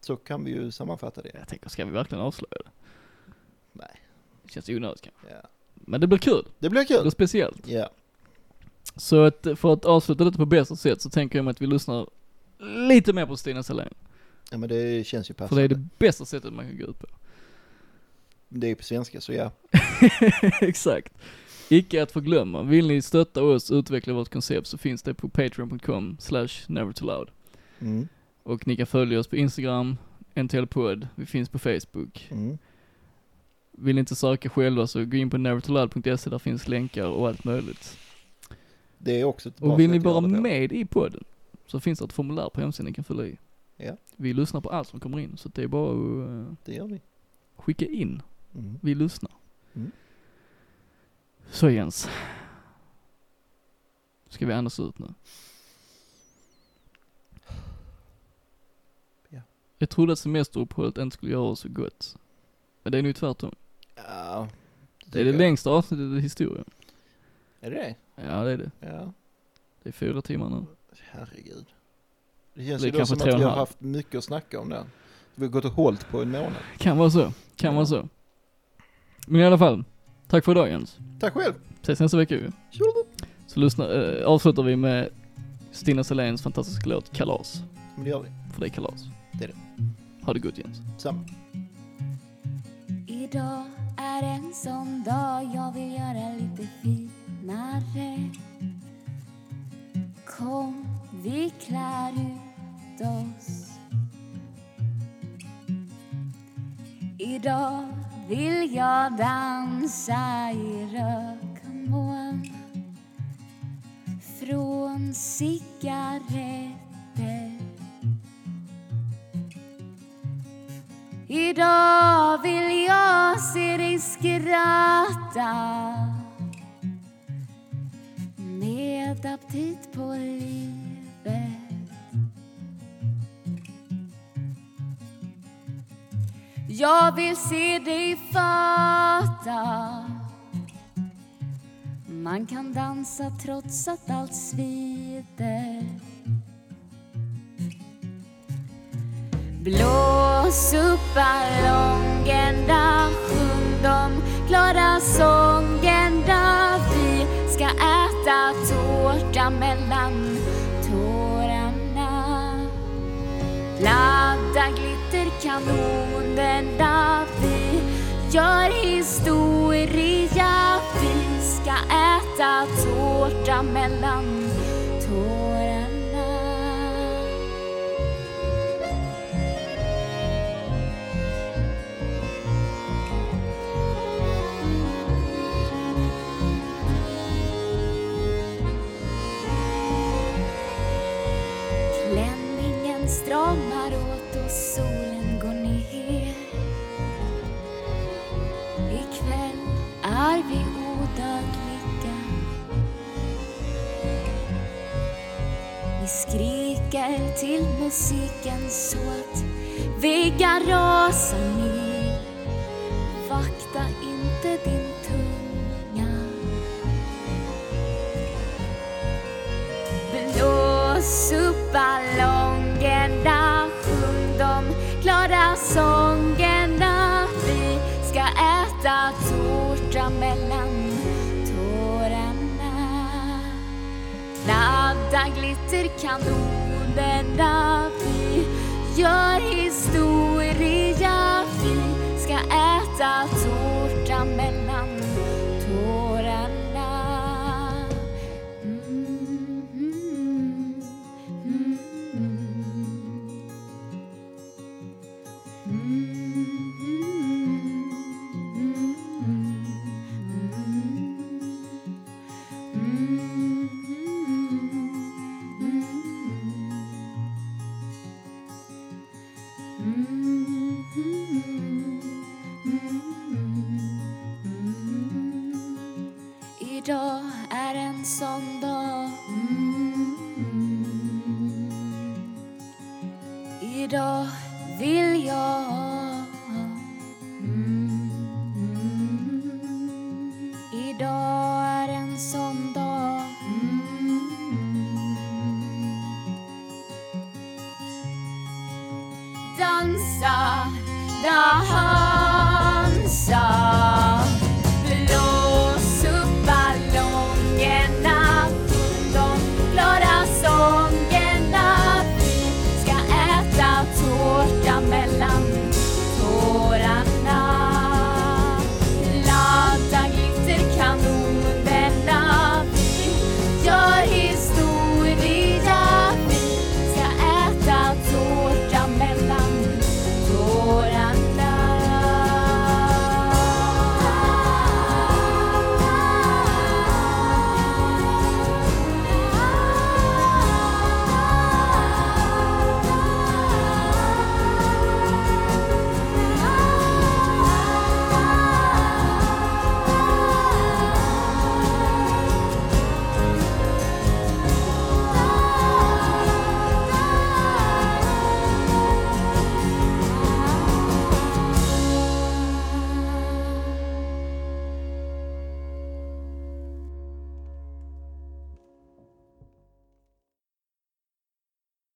Så kan vi ju sammanfatta det. Jag tänker, ska vi verkligen avslöja det? Nej. Det känns onödigt kanske. Ja. Men det blir kul. Det blir Det blir kul. speciellt. Ja. Så att, eh, för att avsluta detta på bästa sätt så tänker jag mig att vi lyssnar lite mer på Stina Selén. ja, men det känns ju För det passande. är Det är, det bästa sättet man kan gå ut på. på svenska, så ja. Exakt. Icke att förglömma, vill ni stötta oss utveckla vårt koncept så finns det på patreon.com slash nevertoloud. Mm. Och ni kan följa oss på Instagram, ntlpodd, vi finns på Facebook. Mm. Vill ni inte söka själva så gå in på nevertoloud.se, där finns länkar och allt möjligt. Det är också ett bra Och vill sätt ni att göra vara det på. med i podden så finns det ett formulär på hemsidan ni kan fylla i. Ja. Vi lyssnar på allt som kommer in, så det är bara att eh, Det gör vi. skicka in. Mm. Vi lyssnar. Mm. Så Jens. Ska vi andas ut nu? Ja. Jag trodde att semesteruppehållet inte skulle göra oss så gott. Men det är nu tvärtom. Ja. Det är det tycker jag. längsta avsnittet i historien. Är det det? Ja det är det. Ja. Det är fyra timmar nu. Herregud. Det känns Det ju är då kanske tre som och att en vi har halv. haft mycket att snacka om den. Vi har gått och hållit på en månad. Kan vara så. Kan Ja. vara så. Men i alla fall. Tack för idag Jens. Tack själv! Ses nästa vecka ju. Så lyssna, eh, avslutar vi med Stina Saléns fantastiska låt Kalas. Men det gör vi. För det är kalas. Det är det. Ha det gott Jens. Samma. Idag är en sån dag jag vill göra lite finare Kom, vi klär ut oss Idag vill jag dansa i rökmoln från cigaretter Idag vill jag se dig skratta med aptit på livet Jag vill se dig fatta man kan dansa trots att allt svider Blås upp ballongen där, sjung de glada sången där vi ska äta tårta mellan tårarna. Ladda glitterkanonen där vi gör historia. Vi ska äta tårta mellan tårarna. Klänningen stramar åt och solen går ner Ikväll skriker till musiken så att väggar rasar ner. Vakta inte din tunga Blås upp ballongerna, sjung de glada sångerna. Vi ska äta tårta mellan tårarna. Ladda glitterkanonerna, vi gör historia. Vi ska äta tårta mellan tårarna. Idag är en sån dag mm. Idag vill jag mm. Idag är en sån dag mm. Dansa, dansa